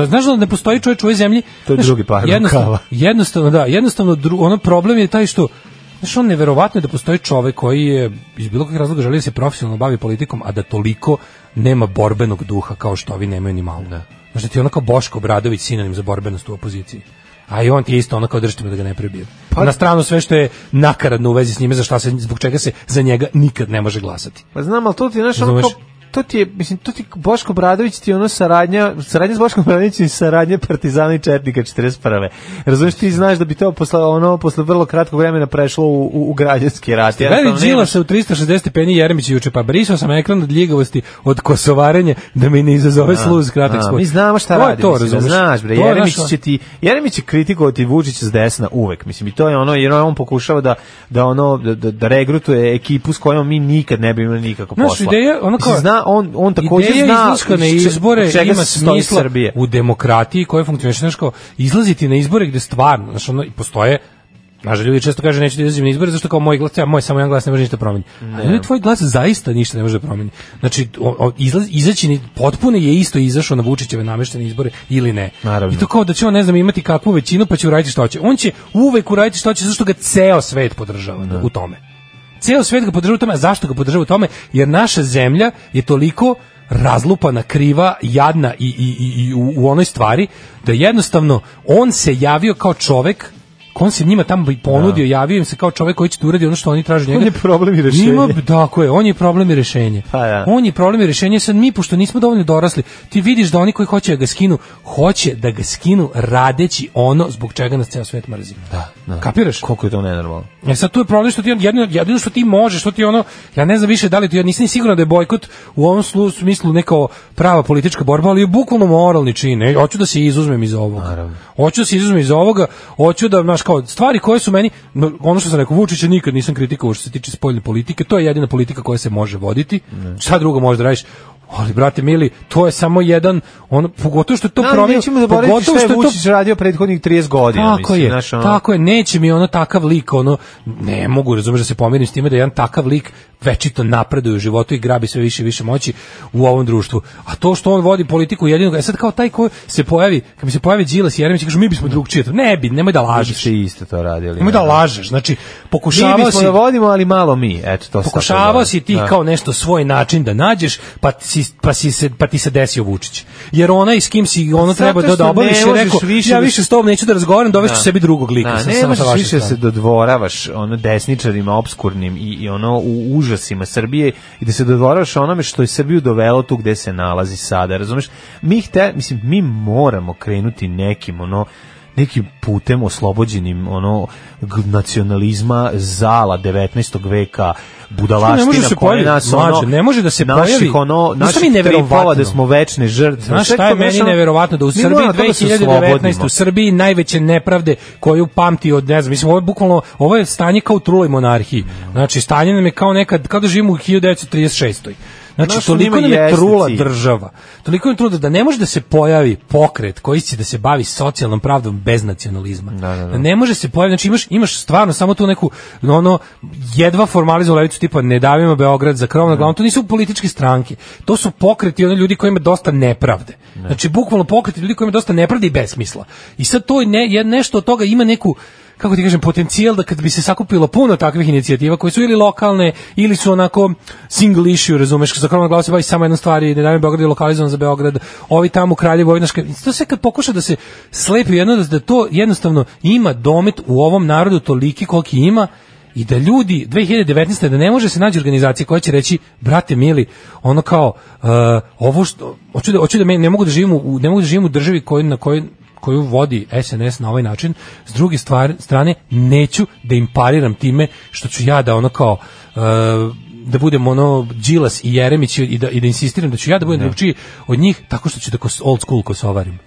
Speaker 5: Znaš da ne postoji čovjek u ovoj zemlji?
Speaker 6: To je
Speaker 5: Znaš,
Speaker 6: drugi par
Speaker 5: Jednostavno,
Speaker 6: rukava.
Speaker 5: <laughs> jednostavno da, jednostavno dru, ono problem je taj što Znaš, on neverovatno je da postoji čovek koji je iz bilo kakvih razloga želi da se profesionalno bavi politikom, a da toliko nema borbenog duha kao što ovi nemaju ni malo. Da. Znaš, da ti je ono kao Boško Obradović sinonim za borbenost u opoziciji. A i on ti je isto ono kao držite me da ga ne prebijem.
Speaker 6: Pa
Speaker 5: na stranu sve što je nakaradno u vezi s njime, za šta se, zbog čega se za njega nikad ne može glasati.
Speaker 6: Pa znam, ali to ti je, znaš, ono,
Speaker 5: Razumeš?
Speaker 6: to, to ti je, mislim, to ti Boško Bradović ti je ono saradnja, saradnja s Boškom Bradovićem i saradnja Partizana i Četnika 41. Razumeš, ti znaš da bi to posle, ono, posle vrlo kratkog vremena prešlo u, u, u građanski rat.
Speaker 5: Gledaj
Speaker 6: Jednostavno
Speaker 5: Đila
Speaker 6: nemaš-
Speaker 5: se u 360 stepeni Jeremić juče, pa brisao sam ekran od ljigavosti, od kosovarenja, da mi ne izazove sluz kratak
Speaker 6: A,
Speaker 5: spoj.
Speaker 6: Mi znamo šta
Speaker 5: To je
Speaker 6: radi,
Speaker 5: to,
Speaker 6: mislim,
Speaker 5: razumeš?
Speaker 6: znaš, bre,
Speaker 5: To je
Speaker 6: Jeremić
Speaker 5: naša-
Speaker 6: će ti, Jeremić će kritikovati Vučića s desna uvek, mislim, i to je ono, jer on pokušava da, da ono, da, da, da regrutuje ekipu s kojom mi nikad ne bi imali nikako
Speaker 5: Znaš,
Speaker 6: posla.
Speaker 5: ideja, ono kao-
Speaker 6: Mislim, zna, on, on također
Speaker 5: Ideja
Speaker 6: zna
Speaker 5: izlaska na
Speaker 6: iz če-
Speaker 5: izbore
Speaker 6: od čega
Speaker 5: ima
Speaker 6: se stoji
Speaker 5: smisla
Speaker 6: Srbija.
Speaker 5: u demokratiji koja funkcioniše znaš kao izlaziti na izbore gde stvarno znaš ono i postoje Znaš, ljudi često kaže neću da izlazim na izbore zašto kao moj glas, ja, moj samo jedan glas ne može ništa promeniti. Ali ljudi, tvoj glas zaista ništa ne može promeniti. Znači, o, o, izlaz, izaći ni- potpuno je isto izašao na Vučićeve nameštene izbore ili ne.
Speaker 6: Naravno.
Speaker 5: I to kao da će on, ne znam, imati kakvu većinu pa će uraditi što hoće. On će uvek uraditi što hoće zato što ga ceo svet podržava u tome ceo svet ga podržava u tome, a zašto ga podržava u tome? Jer naša zemlja je toliko razlupana, kriva, jadna i, i, i, i u, u onoj stvari, da jednostavno on se javio kao čovek on se njima tamo i ponudio, javio im se kao čovek koji će da uradi ono što oni traže od njega.
Speaker 6: On je problem i rešenje.
Speaker 5: Njima- tako je, on je problem i rešenje.
Speaker 6: Pa da.
Speaker 5: On je problem i rešenje, sad mi, pošto nismo dovoljno dorasli, ti vidiš da oni koji hoće da ga skinu, hoće da ga skinu radeći ono zbog čega nas ceo svet mrzi.
Speaker 6: Da, da.
Speaker 5: Kapiraš?
Speaker 6: Koliko je to nenormalno?
Speaker 5: E sad tu je problem što ti jedino, jedino što ti možeš, što ti ono, ja ne znam više da li to, ja nisam ni siguran da je bojkot u ovom slu- smislu neka prava politička borba, ali je bukvalno moralni čin. E, hoću da se izuzmem iz ovoga. Hoću da se izuzmem iz ovoga, hoću da, znaš, kao, stvari koje su meni, no, ono što sam rekao, Vučića nikad nisam kritikovao što se tiče spoljne politike, to je jedina politika koja se može voditi. Šta drugo možeš da radiš? Ali, brate mili, to je samo jedan, ono, pogotovo što je to
Speaker 6: Ali
Speaker 5: promenio,
Speaker 6: nećemo zaboraviti
Speaker 5: pogotovo
Speaker 6: što je
Speaker 5: što je to
Speaker 6: Vučić radio prethodnih 30 godina.
Speaker 5: tako
Speaker 6: mislim,
Speaker 5: je,
Speaker 6: znaš, ono-
Speaker 5: tako je, neće mi ono takav lik, ono, ne mogu, razumeš da se pomirim s time da jedan takav lik večito napreduje u životu i grabi sve više i više moći u ovom društvu. A to što on vodi politiku jedinog, e sad kao taj ko se pojavi, kad mi se pojavi Đilas i Jeremić, kažu mi bismo drugčije, to." ne bi, nemoj da lažeš.
Speaker 6: Vučić je isto to radili.
Speaker 5: Nemoj da lažeš, znači,
Speaker 6: Mi
Speaker 5: pokušavao
Speaker 6: bismo
Speaker 5: si...
Speaker 6: da vodimo, ali malo mi. Eto, to sad
Speaker 5: Pokušavao
Speaker 6: govorim.
Speaker 5: si ti
Speaker 6: Da.
Speaker 5: kao nešto svoj način da nađeš, pa, si, pa, si se, pa ti se desio Vučić. Jer ona i s kim si ono
Speaker 6: Zato
Speaker 5: treba da
Speaker 6: što
Speaker 5: dobaviš
Speaker 6: ne
Speaker 5: je
Speaker 6: možeš
Speaker 5: rekao,
Speaker 6: više
Speaker 5: ja
Speaker 6: da-
Speaker 5: više s tobom neću da razgovaram, dovešću sebi drugog lika.
Speaker 6: Da,
Speaker 5: sa-
Speaker 6: ne
Speaker 5: samo sa
Speaker 6: možeš
Speaker 5: vaše
Speaker 6: više da
Speaker 5: strane.
Speaker 6: se dodvoravaš ono desničarima obskurnim i, i ono u užasima Srbije i da se dodvoravaš onome što je Srbiju dovelo tu gde se nalazi sada, razumeš? Mi hte, mislim, mi moramo krenuti nekim ono nekim putem oslobođenim ono g- nacionalizma zala 19. veka
Speaker 5: Što
Speaker 6: budalaština
Speaker 5: ne može se
Speaker 6: koje
Speaker 5: pojavi,
Speaker 6: nas
Speaker 5: mlađe,
Speaker 6: ono
Speaker 5: ne može da se
Speaker 6: naših,
Speaker 5: pojavi.
Speaker 6: ono
Speaker 5: Znaš šta mi je
Speaker 6: naših tripova
Speaker 5: neverovatno?
Speaker 6: da smo večne žrtve
Speaker 5: Znaš
Speaker 6: Sve
Speaker 5: šta je
Speaker 6: to,
Speaker 5: meni
Speaker 6: ono,
Speaker 5: neverovatno da u
Speaker 6: mi
Speaker 5: Srbiji
Speaker 6: moramo toga da se
Speaker 5: 2019
Speaker 6: oslobodimo.
Speaker 5: u Srbiji najveće nepravde koju pamti od ne znam, mislim ovo je bukvalno ovo je stanje kao u truloj monarhiji. Znači stanje nam je kao nekad kada živimo u 1936. Znači,
Speaker 6: Znaš,
Speaker 5: toliko
Speaker 6: njima
Speaker 5: nam je
Speaker 6: jeste
Speaker 5: trula
Speaker 6: cilj.
Speaker 5: država. Toliko nam je trula da ne može da se pojavi pokret koji će da se bavi socijalnom pravdom bez nacionalizma.
Speaker 6: Da, da, da.
Speaker 5: Ne može se pojaviti, znači imaš, imaš stvarno samo tu neku, ono, jedva formalizu levicu tipa ne davimo Beograd za krov na glavom, to nisu političke stranke, to su pokreti oni ljudi kojima ima dosta nepravde. Znači, bukvalno pokreti ljudi kojima ima dosta nepravde i besmisla. I sad to ne, je nešto od toga ima neku, kako ti kažem, potencijal da kad bi se sakupilo puno takvih inicijativa koje su ili lokalne ili su onako single issue, razumeš, za krov na glavu se bavi samo jednom stvari, ne davimo Beograd je lokalizovan za Beograd, ovi tamo kraljevo, ovi naš to sve kad pokuša da se slepi u jedno, da- da to jednostavno ima domet u ovom narodu toliki koliki ima, i da ljudi 2019. da ne može se naći organizacija koja će reći brate mili ono kao uh, ovo što hoću da hoću da me, ne mogu da živim u ne mogu da živim u državi koju na kojoj koju vodi SNS na ovaj način, s druge stvar, strane neću da im pariram time što ću ja da ono kao uh, da budem ono Đilas i Jeremić i da, i da insistiram da ću ja da budem drugčiji od njih tako što ću da kos, old school kosovarim.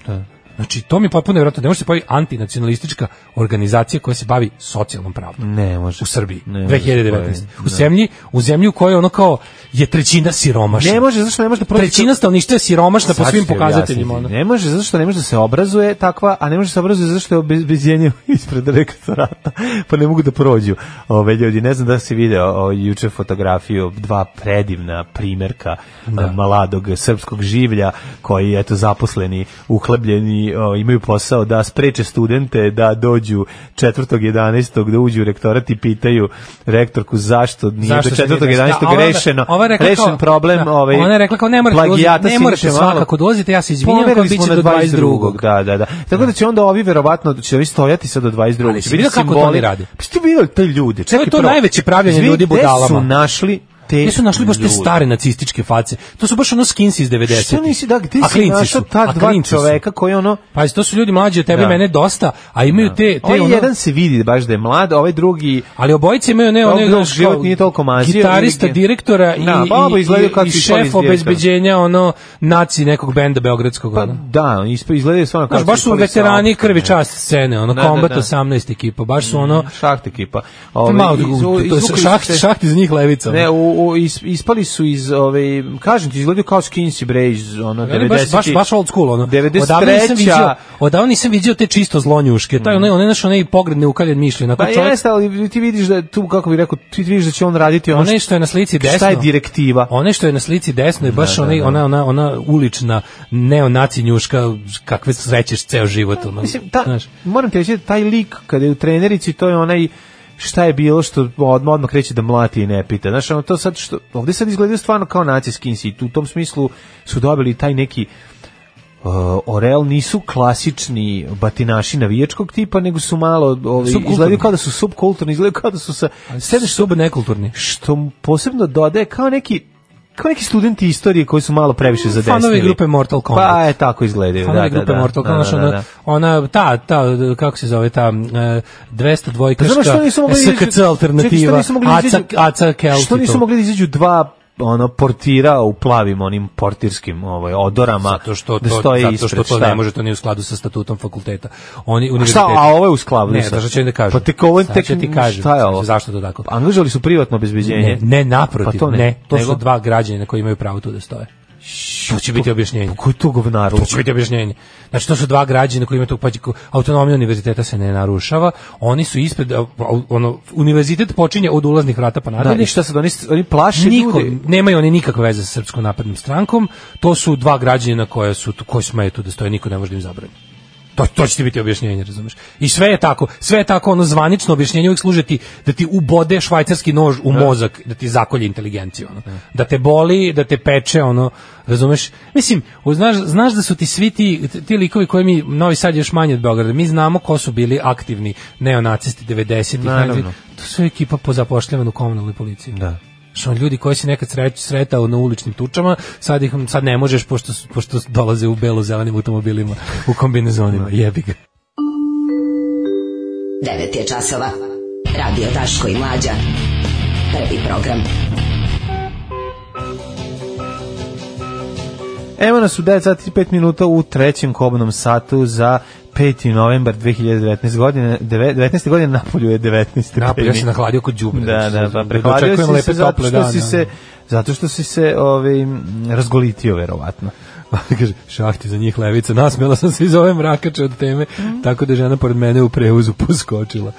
Speaker 5: Znači, to mi je potpuno nevjerojatno. Ne može se pojaviti antinacionalistička organizacija koja se bavi socijalnom pravdom.
Speaker 6: Ne može.
Speaker 5: U Srbiji,
Speaker 6: Ne može se
Speaker 5: 2019.
Speaker 6: pojaviti,
Speaker 5: U zemlji, u zemlji u kojoj ono kao je trećina siromašna.
Speaker 6: Ne može, zašto ne može da prođe
Speaker 5: Trećina stanovništva je siromašna po
Speaker 6: Sad
Speaker 5: svim
Speaker 6: ću ti
Speaker 5: pokazateljima.
Speaker 6: objasniti.
Speaker 5: Ono.
Speaker 6: Ne može zato što ne može da se obrazuje takva, a ne može da se obrazuje zato što je obezbeđenje <laughs> ispred rektorata, pa ne mogu da prođu. Ove ljudi, ne znam da si video o, juče fotografiju dva predivna primerka da. mladog srpskog življa koji eto zaposleni, uhlebljeni, o, imaju posao da spreče studente da dođu 4.11. da uđu u rektorat i pitaju rektorku zašto nije
Speaker 5: Zašto se
Speaker 6: do
Speaker 5: nije desilo?
Speaker 6: 4.11.
Speaker 5: Da, ova-
Speaker 6: rešeno,
Speaker 5: ova je rekla
Speaker 6: rešen
Speaker 5: kao-
Speaker 6: problem
Speaker 5: da,
Speaker 6: ovaj,
Speaker 5: ona je rekla kao, ne morate
Speaker 6: plagijata
Speaker 5: dolaziti, ne
Speaker 6: Siniše
Speaker 5: morate
Speaker 6: Malog.
Speaker 5: svakako dolazite, ja se izvinjam,
Speaker 6: Pomerili
Speaker 5: kao bit će
Speaker 6: smo na
Speaker 5: do 22..
Speaker 6: Da, da, da. Tako da će onda ovi verovatno da će ovi stojati sad do 22.
Speaker 5: Ali
Speaker 6: Će
Speaker 5: si
Speaker 6: biti
Speaker 5: vidio kako to
Speaker 6: simboli.
Speaker 5: oni rade?
Speaker 6: Pa ste videli te ljude. Čekaj,
Speaker 5: to
Speaker 6: prvo.
Speaker 5: najveće pravljenje
Speaker 6: Izvini,
Speaker 5: ljudi budalama.
Speaker 6: Gde su našli te
Speaker 5: Gde su našli baš te
Speaker 6: ljude?
Speaker 5: stare nacističke face? To su baš ono skins iz 90.
Speaker 6: Šta nisi, da, gde
Speaker 5: A
Speaker 6: si
Speaker 5: klinci
Speaker 6: našao
Speaker 5: su,
Speaker 6: ta
Speaker 5: a
Speaker 6: dva
Speaker 5: klinci su.
Speaker 6: čoveka koji ono...
Speaker 5: Pazi, to su ljudi mlađi od tebe,
Speaker 6: Da.
Speaker 5: mene dosta, a imaju te... te
Speaker 6: Ovaj
Speaker 5: ono-
Speaker 6: jedan se vidi baš da je mlad, a ovaj drugi...
Speaker 5: Ali obojice imaju ne
Speaker 6: Tog
Speaker 5: one
Speaker 6: drugog
Speaker 5: znaš,
Speaker 6: život
Speaker 5: kao
Speaker 6: nije toliko mazio,
Speaker 5: Gitarista,
Speaker 6: ili gdje-
Speaker 5: direktora i,
Speaker 6: Da, pa oba
Speaker 5: i,
Speaker 6: izgledaju kako
Speaker 5: i, i
Speaker 6: su ispali iz
Speaker 5: šef
Speaker 6: direktora.
Speaker 5: obezbeđenja ono naci nekog benda beogradskog.
Speaker 6: Pa
Speaker 5: ono.
Speaker 6: da, isp- izgledaju stvarno kao...
Speaker 5: Znaš, baš su
Speaker 6: ispali sa
Speaker 5: veterani
Speaker 6: auta,
Speaker 5: krvi
Speaker 6: ne.
Speaker 5: čast scene, ono
Speaker 6: Da, da,
Speaker 5: Combat
Speaker 6: da.
Speaker 5: 18 ekipa, baš su ono
Speaker 6: Šaht ekipa.
Speaker 5: To
Speaker 6: Ove,
Speaker 5: je malo
Speaker 6: iz-
Speaker 5: drugo, to je
Speaker 6: izvukli su
Speaker 5: šaht,
Speaker 6: se-
Speaker 5: šaht iz njih levica. ono.
Speaker 6: Ne, u, u, is- ispali su iz, ove, kažem ti, izgledaju kao skinsi bre iz ono,
Speaker 5: Ali
Speaker 6: 90
Speaker 5: baš, baš, baš old school, ono. Odavno nisam
Speaker 6: 93.
Speaker 5: vidio, odavno nisam vidio te čisto zlonjuške, taj onaj, onaj naš onaj pogredne ukaljen mišljen, onako
Speaker 6: Mm. Pa
Speaker 5: čovjek,
Speaker 6: jeste, ali ti vidiš da je tu, kako bih rekao, ti vidiš da će on raditi ono
Speaker 5: onaj što je na slici desno.
Speaker 6: šta je direktiva.
Speaker 5: One što je na slici desno je baš onaj, ona, ona, ona ulična neonaci njuška kakve srećeš ceo život. Ono,
Speaker 6: Mislim, ta,
Speaker 5: znaš.
Speaker 6: moram ti reći, da taj lik kada je u trenerici, to je onaj šta je bilo što odmah, odmah kreće da mlati i ne pita. Znaš, ono to sad što, ovdje sad izgledaju stvarno kao naci skinsi i tu u tom smislu su dobili taj neki uh, Orel nisu klasični batinaši navijačkog tipa, nego su malo ovi,
Speaker 5: Subkulturni.
Speaker 6: izgledaju kao da su subkulturni, izgledaju kao da su sa... Sedeš
Speaker 5: sub nekulturni.
Speaker 6: što mu posebno dodaje kao neki kao neki studenti istorije koji su malo previše zadesnili.
Speaker 5: Mm, Fanovi grupe Mortal Kombat.
Speaker 6: Pa je tako izgledaju.
Speaker 5: Fanovi
Speaker 6: da, da,
Speaker 5: grupe
Speaker 6: da,
Speaker 5: Mortal
Speaker 6: da,
Speaker 5: Kombat, ono,
Speaker 6: da, da, da.
Speaker 5: ona, ona, ta, ta, kako se zove, ta e, 202
Speaker 6: Pa znaš što nisu
Speaker 5: kaška,
Speaker 6: mogli da izađu-
Speaker 5: SKC
Speaker 6: Čekaj,
Speaker 5: alternativa,
Speaker 6: što nisu mogli da
Speaker 5: Aca,
Speaker 6: izađu-
Speaker 5: Aca Kelti.
Speaker 6: Što nisu
Speaker 5: to.
Speaker 6: mogli da izađu dva ono portira u plavim onim portirskim ovaj odorama
Speaker 5: zato što to,
Speaker 6: da stoje
Speaker 5: zato
Speaker 6: ispred,
Speaker 5: što to
Speaker 6: šta?
Speaker 5: ne može to nije u skladu sa statutom fakulteta. Oni
Speaker 6: A Šta,
Speaker 5: univerziteti.
Speaker 6: a ovo je u skladu
Speaker 5: Ne,
Speaker 6: sa-
Speaker 5: zato ću im da
Speaker 6: Pa
Speaker 5: kažem.
Speaker 6: tek ovo je
Speaker 5: Sad
Speaker 6: tek
Speaker 5: ću ti kažem.
Speaker 6: Šta je ovo?
Speaker 5: Zašto to tako?
Speaker 6: Angažovali su privatno obezbeđenje.
Speaker 5: Ne, ne naprotiv,
Speaker 6: Pa
Speaker 5: to ne. To
Speaker 6: nego-
Speaker 5: su dva građanina koji imaju pravo tu da stoje. To će biti objašnjenje.
Speaker 6: Koji to govnar?
Speaker 5: To će biti objašnjenje. Znači, to su dva građana koji imaju tog pađiku. Autonomija univerziteta se ne narušava. Oni su ispred, a, a, ono, univerzitet počinje od ulaznih vrata pa
Speaker 6: Da,
Speaker 5: nadalje.
Speaker 6: i šta sad, oni, oni plaše
Speaker 5: Niko,
Speaker 6: ljudi.
Speaker 5: nemaju oni nikakve veze sa Srpskom naprednom strankom. To su dva građanina koja su tu- koji smeju tu da stoje, niko ne može da im zabrani. To, to će ti biti objašnjenje, razumeš? I sve je tako, sve je tako, ono zvanično objašnjenje uvijek služe ti da ti ubode švajcarski nož u mozak, da ti zakolje inteligenciju, ono. Da te boli, da te peče, ono, razumeš? Mislim, u- znaš, znaš da su ti svi ti, ti likovi koji mi, Novi Sad je još manje od Beograda, mi znamo ko su bili aktivni neonacisti znači, 90-ih,
Speaker 6: Naravno.
Speaker 5: to su ekipa po zapošljavanju komunalnoj policiji.
Speaker 6: Da.
Speaker 5: Što ono, ljudi koji si nekad sreć, sretao na uličnim tučama, sad ih sad ne možeš pošto, su- pošto dolaze u belo-zelenim automobilima u kombinezonima. Jebi ga.
Speaker 9: 9 je časova. Radio Daško i Mlađa. Prvi program.
Speaker 6: Evo nas u 9 sati i 5 minuta u trećem kobnom satu za 5. novembar 2019. godine, deve- 19. godine napolju je 19. stepeni.
Speaker 5: Napolju, ja se nahladio kod đubre.
Speaker 6: Da, da,
Speaker 5: Da
Speaker 6: pa prehladio
Speaker 5: dočekujem
Speaker 6: si
Speaker 5: lepe,
Speaker 6: se zato
Speaker 5: tople
Speaker 6: što
Speaker 5: dane,
Speaker 6: si
Speaker 5: ono.
Speaker 6: se zato što si se ovaj m, razgolitio verovatno.
Speaker 5: ono. <laughs> Kaže, šahti za njih levica. Nasmjela sam se iz ove mrakače od teme, tako da je žena pored mene u preuzu <laughs> poskočila.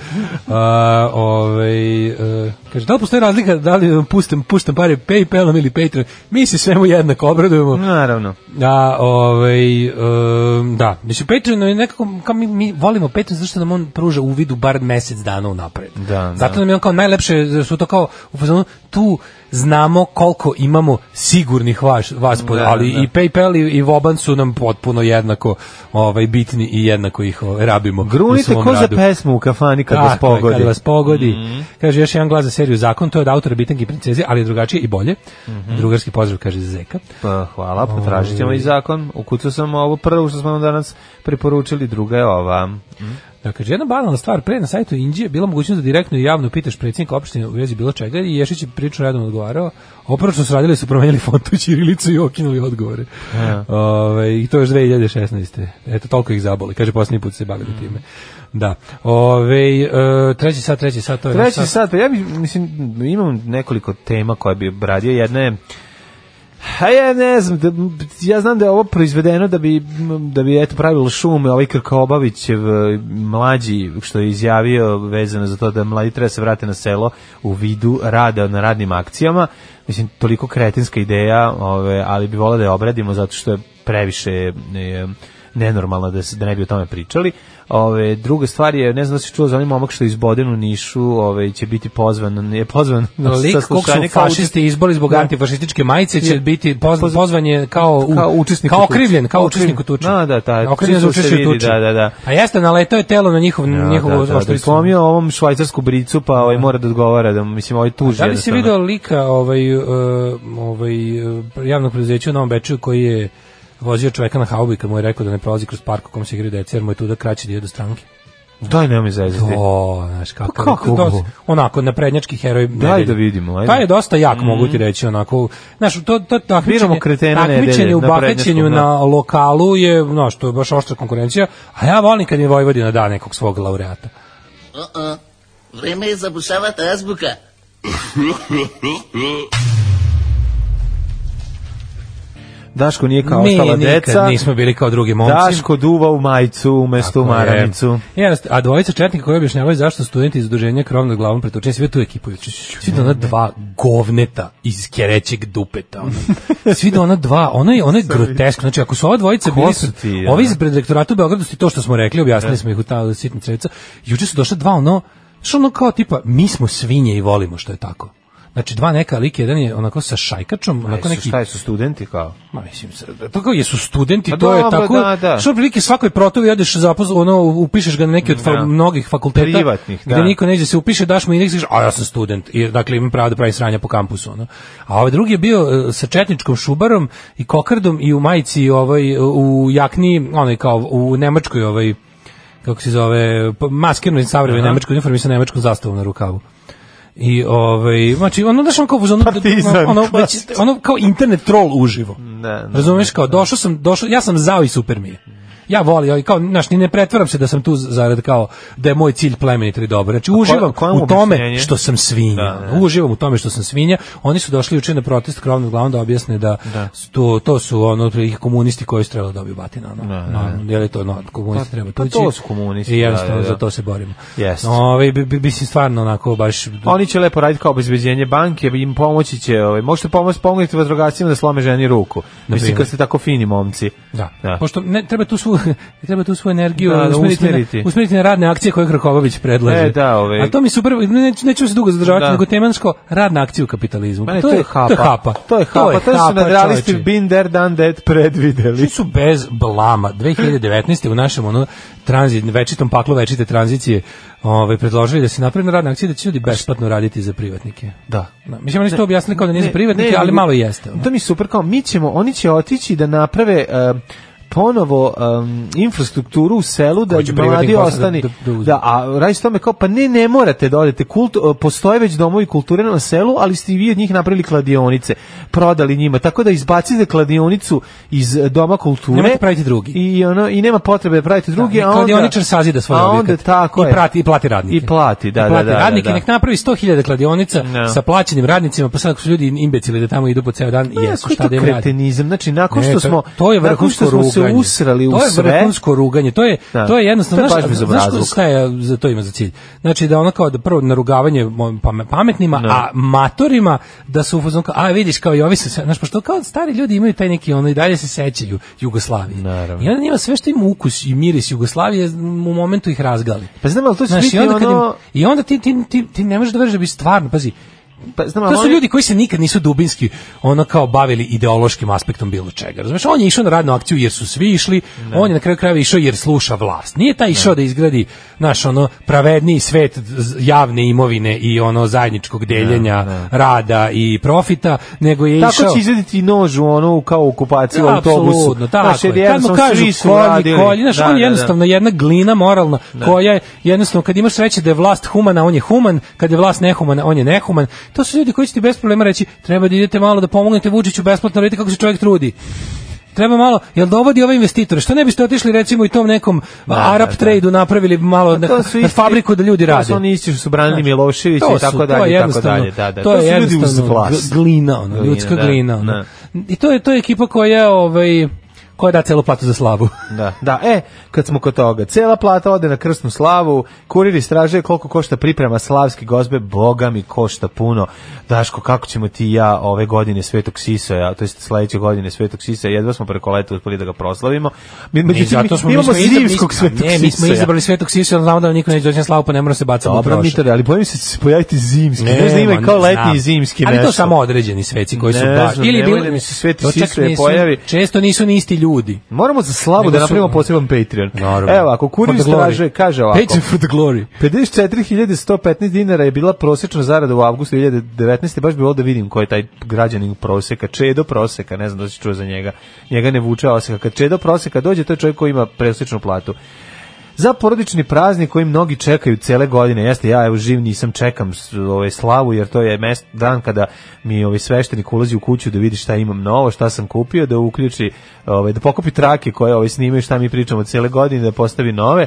Speaker 5: A, ovaj, e, kaže, da li postoji razlika da li vam pustim, puštam pare Paypalom ili Patreon? Mi se svemu jednako obradujemo.
Speaker 6: Naravno.
Speaker 5: Da, ovaj, em, da. Mislim, Patreon je nekako, kao mi, mi volimo Patreon zato što nam on pruža uvid u bar mesec dana unapred.
Speaker 6: Da,
Speaker 5: Zato
Speaker 6: da.
Speaker 5: nam je on kao najlepše, zato su to kao, u fazonu, tu znamo koliko imamo sigurnih vaš, vas, pod,
Speaker 6: Da,
Speaker 5: ali
Speaker 6: da.
Speaker 5: i PayPal i, i Voban su nam potpuno jednako ovaj, bitni i jednako ih ovaj, rabimo. u
Speaker 6: Grunite
Speaker 5: svom
Speaker 6: ko za
Speaker 5: radu.
Speaker 6: pesmu u kafani kad vas
Speaker 5: Tako je,
Speaker 6: pogodi. Mhm.
Speaker 5: Kad vas pogodi. Kaže, još jedan glas za seriju Zakon, to je od autora Bitanki i princeze, ali je drugačije i bolje.
Speaker 6: Mhm.
Speaker 5: Drugarski pozdrav, kaže Zeka.
Speaker 6: Pa, hvala, potražit ćemo i zakon. Ukucao sam ovo prvo što smo vam danas preporučili, druga je ova.
Speaker 5: Da, kaže, jedna banalna stvar, pre na sajtu Indije bila mogućnost da direktno i javno pitaš predsjednika opštine u vezi bilo čega i Ješić je prilično redom odgovarao. Opravo što su radili su promenili font u Čirilicu i okinuli odgovore. Ove, I to još 2016. Eto, toliko ih zaboli. Kaže, posljednji put se bavili time. Da. Ove, e, treći sat, treći sat, to je naš
Speaker 6: Treći sat, pa ja bi, mislim, imam nekoliko tema koje bi obradio. Jedna je A ja ne znam, da, ja znam da je ovo proizvedeno da bi, da bi eto, pravilo šume, ovaj Krkobabićev eh, mlađi, što je izjavio vezano za to da mladi treba se vrate na selo u vidu rada na radnim akcijama. Mislim, toliko kretinska ideja, ove, ali bi volao da je obradimo zato što je previše eh, nenormalno da, se, da ne bi o tome pričali. Ove, druga stvar je, ne znam da si čuo za onim momak što je iz Boden u Nišu ove, će biti pozvan, je pozvan na
Speaker 5: Lik kog su
Speaker 6: saslušanje kao
Speaker 5: fašisti izboli zbog
Speaker 6: Da.
Speaker 5: antifašističke majice će
Speaker 6: Je.
Speaker 5: biti pozvan,
Speaker 6: Poz-
Speaker 5: pozvan je kao, u,
Speaker 6: kao učesnik
Speaker 5: kao
Speaker 6: u tuči.
Speaker 5: okrivljen, kao
Speaker 6: Kao
Speaker 5: učesnik u
Speaker 6: okrivljen.
Speaker 5: tuči.
Speaker 6: Da, da, da,
Speaker 5: Okrivljen za
Speaker 6: čisto se
Speaker 5: učešće u
Speaker 6: vidi,
Speaker 5: tuči.
Speaker 6: da, da, da.
Speaker 5: A jeste, naletao je telo na njihov,
Speaker 6: Ja,
Speaker 5: njihovo
Speaker 6: da, da, da,
Speaker 5: oštricu.
Speaker 6: i slomio ovom švajcarsku bricu, pa ovaj mora da odgovara, da, mislim, ovaj tuži.
Speaker 5: Da li si
Speaker 6: jednostavno.
Speaker 5: video lika ovaj, e, ovaj, e, javnog preduzeća u Novom Beču koji je vozio čoveka na haubi kad mu je rekao da ne prolazi kroz park u kom se igraju deca jer mu je tu da kraće dio do stranke.
Speaker 6: Daj, nemoj zezati.
Speaker 5: O, znaš E, kako.
Speaker 6: Pa kako?
Speaker 5: Dosta- onako, naprednjački heroj. nedelje.
Speaker 6: da vidimo, ajde. Mm.
Speaker 5: Taj je dosta jak, mogu ti reći, onako. Znaš, to, to takmičenje,
Speaker 6: Biramo kretena
Speaker 5: takmičenje
Speaker 6: nedelje
Speaker 5: u
Speaker 6: na
Speaker 5: bakećenju
Speaker 6: prednjačkom, da.
Speaker 5: na lokalu je, znaš, to je baš oštra konkurencija, a ja volim kad mi Vojvodina da nekog svog laureata.
Speaker 2: Vreme je zabušavati azbuka.
Speaker 6: Daško nije kao
Speaker 5: Mi
Speaker 6: ostala
Speaker 5: nikad
Speaker 6: deca.
Speaker 5: nismo bili kao drugi momci.
Speaker 6: Daško duva u majicu umesto u maramicu.
Speaker 5: Jeste, a dvojica četnika koji objašnjavaju zašto studenti iz udruženja krov nad glavom pretučeni sve tu ekipu. Svi do ona dva govneta iz kerećeg dupeta.
Speaker 6: <laughs>
Speaker 5: ono. Svi do ona dva, ono je, ono je groteskno. Znači, ako su ova dvojica
Speaker 6: Ko
Speaker 5: bili,
Speaker 6: su ti, ono? E.
Speaker 5: ovi
Speaker 6: ja?
Speaker 5: iz predrektorata u Beogradu su i to što smo rekli, objasnili smo ih u ta sitna crevica, juče su došla dva ono, što ono kao tipa, mi smo svinje i volimo što je tako. Znači dva neka like, jedan je onako sa šajkačom,
Speaker 6: Neki...
Speaker 5: onako neki
Speaker 6: Šta je, su studenti kao?
Speaker 5: Ma mislim, s- to kao jesu studenti,
Speaker 6: Pa
Speaker 5: to je
Speaker 6: dobro,
Speaker 5: tako.
Speaker 6: da, da.
Speaker 5: Što otprilike svakoj protovi odeš zapoz, ono upišeš ga na neki od fa-
Speaker 6: Da.
Speaker 5: mnogih fakulteta
Speaker 6: Privatnih,
Speaker 5: gde
Speaker 6: da.
Speaker 5: niko neće se upiše, daš mu indeks i kažeš, a ja sam student. I dakle imam pravo da pravim sranja po kampusu, ono. A ovaj drugi je bio e, sa četničkom šubarom i kokardom i u majici i ovaj e, u jakni, onaj kao u nemačkoj ovaj kako se zove, pa, maskirnoj savremenoj nemačkoj uniformi sa nemačkom zastavom na rukavu. I ovaj znači ono da on kao u zonu-
Speaker 6: Partizan, pa
Speaker 5: ono već ono kao internet troll uživo.
Speaker 6: Znači, Da, da.
Speaker 5: Razumeš kao došao sam, došao, ja sam zao i super mi je. Ja volim, ali kao, znaš, ni ne pretvaram se da sam tu zarad kao, da je moj cilj plemenit ili dobro. Znači, uživam
Speaker 6: koje mu
Speaker 5: u tome
Speaker 6: objašnjenje?
Speaker 5: što sam svinja.
Speaker 6: Da, da.
Speaker 5: Uživam u tome što sam svinja. Oni su došli juče na protest krovnog glavom da objasne da, su to, to su ono, otprilike komunisti koji su trebali da dobiju batina. Ono. No, je li to, no, komunisti
Speaker 6: Pa-
Speaker 5: treba
Speaker 6: pa
Speaker 5: tući.
Speaker 6: to su komunisti,
Speaker 5: I jednostavno
Speaker 6: da, da, da.
Speaker 5: za to se borimo.
Speaker 6: Jeste.
Speaker 5: No, ovaj, bi, bi, mislim, stvarno onako baš...
Speaker 6: Oni će lepo raditi kao obezbeđenje banke, im pomoći će, ovaj, možete pomoći, pomoći vatrogascima da slome ženi ruku. Mislim,
Speaker 5: primjer.
Speaker 6: kad ste tako fini momci.
Speaker 5: Da. Pošto ne, treba tu svu <laughs> treba tu svu energiju
Speaker 6: Da, da,
Speaker 5: usmeriti,
Speaker 6: usmeriti.
Speaker 5: Na, usmeriti na radne akcije koje Krkobabić predlaže.
Speaker 6: E, da, ovaj.
Speaker 5: A to mi super neću, neću se dugo zadržavati,
Speaker 6: Da.
Speaker 5: nego temansko radna akcija u kapitalizmu. Pa
Speaker 6: Mene, to, je hapa.
Speaker 5: To je hapa.
Speaker 6: To je hapa. To, su nadrealisti
Speaker 5: čoveče.
Speaker 6: been there, done that predvideli.
Speaker 5: Svi su bez blama 2019. u našem ono tranzit večitom paklu večite tranzicije ovaj predložili da se napravi radna akcija da će ljudi besplatno raditi za privatnike.
Speaker 6: Da.
Speaker 5: Da, Mislim oni su to objasnili kao da nije za privatnike,
Speaker 6: ne,
Speaker 5: ali ono.
Speaker 6: nego-
Speaker 5: malo jeste. ono.
Speaker 6: To mi je super kao mi ćemo, oni će otići da naprave e, ponovo um, infrastrukturu u selu da
Speaker 5: Ko će
Speaker 6: mladi
Speaker 5: privatnik posao da-
Speaker 6: ostani. Da,
Speaker 5: da- da uzme.
Speaker 6: a radi se o tome kao, pa ne, ne morate da odete. Kult, postoje već domovi kulture na selu, ali ste i vi od njih napravili kladionice, prodali njima. Tako da izbacite kladionicu iz eh, doma kulture.
Speaker 5: Nemojte praviti drugi.
Speaker 6: I, ono, i nema potrebe da pravite drugi.
Speaker 5: Da, i
Speaker 6: a onda-
Speaker 5: kladioničar sazida svoj
Speaker 6: a onda
Speaker 5: objekat.
Speaker 6: tako
Speaker 5: I
Speaker 6: je.
Speaker 5: prati- i plati radnike.
Speaker 6: I plati, da,
Speaker 5: Da,
Speaker 6: da,
Speaker 5: plati
Speaker 6: da, da,
Speaker 5: radnike,
Speaker 6: da.
Speaker 5: nek napravi 100.000 kladionica
Speaker 6: Da.
Speaker 5: sa plaćenim radnicima, pa sad ako su ljudi imbecili da tamo idu po ceo dan,
Speaker 6: Pa,
Speaker 5: jesu
Speaker 6: koji
Speaker 5: šta
Speaker 6: to
Speaker 5: da im radi.
Speaker 6: kretenizam? Znači, nakon
Speaker 5: Ne,
Speaker 6: što
Speaker 5: to-
Speaker 6: smo,
Speaker 5: to je
Speaker 6: nakon
Speaker 5: vrhunsko
Speaker 6: što smo se
Speaker 5: ruganje.
Speaker 6: usrali u
Speaker 5: To
Speaker 6: sve,
Speaker 5: je vrhunsko ruganje. To je
Speaker 6: Da.
Speaker 5: to je jednostavno
Speaker 6: To je
Speaker 5: znaš,
Speaker 6: baš
Speaker 5: znaš
Speaker 6: bezobrazluk.
Speaker 5: šta je za to ima za cilj. Znači da ono kao da prvo narugavanje mom- pame- pametnima, a matorima da su u fazonu kao, a vidiš kao i ovi se, znaš pošto kao stari ljudi imaju taj neki ono i dalje se sećaju Jugoslavije.
Speaker 6: Naravno.
Speaker 5: I onda njima sve što im ukus i miris Jugoslavije u momentu ih razgali.
Speaker 6: Pa znam, ali to će
Speaker 5: Znaš,
Speaker 6: biti
Speaker 5: i onda, kad im-
Speaker 6: ono-
Speaker 5: i onda ti, ti, ti, ti ne možeš da veruješ da bi stvarno, pazi,
Speaker 6: pa, znam,
Speaker 5: to
Speaker 6: ali
Speaker 5: su
Speaker 6: oni-
Speaker 5: ljudi koji se nikad nisu dubinski ono kao bavili ideološkim aspektom bilo čega. Razumeš, on je išao na radnu akciju jer su svi išli, on je na kraju krajeva išao jer sluša vlast. Nije taj išao da izgradi naš ono pravedniji svet z- javne imovine i ono zajedničkog deljenja rada i profita, nego je išao
Speaker 6: Tako će izvediti i nož u ono kao okupaciju u autobusu.
Speaker 5: Apsolutno,
Speaker 6: Znaš,
Speaker 5: tako
Speaker 6: jer
Speaker 5: je. Kad mu
Speaker 6: jednostavno
Speaker 5: kažu
Speaker 6: svi su
Speaker 5: kolji,
Speaker 6: radili.
Speaker 5: kolji, znaš,
Speaker 6: Da,
Speaker 5: on
Speaker 6: da,
Speaker 5: je
Speaker 6: da.
Speaker 5: jednostavno jedna glina moralna koja je jednostavno, kad imaš sreće da je vlast humana, on je human, kad je vlast nehumana, on je nehuman. To su ljudi koji će ti bez problema reći, treba da idete malo da pomognete Vučiću besplatno, vidite kako se čovjek trudi. Treba malo, jel dovodi ove investitore? Što ne biste otišli recimo i tom nekom Arab
Speaker 6: da.
Speaker 5: trade-u napravili malo na,
Speaker 6: Pa to su
Speaker 5: na
Speaker 6: isti-
Speaker 5: fabriku da ljudi
Speaker 6: To
Speaker 5: rade?
Speaker 6: su oni isti što su branili Miloševića
Speaker 5: To
Speaker 6: i
Speaker 5: su,
Speaker 6: tako
Speaker 5: to je
Speaker 6: dalje, i tako
Speaker 5: jednostavno-
Speaker 6: dalje. Da, da.
Speaker 5: To je
Speaker 6: su ljudi uz
Speaker 5: jednostavno
Speaker 6: vlast.
Speaker 5: gl- glina, ono,
Speaker 6: Glina,
Speaker 5: ljudska
Speaker 6: da,
Speaker 5: glina. ono.
Speaker 6: da.
Speaker 5: I to je to je ekipa koja ovaj koja da celu platu za <laughs> slavu.
Speaker 6: Da, da, e, kad smo kod toga, cela plata ode na krsnu slavu, kurir istražuje koliko košta priprema slavske gozbe, boga mi košta puno. Daško, kako ćemo ti i ja ove godine Svetog Sisaja, to jest sledeće godine Svetog Sisaja, jedva smo preko leta uspeli da ga proslavimo. Mi, međutim, mi imamo zimskog Svetog
Speaker 5: Ne, mi smo
Speaker 6: Sisaja.
Speaker 5: izabrali Svetog Sisaja, jer znamo da nam niko neće doći na slavu, pa ne mora se bacati u
Speaker 6: Dobro,
Speaker 5: prošlost.
Speaker 6: Mitore, ali bojim se da će se pojaviti zimski. Ne, znam, ima i
Speaker 5: ma,
Speaker 6: kao
Speaker 5: ne
Speaker 6: letnji
Speaker 5: znam.
Speaker 6: i zimski
Speaker 5: Ali
Speaker 6: nešto.
Speaker 5: to samo određeni sveci koji su
Speaker 6: Ne
Speaker 5: baš.
Speaker 6: znam, nemoj da mi se Sveti
Speaker 5: to čak
Speaker 6: Sisa
Speaker 5: nisu-
Speaker 6: pojavi.
Speaker 5: Često nisu ni isti ljudi.
Speaker 6: Moramo za slavu
Speaker 5: Nego
Speaker 6: da
Speaker 5: su-
Speaker 6: napravimo poseban Patreon.
Speaker 5: Naravno.
Speaker 6: Evo, ako kurir
Speaker 5: For the glory.
Speaker 6: istražuje, kaže ovako.
Speaker 5: Patreon for the glory.
Speaker 6: 54.115 dinara je bila prosečna zarada u avgustu 2019. Baš bi volio da vidim ko je taj građanin proseka. Čedo proseka, ne znam da li si čuo za njega. Njega ne vuče oseka. Kad Čedo proseka dođe, to je čovjek koji ima prosečnu platu. Za porodični praznik koji mnogi čekaju cele godine, jeste ja evo živ nisam čekam s- ovaj slavu jer to je mest, dan kada mi ovaj sveštenik ulazi u kuću da vidi šta imam novo, šta sam kupio, da uključi ovaj da pokupi trake koje ovaj snimaju šta mi pričamo cele godine, da postavi nove.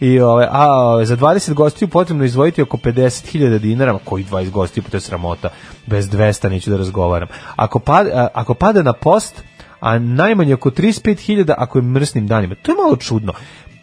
Speaker 6: I ovaj a ovaj, za 20 gostiju potrebno je izdvojiti oko 50.000 dinara, ma koji 20 gostiju, pa to je sramota. Bez 200 neću da razgovaram. Ako pada, a- ako pada na post, a najmanje oko 35.000 ako je mrsnim danima. To je malo čudno.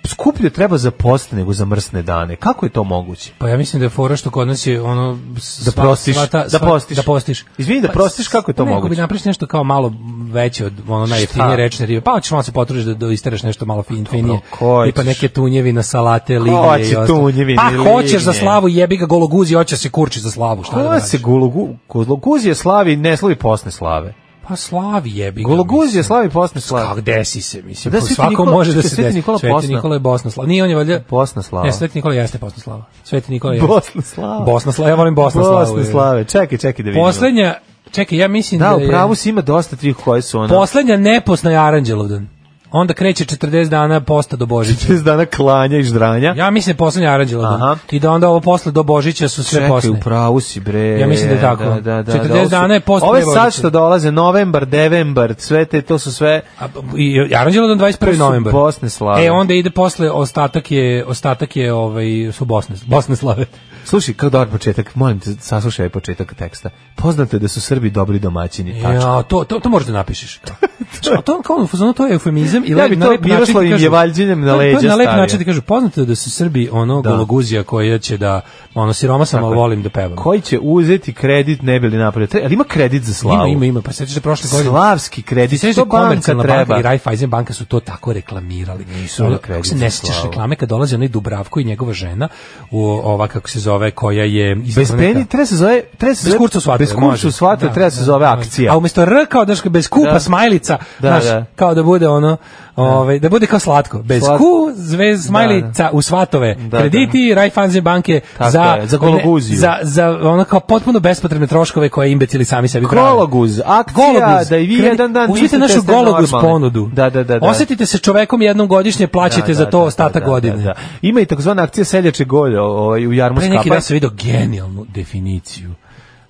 Speaker 6: Skuplje treba za post nego za mrsne dane. Kako je to moguće?
Speaker 5: Pa ja mislim da je fora što kod nas je ono s-
Speaker 6: Da
Speaker 5: sva-
Speaker 6: prostiš,
Speaker 5: sva ta-
Speaker 6: da
Speaker 5: sva-
Speaker 6: postiš.
Speaker 5: da postiš.
Speaker 6: Izvini, da
Speaker 5: Pa,
Speaker 6: prostiš, kako je to
Speaker 5: ne, Ako bi
Speaker 6: moguće?
Speaker 5: napraviš nešto kao malo veće od ono najjeftinije rečne ribe, pa hoćeš malo se potrudiš da, da isteraš nešto malo fin, finije.
Speaker 6: ko
Speaker 5: I pa
Speaker 6: ćeš?
Speaker 5: neke tunjevina, salate, lignje
Speaker 6: hoće
Speaker 5: i ostalo.
Speaker 6: tunjevine i
Speaker 5: Pa hoćeš za
Speaker 6: lignje?
Speaker 5: slavu, jebi ga gologuzi, hoćeš se kurči za slavu. Šta da
Speaker 6: Koja
Speaker 5: radiš?
Speaker 6: se gologu- gologuzije slavi, ne slavi posne slave.
Speaker 5: Pa slavi jebi ga.
Speaker 6: Gologuzije
Speaker 5: mislim.
Speaker 6: slavi posne slave.
Speaker 5: Kako desi se, mislim.
Speaker 6: Da,
Speaker 5: po
Speaker 6: Sveti
Speaker 5: svakom
Speaker 6: Nikola-
Speaker 5: može da
Speaker 6: čekaj,
Speaker 5: se
Speaker 6: Sveti
Speaker 5: desi.
Speaker 6: Nikola je
Speaker 5: Sveti
Speaker 6: Bosna.
Speaker 5: Nikola je Bosna slava. Nije, on je valjda...
Speaker 6: Bosna slava.
Speaker 5: Ne, Sveti Nikola jeste Bosna slava. Sveti Nikola jeste.
Speaker 6: Bosna slava.
Speaker 5: Bosna slava, ja volim Bosna slavu.
Speaker 6: Posne slave. Čekaj, čekaj da vidimo.
Speaker 5: Poslednja, čekaj, ja mislim da,
Speaker 6: Da, u
Speaker 5: je...
Speaker 6: pravu si ima dosta trih koje su ona.
Speaker 5: Poslednja neposna je Aranđelovdan. Onda kreće 40 dana posta do Božića.
Speaker 6: 40 dana klanja i ždranja.
Speaker 5: Ja mislim da je poslednja Aranđelovdan.
Speaker 6: Aha.
Speaker 5: I da onda ovo posle do Božića su sve
Speaker 6: Čekaj,
Speaker 5: posne.
Speaker 6: u pravu si bre.
Speaker 5: Ja mislim da je tako.
Speaker 6: Da, da, da,
Speaker 5: 40
Speaker 6: da, ovo su-
Speaker 5: dana je post
Speaker 6: Ove
Speaker 5: pre
Speaker 6: sad
Speaker 5: Božića.
Speaker 6: što dolaze, novembar, devembar, sve te, to su sve
Speaker 5: A, I Aranđelovdan 21.
Speaker 6: su
Speaker 5: novembar.
Speaker 6: Bosne slave.
Speaker 5: E, onda ide posle, ostatak je, ostatak je, ovaj, su Bosne, Bosne slave.
Speaker 6: Slušaj, kako dobar početak, molim te, saslušaj početak teksta. Poznato je da su Srbi dobri domaćini. tačka.
Speaker 5: Ja, to, to, to možeš da
Speaker 6: <laughs>
Speaker 5: napišiš. kao. Znaš, to, kao, ono, u fazonu, to je eufemizam. I
Speaker 6: Ja
Speaker 5: lep-
Speaker 6: bi
Speaker 5: na
Speaker 6: to
Speaker 5: lep način ti
Speaker 6: Miroslavim
Speaker 5: kažu-
Speaker 6: Jevaljđinem na
Speaker 5: To- To
Speaker 6: leđa
Speaker 5: je na lep
Speaker 6: stavio.
Speaker 5: način ti kažu, poznato je da su Srbi ono
Speaker 6: Da.
Speaker 5: gologuzija koja će da, ono, siroma sam, ali volim da pevam.
Speaker 6: Koji će uzeti kredit, ne bi li napravio. Tre- Ali ima kredit za slavu.
Speaker 5: Ima, ima, ima, pa sećaš se prošle godine.
Speaker 6: Slavski
Speaker 5: Ti
Speaker 6: kredit,
Speaker 5: sećaš
Speaker 6: što
Speaker 5: da
Speaker 6: banka
Speaker 5: komercijalna banka i
Speaker 6: treba.
Speaker 5: Raiffeisen banka su to tako reklamirali. Nisu
Speaker 6: na
Speaker 5: ono,
Speaker 6: kredit
Speaker 5: kako se
Speaker 6: za
Speaker 5: ne sećaš
Speaker 6: slavu.
Speaker 5: reklame kad dolazi onaj Dubravko i njegova žena u ova kako se zove koja je
Speaker 6: Bez peni, treba se zove, treba se
Speaker 5: Bez
Speaker 6: zove-
Speaker 5: kurcu svate.
Speaker 6: bez kurcu svate, treba se zove akcija.
Speaker 5: A umjesto R kao daš, bez kupa,
Speaker 6: Da.
Speaker 5: smajlica,
Speaker 6: Da,
Speaker 5: znaš,
Speaker 6: da.
Speaker 5: kao da bude ono, ovaj, da bude kao slatko. Bez
Speaker 6: Slatko.
Speaker 5: ku, zvez, smajlica u svatove.
Speaker 6: Da,
Speaker 5: Krediti, Raiffeisen banke
Speaker 6: Tako
Speaker 5: za,
Speaker 6: je, za gologuziju.
Speaker 5: za, za ono kao potpuno bespotrebne troškove koje imbecili sami sebi prave.
Speaker 6: Gologuz, akcija, da i vi
Speaker 5: Kredi-
Speaker 6: jedan dan
Speaker 5: Uzmite
Speaker 6: mislite
Speaker 5: našu
Speaker 6: ste
Speaker 5: gologuz
Speaker 6: normalni.
Speaker 5: ponudu.
Speaker 6: Da, da, da, da.
Speaker 5: Osjetite se čovekom jednom godišnje, plaćate za to ostatak godine.
Speaker 6: da. Ima i takzvana akcija seljače golje ovaj, u Jarmu
Speaker 5: Pre neki
Speaker 6: Skapa.
Speaker 5: dan sam vidio genijalnu definiciju.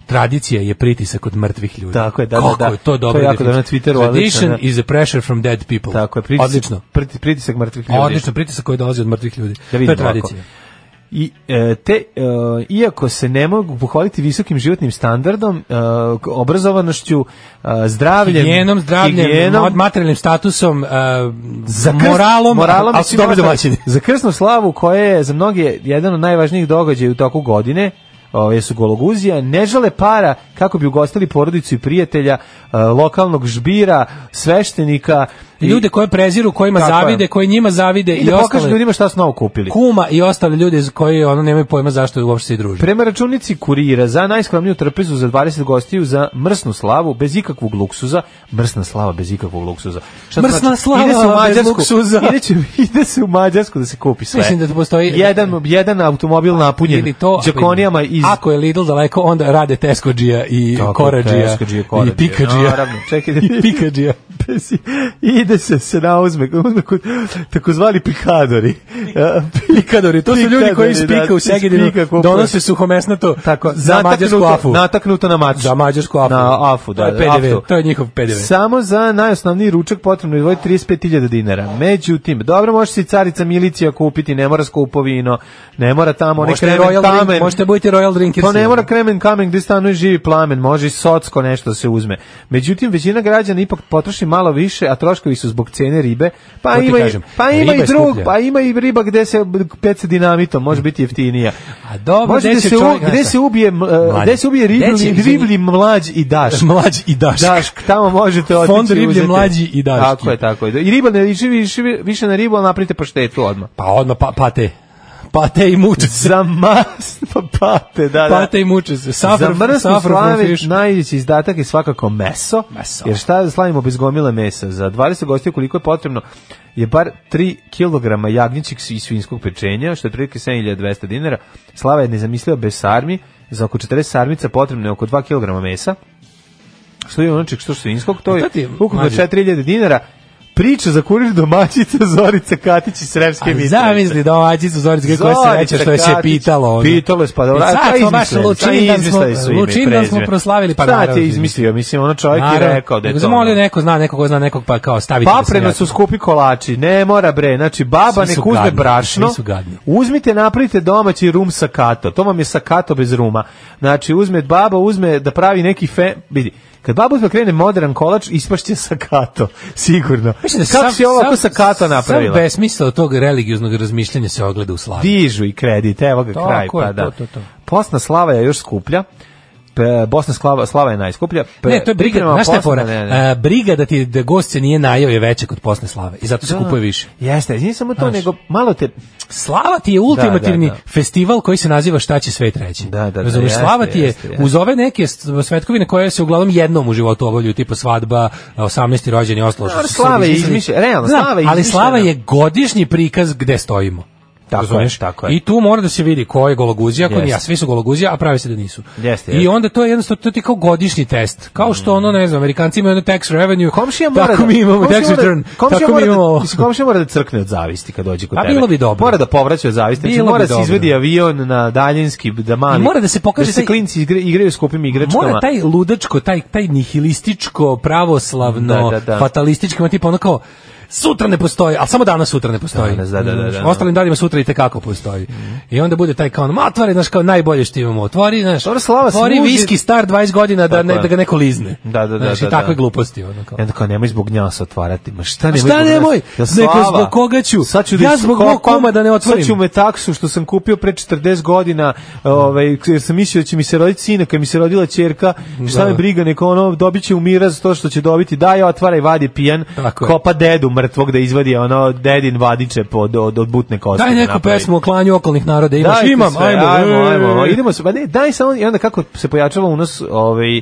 Speaker 5: Tradicija je pritisak od mrtvih ljudi.
Speaker 6: Tako je, da, da,
Speaker 5: Kako
Speaker 6: da.
Speaker 5: je to
Speaker 6: To je
Speaker 5: dobro.
Speaker 6: jako dobro na Twitteru, odlično,
Speaker 5: Tradition
Speaker 6: da.
Speaker 5: is a pressure from dead people.
Speaker 6: Tako je, pritisak,
Speaker 5: Odlično.
Speaker 6: priti- pritisak mrtvih ljudi.
Speaker 5: Odlično, pritisak koji dolazi od mrtvih ljudi.
Speaker 6: Da
Speaker 5: to je
Speaker 6: vidim
Speaker 5: tradicija.
Speaker 6: ovako. I, e, te, e, iako se ne mogu pohvaliti visokim životnim standardom, e, obrazovanošću, e, zdravljem,
Speaker 5: Higijenom, zdravljem,
Speaker 6: higijenom,
Speaker 5: mod- materijalnim statusom, uh,
Speaker 6: za krst-
Speaker 5: moralom,
Speaker 6: moralom
Speaker 5: ali
Speaker 6: i
Speaker 5: su
Speaker 6: svim
Speaker 5: dobri
Speaker 6: ostalim.
Speaker 5: domaćini.
Speaker 6: Za krsnu slavu koja je za mnoge jedan od najvažnijih događaja u toku godine, ove su gologuzija, ne žele para kako bi ugostili porodicu i prijatelja, e, lokalnog žbira, sveštenika. i-
Speaker 5: Ljude koje preziru, kojima
Speaker 6: Tako je.
Speaker 5: zavide, koji njima zavide
Speaker 6: i,
Speaker 5: i,
Speaker 6: da pokažu
Speaker 5: ostale
Speaker 6: ljudima šta su novo kupili.
Speaker 5: kuma i ostale ljude koji ono nemaju pojma zašto uopšte se i druže.
Speaker 6: Prema računici kurira za najskromniju trpezu za 20 gostiju za mrsnu slavu bez ikakvog luksuza, mrsna slava bez ikakvog luksuza. Šta to znači?
Speaker 5: Mrsna slava
Speaker 6: ide se u
Speaker 5: bez
Speaker 6: Mađarsku,
Speaker 5: luksuza.
Speaker 6: Ide, će, <laughs> ide se u Mađarsku da se kupi sve.
Speaker 5: Mislim da tu postoji-
Speaker 6: jedan, jedan automobil napunjen
Speaker 5: ili to
Speaker 6: džakonijama iz...
Speaker 5: ako je Lidl daleko onda rade Tescođija i
Speaker 6: Tako,
Speaker 5: Korađija
Speaker 6: Tescođija,
Speaker 5: i
Speaker 6: Korađija,
Speaker 5: <laughs> Pikađija
Speaker 6: naravno, čekaj.
Speaker 5: i Pikađija
Speaker 6: Bez- <laughs> ide se se nauzme, uzme kod takozvani
Speaker 5: <laughs>
Speaker 6: pikadori.
Speaker 5: Pikadori, to su ljudi koji iz
Speaker 6: Pikadori,
Speaker 5: Pika
Speaker 6: da,
Speaker 5: u
Speaker 6: iz
Speaker 5: Segedinu
Speaker 6: Pika kupuju.
Speaker 5: donose suhomesnato
Speaker 6: Tako,
Speaker 5: za mađarsku
Speaker 6: nataknuto-
Speaker 5: afu.
Speaker 6: Nataknuto na maču.
Speaker 5: Za mađarsku afu.
Speaker 6: Na afu,
Speaker 5: To
Speaker 6: da.
Speaker 5: je PDV,
Speaker 6: aftu.
Speaker 5: to je njihov PDV.
Speaker 6: Samo za najosnovniji ručak potrebno je izdvojiti 35.000 dinara. Međutim, dobro može se i carica milicija kupiti, ne mora skupo vino, ne mora tamo onaj
Speaker 5: Možete
Speaker 6: kremen
Speaker 5: Royal Drink-
Speaker 6: kamen.
Speaker 5: možete budete Royal Drinkers.
Speaker 6: Pa ne mora kremen kamen gdje stanuje živi plamen, može i socko nešto da se uzme. Međutim, većina građana ipak potroši malo više, a troškovi su zbog cene ribe. Pa
Speaker 5: To ti
Speaker 6: ima, i,
Speaker 5: kažem,
Speaker 6: pa ima
Speaker 5: riba
Speaker 6: i
Speaker 5: je
Speaker 6: drug,
Speaker 5: skuplja.
Speaker 6: pa ima i riba gde se peca dinamitom, može biti jeftinija.
Speaker 5: A dobro,
Speaker 6: Može
Speaker 5: gde
Speaker 6: da
Speaker 5: će
Speaker 6: se, u-
Speaker 5: čovjek,
Speaker 6: gde
Speaker 5: znaš
Speaker 6: se
Speaker 5: šta?
Speaker 6: ubije, e,
Speaker 5: Mlađe.
Speaker 6: gde se ubije
Speaker 5: Gde će-
Speaker 6: riblji,
Speaker 5: izvini.
Speaker 6: riblji mlađ i daš.
Speaker 5: <laughs> mlađi i daš.
Speaker 6: Daš, tamo možete otići.
Speaker 5: Fond
Speaker 6: i
Speaker 5: riblje
Speaker 6: uzeti.
Speaker 5: mlađi i daški.
Speaker 6: Tako je, tako je. I riba ne liči više, više na ribu, ali napravite paštetu
Speaker 5: <laughs>
Speaker 6: odmah.
Speaker 5: Pa odmah pa, pate. Pate i muče se.
Speaker 6: Za mas, <laughs> pa pate, da, da.
Speaker 5: Pate i muče se.
Speaker 6: Za
Speaker 5: Safra,
Speaker 6: mrsnu
Speaker 5: safra,
Speaker 6: slavi najveći izdatak je svakako meso,
Speaker 5: Meso.
Speaker 6: jer šta slavimo bez gomile mesa? Za 20 gostiju koliko je potrebno je bar 3 kg jagnjećeg i svinjskog pečenja, što je prilike 7200 dinara. Slava je nezamisliva bez sarmi, za oko 40 sarmica potrebno je oko 2 kg mesa, što je onočeg što svinjskog, to je
Speaker 5: E, To ti je,
Speaker 6: ukupno
Speaker 5: mlađe.
Speaker 6: 4000 dinara. Priča za kurir domaćica Zorica Katić iz Sremske
Speaker 5: Ali
Speaker 6: Mitrovice.
Speaker 5: zamisli da ovađicu Zorice koja se
Speaker 6: Zorica
Speaker 5: reče što je se
Speaker 6: Katić.
Speaker 5: pitalo. Ono.
Speaker 6: Pitalo je pa dobro.
Speaker 5: I
Speaker 6: a
Speaker 5: sad
Speaker 6: šta
Speaker 5: smo baš
Speaker 6: izmislili?
Speaker 5: Lučin
Speaker 6: Šta
Speaker 5: dan smo,
Speaker 6: izmislili su ime i
Speaker 5: Lučin dan smo
Speaker 6: prezime?
Speaker 5: proslavili. Pa
Speaker 6: Šta
Speaker 5: naravno,
Speaker 6: ti je izmislio? Mislim, ono čovjek je
Speaker 5: Naravno.
Speaker 6: rekao da je
Speaker 5: Nego
Speaker 6: to.
Speaker 5: Zamolio
Speaker 6: ono.
Speaker 5: neko zna, neko ko zna nekog pa kao stavite. da se
Speaker 6: Papreno
Speaker 5: vrati.
Speaker 6: su skupi kolači, ne mora bre, znači baba
Speaker 5: Svi su
Speaker 6: nek uzme
Speaker 5: gadni,
Speaker 6: brašno,
Speaker 5: svi su gadni.
Speaker 6: uzmite napravite domaći rum sakato, to vam je sakato bez ruma, znači uzme baba, uzme da pravi neki fe, vidi, kad baba uzme krene modern kolač, ispašće sakato, sigurno.
Speaker 5: Mislim da
Speaker 6: Kako
Speaker 5: sam-
Speaker 6: si ovo ovako
Speaker 5: sam-
Speaker 6: sakato napravila?
Speaker 5: Sam besmisao tog religioznog razmišljanja se ogleda u slavi.
Speaker 6: dižu i kredit, evo ga
Speaker 5: Tako
Speaker 6: kraj,
Speaker 5: je,
Speaker 6: pa
Speaker 5: to,
Speaker 6: da.
Speaker 5: to, to.
Speaker 6: Posna slava je još skuplja, Pe- Bosna slava, slava je najskuplja. Pe-
Speaker 5: Ne, to je briga,
Speaker 6: priprema
Speaker 5: znaš šta je
Speaker 6: posna-
Speaker 5: fora?
Speaker 6: ne, ne.
Speaker 5: E, briga da ti da gost se nije najao je veća kod posne slave i zato se kupuje više.
Speaker 6: Jeste, nije samo to,
Speaker 5: Znaš.
Speaker 6: nego malo te...
Speaker 5: Slava ti je ultimativni
Speaker 6: Da, da, da.
Speaker 5: festival koji se naziva Šta će svet reći.
Speaker 6: Da, da, da,
Speaker 5: Razumeš,
Speaker 6: jeste,
Speaker 5: slava ti je
Speaker 6: jeste, jeste.
Speaker 5: uz ove neke s- svetkovine koje se uglavnom jednom u životu obavljaju, tipa svadba, 18. rođendan i ostalo. što
Speaker 6: Dobro,
Speaker 5: su
Speaker 6: slava
Speaker 5: Srbi
Speaker 6: je
Speaker 5: izmislili.
Speaker 6: izmišlja- realno,
Speaker 5: Znam,
Speaker 6: slava je
Speaker 5: Ali slava je
Speaker 6: izmišljena.
Speaker 5: godišnji prikaz gde stojimo.
Speaker 6: Tako je,
Speaker 5: Razumeš?
Speaker 6: tako je.
Speaker 5: I tu mora da se vidi ko je gologuzija, ko
Speaker 6: Jeste.
Speaker 5: nije. A Svi su gologuzija, a pravi se da nisu.
Speaker 6: Jeste,
Speaker 5: I
Speaker 6: jeste.
Speaker 5: onda to je jednostavno, to ti je kao godišnji test. Kao što ono, ne znam, Amerikanci imaju ono tax revenue,
Speaker 6: Komšija mora
Speaker 5: tako
Speaker 6: da,
Speaker 5: mi imamo
Speaker 6: komšija
Speaker 5: tax
Speaker 6: mora-
Speaker 5: return,
Speaker 6: komšija
Speaker 5: tako mi
Speaker 6: mora
Speaker 5: imamo...
Speaker 6: Da, mislim, komšija mora da crkne od zavisti kad dođe kod
Speaker 5: A
Speaker 6: tebe.
Speaker 5: bilo bi dobro.
Speaker 6: Mora da povraća od zavisti. Znači,
Speaker 5: Bilo bi
Speaker 6: mora da se
Speaker 5: dobro.
Speaker 6: izvedi avion na daljinski, da mali.
Speaker 5: I mora da se pokaže
Speaker 6: Da se
Speaker 5: taj-
Speaker 6: klinci igre, igraju skupim igračkama.
Speaker 5: Mora taj ludačko, taj, taj nihilističko, pravoslavno,
Speaker 6: Da, da, da.
Speaker 5: fatalističko, ima tipa ono kao, sutra ne postoji, ali samo danas sutra ne postoji.
Speaker 6: Danas, da, da, da, da, da.
Speaker 5: Ostalim danima sutra i tekako postoji. I onda bude taj kao, ono, ma otvori, znaš, kao najbolje što imamo, otvori, znaš,
Speaker 6: Dobro, slava se
Speaker 5: otvori
Speaker 6: muži-
Speaker 5: viski star 20 godina da,
Speaker 6: Tako
Speaker 5: ne,
Speaker 6: je.
Speaker 5: da ga neko lizne.
Speaker 6: Da, da, da,
Speaker 5: Znaš,
Speaker 6: da,
Speaker 5: i takve
Speaker 6: da.
Speaker 5: gluposti, ono kao.
Speaker 6: Ja tako nemoj zbog njas otvarati. Ma šta
Speaker 5: A
Speaker 6: nemoj?
Speaker 5: šta
Speaker 6: zbog nas?
Speaker 5: nemoj?
Speaker 6: Ja
Speaker 5: Neko
Speaker 6: slava.
Speaker 5: zbog koga ću?
Speaker 6: Sad ću
Speaker 5: Ja
Speaker 6: da
Speaker 5: zbog mog
Speaker 6: iskopam,
Speaker 5: kuma da ne otvorim.
Speaker 6: Sad ću me taksu što sam kupio pre 40 godina, ovaj jer sam mislio da će mi se roditi sina, kad mi se rodila ćerka. Šta
Speaker 5: Da.
Speaker 6: me briga, neko ono dobiće u miraz to što će dobiti. Daj, otvaraj, vadi pijan,
Speaker 5: Tako je.
Speaker 6: kopa dedu mrtvog da izvadi ono dedin vadiče pod od, od butne kosti.
Speaker 5: Daj
Speaker 6: da
Speaker 5: neku
Speaker 6: napravi.
Speaker 5: pesmu o klanju okolnih naroda, imaš,
Speaker 6: Dajte
Speaker 5: imam,
Speaker 6: sve,
Speaker 5: ajmo, e,
Speaker 6: ajmo,
Speaker 5: ej.
Speaker 6: ajmo, idemo se, pa ne, daj samo, i onda kako se pojačava unos, ovaj,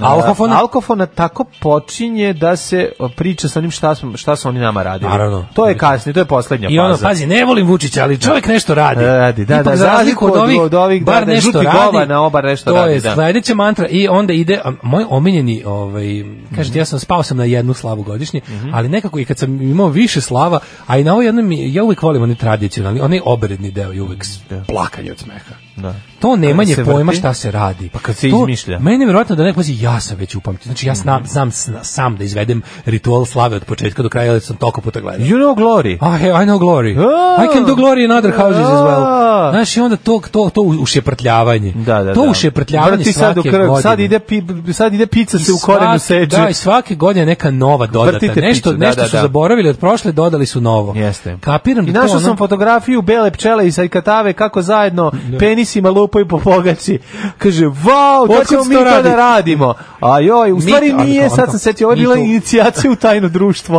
Speaker 5: Alkofona?
Speaker 6: a, alkofona tako počinje da se o, priča sa onim šta, smo, šta su oni nama radili.
Speaker 5: Naravno.
Speaker 6: To je kasnije, to je poslednja
Speaker 5: I ono,
Speaker 6: faza.
Speaker 5: pazi, ne volim Vučića, ali čovjek nešto radi.
Speaker 6: Da, radi, da,
Speaker 5: Ipak
Speaker 6: da,
Speaker 5: za razliku od ovih,
Speaker 6: ovih, da,
Speaker 5: bar
Speaker 6: da,
Speaker 5: nešto
Speaker 6: žuti
Speaker 5: radi.
Speaker 6: govana, oba nešto
Speaker 5: to
Speaker 6: radi,
Speaker 5: je
Speaker 6: da.
Speaker 5: sledeća mantra i onda ide, a, moj omiljeni, ovaj, kažete, ja sam spao sam na jednu slavu godišnje,
Speaker 6: Mhm.
Speaker 5: ali nekako i kad sam imao više slava, a i na ovo jedno mi, ja uvijek volim onaj tradicionalni, onaj obredni deo i uvijek plakanje od smeha.
Speaker 6: Mm, Da.
Speaker 5: To nemanje
Speaker 6: se vrti.
Speaker 5: pojma šta se radi. Pa
Speaker 6: kad se
Speaker 5: to,
Speaker 6: izmišlja. Mhm.
Speaker 5: Meni je vjerojatno da neko pazi, ja sam već upamtio. Znači ja znam, znam sna- sam da izvedem ritual slave od početka do kraja, ali sam toliko puta gledao.
Speaker 6: You know glory.
Speaker 5: Ah, hey, I know glory.
Speaker 6: Ah.
Speaker 5: I can do glory in other houses as well.
Speaker 6: Ah.
Speaker 5: Znaš, i onda to, to, to ušeprtljavanje.
Speaker 6: Da, da,
Speaker 5: to
Speaker 6: da.
Speaker 5: ušeprtljavanje
Speaker 6: Vrati sad
Speaker 5: svake
Speaker 6: u krv,
Speaker 5: godine.
Speaker 6: Sad ide, pi, sad ide pica
Speaker 5: I
Speaker 6: se u korenu
Speaker 5: svake-
Speaker 6: seče.
Speaker 5: Da, i svake godine neka nova dodata.
Speaker 6: Vrtite
Speaker 5: nešto
Speaker 6: picu, da,
Speaker 5: nešto
Speaker 6: da,
Speaker 5: su
Speaker 6: da.
Speaker 5: zaboravili od prošle, dodali su novo.
Speaker 6: Jeste.
Speaker 5: Kapiram
Speaker 6: I
Speaker 5: da to
Speaker 6: našao
Speaker 5: ono-
Speaker 6: sam fotografiju bele pčele i sajkatave kako zajedno penisima lupaju po pogači. Kaže, vau, to
Speaker 5: Otkud
Speaker 6: ćemo
Speaker 5: se
Speaker 6: mi
Speaker 5: to
Speaker 6: to
Speaker 5: radi?"
Speaker 6: da radimo. A joj, u
Speaker 5: Mi-
Speaker 6: stvari
Speaker 5: ali
Speaker 6: nije,
Speaker 5: kao-
Speaker 6: sad sam setio, ovo je
Speaker 5: mi
Speaker 6: bila
Speaker 5: to-
Speaker 6: inicijacija u tajno
Speaker 5: <laughs>
Speaker 6: društvo.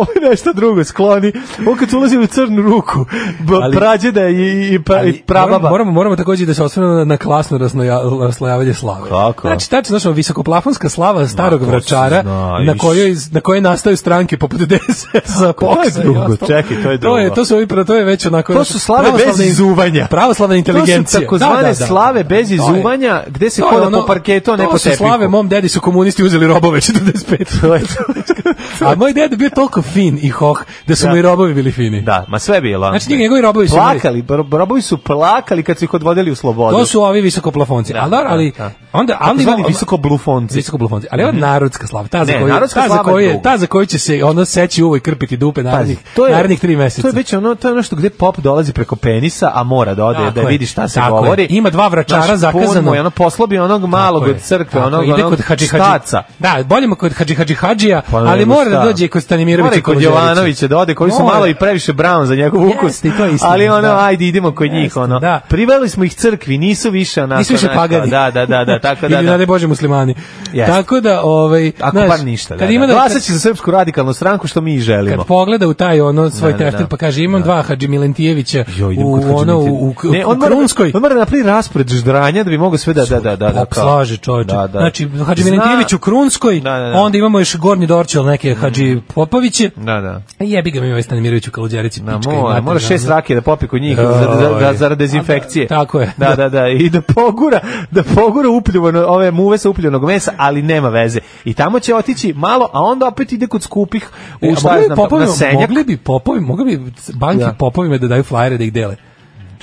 Speaker 6: ovo je nešto drugo, skloni. Ovo kad su ulazili u crnu ruku, b-
Speaker 5: Ali-
Speaker 6: prađeda i, i, pra- i
Speaker 5: Ali
Speaker 6: prababa.
Speaker 5: Moramo, moramo, moramo takođe da se osvrnemo na, na klasno rasnoja, raslojavanje slave.
Speaker 6: Kako?
Speaker 5: Znači, tačno znaš, ono, visokoplafonska slava starog
Speaker 6: to se
Speaker 5: vračara
Speaker 6: zna,
Speaker 5: na
Speaker 6: iš.
Speaker 5: kojoj, iz- na kojoj nastaju stranke poput <laughs> DSS za
Speaker 6: je
Speaker 5: poksa. i
Speaker 6: drugo,
Speaker 5: ostalo.
Speaker 6: čekaj, to je
Speaker 5: To, je,
Speaker 6: drugo.
Speaker 5: to, su, ovi pra- to je već onako...
Speaker 6: To su slave bez
Speaker 5: pravoslavne-
Speaker 6: izuvanja.
Speaker 5: Pravoslavna inteligencija.
Speaker 6: To su takozvane
Speaker 5: Da, da, da.
Speaker 6: slave bez
Speaker 5: To je-
Speaker 6: izuvanja, gde se
Speaker 5: to je
Speaker 6: hoda
Speaker 5: ono-
Speaker 6: po parketu, a ne po
Speaker 5: To su
Speaker 6: tepiku.
Speaker 5: slave, mom dedi su komunisti uzeli robove
Speaker 6: <laughs>
Speaker 5: 45.
Speaker 6: To je
Speaker 5: <laughs>
Speaker 6: to.
Speaker 5: a moj deda bio toliko fin i hoh da su
Speaker 6: Da.
Speaker 5: mu i robovi bili fini.
Speaker 6: Da, ma sve bilo.
Speaker 5: Znači, njega- njegovi robovi su imali-
Speaker 6: plakali, bro- robovi su plakali kad su ih odvodili u slobodu.
Speaker 5: To su ovi visokoplafonci. Da, ali, dobro, ali
Speaker 6: Pa da, Pa da.
Speaker 5: onda
Speaker 6: Tako
Speaker 5: ali
Speaker 6: zvani
Speaker 5: imamo-
Speaker 6: visokoblufonci.
Speaker 5: Visokoblufonci. Ali ova narodska slava, ta za
Speaker 6: Mhm. Ne,
Speaker 5: koju,
Speaker 6: narodska
Speaker 5: ta za
Speaker 6: slava je
Speaker 5: koju,
Speaker 6: druga.
Speaker 5: ta za koju će se ono seći uvo i krpiti dupe narednih,
Speaker 6: to je
Speaker 5: narednih tri meseca.
Speaker 6: To je već ono, to je ono što gde pop dolazi preko penisa, a mora da ode
Speaker 5: Tako
Speaker 6: da
Speaker 5: je,
Speaker 6: vidi šta se
Speaker 5: tako je.
Speaker 6: govori.
Speaker 5: Ima dva vračara
Speaker 6: Znaš, pun
Speaker 5: zakazano.
Speaker 6: mu je ono poslobi onog malog
Speaker 5: Tako je,
Speaker 6: od crkve,
Speaker 5: tako
Speaker 6: onog,
Speaker 5: je. Ide
Speaker 6: onog
Speaker 5: kod Hadži Hadži-
Speaker 6: štaca.
Speaker 5: Da, bolje mu kod Hadži Hadži Hadžija,
Speaker 6: Pa ne,
Speaker 5: ali mora
Speaker 6: šta?
Speaker 5: da dođe i kod
Speaker 6: Mora
Speaker 5: Stanimirovića
Speaker 6: i kod Jovanovića da ode, koji su
Speaker 5: Mora.
Speaker 6: malo i p***a previše brown za njegov ukus.
Speaker 5: Jeste, i to je istina,
Speaker 6: ali ono,
Speaker 5: da.
Speaker 6: ajde, idemo kod njih.
Speaker 5: Jeste,
Speaker 6: Ono.
Speaker 5: da.
Speaker 6: Priveli smo ih crkvi, nisu više onako.
Speaker 5: Nisu više
Speaker 6: nešto,
Speaker 5: pagani.
Speaker 6: Da, da, da, da, tako da.
Speaker 5: <laughs> Ili,
Speaker 6: da.
Speaker 5: ne daj Bože, muslimani.
Speaker 6: Jeste.
Speaker 5: Tako da, ovaj...
Speaker 6: Ako
Speaker 5: znaš,
Speaker 6: bar ništa. Da,
Speaker 5: kad
Speaker 6: da.
Speaker 5: ima
Speaker 6: Glasat će za Srpsku radikalnu stranku, što mi i želimo.
Speaker 5: kad pogleda u taj ono svoj
Speaker 6: Da, da,
Speaker 5: tefter
Speaker 6: da.
Speaker 5: pa kaže imam dva Hadži Milentijevića
Speaker 6: Jo, idem kod
Speaker 5: u
Speaker 6: Hadži
Speaker 5: ono
Speaker 6: Mitija.
Speaker 5: u, u,
Speaker 6: Ne, on
Speaker 5: u
Speaker 6: mora-
Speaker 5: Krunskoj
Speaker 6: On mora napravi raspored ždranja da bi mogao sve da da da da. da
Speaker 5: Pop slaže čoveče.
Speaker 6: Da, da.
Speaker 5: Znači, Hadži
Speaker 6: Zna-
Speaker 5: Milentijević u Krunskoj,
Speaker 6: Da, da, Mm. da.
Speaker 5: onda imamo još Gornji Dorčel, neke Hadži Popoviće,
Speaker 6: Da, da.
Speaker 5: a jebi ga mi ovaj Stanimirović u Kaludjerici.
Speaker 6: Na
Speaker 5: pička i
Speaker 6: mora,
Speaker 5: mater,
Speaker 6: mora
Speaker 5: da,
Speaker 6: šest
Speaker 5: da.
Speaker 6: rakije da popi kod njih
Speaker 5: Joj.
Speaker 6: za, za, da, zarad dezinfekcije.
Speaker 5: A, da, tako je. E,
Speaker 6: Da, da, da. I da pogura, da pogura upljuvano, ove muve sa upljuvanog mesa, ali nema veze. I tamo će otići malo, a onda opet ide kod skupih
Speaker 5: E,
Speaker 6: u
Speaker 5: a
Speaker 6: šta ja
Speaker 5: mogli bi
Speaker 6: znam,
Speaker 5: popovi,
Speaker 6: na senjak.
Speaker 5: mogli bi popovi, mogli bi banke
Speaker 6: Da.
Speaker 5: popovima da daju flajere da ih dele.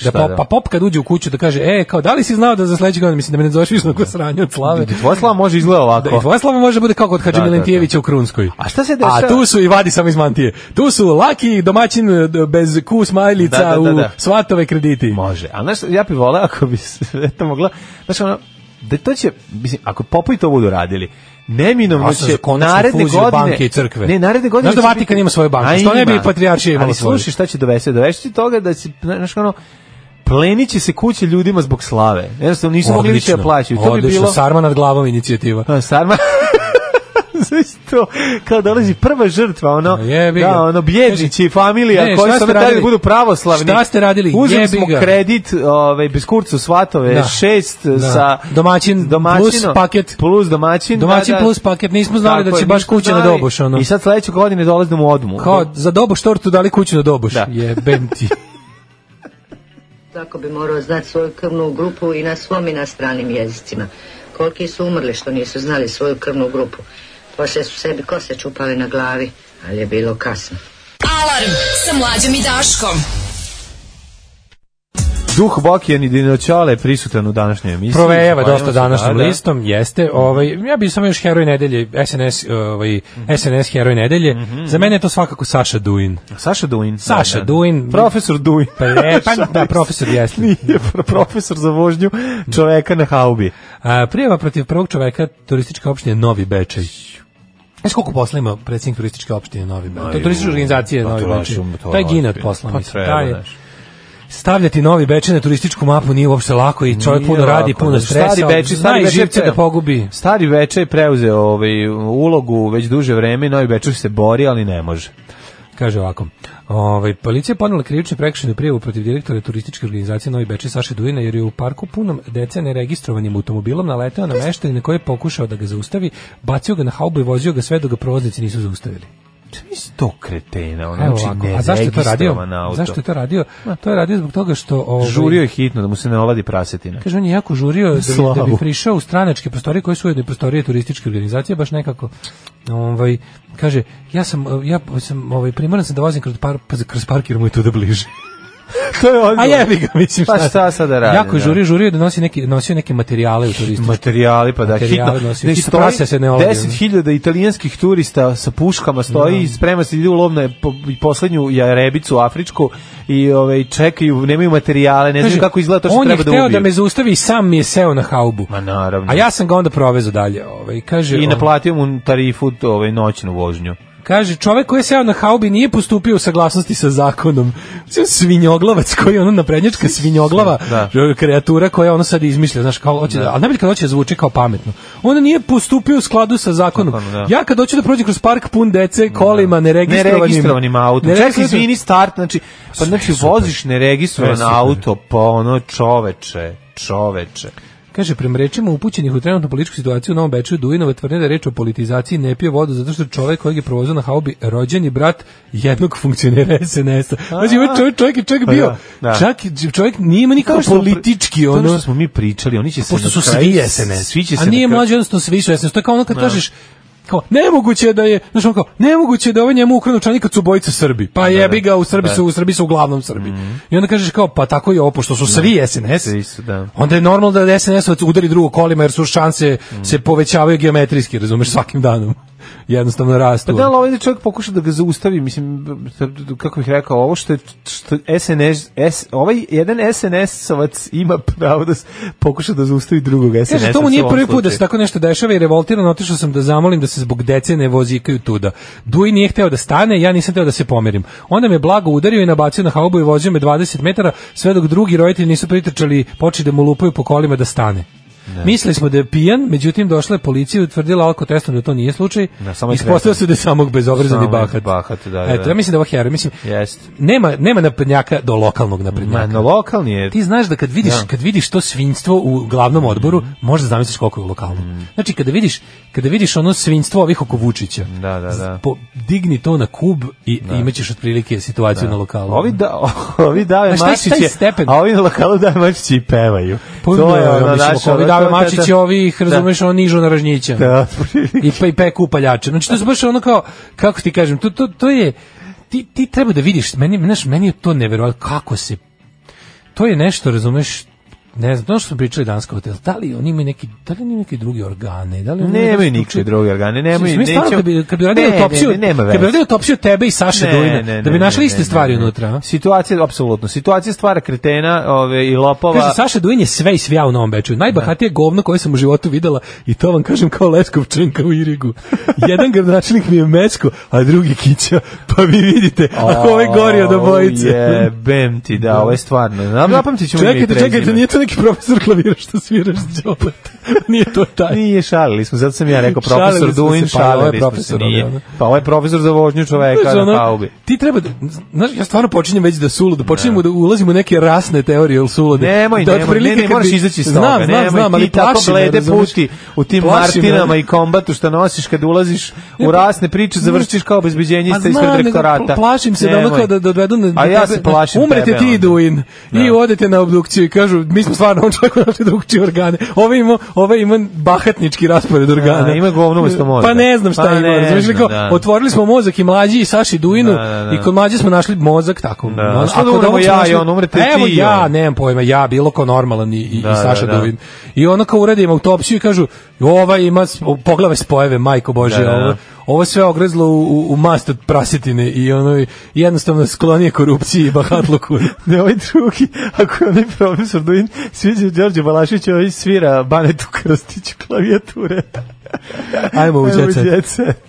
Speaker 5: Da
Speaker 6: Šta
Speaker 5: pop,
Speaker 6: da?
Speaker 5: pa pop kad uđe u kuću da kaže, e, kao, da li si znao da za sledeće godine, mislim da me ne zoveš više na ko sranje od slave.
Speaker 6: Tvoja slava može izgleda
Speaker 5: Da,
Speaker 6: ovako.
Speaker 5: i tvoja slava može da bude kao kod Hadži
Speaker 6: Da, da, da.
Speaker 5: Milentijevića u Krunskoj.
Speaker 6: A šta se dešava?
Speaker 5: A tu su i vadi samo iz mantije. Tu su laki domaćin e, bez ku smajlica
Speaker 6: Da, da, da, da.
Speaker 5: u svatove krediti.
Speaker 6: Može. A znaš, ja bi voleo ako bi sve to mogla... Znaš, ono, da to će, mislim, ako Popovi to budu radili, neminovno
Speaker 5: Ja sam za
Speaker 6: će
Speaker 5: konačnu
Speaker 6: naredne
Speaker 5: fuziju
Speaker 6: godine...
Speaker 5: banke i crkve.
Speaker 6: Ne, naredne godine...
Speaker 5: Znaš da
Speaker 6: će
Speaker 5: Vatikan ima svoje banke,
Speaker 6: A
Speaker 5: što ne bi
Speaker 6: ima.
Speaker 5: i Patrijaršija imala
Speaker 6: Ali
Speaker 5: svoje?
Speaker 6: slušaj šta će dovesti, dovesti će toga da će, znaš, ono, pleniće se kuće ljudima zbog slave. Jednostavno nisu mogli više da plaćaju. To bi
Speaker 5: odlično.
Speaker 6: bilo...
Speaker 5: Sarma nad glavom inicijativa.
Speaker 6: A, Pa, Sarma... <laughs> Znaš to, kao dolazi prva žrtva, ono,
Speaker 5: A jebi ga.
Speaker 6: da, ono, bjednići i familija,
Speaker 5: Ne,
Speaker 6: koji
Speaker 5: šta
Speaker 6: su
Speaker 5: ste
Speaker 6: da
Speaker 5: radili?
Speaker 6: budu pravoslavni.
Speaker 5: Šta ste radili?
Speaker 6: Uzeli
Speaker 5: Jebi
Speaker 6: smo
Speaker 5: ga.
Speaker 6: kredit, ovaj, bez kurcu svatove,
Speaker 5: Da.
Speaker 6: šest
Speaker 5: Da.
Speaker 6: sa...
Speaker 5: Domaćin plus paket.
Speaker 6: Plus domaćin.
Speaker 5: Domaćin plus paket, nismo znali da
Speaker 6: Tako
Speaker 5: će
Speaker 6: je,
Speaker 5: baš
Speaker 6: nismo
Speaker 5: kuća na
Speaker 6: znali.
Speaker 5: doboš, ono.
Speaker 6: I sad sledeće godine dolazimo u odmu.
Speaker 5: Kao, za doboš tortu dali kuću na doboš.
Speaker 6: Da. <laughs>
Speaker 5: Jebem ti.
Speaker 11: Tako bi morao znati svoju krvnu grupu i na svom i na stranim jezicima. Koliki su umrli što nisu znali svoju krvnu grupu. Poslije su sebi kose čupali na glavi, ali je bilo kasno.
Speaker 4: Alarm sa mlađom i Daškom.
Speaker 6: Duh Bokijan i Dinoćale je prisutan u današnjoj emisiji.
Speaker 5: Provejava
Speaker 6: Zahvaljujemo
Speaker 5: dosta
Speaker 6: se,
Speaker 5: današnjim
Speaker 6: da, da.
Speaker 5: listom, jeste. Ovaj, ja bih samo još heroj nedelje, SNS, ovaj,
Speaker 6: Mhm.
Speaker 5: SNS heroj nedelje. Za mene je to svakako Saša Duin.
Speaker 6: Saša Duin.
Speaker 5: Saša Duin.
Speaker 6: Profesor Duin. <laughs>
Speaker 5: Pa, e, pa da, profesor jeste.
Speaker 6: Nije pro- profesor za vožnju čoveka na haubi.
Speaker 5: A, prijava protiv prvog čoveka turističke opštine Novi Bečej. Znaš koliko posla ima predsjednik turističke opštine Novi Bečej? To je turistička organizacija Novi Bečej. To je gine od posla.
Speaker 6: um, Pa
Speaker 5: mislim.
Speaker 6: treba,
Speaker 5: Taj je-
Speaker 6: znaš.
Speaker 5: Stavljati Novi Bečej na turističku mapu nije uopšte lako i čovjek
Speaker 6: Nije
Speaker 5: puno radi,
Speaker 6: lako,
Speaker 5: puno
Speaker 6: znaš,
Speaker 5: stresa.
Speaker 6: Stari Bečej,
Speaker 5: zna
Speaker 6: stari
Speaker 5: i
Speaker 6: Bečej
Speaker 5: živce
Speaker 6: je
Speaker 5: da
Speaker 6: preo-
Speaker 5: pogubi.
Speaker 6: Stari Bečej je preuzeo ovaj ulogu već duže vreme, i Novi Bečej se bori, ali ne može.
Speaker 5: Kaže ovako. Ovaj policija je podnela krivičnu prekršajnu prijavu protiv direktora turističke organizacije Novi Beč Saše Dujina jer je u parku punom dece neregistrovanim automobilom naleteo na meštanina koji je pokušao da ga zaustavi, bacio ga na haubu i vozio ga sve dok ga proznici nisu zaustavili.
Speaker 6: Sto kretena, on
Speaker 5: Evo
Speaker 6: znači
Speaker 5: ovako,
Speaker 6: ne
Speaker 5: a zašto je to radio?
Speaker 6: registrovan auto.
Speaker 5: Zašto je to radio? To je radio zbog toga što ovaj,
Speaker 6: Žurio je hitno da mu se ne oladi
Speaker 5: <laughs>
Speaker 6: prasetina.
Speaker 5: Kaže, on je jako žurio da bi, da
Speaker 6: Slavu.
Speaker 5: bi prišao u stranačke prostorije koje su ujedno i prostorije turističke organizacije, baš nekako. Ovaj, kaže, ja sam, eh, ja sam ovaj, primoran sam da vozim kroz, par, pa- kroz park jer mu je tu da
Speaker 6: <laughs>
Speaker 5: bliže.
Speaker 6: to je
Speaker 5: A jebi ga, mislim
Speaker 6: Pa šta sad da radim,
Speaker 5: Jako je
Speaker 6: da.
Speaker 5: žurio, žurio da nosi neke, nosio neke materijale u turističku.
Speaker 6: Materijali, pa da,
Speaker 5: Materijale
Speaker 6: hitno.
Speaker 5: nosio,
Speaker 6: Ne,
Speaker 5: hitno
Speaker 6: stoji
Speaker 5: prase se ne oladi, ono.
Speaker 6: 10.000 italijanskih turista sa puškama stoji i sprema se, ide u lovnu po, i poslednju jarebicu afričku i ovaj, čekaju, nemaju materijale, ne znaju
Speaker 5: Kaže,
Speaker 6: kako izgleda to što
Speaker 5: on
Speaker 6: treba da
Speaker 5: je
Speaker 6: ubiju.
Speaker 5: hteo da me zaustavi i sam mi je seo na haubu.
Speaker 6: Ma naravno.
Speaker 5: A ja sam ga onda provezao dalje. Ovaj, kaže,
Speaker 6: I
Speaker 5: on-
Speaker 6: naplatio mu tarifu ovaj, noćnu vožnju.
Speaker 5: Kaže, čovek koji je seo na haubi nije postupio u saglasnosti sa zakonom. Mislim, svinjoglavac koji je ono naprednjačka svinjoglava kreatura koja ono sad izmišlja, znaš, kao hoće da, ali najbolje kad hoće da zvuči kao pametno. On nije postupio u skladu sa zakonom.
Speaker 6: Zakonom, da.
Speaker 5: Ja kad hoću da prođem kroz park pun dece, kolima, neregistrovanim...
Speaker 6: Neregistrovanim autom. Čekaj,
Speaker 5: Neregistrovanim-
Speaker 6: izvini, start, znači, pa znači voziš neregistrovan
Speaker 5: Sve super.
Speaker 6: auto, pa ono čoveče, čoveče.
Speaker 5: Kaže, prema rečima upućenih u trenutnu političku situaciju u Novom Beču, Dujinova tvrde da je reč o politizaciji ne pije vodu zato što čovek kojeg je provozao na haubi rođeni brat jednog funkcionera SNS-a. Znači, ovaj čovjek, čovjek je čak
Speaker 6: Pa
Speaker 5: bio,
Speaker 6: da, da.
Speaker 5: čak i- čovjek nije ima nikako
Speaker 6: smo pri-
Speaker 5: politički,
Speaker 6: To
Speaker 5: ono,
Speaker 6: što smo mi pričali, oni će se
Speaker 5: pošto
Speaker 6: na
Speaker 5: su
Speaker 6: kraju-
Speaker 5: svi SNS.
Speaker 6: Svi će se
Speaker 5: A nije
Speaker 6: na kraju-
Speaker 5: mlađe, odnosno svi su SNS. To je kao ono kad kažeš, kao, nemoguće je da je, znaš on kao, nemoguće je da je ovaj njemu ukranu čani kad su bojice Srbi. Pa jebi ga, u Srbi su, u Srbi su uglavnom Srbi. I onda kažeš kao, pa tako je ovo, pošto su svi SNS,
Speaker 6: Mhm. Svi su, da.
Speaker 5: onda je normalno da SNS-ovac udari drugo kolima, jer su šanse se povećavaju geometrijski, razumeš, svakim danom. <laughs> Jednostavno rastu.
Speaker 6: Pa da, ali ovaj čovjek pokuša da ga zaustavi, mislim, kako bih rekao, ovo što je što SNS, S, ovaj jedan SNS-ovac ima pravo da s- pokuša da zaustavi drugog SNS-ovca.
Speaker 5: Kaže, to mu nije prvi put da se tako nešto dešava i revoltirano otišao sam da zamolim da se zbog dece ne vozikaju tuda. Duj nije hteo da stane, ja nisam hteo da se pomerim. Onda me blago udario i nabacio na haubu i vozio me 20 metara, sve dok drugi roditelji nisu pritrčali, počeli da mu lupaju po kolima da stane. Mislili smo da je pijan, međutim došla je policija i utvrdila alko testom da to nije slučaj.
Speaker 6: Da, samo je
Speaker 5: Ispostavilo se da je samog bezobrazan i
Speaker 6: Samo je
Speaker 5: bahat.
Speaker 6: bahat, da, da.
Speaker 5: Eto, ja mislim da je ovo hero. Mislim,
Speaker 6: Jeste.
Speaker 5: nema, nema naprednjaka do lokalnog
Speaker 6: Ma,
Speaker 5: naprednjaka.
Speaker 6: na lokalni je...
Speaker 5: Ti znaš da kad vidiš
Speaker 6: Da. Mhm.
Speaker 5: kad vidiš to svinjstvo u glavnom odboru, možda zamisliš koliko je u lokalnom. Znači kada vidiš kada vidiš ono svinjstvo ovih oko Vučića.
Speaker 6: Da, da, da.
Speaker 5: po- digni to na kub i imaćeš otprilike situaciju na lokalu.
Speaker 6: Ovi, da, <laughs> ovi dave
Speaker 5: Znaš, taj-
Speaker 6: mačiće,
Speaker 5: taj stepen.
Speaker 6: a ovi na lokalu dave mačiće i pevaju.
Speaker 5: Pa da, mislim,
Speaker 6: naše,
Speaker 5: ako ovi
Speaker 6: ono,
Speaker 5: dave
Speaker 6: to- to-
Speaker 5: mačići,
Speaker 6: to-
Speaker 5: ovih, razumeš, on nižu na ono. ražnjića.
Speaker 6: Da,
Speaker 5: I pa i peku upaljače. Znači to je baš ono kao kako ti kažem, to to to je ti ti treba da vidiš, meni znaš, meni je to neverovatno kako se to je nešto, razumeš, ne znam, to ono što smo pričali danas kao hotel, da li oni imaju neki, da li oni imaju neke druge organe, da li oni
Speaker 6: <laughs> Nemaju
Speaker 5: nešto
Speaker 6: nikakve
Speaker 5: drugčije?
Speaker 6: druge organe, nemaju-
Speaker 5: Mislim, mi stvarno
Speaker 6: nećemo-
Speaker 5: kad bi, kad bi radili
Speaker 6: Ne, ne,
Speaker 5: autopsiju,
Speaker 6: ne, nema
Speaker 5: kad bi
Speaker 6: veze.
Speaker 5: radili autopsiju tebe i Saše
Speaker 6: Ne,
Speaker 5: Dujna,
Speaker 6: ne,
Speaker 5: da bi
Speaker 6: ne,
Speaker 5: našli
Speaker 6: ne,
Speaker 5: iste
Speaker 6: ne,
Speaker 5: stvari
Speaker 6: ne, ne.
Speaker 5: unutra, a?
Speaker 6: Situacija, apsolutno. Situacija stvara kretena ove, i lopova.
Speaker 5: Kaže, Saša Duin je sve i svija u Novom Beču. Najbahatije govno koje sam u životu videla i to vam kažem kao Leskovčanka u Irigu. Jedan gradonačelnik mi je Mecko, a drugi Kića. Pa vi vidite, ako ovaj gori od obojice.
Speaker 6: Jebem ti, da, ovo je stvarno. Nam- Zapamtit ćemo ime i
Speaker 5: Čekajte, čekajte,
Speaker 6: prezime.
Speaker 5: nije to neki profesor klavira što sviraš džopet. <laughs> nije to taj.
Speaker 6: Nije, šalili smo, zato sam ja rekao
Speaker 5: Šalili
Speaker 6: profesor
Speaker 5: smo se,
Speaker 6: Duin,
Speaker 5: pa ovo je
Speaker 6: šalili smo se,
Speaker 5: profesor, ali ono.
Speaker 6: nije. Pa ovo je profesor za vožnju čoveka
Speaker 5: Znaš, ono,
Speaker 6: na paubi.
Speaker 5: ti treba da, znaš, ja stvarno počinjem već da sulu, da počinjem da ulazim u neke rasne teorije ili sulude.
Speaker 6: Nemoj,
Speaker 5: da
Speaker 6: nemoj,
Speaker 5: otprilike
Speaker 6: ne, ne,
Speaker 5: kad
Speaker 6: moraš
Speaker 5: bi-
Speaker 6: izaći iz toga.
Speaker 5: Znam, znam,
Speaker 6: nemoj,
Speaker 5: znam, ali
Speaker 6: ti tako
Speaker 5: plaši me,
Speaker 6: glede
Speaker 5: razumeš?
Speaker 6: puti u tim
Speaker 5: Plaši me,
Speaker 6: martinama
Speaker 5: ali-
Speaker 6: i kombatu što nosiš kad ulaziš u rasne priče, završiš kao obezbeđenjista
Speaker 5: Pa znam,
Speaker 6: ispred
Speaker 5: nego
Speaker 6: rektorata.
Speaker 5: pla- Plašim se da ono
Speaker 6: Nemoj.
Speaker 5: kao da da odvedu na
Speaker 6: A ja
Speaker 5: tebe-
Speaker 6: se plašim
Speaker 5: Umrete
Speaker 6: tebe
Speaker 5: ti
Speaker 6: onda.
Speaker 5: Duin i
Speaker 6: Da.
Speaker 5: odete na obdukciju i kažu mi smo stvarno on čovjek našli drugčije organe. Ovo ima ovo ima bahatnički raspored organa.
Speaker 6: Da, ima govno umesto mozga.
Speaker 5: Pa ne znam šta
Speaker 6: Pa
Speaker 5: ima.
Speaker 6: ne
Speaker 5: razumiješ,
Speaker 6: znam,
Speaker 5: kao,
Speaker 6: da.
Speaker 5: Otvorili smo mozak i mlađi i Saši Duinu
Speaker 6: Da, da, da.
Speaker 5: i kod mlađe smo našli mozak tako.
Speaker 6: Da.
Speaker 5: ono,
Speaker 6: Što da
Speaker 5: kod
Speaker 6: umremo
Speaker 5: ovog smo
Speaker 6: ja i
Speaker 5: našli-
Speaker 6: on, umrete
Speaker 5: Evo
Speaker 6: ti i
Speaker 5: ja,
Speaker 6: on.
Speaker 5: nemam pojma, ja bilo ko normalan i, i,
Speaker 6: Da,
Speaker 5: i Saša
Speaker 6: da, da.
Speaker 5: Duin. I ono kao uradimo autopsiju i kažu ova ima s- poglave spojeve, majko bože,
Speaker 6: Da, da, da.
Speaker 5: ovo ovo sve ogrezlo u, u, u mast od prasetine i ono i jednostavno sklonije korupciji i bahatluku.
Speaker 6: <laughs> Ne, ovaj drugi, ako je onaj profesor Duin, sviđa Đorđe Balašić, ovaj svira Banetu Krstiću klavijature.
Speaker 5: Ajmo u
Speaker 6: Evo,
Speaker 5: jet set.
Speaker 6: Jet Set.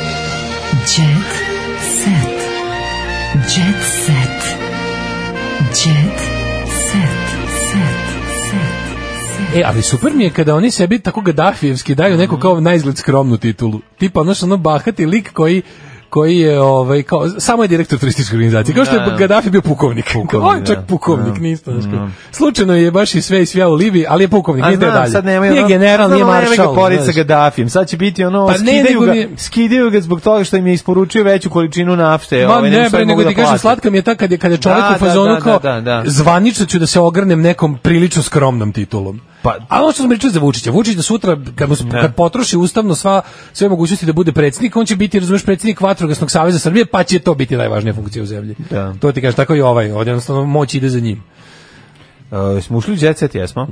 Speaker 4: Jet set. Jet set. Jet set. Set. Set. Set.
Speaker 5: E, ali super mi je kada oni sebi tako gadafijevski daju neku kao najizgled skromnu titulu. Tipa, ono što ono bahati lik koji koji je ovaj kao samo je direktor turističke organizacije kao što
Speaker 6: Da,
Speaker 5: je
Speaker 6: da.
Speaker 5: Gaddafi bio pukovnik, <laughs>
Speaker 6: Pukovnik,
Speaker 5: on je čak
Speaker 6: da.
Speaker 5: pukovnik
Speaker 6: Da.
Speaker 5: nije isto znaš, kao.
Speaker 6: Da.
Speaker 5: slučajno je baš i sve i svja u Libiji ali je pukovnik nije teo dalje
Speaker 6: sad nemaju,
Speaker 5: nije
Speaker 6: ono-
Speaker 5: general nije
Speaker 6: znamo, nemaju
Speaker 5: maršal
Speaker 6: ga porica
Speaker 5: znaš.
Speaker 6: Gaddafijom. Sad će biti ono,
Speaker 5: Pa ne,
Speaker 6: skidaju,
Speaker 5: nego
Speaker 6: ga,
Speaker 5: mi je-
Speaker 6: skidaju ga zbog toga što im je isporučio veću količinu nafte.
Speaker 5: Ma
Speaker 6: ovaj,
Speaker 5: ne,
Speaker 6: sad
Speaker 5: bre,
Speaker 6: mogu
Speaker 5: nego
Speaker 6: da
Speaker 5: ti kažem,
Speaker 6: plate.
Speaker 5: slatka mi je ta kad je, kad je čovjek
Speaker 6: Da,
Speaker 5: u fazonu
Speaker 6: da, da,
Speaker 5: kao,
Speaker 6: da, da.
Speaker 5: zvanično ću da se ogrnem nekom prilično skromnom titulom. Pa, A ono što smo pričali za Vučića, Vučić da sutra, kad, mu, s- kad potroši ustavno sva, sve mogućnosti da bude predsjednik, on će biti, razumeš, predsjednik Vatrogasnog saveza Srbije, pa će to biti najvažnija funkcija u zemlji.
Speaker 6: Da.
Speaker 5: To ti kažem, tako i ovaj, ovdje jednostavno moć ide za njim.
Speaker 6: E, smo ušli u jet set, jesmo?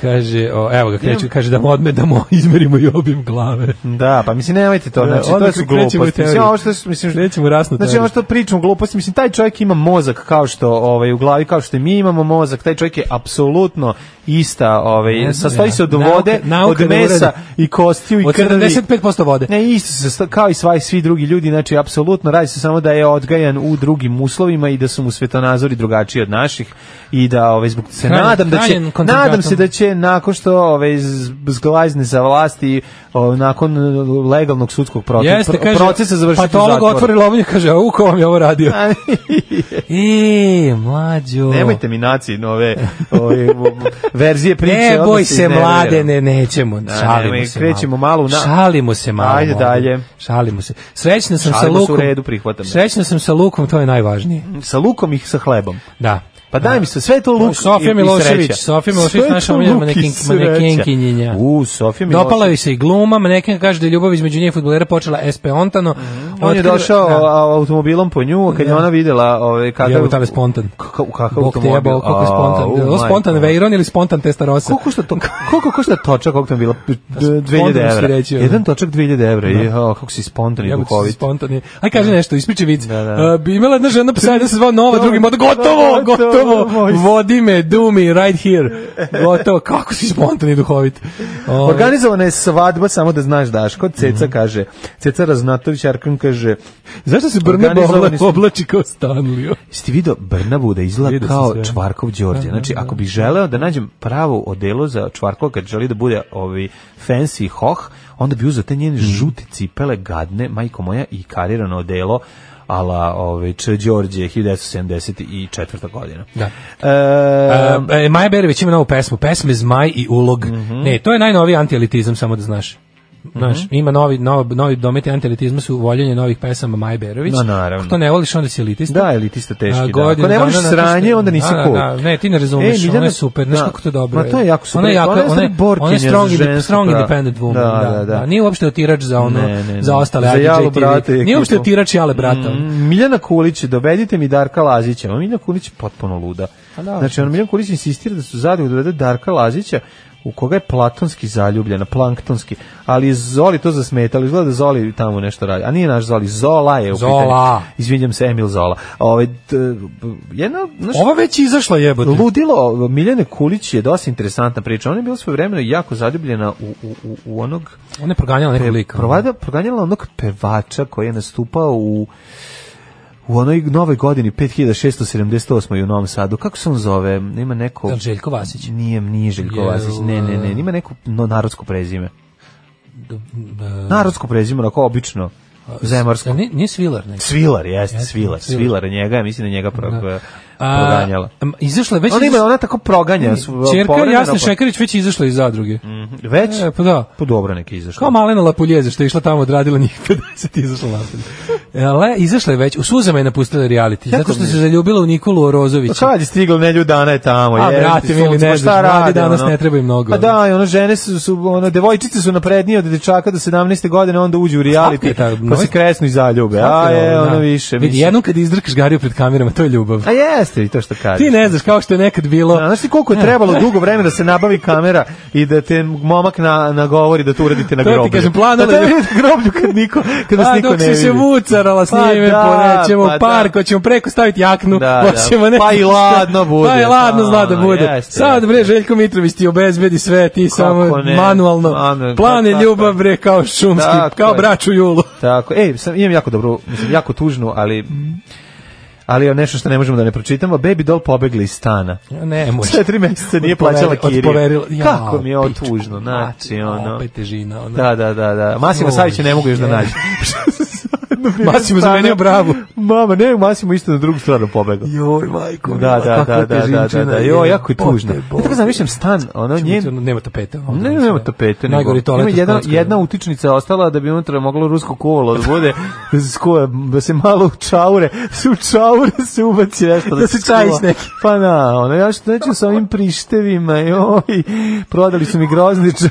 Speaker 5: Kaže, o, evo ga, kreću, kaže da mu odme, da mu <laughs> izmerimo i obim glave.
Speaker 6: Da, pa mislim nemojte to,
Speaker 5: Da,
Speaker 6: znači
Speaker 5: odmah
Speaker 6: to su
Speaker 5: krećemo u
Speaker 6: gluposti. Mislim
Speaker 5: teoriju.
Speaker 6: ovo što mislim
Speaker 5: Krećemo u rasnu
Speaker 6: Znači
Speaker 5: teoriju.
Speaker 6: ovo što pričam gluposti, mislim taj čovjek ima mozak kao što ovaj u glavi kao što i mi imamo mozak, taj čovjek je apsolutno ista, ovaj
Speaker 5: Ne znam
Speaker 6: sastoji
Speaker 5: ja.
Speaker 6: se od
Speaker 5: Nauka-
Speaker 6: vode,
Speaker 5: nauka
Speaker 6: od
Speaker 5: ne
Speaker 6: mesa
Speaker 5: uradi.
Speaker 6: i kostiju i
Speaker 5: Od
Speaker 6: krvi.
Speaker 5: 75% vode.
Speaker 6: Ne, isto se sta- kao i sva svi drugi ljudi, znači apsolutno radi se samo da je odgajan u drugim uslovima i da su mu svetonazori drugačiji od naših i da ovaj zbog se
Speaker 5: Hranjen-
Speaker 6: nadam da će
Speaker 5: hranjen koncentratom.
Speaker 6: nadam se da će nakon što ovaj z- zglazne sa vlasti o, nakon e, legalnog sudskog pro-
Speaker 5: Jeste,
Speaker 6: pro-
Speaker 5: kaže,
Speaker 6: procesa završiti u
Speaker 5: patolog
Speaker 6: zatvoru.
Speaker 5: otvori lobnju, kaže, u, ko vam je ovo radio? E, mlađo.
Speaker 6: <laughs> Nemojte mi naći nove ove, verzije priče.
Speaker 5: Ne
Speaker 6: odmah
Speaker 5: boj
Speaker 6: se
Speaker 5: se
Speaker 6: iznerviram.
Speaker 5: mlade, ne nećemo.
Speaker 6: Da,
Speaker 5: šalimo
Speaker 6: nemoj,
Speaker 5: se.
Speaker 6: krećemo malo na-
Speaker 5: Šalimo se malo.
Speaker 6: Ajde
Speaker 5: mlade.
Speaker 6: dalje.
Speaker 5: Šalimo se. Srećna sam
Speaker 6: Šalimo
Speaker 5: sa
Speaker 6: se u
Speaker 5: Lukom.
Speaker 6: redu, prihvatam.
Speaker 5: Srećna sam sa Lukom, to je najvažnije.
Speaker 6: Sa lukom i sa hlebom.
Speaker 5: Da.
Speaker 6: Pa daj mi se, sve je to luk
Speaker 5: Sofija
Speaker 6: i- i
Speaker 5: Milošević,
Speaker 6: sreća.
Speaker 5: Sofija Milošević,
Speaker 6: Sve je
Speaker 5: naša
Speaker 6: to
Speaker 5: omiljena
Speaker 6: luk i
Speaker 5: manekenki-
Speaker 6: sreća.
Speaker 5: manekenkinjenja.
Speaker 6: U, Sofija Milošević.
Speaker 5: Dopala joj se i gluma, manekenka kaže da je ljubav između nje i futbolera počela SP Ontano.
Speaker 6: Mhm. On je
Speaker 5: Otkriva-
Speaker 6: došao
Speaker 5: Da.
Speaker 6: a, automobilom po nju, kad je ona videla ovaj kakav
Speaker 5: Jebo, tamo je spontan.
Speaker 6: Kakav kakav
Speaker 5: Bog te
Speaker 6: automobil.
Speaker 5: jebao, kako je
Speaker 6: A,
Speaker 5: spontan.
Speaker 6: u,
Speaker 5: Je li ovo spontan
Speaker 6: majko.
Speaker 5: Veyron ili spontan Testarossa?
Speaker 6: Koliko šta to koliko košta točak ovog bila
Speaker 5: Spontan
Speaker 6: 2000
Speaker 5: si
Speaker 6: evra.
Speaker 5: reći, ono.
Speaker 6: Jedan točak 2000 evra. Jo, kako si spontan i
Speaker 5: Ja
Speaker 6: duhovit.
Speaker 5: spontan je. Aj kaže nešto, ispričaj vic.
Speaker 6: Da, da.
Speaker 5: Uh, bi imala jedna žena psa da se zvao Nova, drugi mod gotovo,
Speaker 6: Gotovo,
Speaker 5: gotovo.
Speaker 6: moj sin.
Speaker 5: Vodi me, do me right here. Gotovo. Kako si spontan i duhovit. Ovaj,
Speaker 6: Organizovana je svadba, samo da znaš Daško, Ceca kaže, Ceca Raznatović Arkan kaže,
Speaker 5: Zašto se Brne
Speaker 6: Organizovani su-
Speaker 5: oblači kao Stanlio?
Speaker 6: Jeste video Brnabu da
Speaker 5: Vidio
Speaker 6: izgleda
Speaker 5: sam
Speaker 6: kao
Speaker 5: sve.
Speaker 6: Čvarkov Đorđe. Znači, ako bih želeo da nađem pravo odelo za Čvarkova kad želi da bude ovi fancy hoh, onda bi uzeo te njene žute cipele gadne, majko moja, i karirano odelo ala ovaj Č Đorđe 1974. godina.
Speaker 5: Da.
Speaker 6: E,
Speaker 5: Uh, e, Maja Berović ima novu pesmu, pesme Zmaj i ulog.
Speaker 6: Mhm.
Speaker 5: Ne, to je najnoviji antielitizam, samo da znaš. Znaš, ima novi, novi, novi dometi antielitizma su voljenje novih pesama Maje Berović.
Speaker 6: No, naravno.
Speaker 5: Ako to ne voliš, onda si elitista.
Speaker 6: Da, elitista teški,
Speaker 5: A,
Speaker 6: da.
Speaker 5: godinu
Speaker 6: Ako ne voliš
Speaker 5: dana nakon
Speaker 6: sranje,
Speaker 5: što-
Speaker 6: onda nisi
Speaker 5: Da, da,
Speaker 6: cool.
Speaker 5: da, ne, ti ne razumeš,
Speaker 6: E, Ljiljana-
Speaker 5: ona je super, znaš
Speaker 6: da.
Speaker 5: kako to je dobro.
Speaker 6: Ma, to je jako super.
Speaker 5: Ona je, jaka,
Speaker 6: Ona je
Speaker 5: ona je,
Speaker 6: borkinja
Speaker 5: ona je strong,
Speaker 6: za
Speaker 5: indi-
Speaker 6: žensko
Speaker 5: strong
Speaker 6: pravo.
Speaker 5: independent woman.
Speaker 6: Da,
Speaker 5: Da,
Speaker 6: da,
Speaker 5: da,
Speaker 6: da.
Speaker 5: Nije uopšte otirač za ono,
Speaker 6: Ne, ne, ne.
Speaker 5: za ostale
Speaker 6: Za jalo
Speaker 5: IGTV.
Speaker 6: brate i
Speaker 5: Nije uopšte
Speaker 6: ekipu.
Speaker 5: otirač jale brata.
Speaker 6: Mm, Miljana Kulić, dovedite mi Darka Lazića. Ma, Miljana Kulić je potpuno luda.
Speaker 5: A Pa da.
Speaker 6: Znači, on Miljana Kulić insistira da su zadruge dovede Darka Lazića u koga je platonski zaljubljena, planktonski, ali je Zoli to zasmetalo, izgleda da Zoli tamo nešto radi, a nije naš Zoli, Zola je u
Speaker 5: Zola.
Speaker 6: pitanju. Izvinjam se, Emil Zola. Ovaj, t- jedna, znaš,
Speaker 5: Ova već izašla jebote.
Speaker 6: Ludilo Miljane Kulić je dosta interesantna priča. Ona je bila svoje vremena jako zaljubljena u, u, u, u onog
Speaker 5: Ona je proganjala
Speaker 6: E,
Speaker 5: nekog lika.
Speaker 6: Provada, proganjala onog pevača koji je nastupao u u onoj novoj godini 5678. i u Novom Sadu. Kako se on zove? Ima neko...
Speaker 5: Da li Željko Vasić?
Speaker 6: Nije, nije Željko
Speaker 5: Jel,
Speaker 6: Vasić. Ne, ne, ne. Ima neko no, narodsko prezime.
Speaker 5: Da,
Speaker 6: Narodsko prezime, onako obično. Zemarsko.
Speaker 5: Jel nije, nije svilar neki.
Speaker 6: Svilar, jeste,
Speaker 5: Jeste,
Speaker 6: Svilar.
Speaker 5: Svilar.
Speaker 6: Svilar je njega, ja mislim da njega pro,
Speaker 5: Da.
Speaker 6: proganjala.
Speaker 5: A, m, Izašla je već...
Speaker 6: Ona ima,
Speaker 5: izašla-
Speaker 6: ona tako proganja. su-
Speaker 5: Čerka
Speaker 6: povremeno,
Speaker 5: Jasne
Speaker 6: pa-
Speaker 5: Šekarić već je izašla iz zadruge.
Speaker 6: Mhm, Već?
Speaker 5: E, pa da.
Speaker 6: Pa dobro, neki izašao.
Speaker 5: Kao Malena Lapuljeze što je išla tamo
Speaker 6: <laughs>
Speaker 5: odradila njih 50 i izašla napolje. E, Ale, izašla je već, u suzama je napustila reality, zato što
Speaker 6: mi je?
Speaker 5: se zaljubila u Nikolu Orozovića.
Speaker 6: Kad Pa je stiglo nedelju dana je tamo.
Speaker 5: A,
Speaker 6: jebote,
Speaker 5: brate,
Speaker 6: sunce,
Speaker 5: mili,
Speaker 6: pa
Speaker 5: ne
Speaker 6: šta
Speaker 5: znaš, mladi
Speaker 6: rade,
Speaker 5: danas
Speaker 6: ono?
Speaker 5: ne trebaju mnogo,
Speaker 6: Pa
Speaker 5: ono.
Speaker 6: da, i ono žene su, su ono, devojčice su naprednije od dečaka do 17. godine, onda uđu u
Speaker 5: Kako
Speaker 6: reality,
Speaker 5: je ta-
Speaker 6: pa se kresnu i zaljube. A je, ono više.
Speaker 5: Vidi,
Speaker 6: mislim.
Speaker 5: jednom kad izdrkaš Gariju pred kamerama, to je ljubav.
Speaker 6: A jeste i to što kažeš.
Speaker 5: Ti ne E. znaš kao što je nekad bilo.
Speaker 6: Da, Znaš ti koliko je trebalo dugo vremena da se nabavi kamera i da te momak na, nagovori da to uradite na
Speaker 5: To ti
Speaker 6: groblju?
Speaker 5: kažem,
Speaker 6: Da
Speaker 5: planula
Speaker 6: te
Speaker 5: je-
Speaker 6: vidi <laughs> na groblju kad, niko, kad nas
Speaker 5: A,
Speaker 6: niko ne
Speaker 5: dok
Speaker 6: vidi.
Speaker 5: se se vucarala s njime,
Speaker 6: Pa da,
Speaker 5: pa nećemo
Speaker 6: pa
Speaker 5: u park,
Speaker 6: da.
Speaker 5: hoćemo preko staviti jaknu,
Speaker 6: Da, da.
Speaker 5: hoćemo ne-
Speaker 6: Pa i ladno bude,
Speaker 5: Pa i ladno
Speaker 6: pa,
Speaker 5: zna da bude.
Speaker 6: jeste,
Speaker 5: Sad, bre, Željko Mitrović ti obezbedi sve, ti samo
Speaker 6: ne?
Speaker 5: manualno.
Speaker 6: Manualno,
Speaker 5: Plan je
Speaker 6: tako je.
Speaker 5: ljubav, bre, kao šumski,
Speaker 6: Tako
Speaker 5: kao
Speaker 6: je.
Speaker 5: brač u julu.
Speaker 6: Tako, ej, sam, imam jako dobro, mislim, jako tužnu, ali ali je nešto što ne možemo da ne pročitamo. Baby doll pobegla iz stana.
Speaker 5: Ne, može.
Speaker 6: Četiri meseca nije plaćala kiriju.
Speaker 5: Odpoverila. Ja,
Speaker 6: Kako mi je ovo
Speaker 5: pičku,
Speaker 6: tužno, znači,
Speaker 5: mate,
Speaker 6: ono.
Speaker 5: Opet težina, ono.
Speaker 6: Da, da, da, da. Masimo
Speaker 5: Oj,
Speaker 6: Savić ne mogu još da
Speaker 5: je. <laughs>
Speaker 6: nađe.
Speaker 5: Massimo zamenio bravu.
Speaker 6: Mama, ne, Masimo isto na drugu stranu pobegao.
Speaker 5: Joj, majko.
Speaker 6: Da,
Speaker 5: mila,
Speaker 6: da,
Speaker 5: kakva
Speaker 6: da, da, da, da,
Speaker 5: težinčina
Speaker 6: da. Jo,
Speaker 5: je.
Speaker 6: jako je
Speaker 5: Bote,
Speaker 6: tužno.
Speaker 5: bote.
Speaker 6: Tako zamišljam stan, ono
Speaker 5: Čim
Speaker 6: njen
Speaker 5: ti ono, nema tapete. ovdje,
Speaker 6: Ne,
Speaker 5: mislim,
Speaker 6: nema tapete. nego-
Speaker 5: Najgori toalet.
Speaker 6: Ima
Speaker 5: u
Speaker 6: jedna,
Speaker 5: Hrvatskoj.
Speaker 6: jedna utičnica ostala da bi unutra moglo rusko kolo da bude, da se, skoja, da se malo u čaure, se u čaure se ubaci nešto.
Speaker 5: Da se čajiš
Speaker 6: skuva.
Speaker 5: neki.
Speaker 6: Pa na, ono, ja što neću sa ovim prištevima, joj, prodali su mi grozne, ča-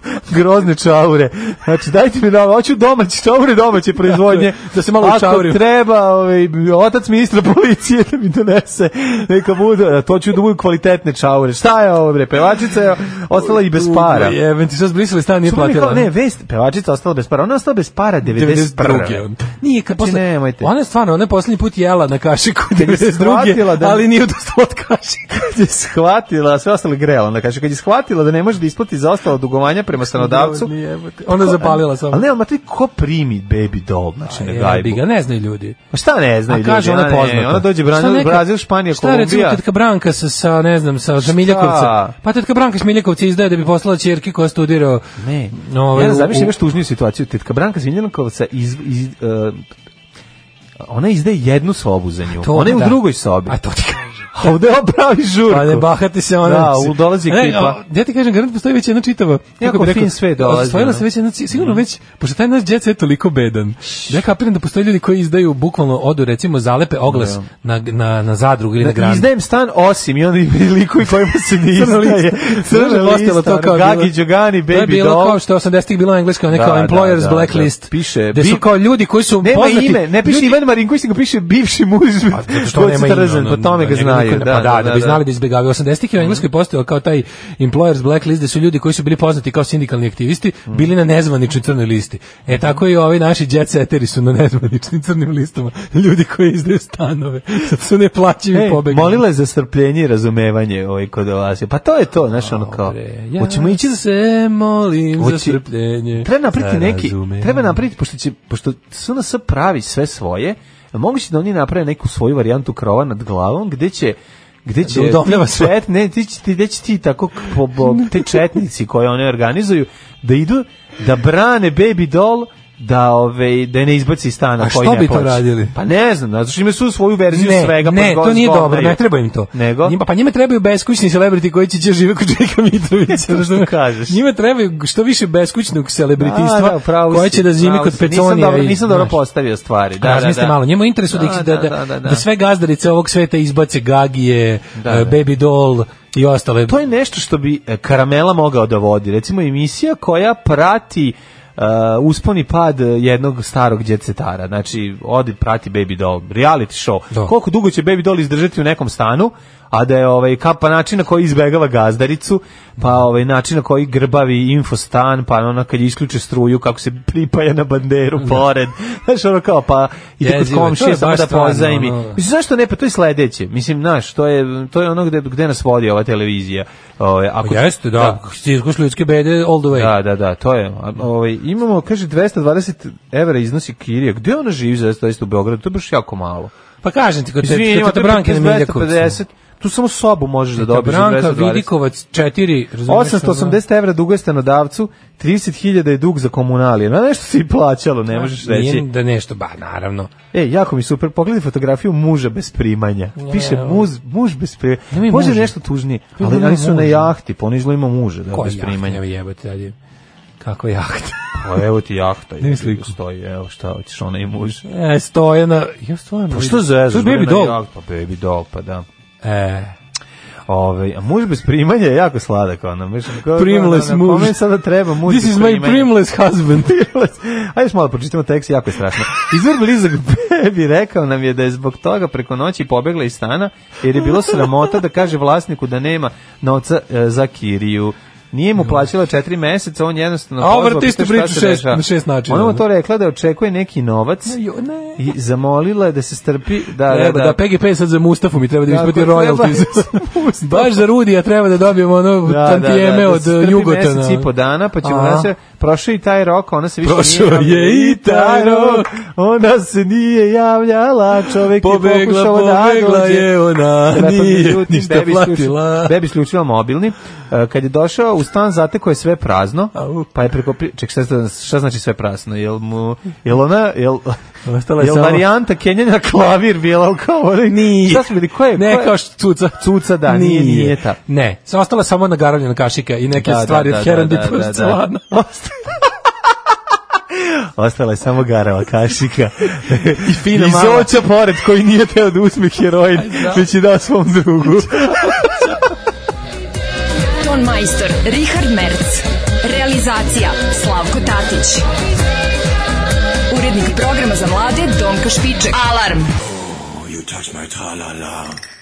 Speaker 6: <laughs> grozne čaure. Znači, dajte mi da, hoću domaće čaure, domaće proizvodnje.
Speaker 5: Tako je, da se malo
Speaker 6: Ako
Speaker 5: učaurim.
Speaker 6: treba, ovaj, otac ministra <laughs> policije da mi donese, neka bude, to ću da budu kvalitetne čaure. Šta je ovo, bre, pevačica je ostala i bez para.
Speaker 5: Tugo, Jebem ti sad zbrisali stan, nije
Speaker 6: Što oni
Speaker 5: platila. ono.
Speaker 6: kao- Ne, vest, pevačica ostala bez para. Ona je ostala bez para
Speaker 5: 92.
Speaker 6: 91.
Speaker 5: ono. Nije, kad
Speaker 6: Znači, nemojte.
Speaker 5: Ona je stvarno, ona je poslednji put jela na kašiku
Speaker 6: Kad je
Speaker 5: 92.
Speaker 6: shvatila
Speaker 5: Da...
Speaker 6: da-
Speaker 5: ali nije odustala od kašika.
Speaker 6: Kad je shvatila, sve ostalo je grela. Onda kaže, kad je shvatila da ne može da isplati zaostala dugovanja prema stanodavcu,
Speaker 5: Joj, jebote. Ona je zapalila samo.
Speaker 6: ali ne, ali matri, ko primi baby doll, znači, na
Speaker 5: Jebi
Speaker 6: gajbu?
Speaker 5: ga, ne znaju ljudi.
Speaker 6: Pa šta ne znaju
Speaker 5: A kaže
Speaker 6: ljudi,
Speaker 5: ona je
Speaker 6: ne,
Speaker 5: poznata.
Speaker 6: Ona dođe
Speaker 5: Šta
Speaker 6: Brazil,
Speaker 5: neka-
Speaker 6: Brazil, Španija,
Speaker 5: Šta recimo
Speaker 6: Kolumbija.
Speaker 5: tetka Branka sa, sa ne znam, sa Žamiljakovca? Pa tetka Branka Žamiljakovca izdaje da bi poslala ćerki koja studira
Speaker 6: Ne.
Speaker 5: No,
Speaker 6: No, ja
Speaker 5: Ovaj, u-
Speaker 6: zamišljam
Speaker 5: u-
Speaker 6: još tužniju situaciju. Tetka Branka Sviljankovca iz, iz, uh, ona izdaje jednu sobu za nju. ona je u
Speaker 5: da.
Speaker 6: drugoj sobi.
Speaker 5: A to ti kažem.
Speaker 6: A ovde on pravi žurku.
Speaker 5: Pa ne bahati se ona.
Speaker 6: Da, u- dolazi
Speaker 5: Ne,
Speaker 6: ekipa.
Speaker 5: a, Ja ti kažem, garant postoji već jedna čitava.
Speaker 6: Jako
Speaker 5: bi rekao,
Speaker 6: fin svet dolazi,
Speaker 5: Osvojila
Speaker 6: ono.
Speaker 5: se već jedna, ci- sigurno već, pošto taj naš djec je toliko bedan. Da ja kapiram da postoje ljudi koji izdaju bukvalno odu, recimo, zalepe oglas na, na, na zadrugu ili na
Speaker 6: Da,
Speaker 5: granu.
Speaker 6: Znači, izdajem stan osim i onda ima liku i kojima se ne
Speaker 5: <laughs> Crna
Speaker 6: izdaje.
Speaker 5: lista. Znaš,
Speaker 6: Crna
Speaker 5: postalo
Speaker 6: lista, ono,
Speaker 5: to kao
Speaker 6: Gagi
Speaker 5: bilo-
Speaker 6: Đogani, Baby
Speaker 5: To je bilo
Speaker 6: Doll.
Speaker 5: kao što je 80-ih bilo engleska, neka
Speaker 6: Da, da,
Speaker 5: employers
Speaker 6: da,
Speaker 5: blacklist.
Speaker 6: da. Piše,
Speaker 5: Gde su
Speaker 6: bi-
Speaker 5: kao ljudi koji su
Speaker 6: Nema
Speaker 5: poznati.
Speaker 6: ime, ne piše
Speaker 5: ljudi-
Speaker 6: Ivan Marinković, nego piše bivši muž.
Speaker 5: Pa,
Speaker 6: <laughs>
Speaker 5: zato što nema ime. ono,
Speaker 6: Po tome ga
Speaker 5: njega niko
Speaker 6: znaju.
Speaker 5: ne- pa da, da bi znali da izbjegavaju. 80-ih
Speaker 6: Mhm.
Speaker 5: je u Engleskoj postojao kao taj employers blacklist da su ljudi koji su bili poznati kao sindikalni aktivisti
Speaker 6: Mhm.
Speaker 5: bili na nezvaničnoj crnoj listi. E tako i ovi naši jet seteri su na nezvaničnim crnim listama. Ljudi koji izdaju stanove. <laughs> Zato su ne plaćaju i
Speaker 6: Ej,
Speaker 5: pobegli.
Speaker 6: E, molila je za strpljenje i razumevanje ovaj kod vas. Pa to je to, znaš, ono kao.
Speaker 5: Dobre,
Speaker 6: Hoćemo ići za
Speaker 5: se molim za
Speaker 6: Hoće-
Speaker 5: strpljenje.
Speaker 6: Treba napraviti
Speaker 5: za
Speaker 6: neki,
Speaker 5: razumevanje.
Speaker 6: treba napraviti, pošto, će, pošto SNS pravi sve svoje, moguće da oni naprave neku svoju varijantu krova nad glavom, gde će gde će
Speaker 5: Da udomljava
Speaker 6: ti
Speaker 5: sve.
Speaker 6: čet, ne, ti, će- ti, gde će ti tako po, po- te četnici koje one organizuju da idu da brane baby doll da ove da je ne izbaci iz stana
Speaker 5: A
Speaker 6: koji
Speaker 5: što
Speaker 6: ne
Speaker 5: bi to
Speaker 6: hoće.
Speaker 5: radili?
Speaker 6: Pa ne znam, zato što imaju svu svoju verziju svega. pa
Speaker 5: Ne,
Speaker 6: go-
Speaker 5: to nije
Speaker 6: zgodno
Speaker 5: dobro,
Speaker 6: je.
Speaker 5: ne treba im to.
Speaker 6: Nego?
Speaker 5: Njima, pa njima trebaju beskućni celebrity koji će, će žive kod Žika Mitrovića.
Speaker 6: <laughs> To što
Speaker 5: razumeš?
Speaker 6: kažeš.
Speaker 5: Njima trebaju što više beskućnog
Speaker 6: A, da,
Speaker 5: celebritistva
Speaker 6: u pravu
Speaker 5: koje
Speaker 6: si,
Speaker 5: će da zimi
Speaker 6: pravu
Speaker 5: kod
Speaker 6: si. Nisam
Speaker 5: Peconija.
Speaker 6: dobro,
Speaker 5: i-
Speaker 6: nisam dobro
Speaker 5: znaš.
Speaker 6: postavio stvari. Da,
Speaker 5: Da,
Speaker 6: da, da.
Speaker 5: malo, njemu je interesu da, ih- da, da, da, sve gazdarice ovog sveta izbace Gagije,
Speaker 6: Da,
Speaker 5: eh,
Speaker 6: da.
Speaker 5: Baby Doll i ostale.
Speaker 6: To je nešto što bi e, Karamela mogao da vodi. Recimo emisija koja prati Uh, uspon i pad e, jednog starog djecetara, znači odi prati Baby Doll, reality show
Speaker 5: Da.
Speaker 6: koliko dugo će Baby Doll izdržati u nekom stanu a da je ovaj, ka, pa način na koji izbegava gazdaricu, pa ovaj, način na koji grbavi infostan, pa ona kad je isključe struju, kako se pripaja na banderu pored, znaš ono kao pa ide kod
Speaker 5: Jezivo je, to je
Speaker 6: komšije samo
Speaker 5: baš
Speaker 6: da
Speaker 5: stvarno,
Speaker 6: pozajmi
Speaker 5: ono.
Speaker 6: Mislim, zašto ne, pa to je sledeće. Mislim, znaš, to je, to je ono gde, gde nas vodi ova televizija. Ove, ako,
Speaker 5: Pa Jeste, da, si izguš ljudske bede all the way.
Speaker 6: Da, da, da, to je. A, Ovaj, imamo, kaže, 220 evra iznosi kirija. Gde ona živi za 220 u Beogradu? To je baš jako malo.
Speaker 5: Pa kažem ti, kod te,
Speaker 6: Izvini,
Speaker 5: kod
Speaker 6: imate
Speaker 5: te Branke na
Speaker 6: 250, tu samo sobu možeš da dobiješ za
Speaker 5: Branka
Speaker 6: 220.
Speaker 5: Vidikovac 4, razumiješ? ono?
Speaker 6: 880 evra duguje stanodavcu, 30.000 je dug za komunalije. Na nešto si i plaćalo, ne možeš
Speaker 5: Nije
Speaker 6: reći.
Speaker 5: da nešto, ba, naravno.
Speaker 6: E, jako mi super, pogledaj fotografiju muža bez primanja. Piše muž, muž bez primanja.
Speaker 5: Nema i
Speaker 6: Može
Speaker 5: muža.
Speaker 6: nešto tužnije,
Speaker 5: Ima
Speaker 6: ali
Speaker 5: i
Speaker 6: oni su na
Speaker 5: muža.
Speaker 6: jahti, ponižilo ima muža da, Pa
Speaker 5: Koja
Speaker 6: bez primanja.
Speaker 5: jahta, vi jebate, ajde. Kako jahta?
Speaker 6: Pa evo ti jahta,
Speaker 5: mi
Speaker 6: je,
Speaker 5: sliku.
Speaker 6: stoji, evo šta hoćeš, ona i muž.
Speaker 5: <laughs> E, stoje na... Ja stoje na...
Speaker 6: Pa što za
Speaker 5: To je baby doll.
Speaker 6: Pa baby doll, pa da.
Speaker 5: E,
Speaker 6: Ove, a muž bez primanja je jako sladak, ono. Mislim,
Speaker 5: <laughs>
Speaker 6: ko-
Speaker 5: Primless
Speaker 6: ono,
Speaker 5: muž.
Speaker 6: Kome sada treba muž
Speaker 5: this
Speaker 6: bez
Speaker 5: is my
Speaker 6: primanja?
Speaker 5: primless husband.
Speaker 6: Prilas. Ajde još malo pročitamo tekst, jako je strašno. Izvor blizak bebi rekao nam je da je zbog toga preko noći pobegla iz stana, jer je bilo sramota da kaže vlasniku da nema novca e, za kiriju. Nije mu plaćala četiri meseca, on jednostavno...
Speaker 5: A
Speaker 6: pozvao,
Speaker 5: obrati istu
Speaker 6: pitao šta
Speaker 5: priču
Speaker 6: se
Speaker 5: šest-
Speaker 6: dešava.
Speaker 5: na šest načina,
Speaker 6: Ona mu
Speaker 5: ne?
Speaker 6: to rekla da očekuje neki novac
Speaker 5: Ne, jo,
Speaker 6: i zamolila je da se strpi... Da, da,
Speaker 5: Treba da, PGP sad za Mustafu mi treba da
Speaker 6: Tako,
Speaker 5: isplati
Speaker 6: treba- <laughs>
Speaker 5: royalties. Baš za Rudija treba da dobijemo ono
Speaker 6: Da, da,
Speaker 5: tantijeme
Speaker 6: da, da
Speaker 5: od
Speaker 6: se strpi
Speaker 5: Jugotana.
Speaker 6: mesec i po dana, pa ćemo
Speaker 5: A.
Speaker 6: da se... Prošao i taj rok, ona se više
Speaker 5: Prošao
Speaker 6: nije...
Speaker 5: je i taj rok,
Speaker 6: ona se nije javljala, čovek je
Speaker 5: Pobegla,
Speaker 6: pokušao da
Speaker 5: pobegla
Speaker 6: dođe.
Speaker 5: je ona,
Speaker 6: Lepo,
Speaker 5: nije
Speaker 6: međutim,
Speaker 5: ništa
Speaker 6: bebi isključio-
Speaker 5: platila.
Speaker 6: Bebi isključila mobilni. E, Kad je došao u stan, zateko je sve prazno, pa je preko... pri- Ček, šta, šta znači sve prazno? Jel mu... Jel ona... Jel,
Speaker 5: Ostala je
Speaker 6: jel
Speaker 5: samo-
Speaker 6: varijanta Kenjanja klavir bila u kao... onaj-
Speaker 5: Nije.
Speaker 6: Šta smo bili? Ko je? ko
Speaker 5: Ne,
Speaker 6: je-
Speaker 5: kao što cuca.
Speaker 6: Cuca, da, nije, nije ta.
Speaker 5: Ne, sa ostala samo nagaravljena kašika i neke
Speaker 6: Da, da,
Speaker 5: stvari
Speaker 6: da,
Speaker 5: od Herandi
Speaker 6: da, da, da, da.
Speaker 5: porcelana.
Speaker 6: Ostala je samo garava kašika. I
Speaker 5: fina
Speaker 6: I
Speaker 5: mala.
Speaker 6: Zoća pored koji nije teo da usme heroin,
Speaker 5: da.
Speaker 6: već je dao svom drugu.
Speaker 4: Ton majstor Richard Merc. Realizacija Slavko Tatić. Urednik programa za mlade Donka Špiček. Alarm.
Speaker 1: Oh, you touch my tra-la-la.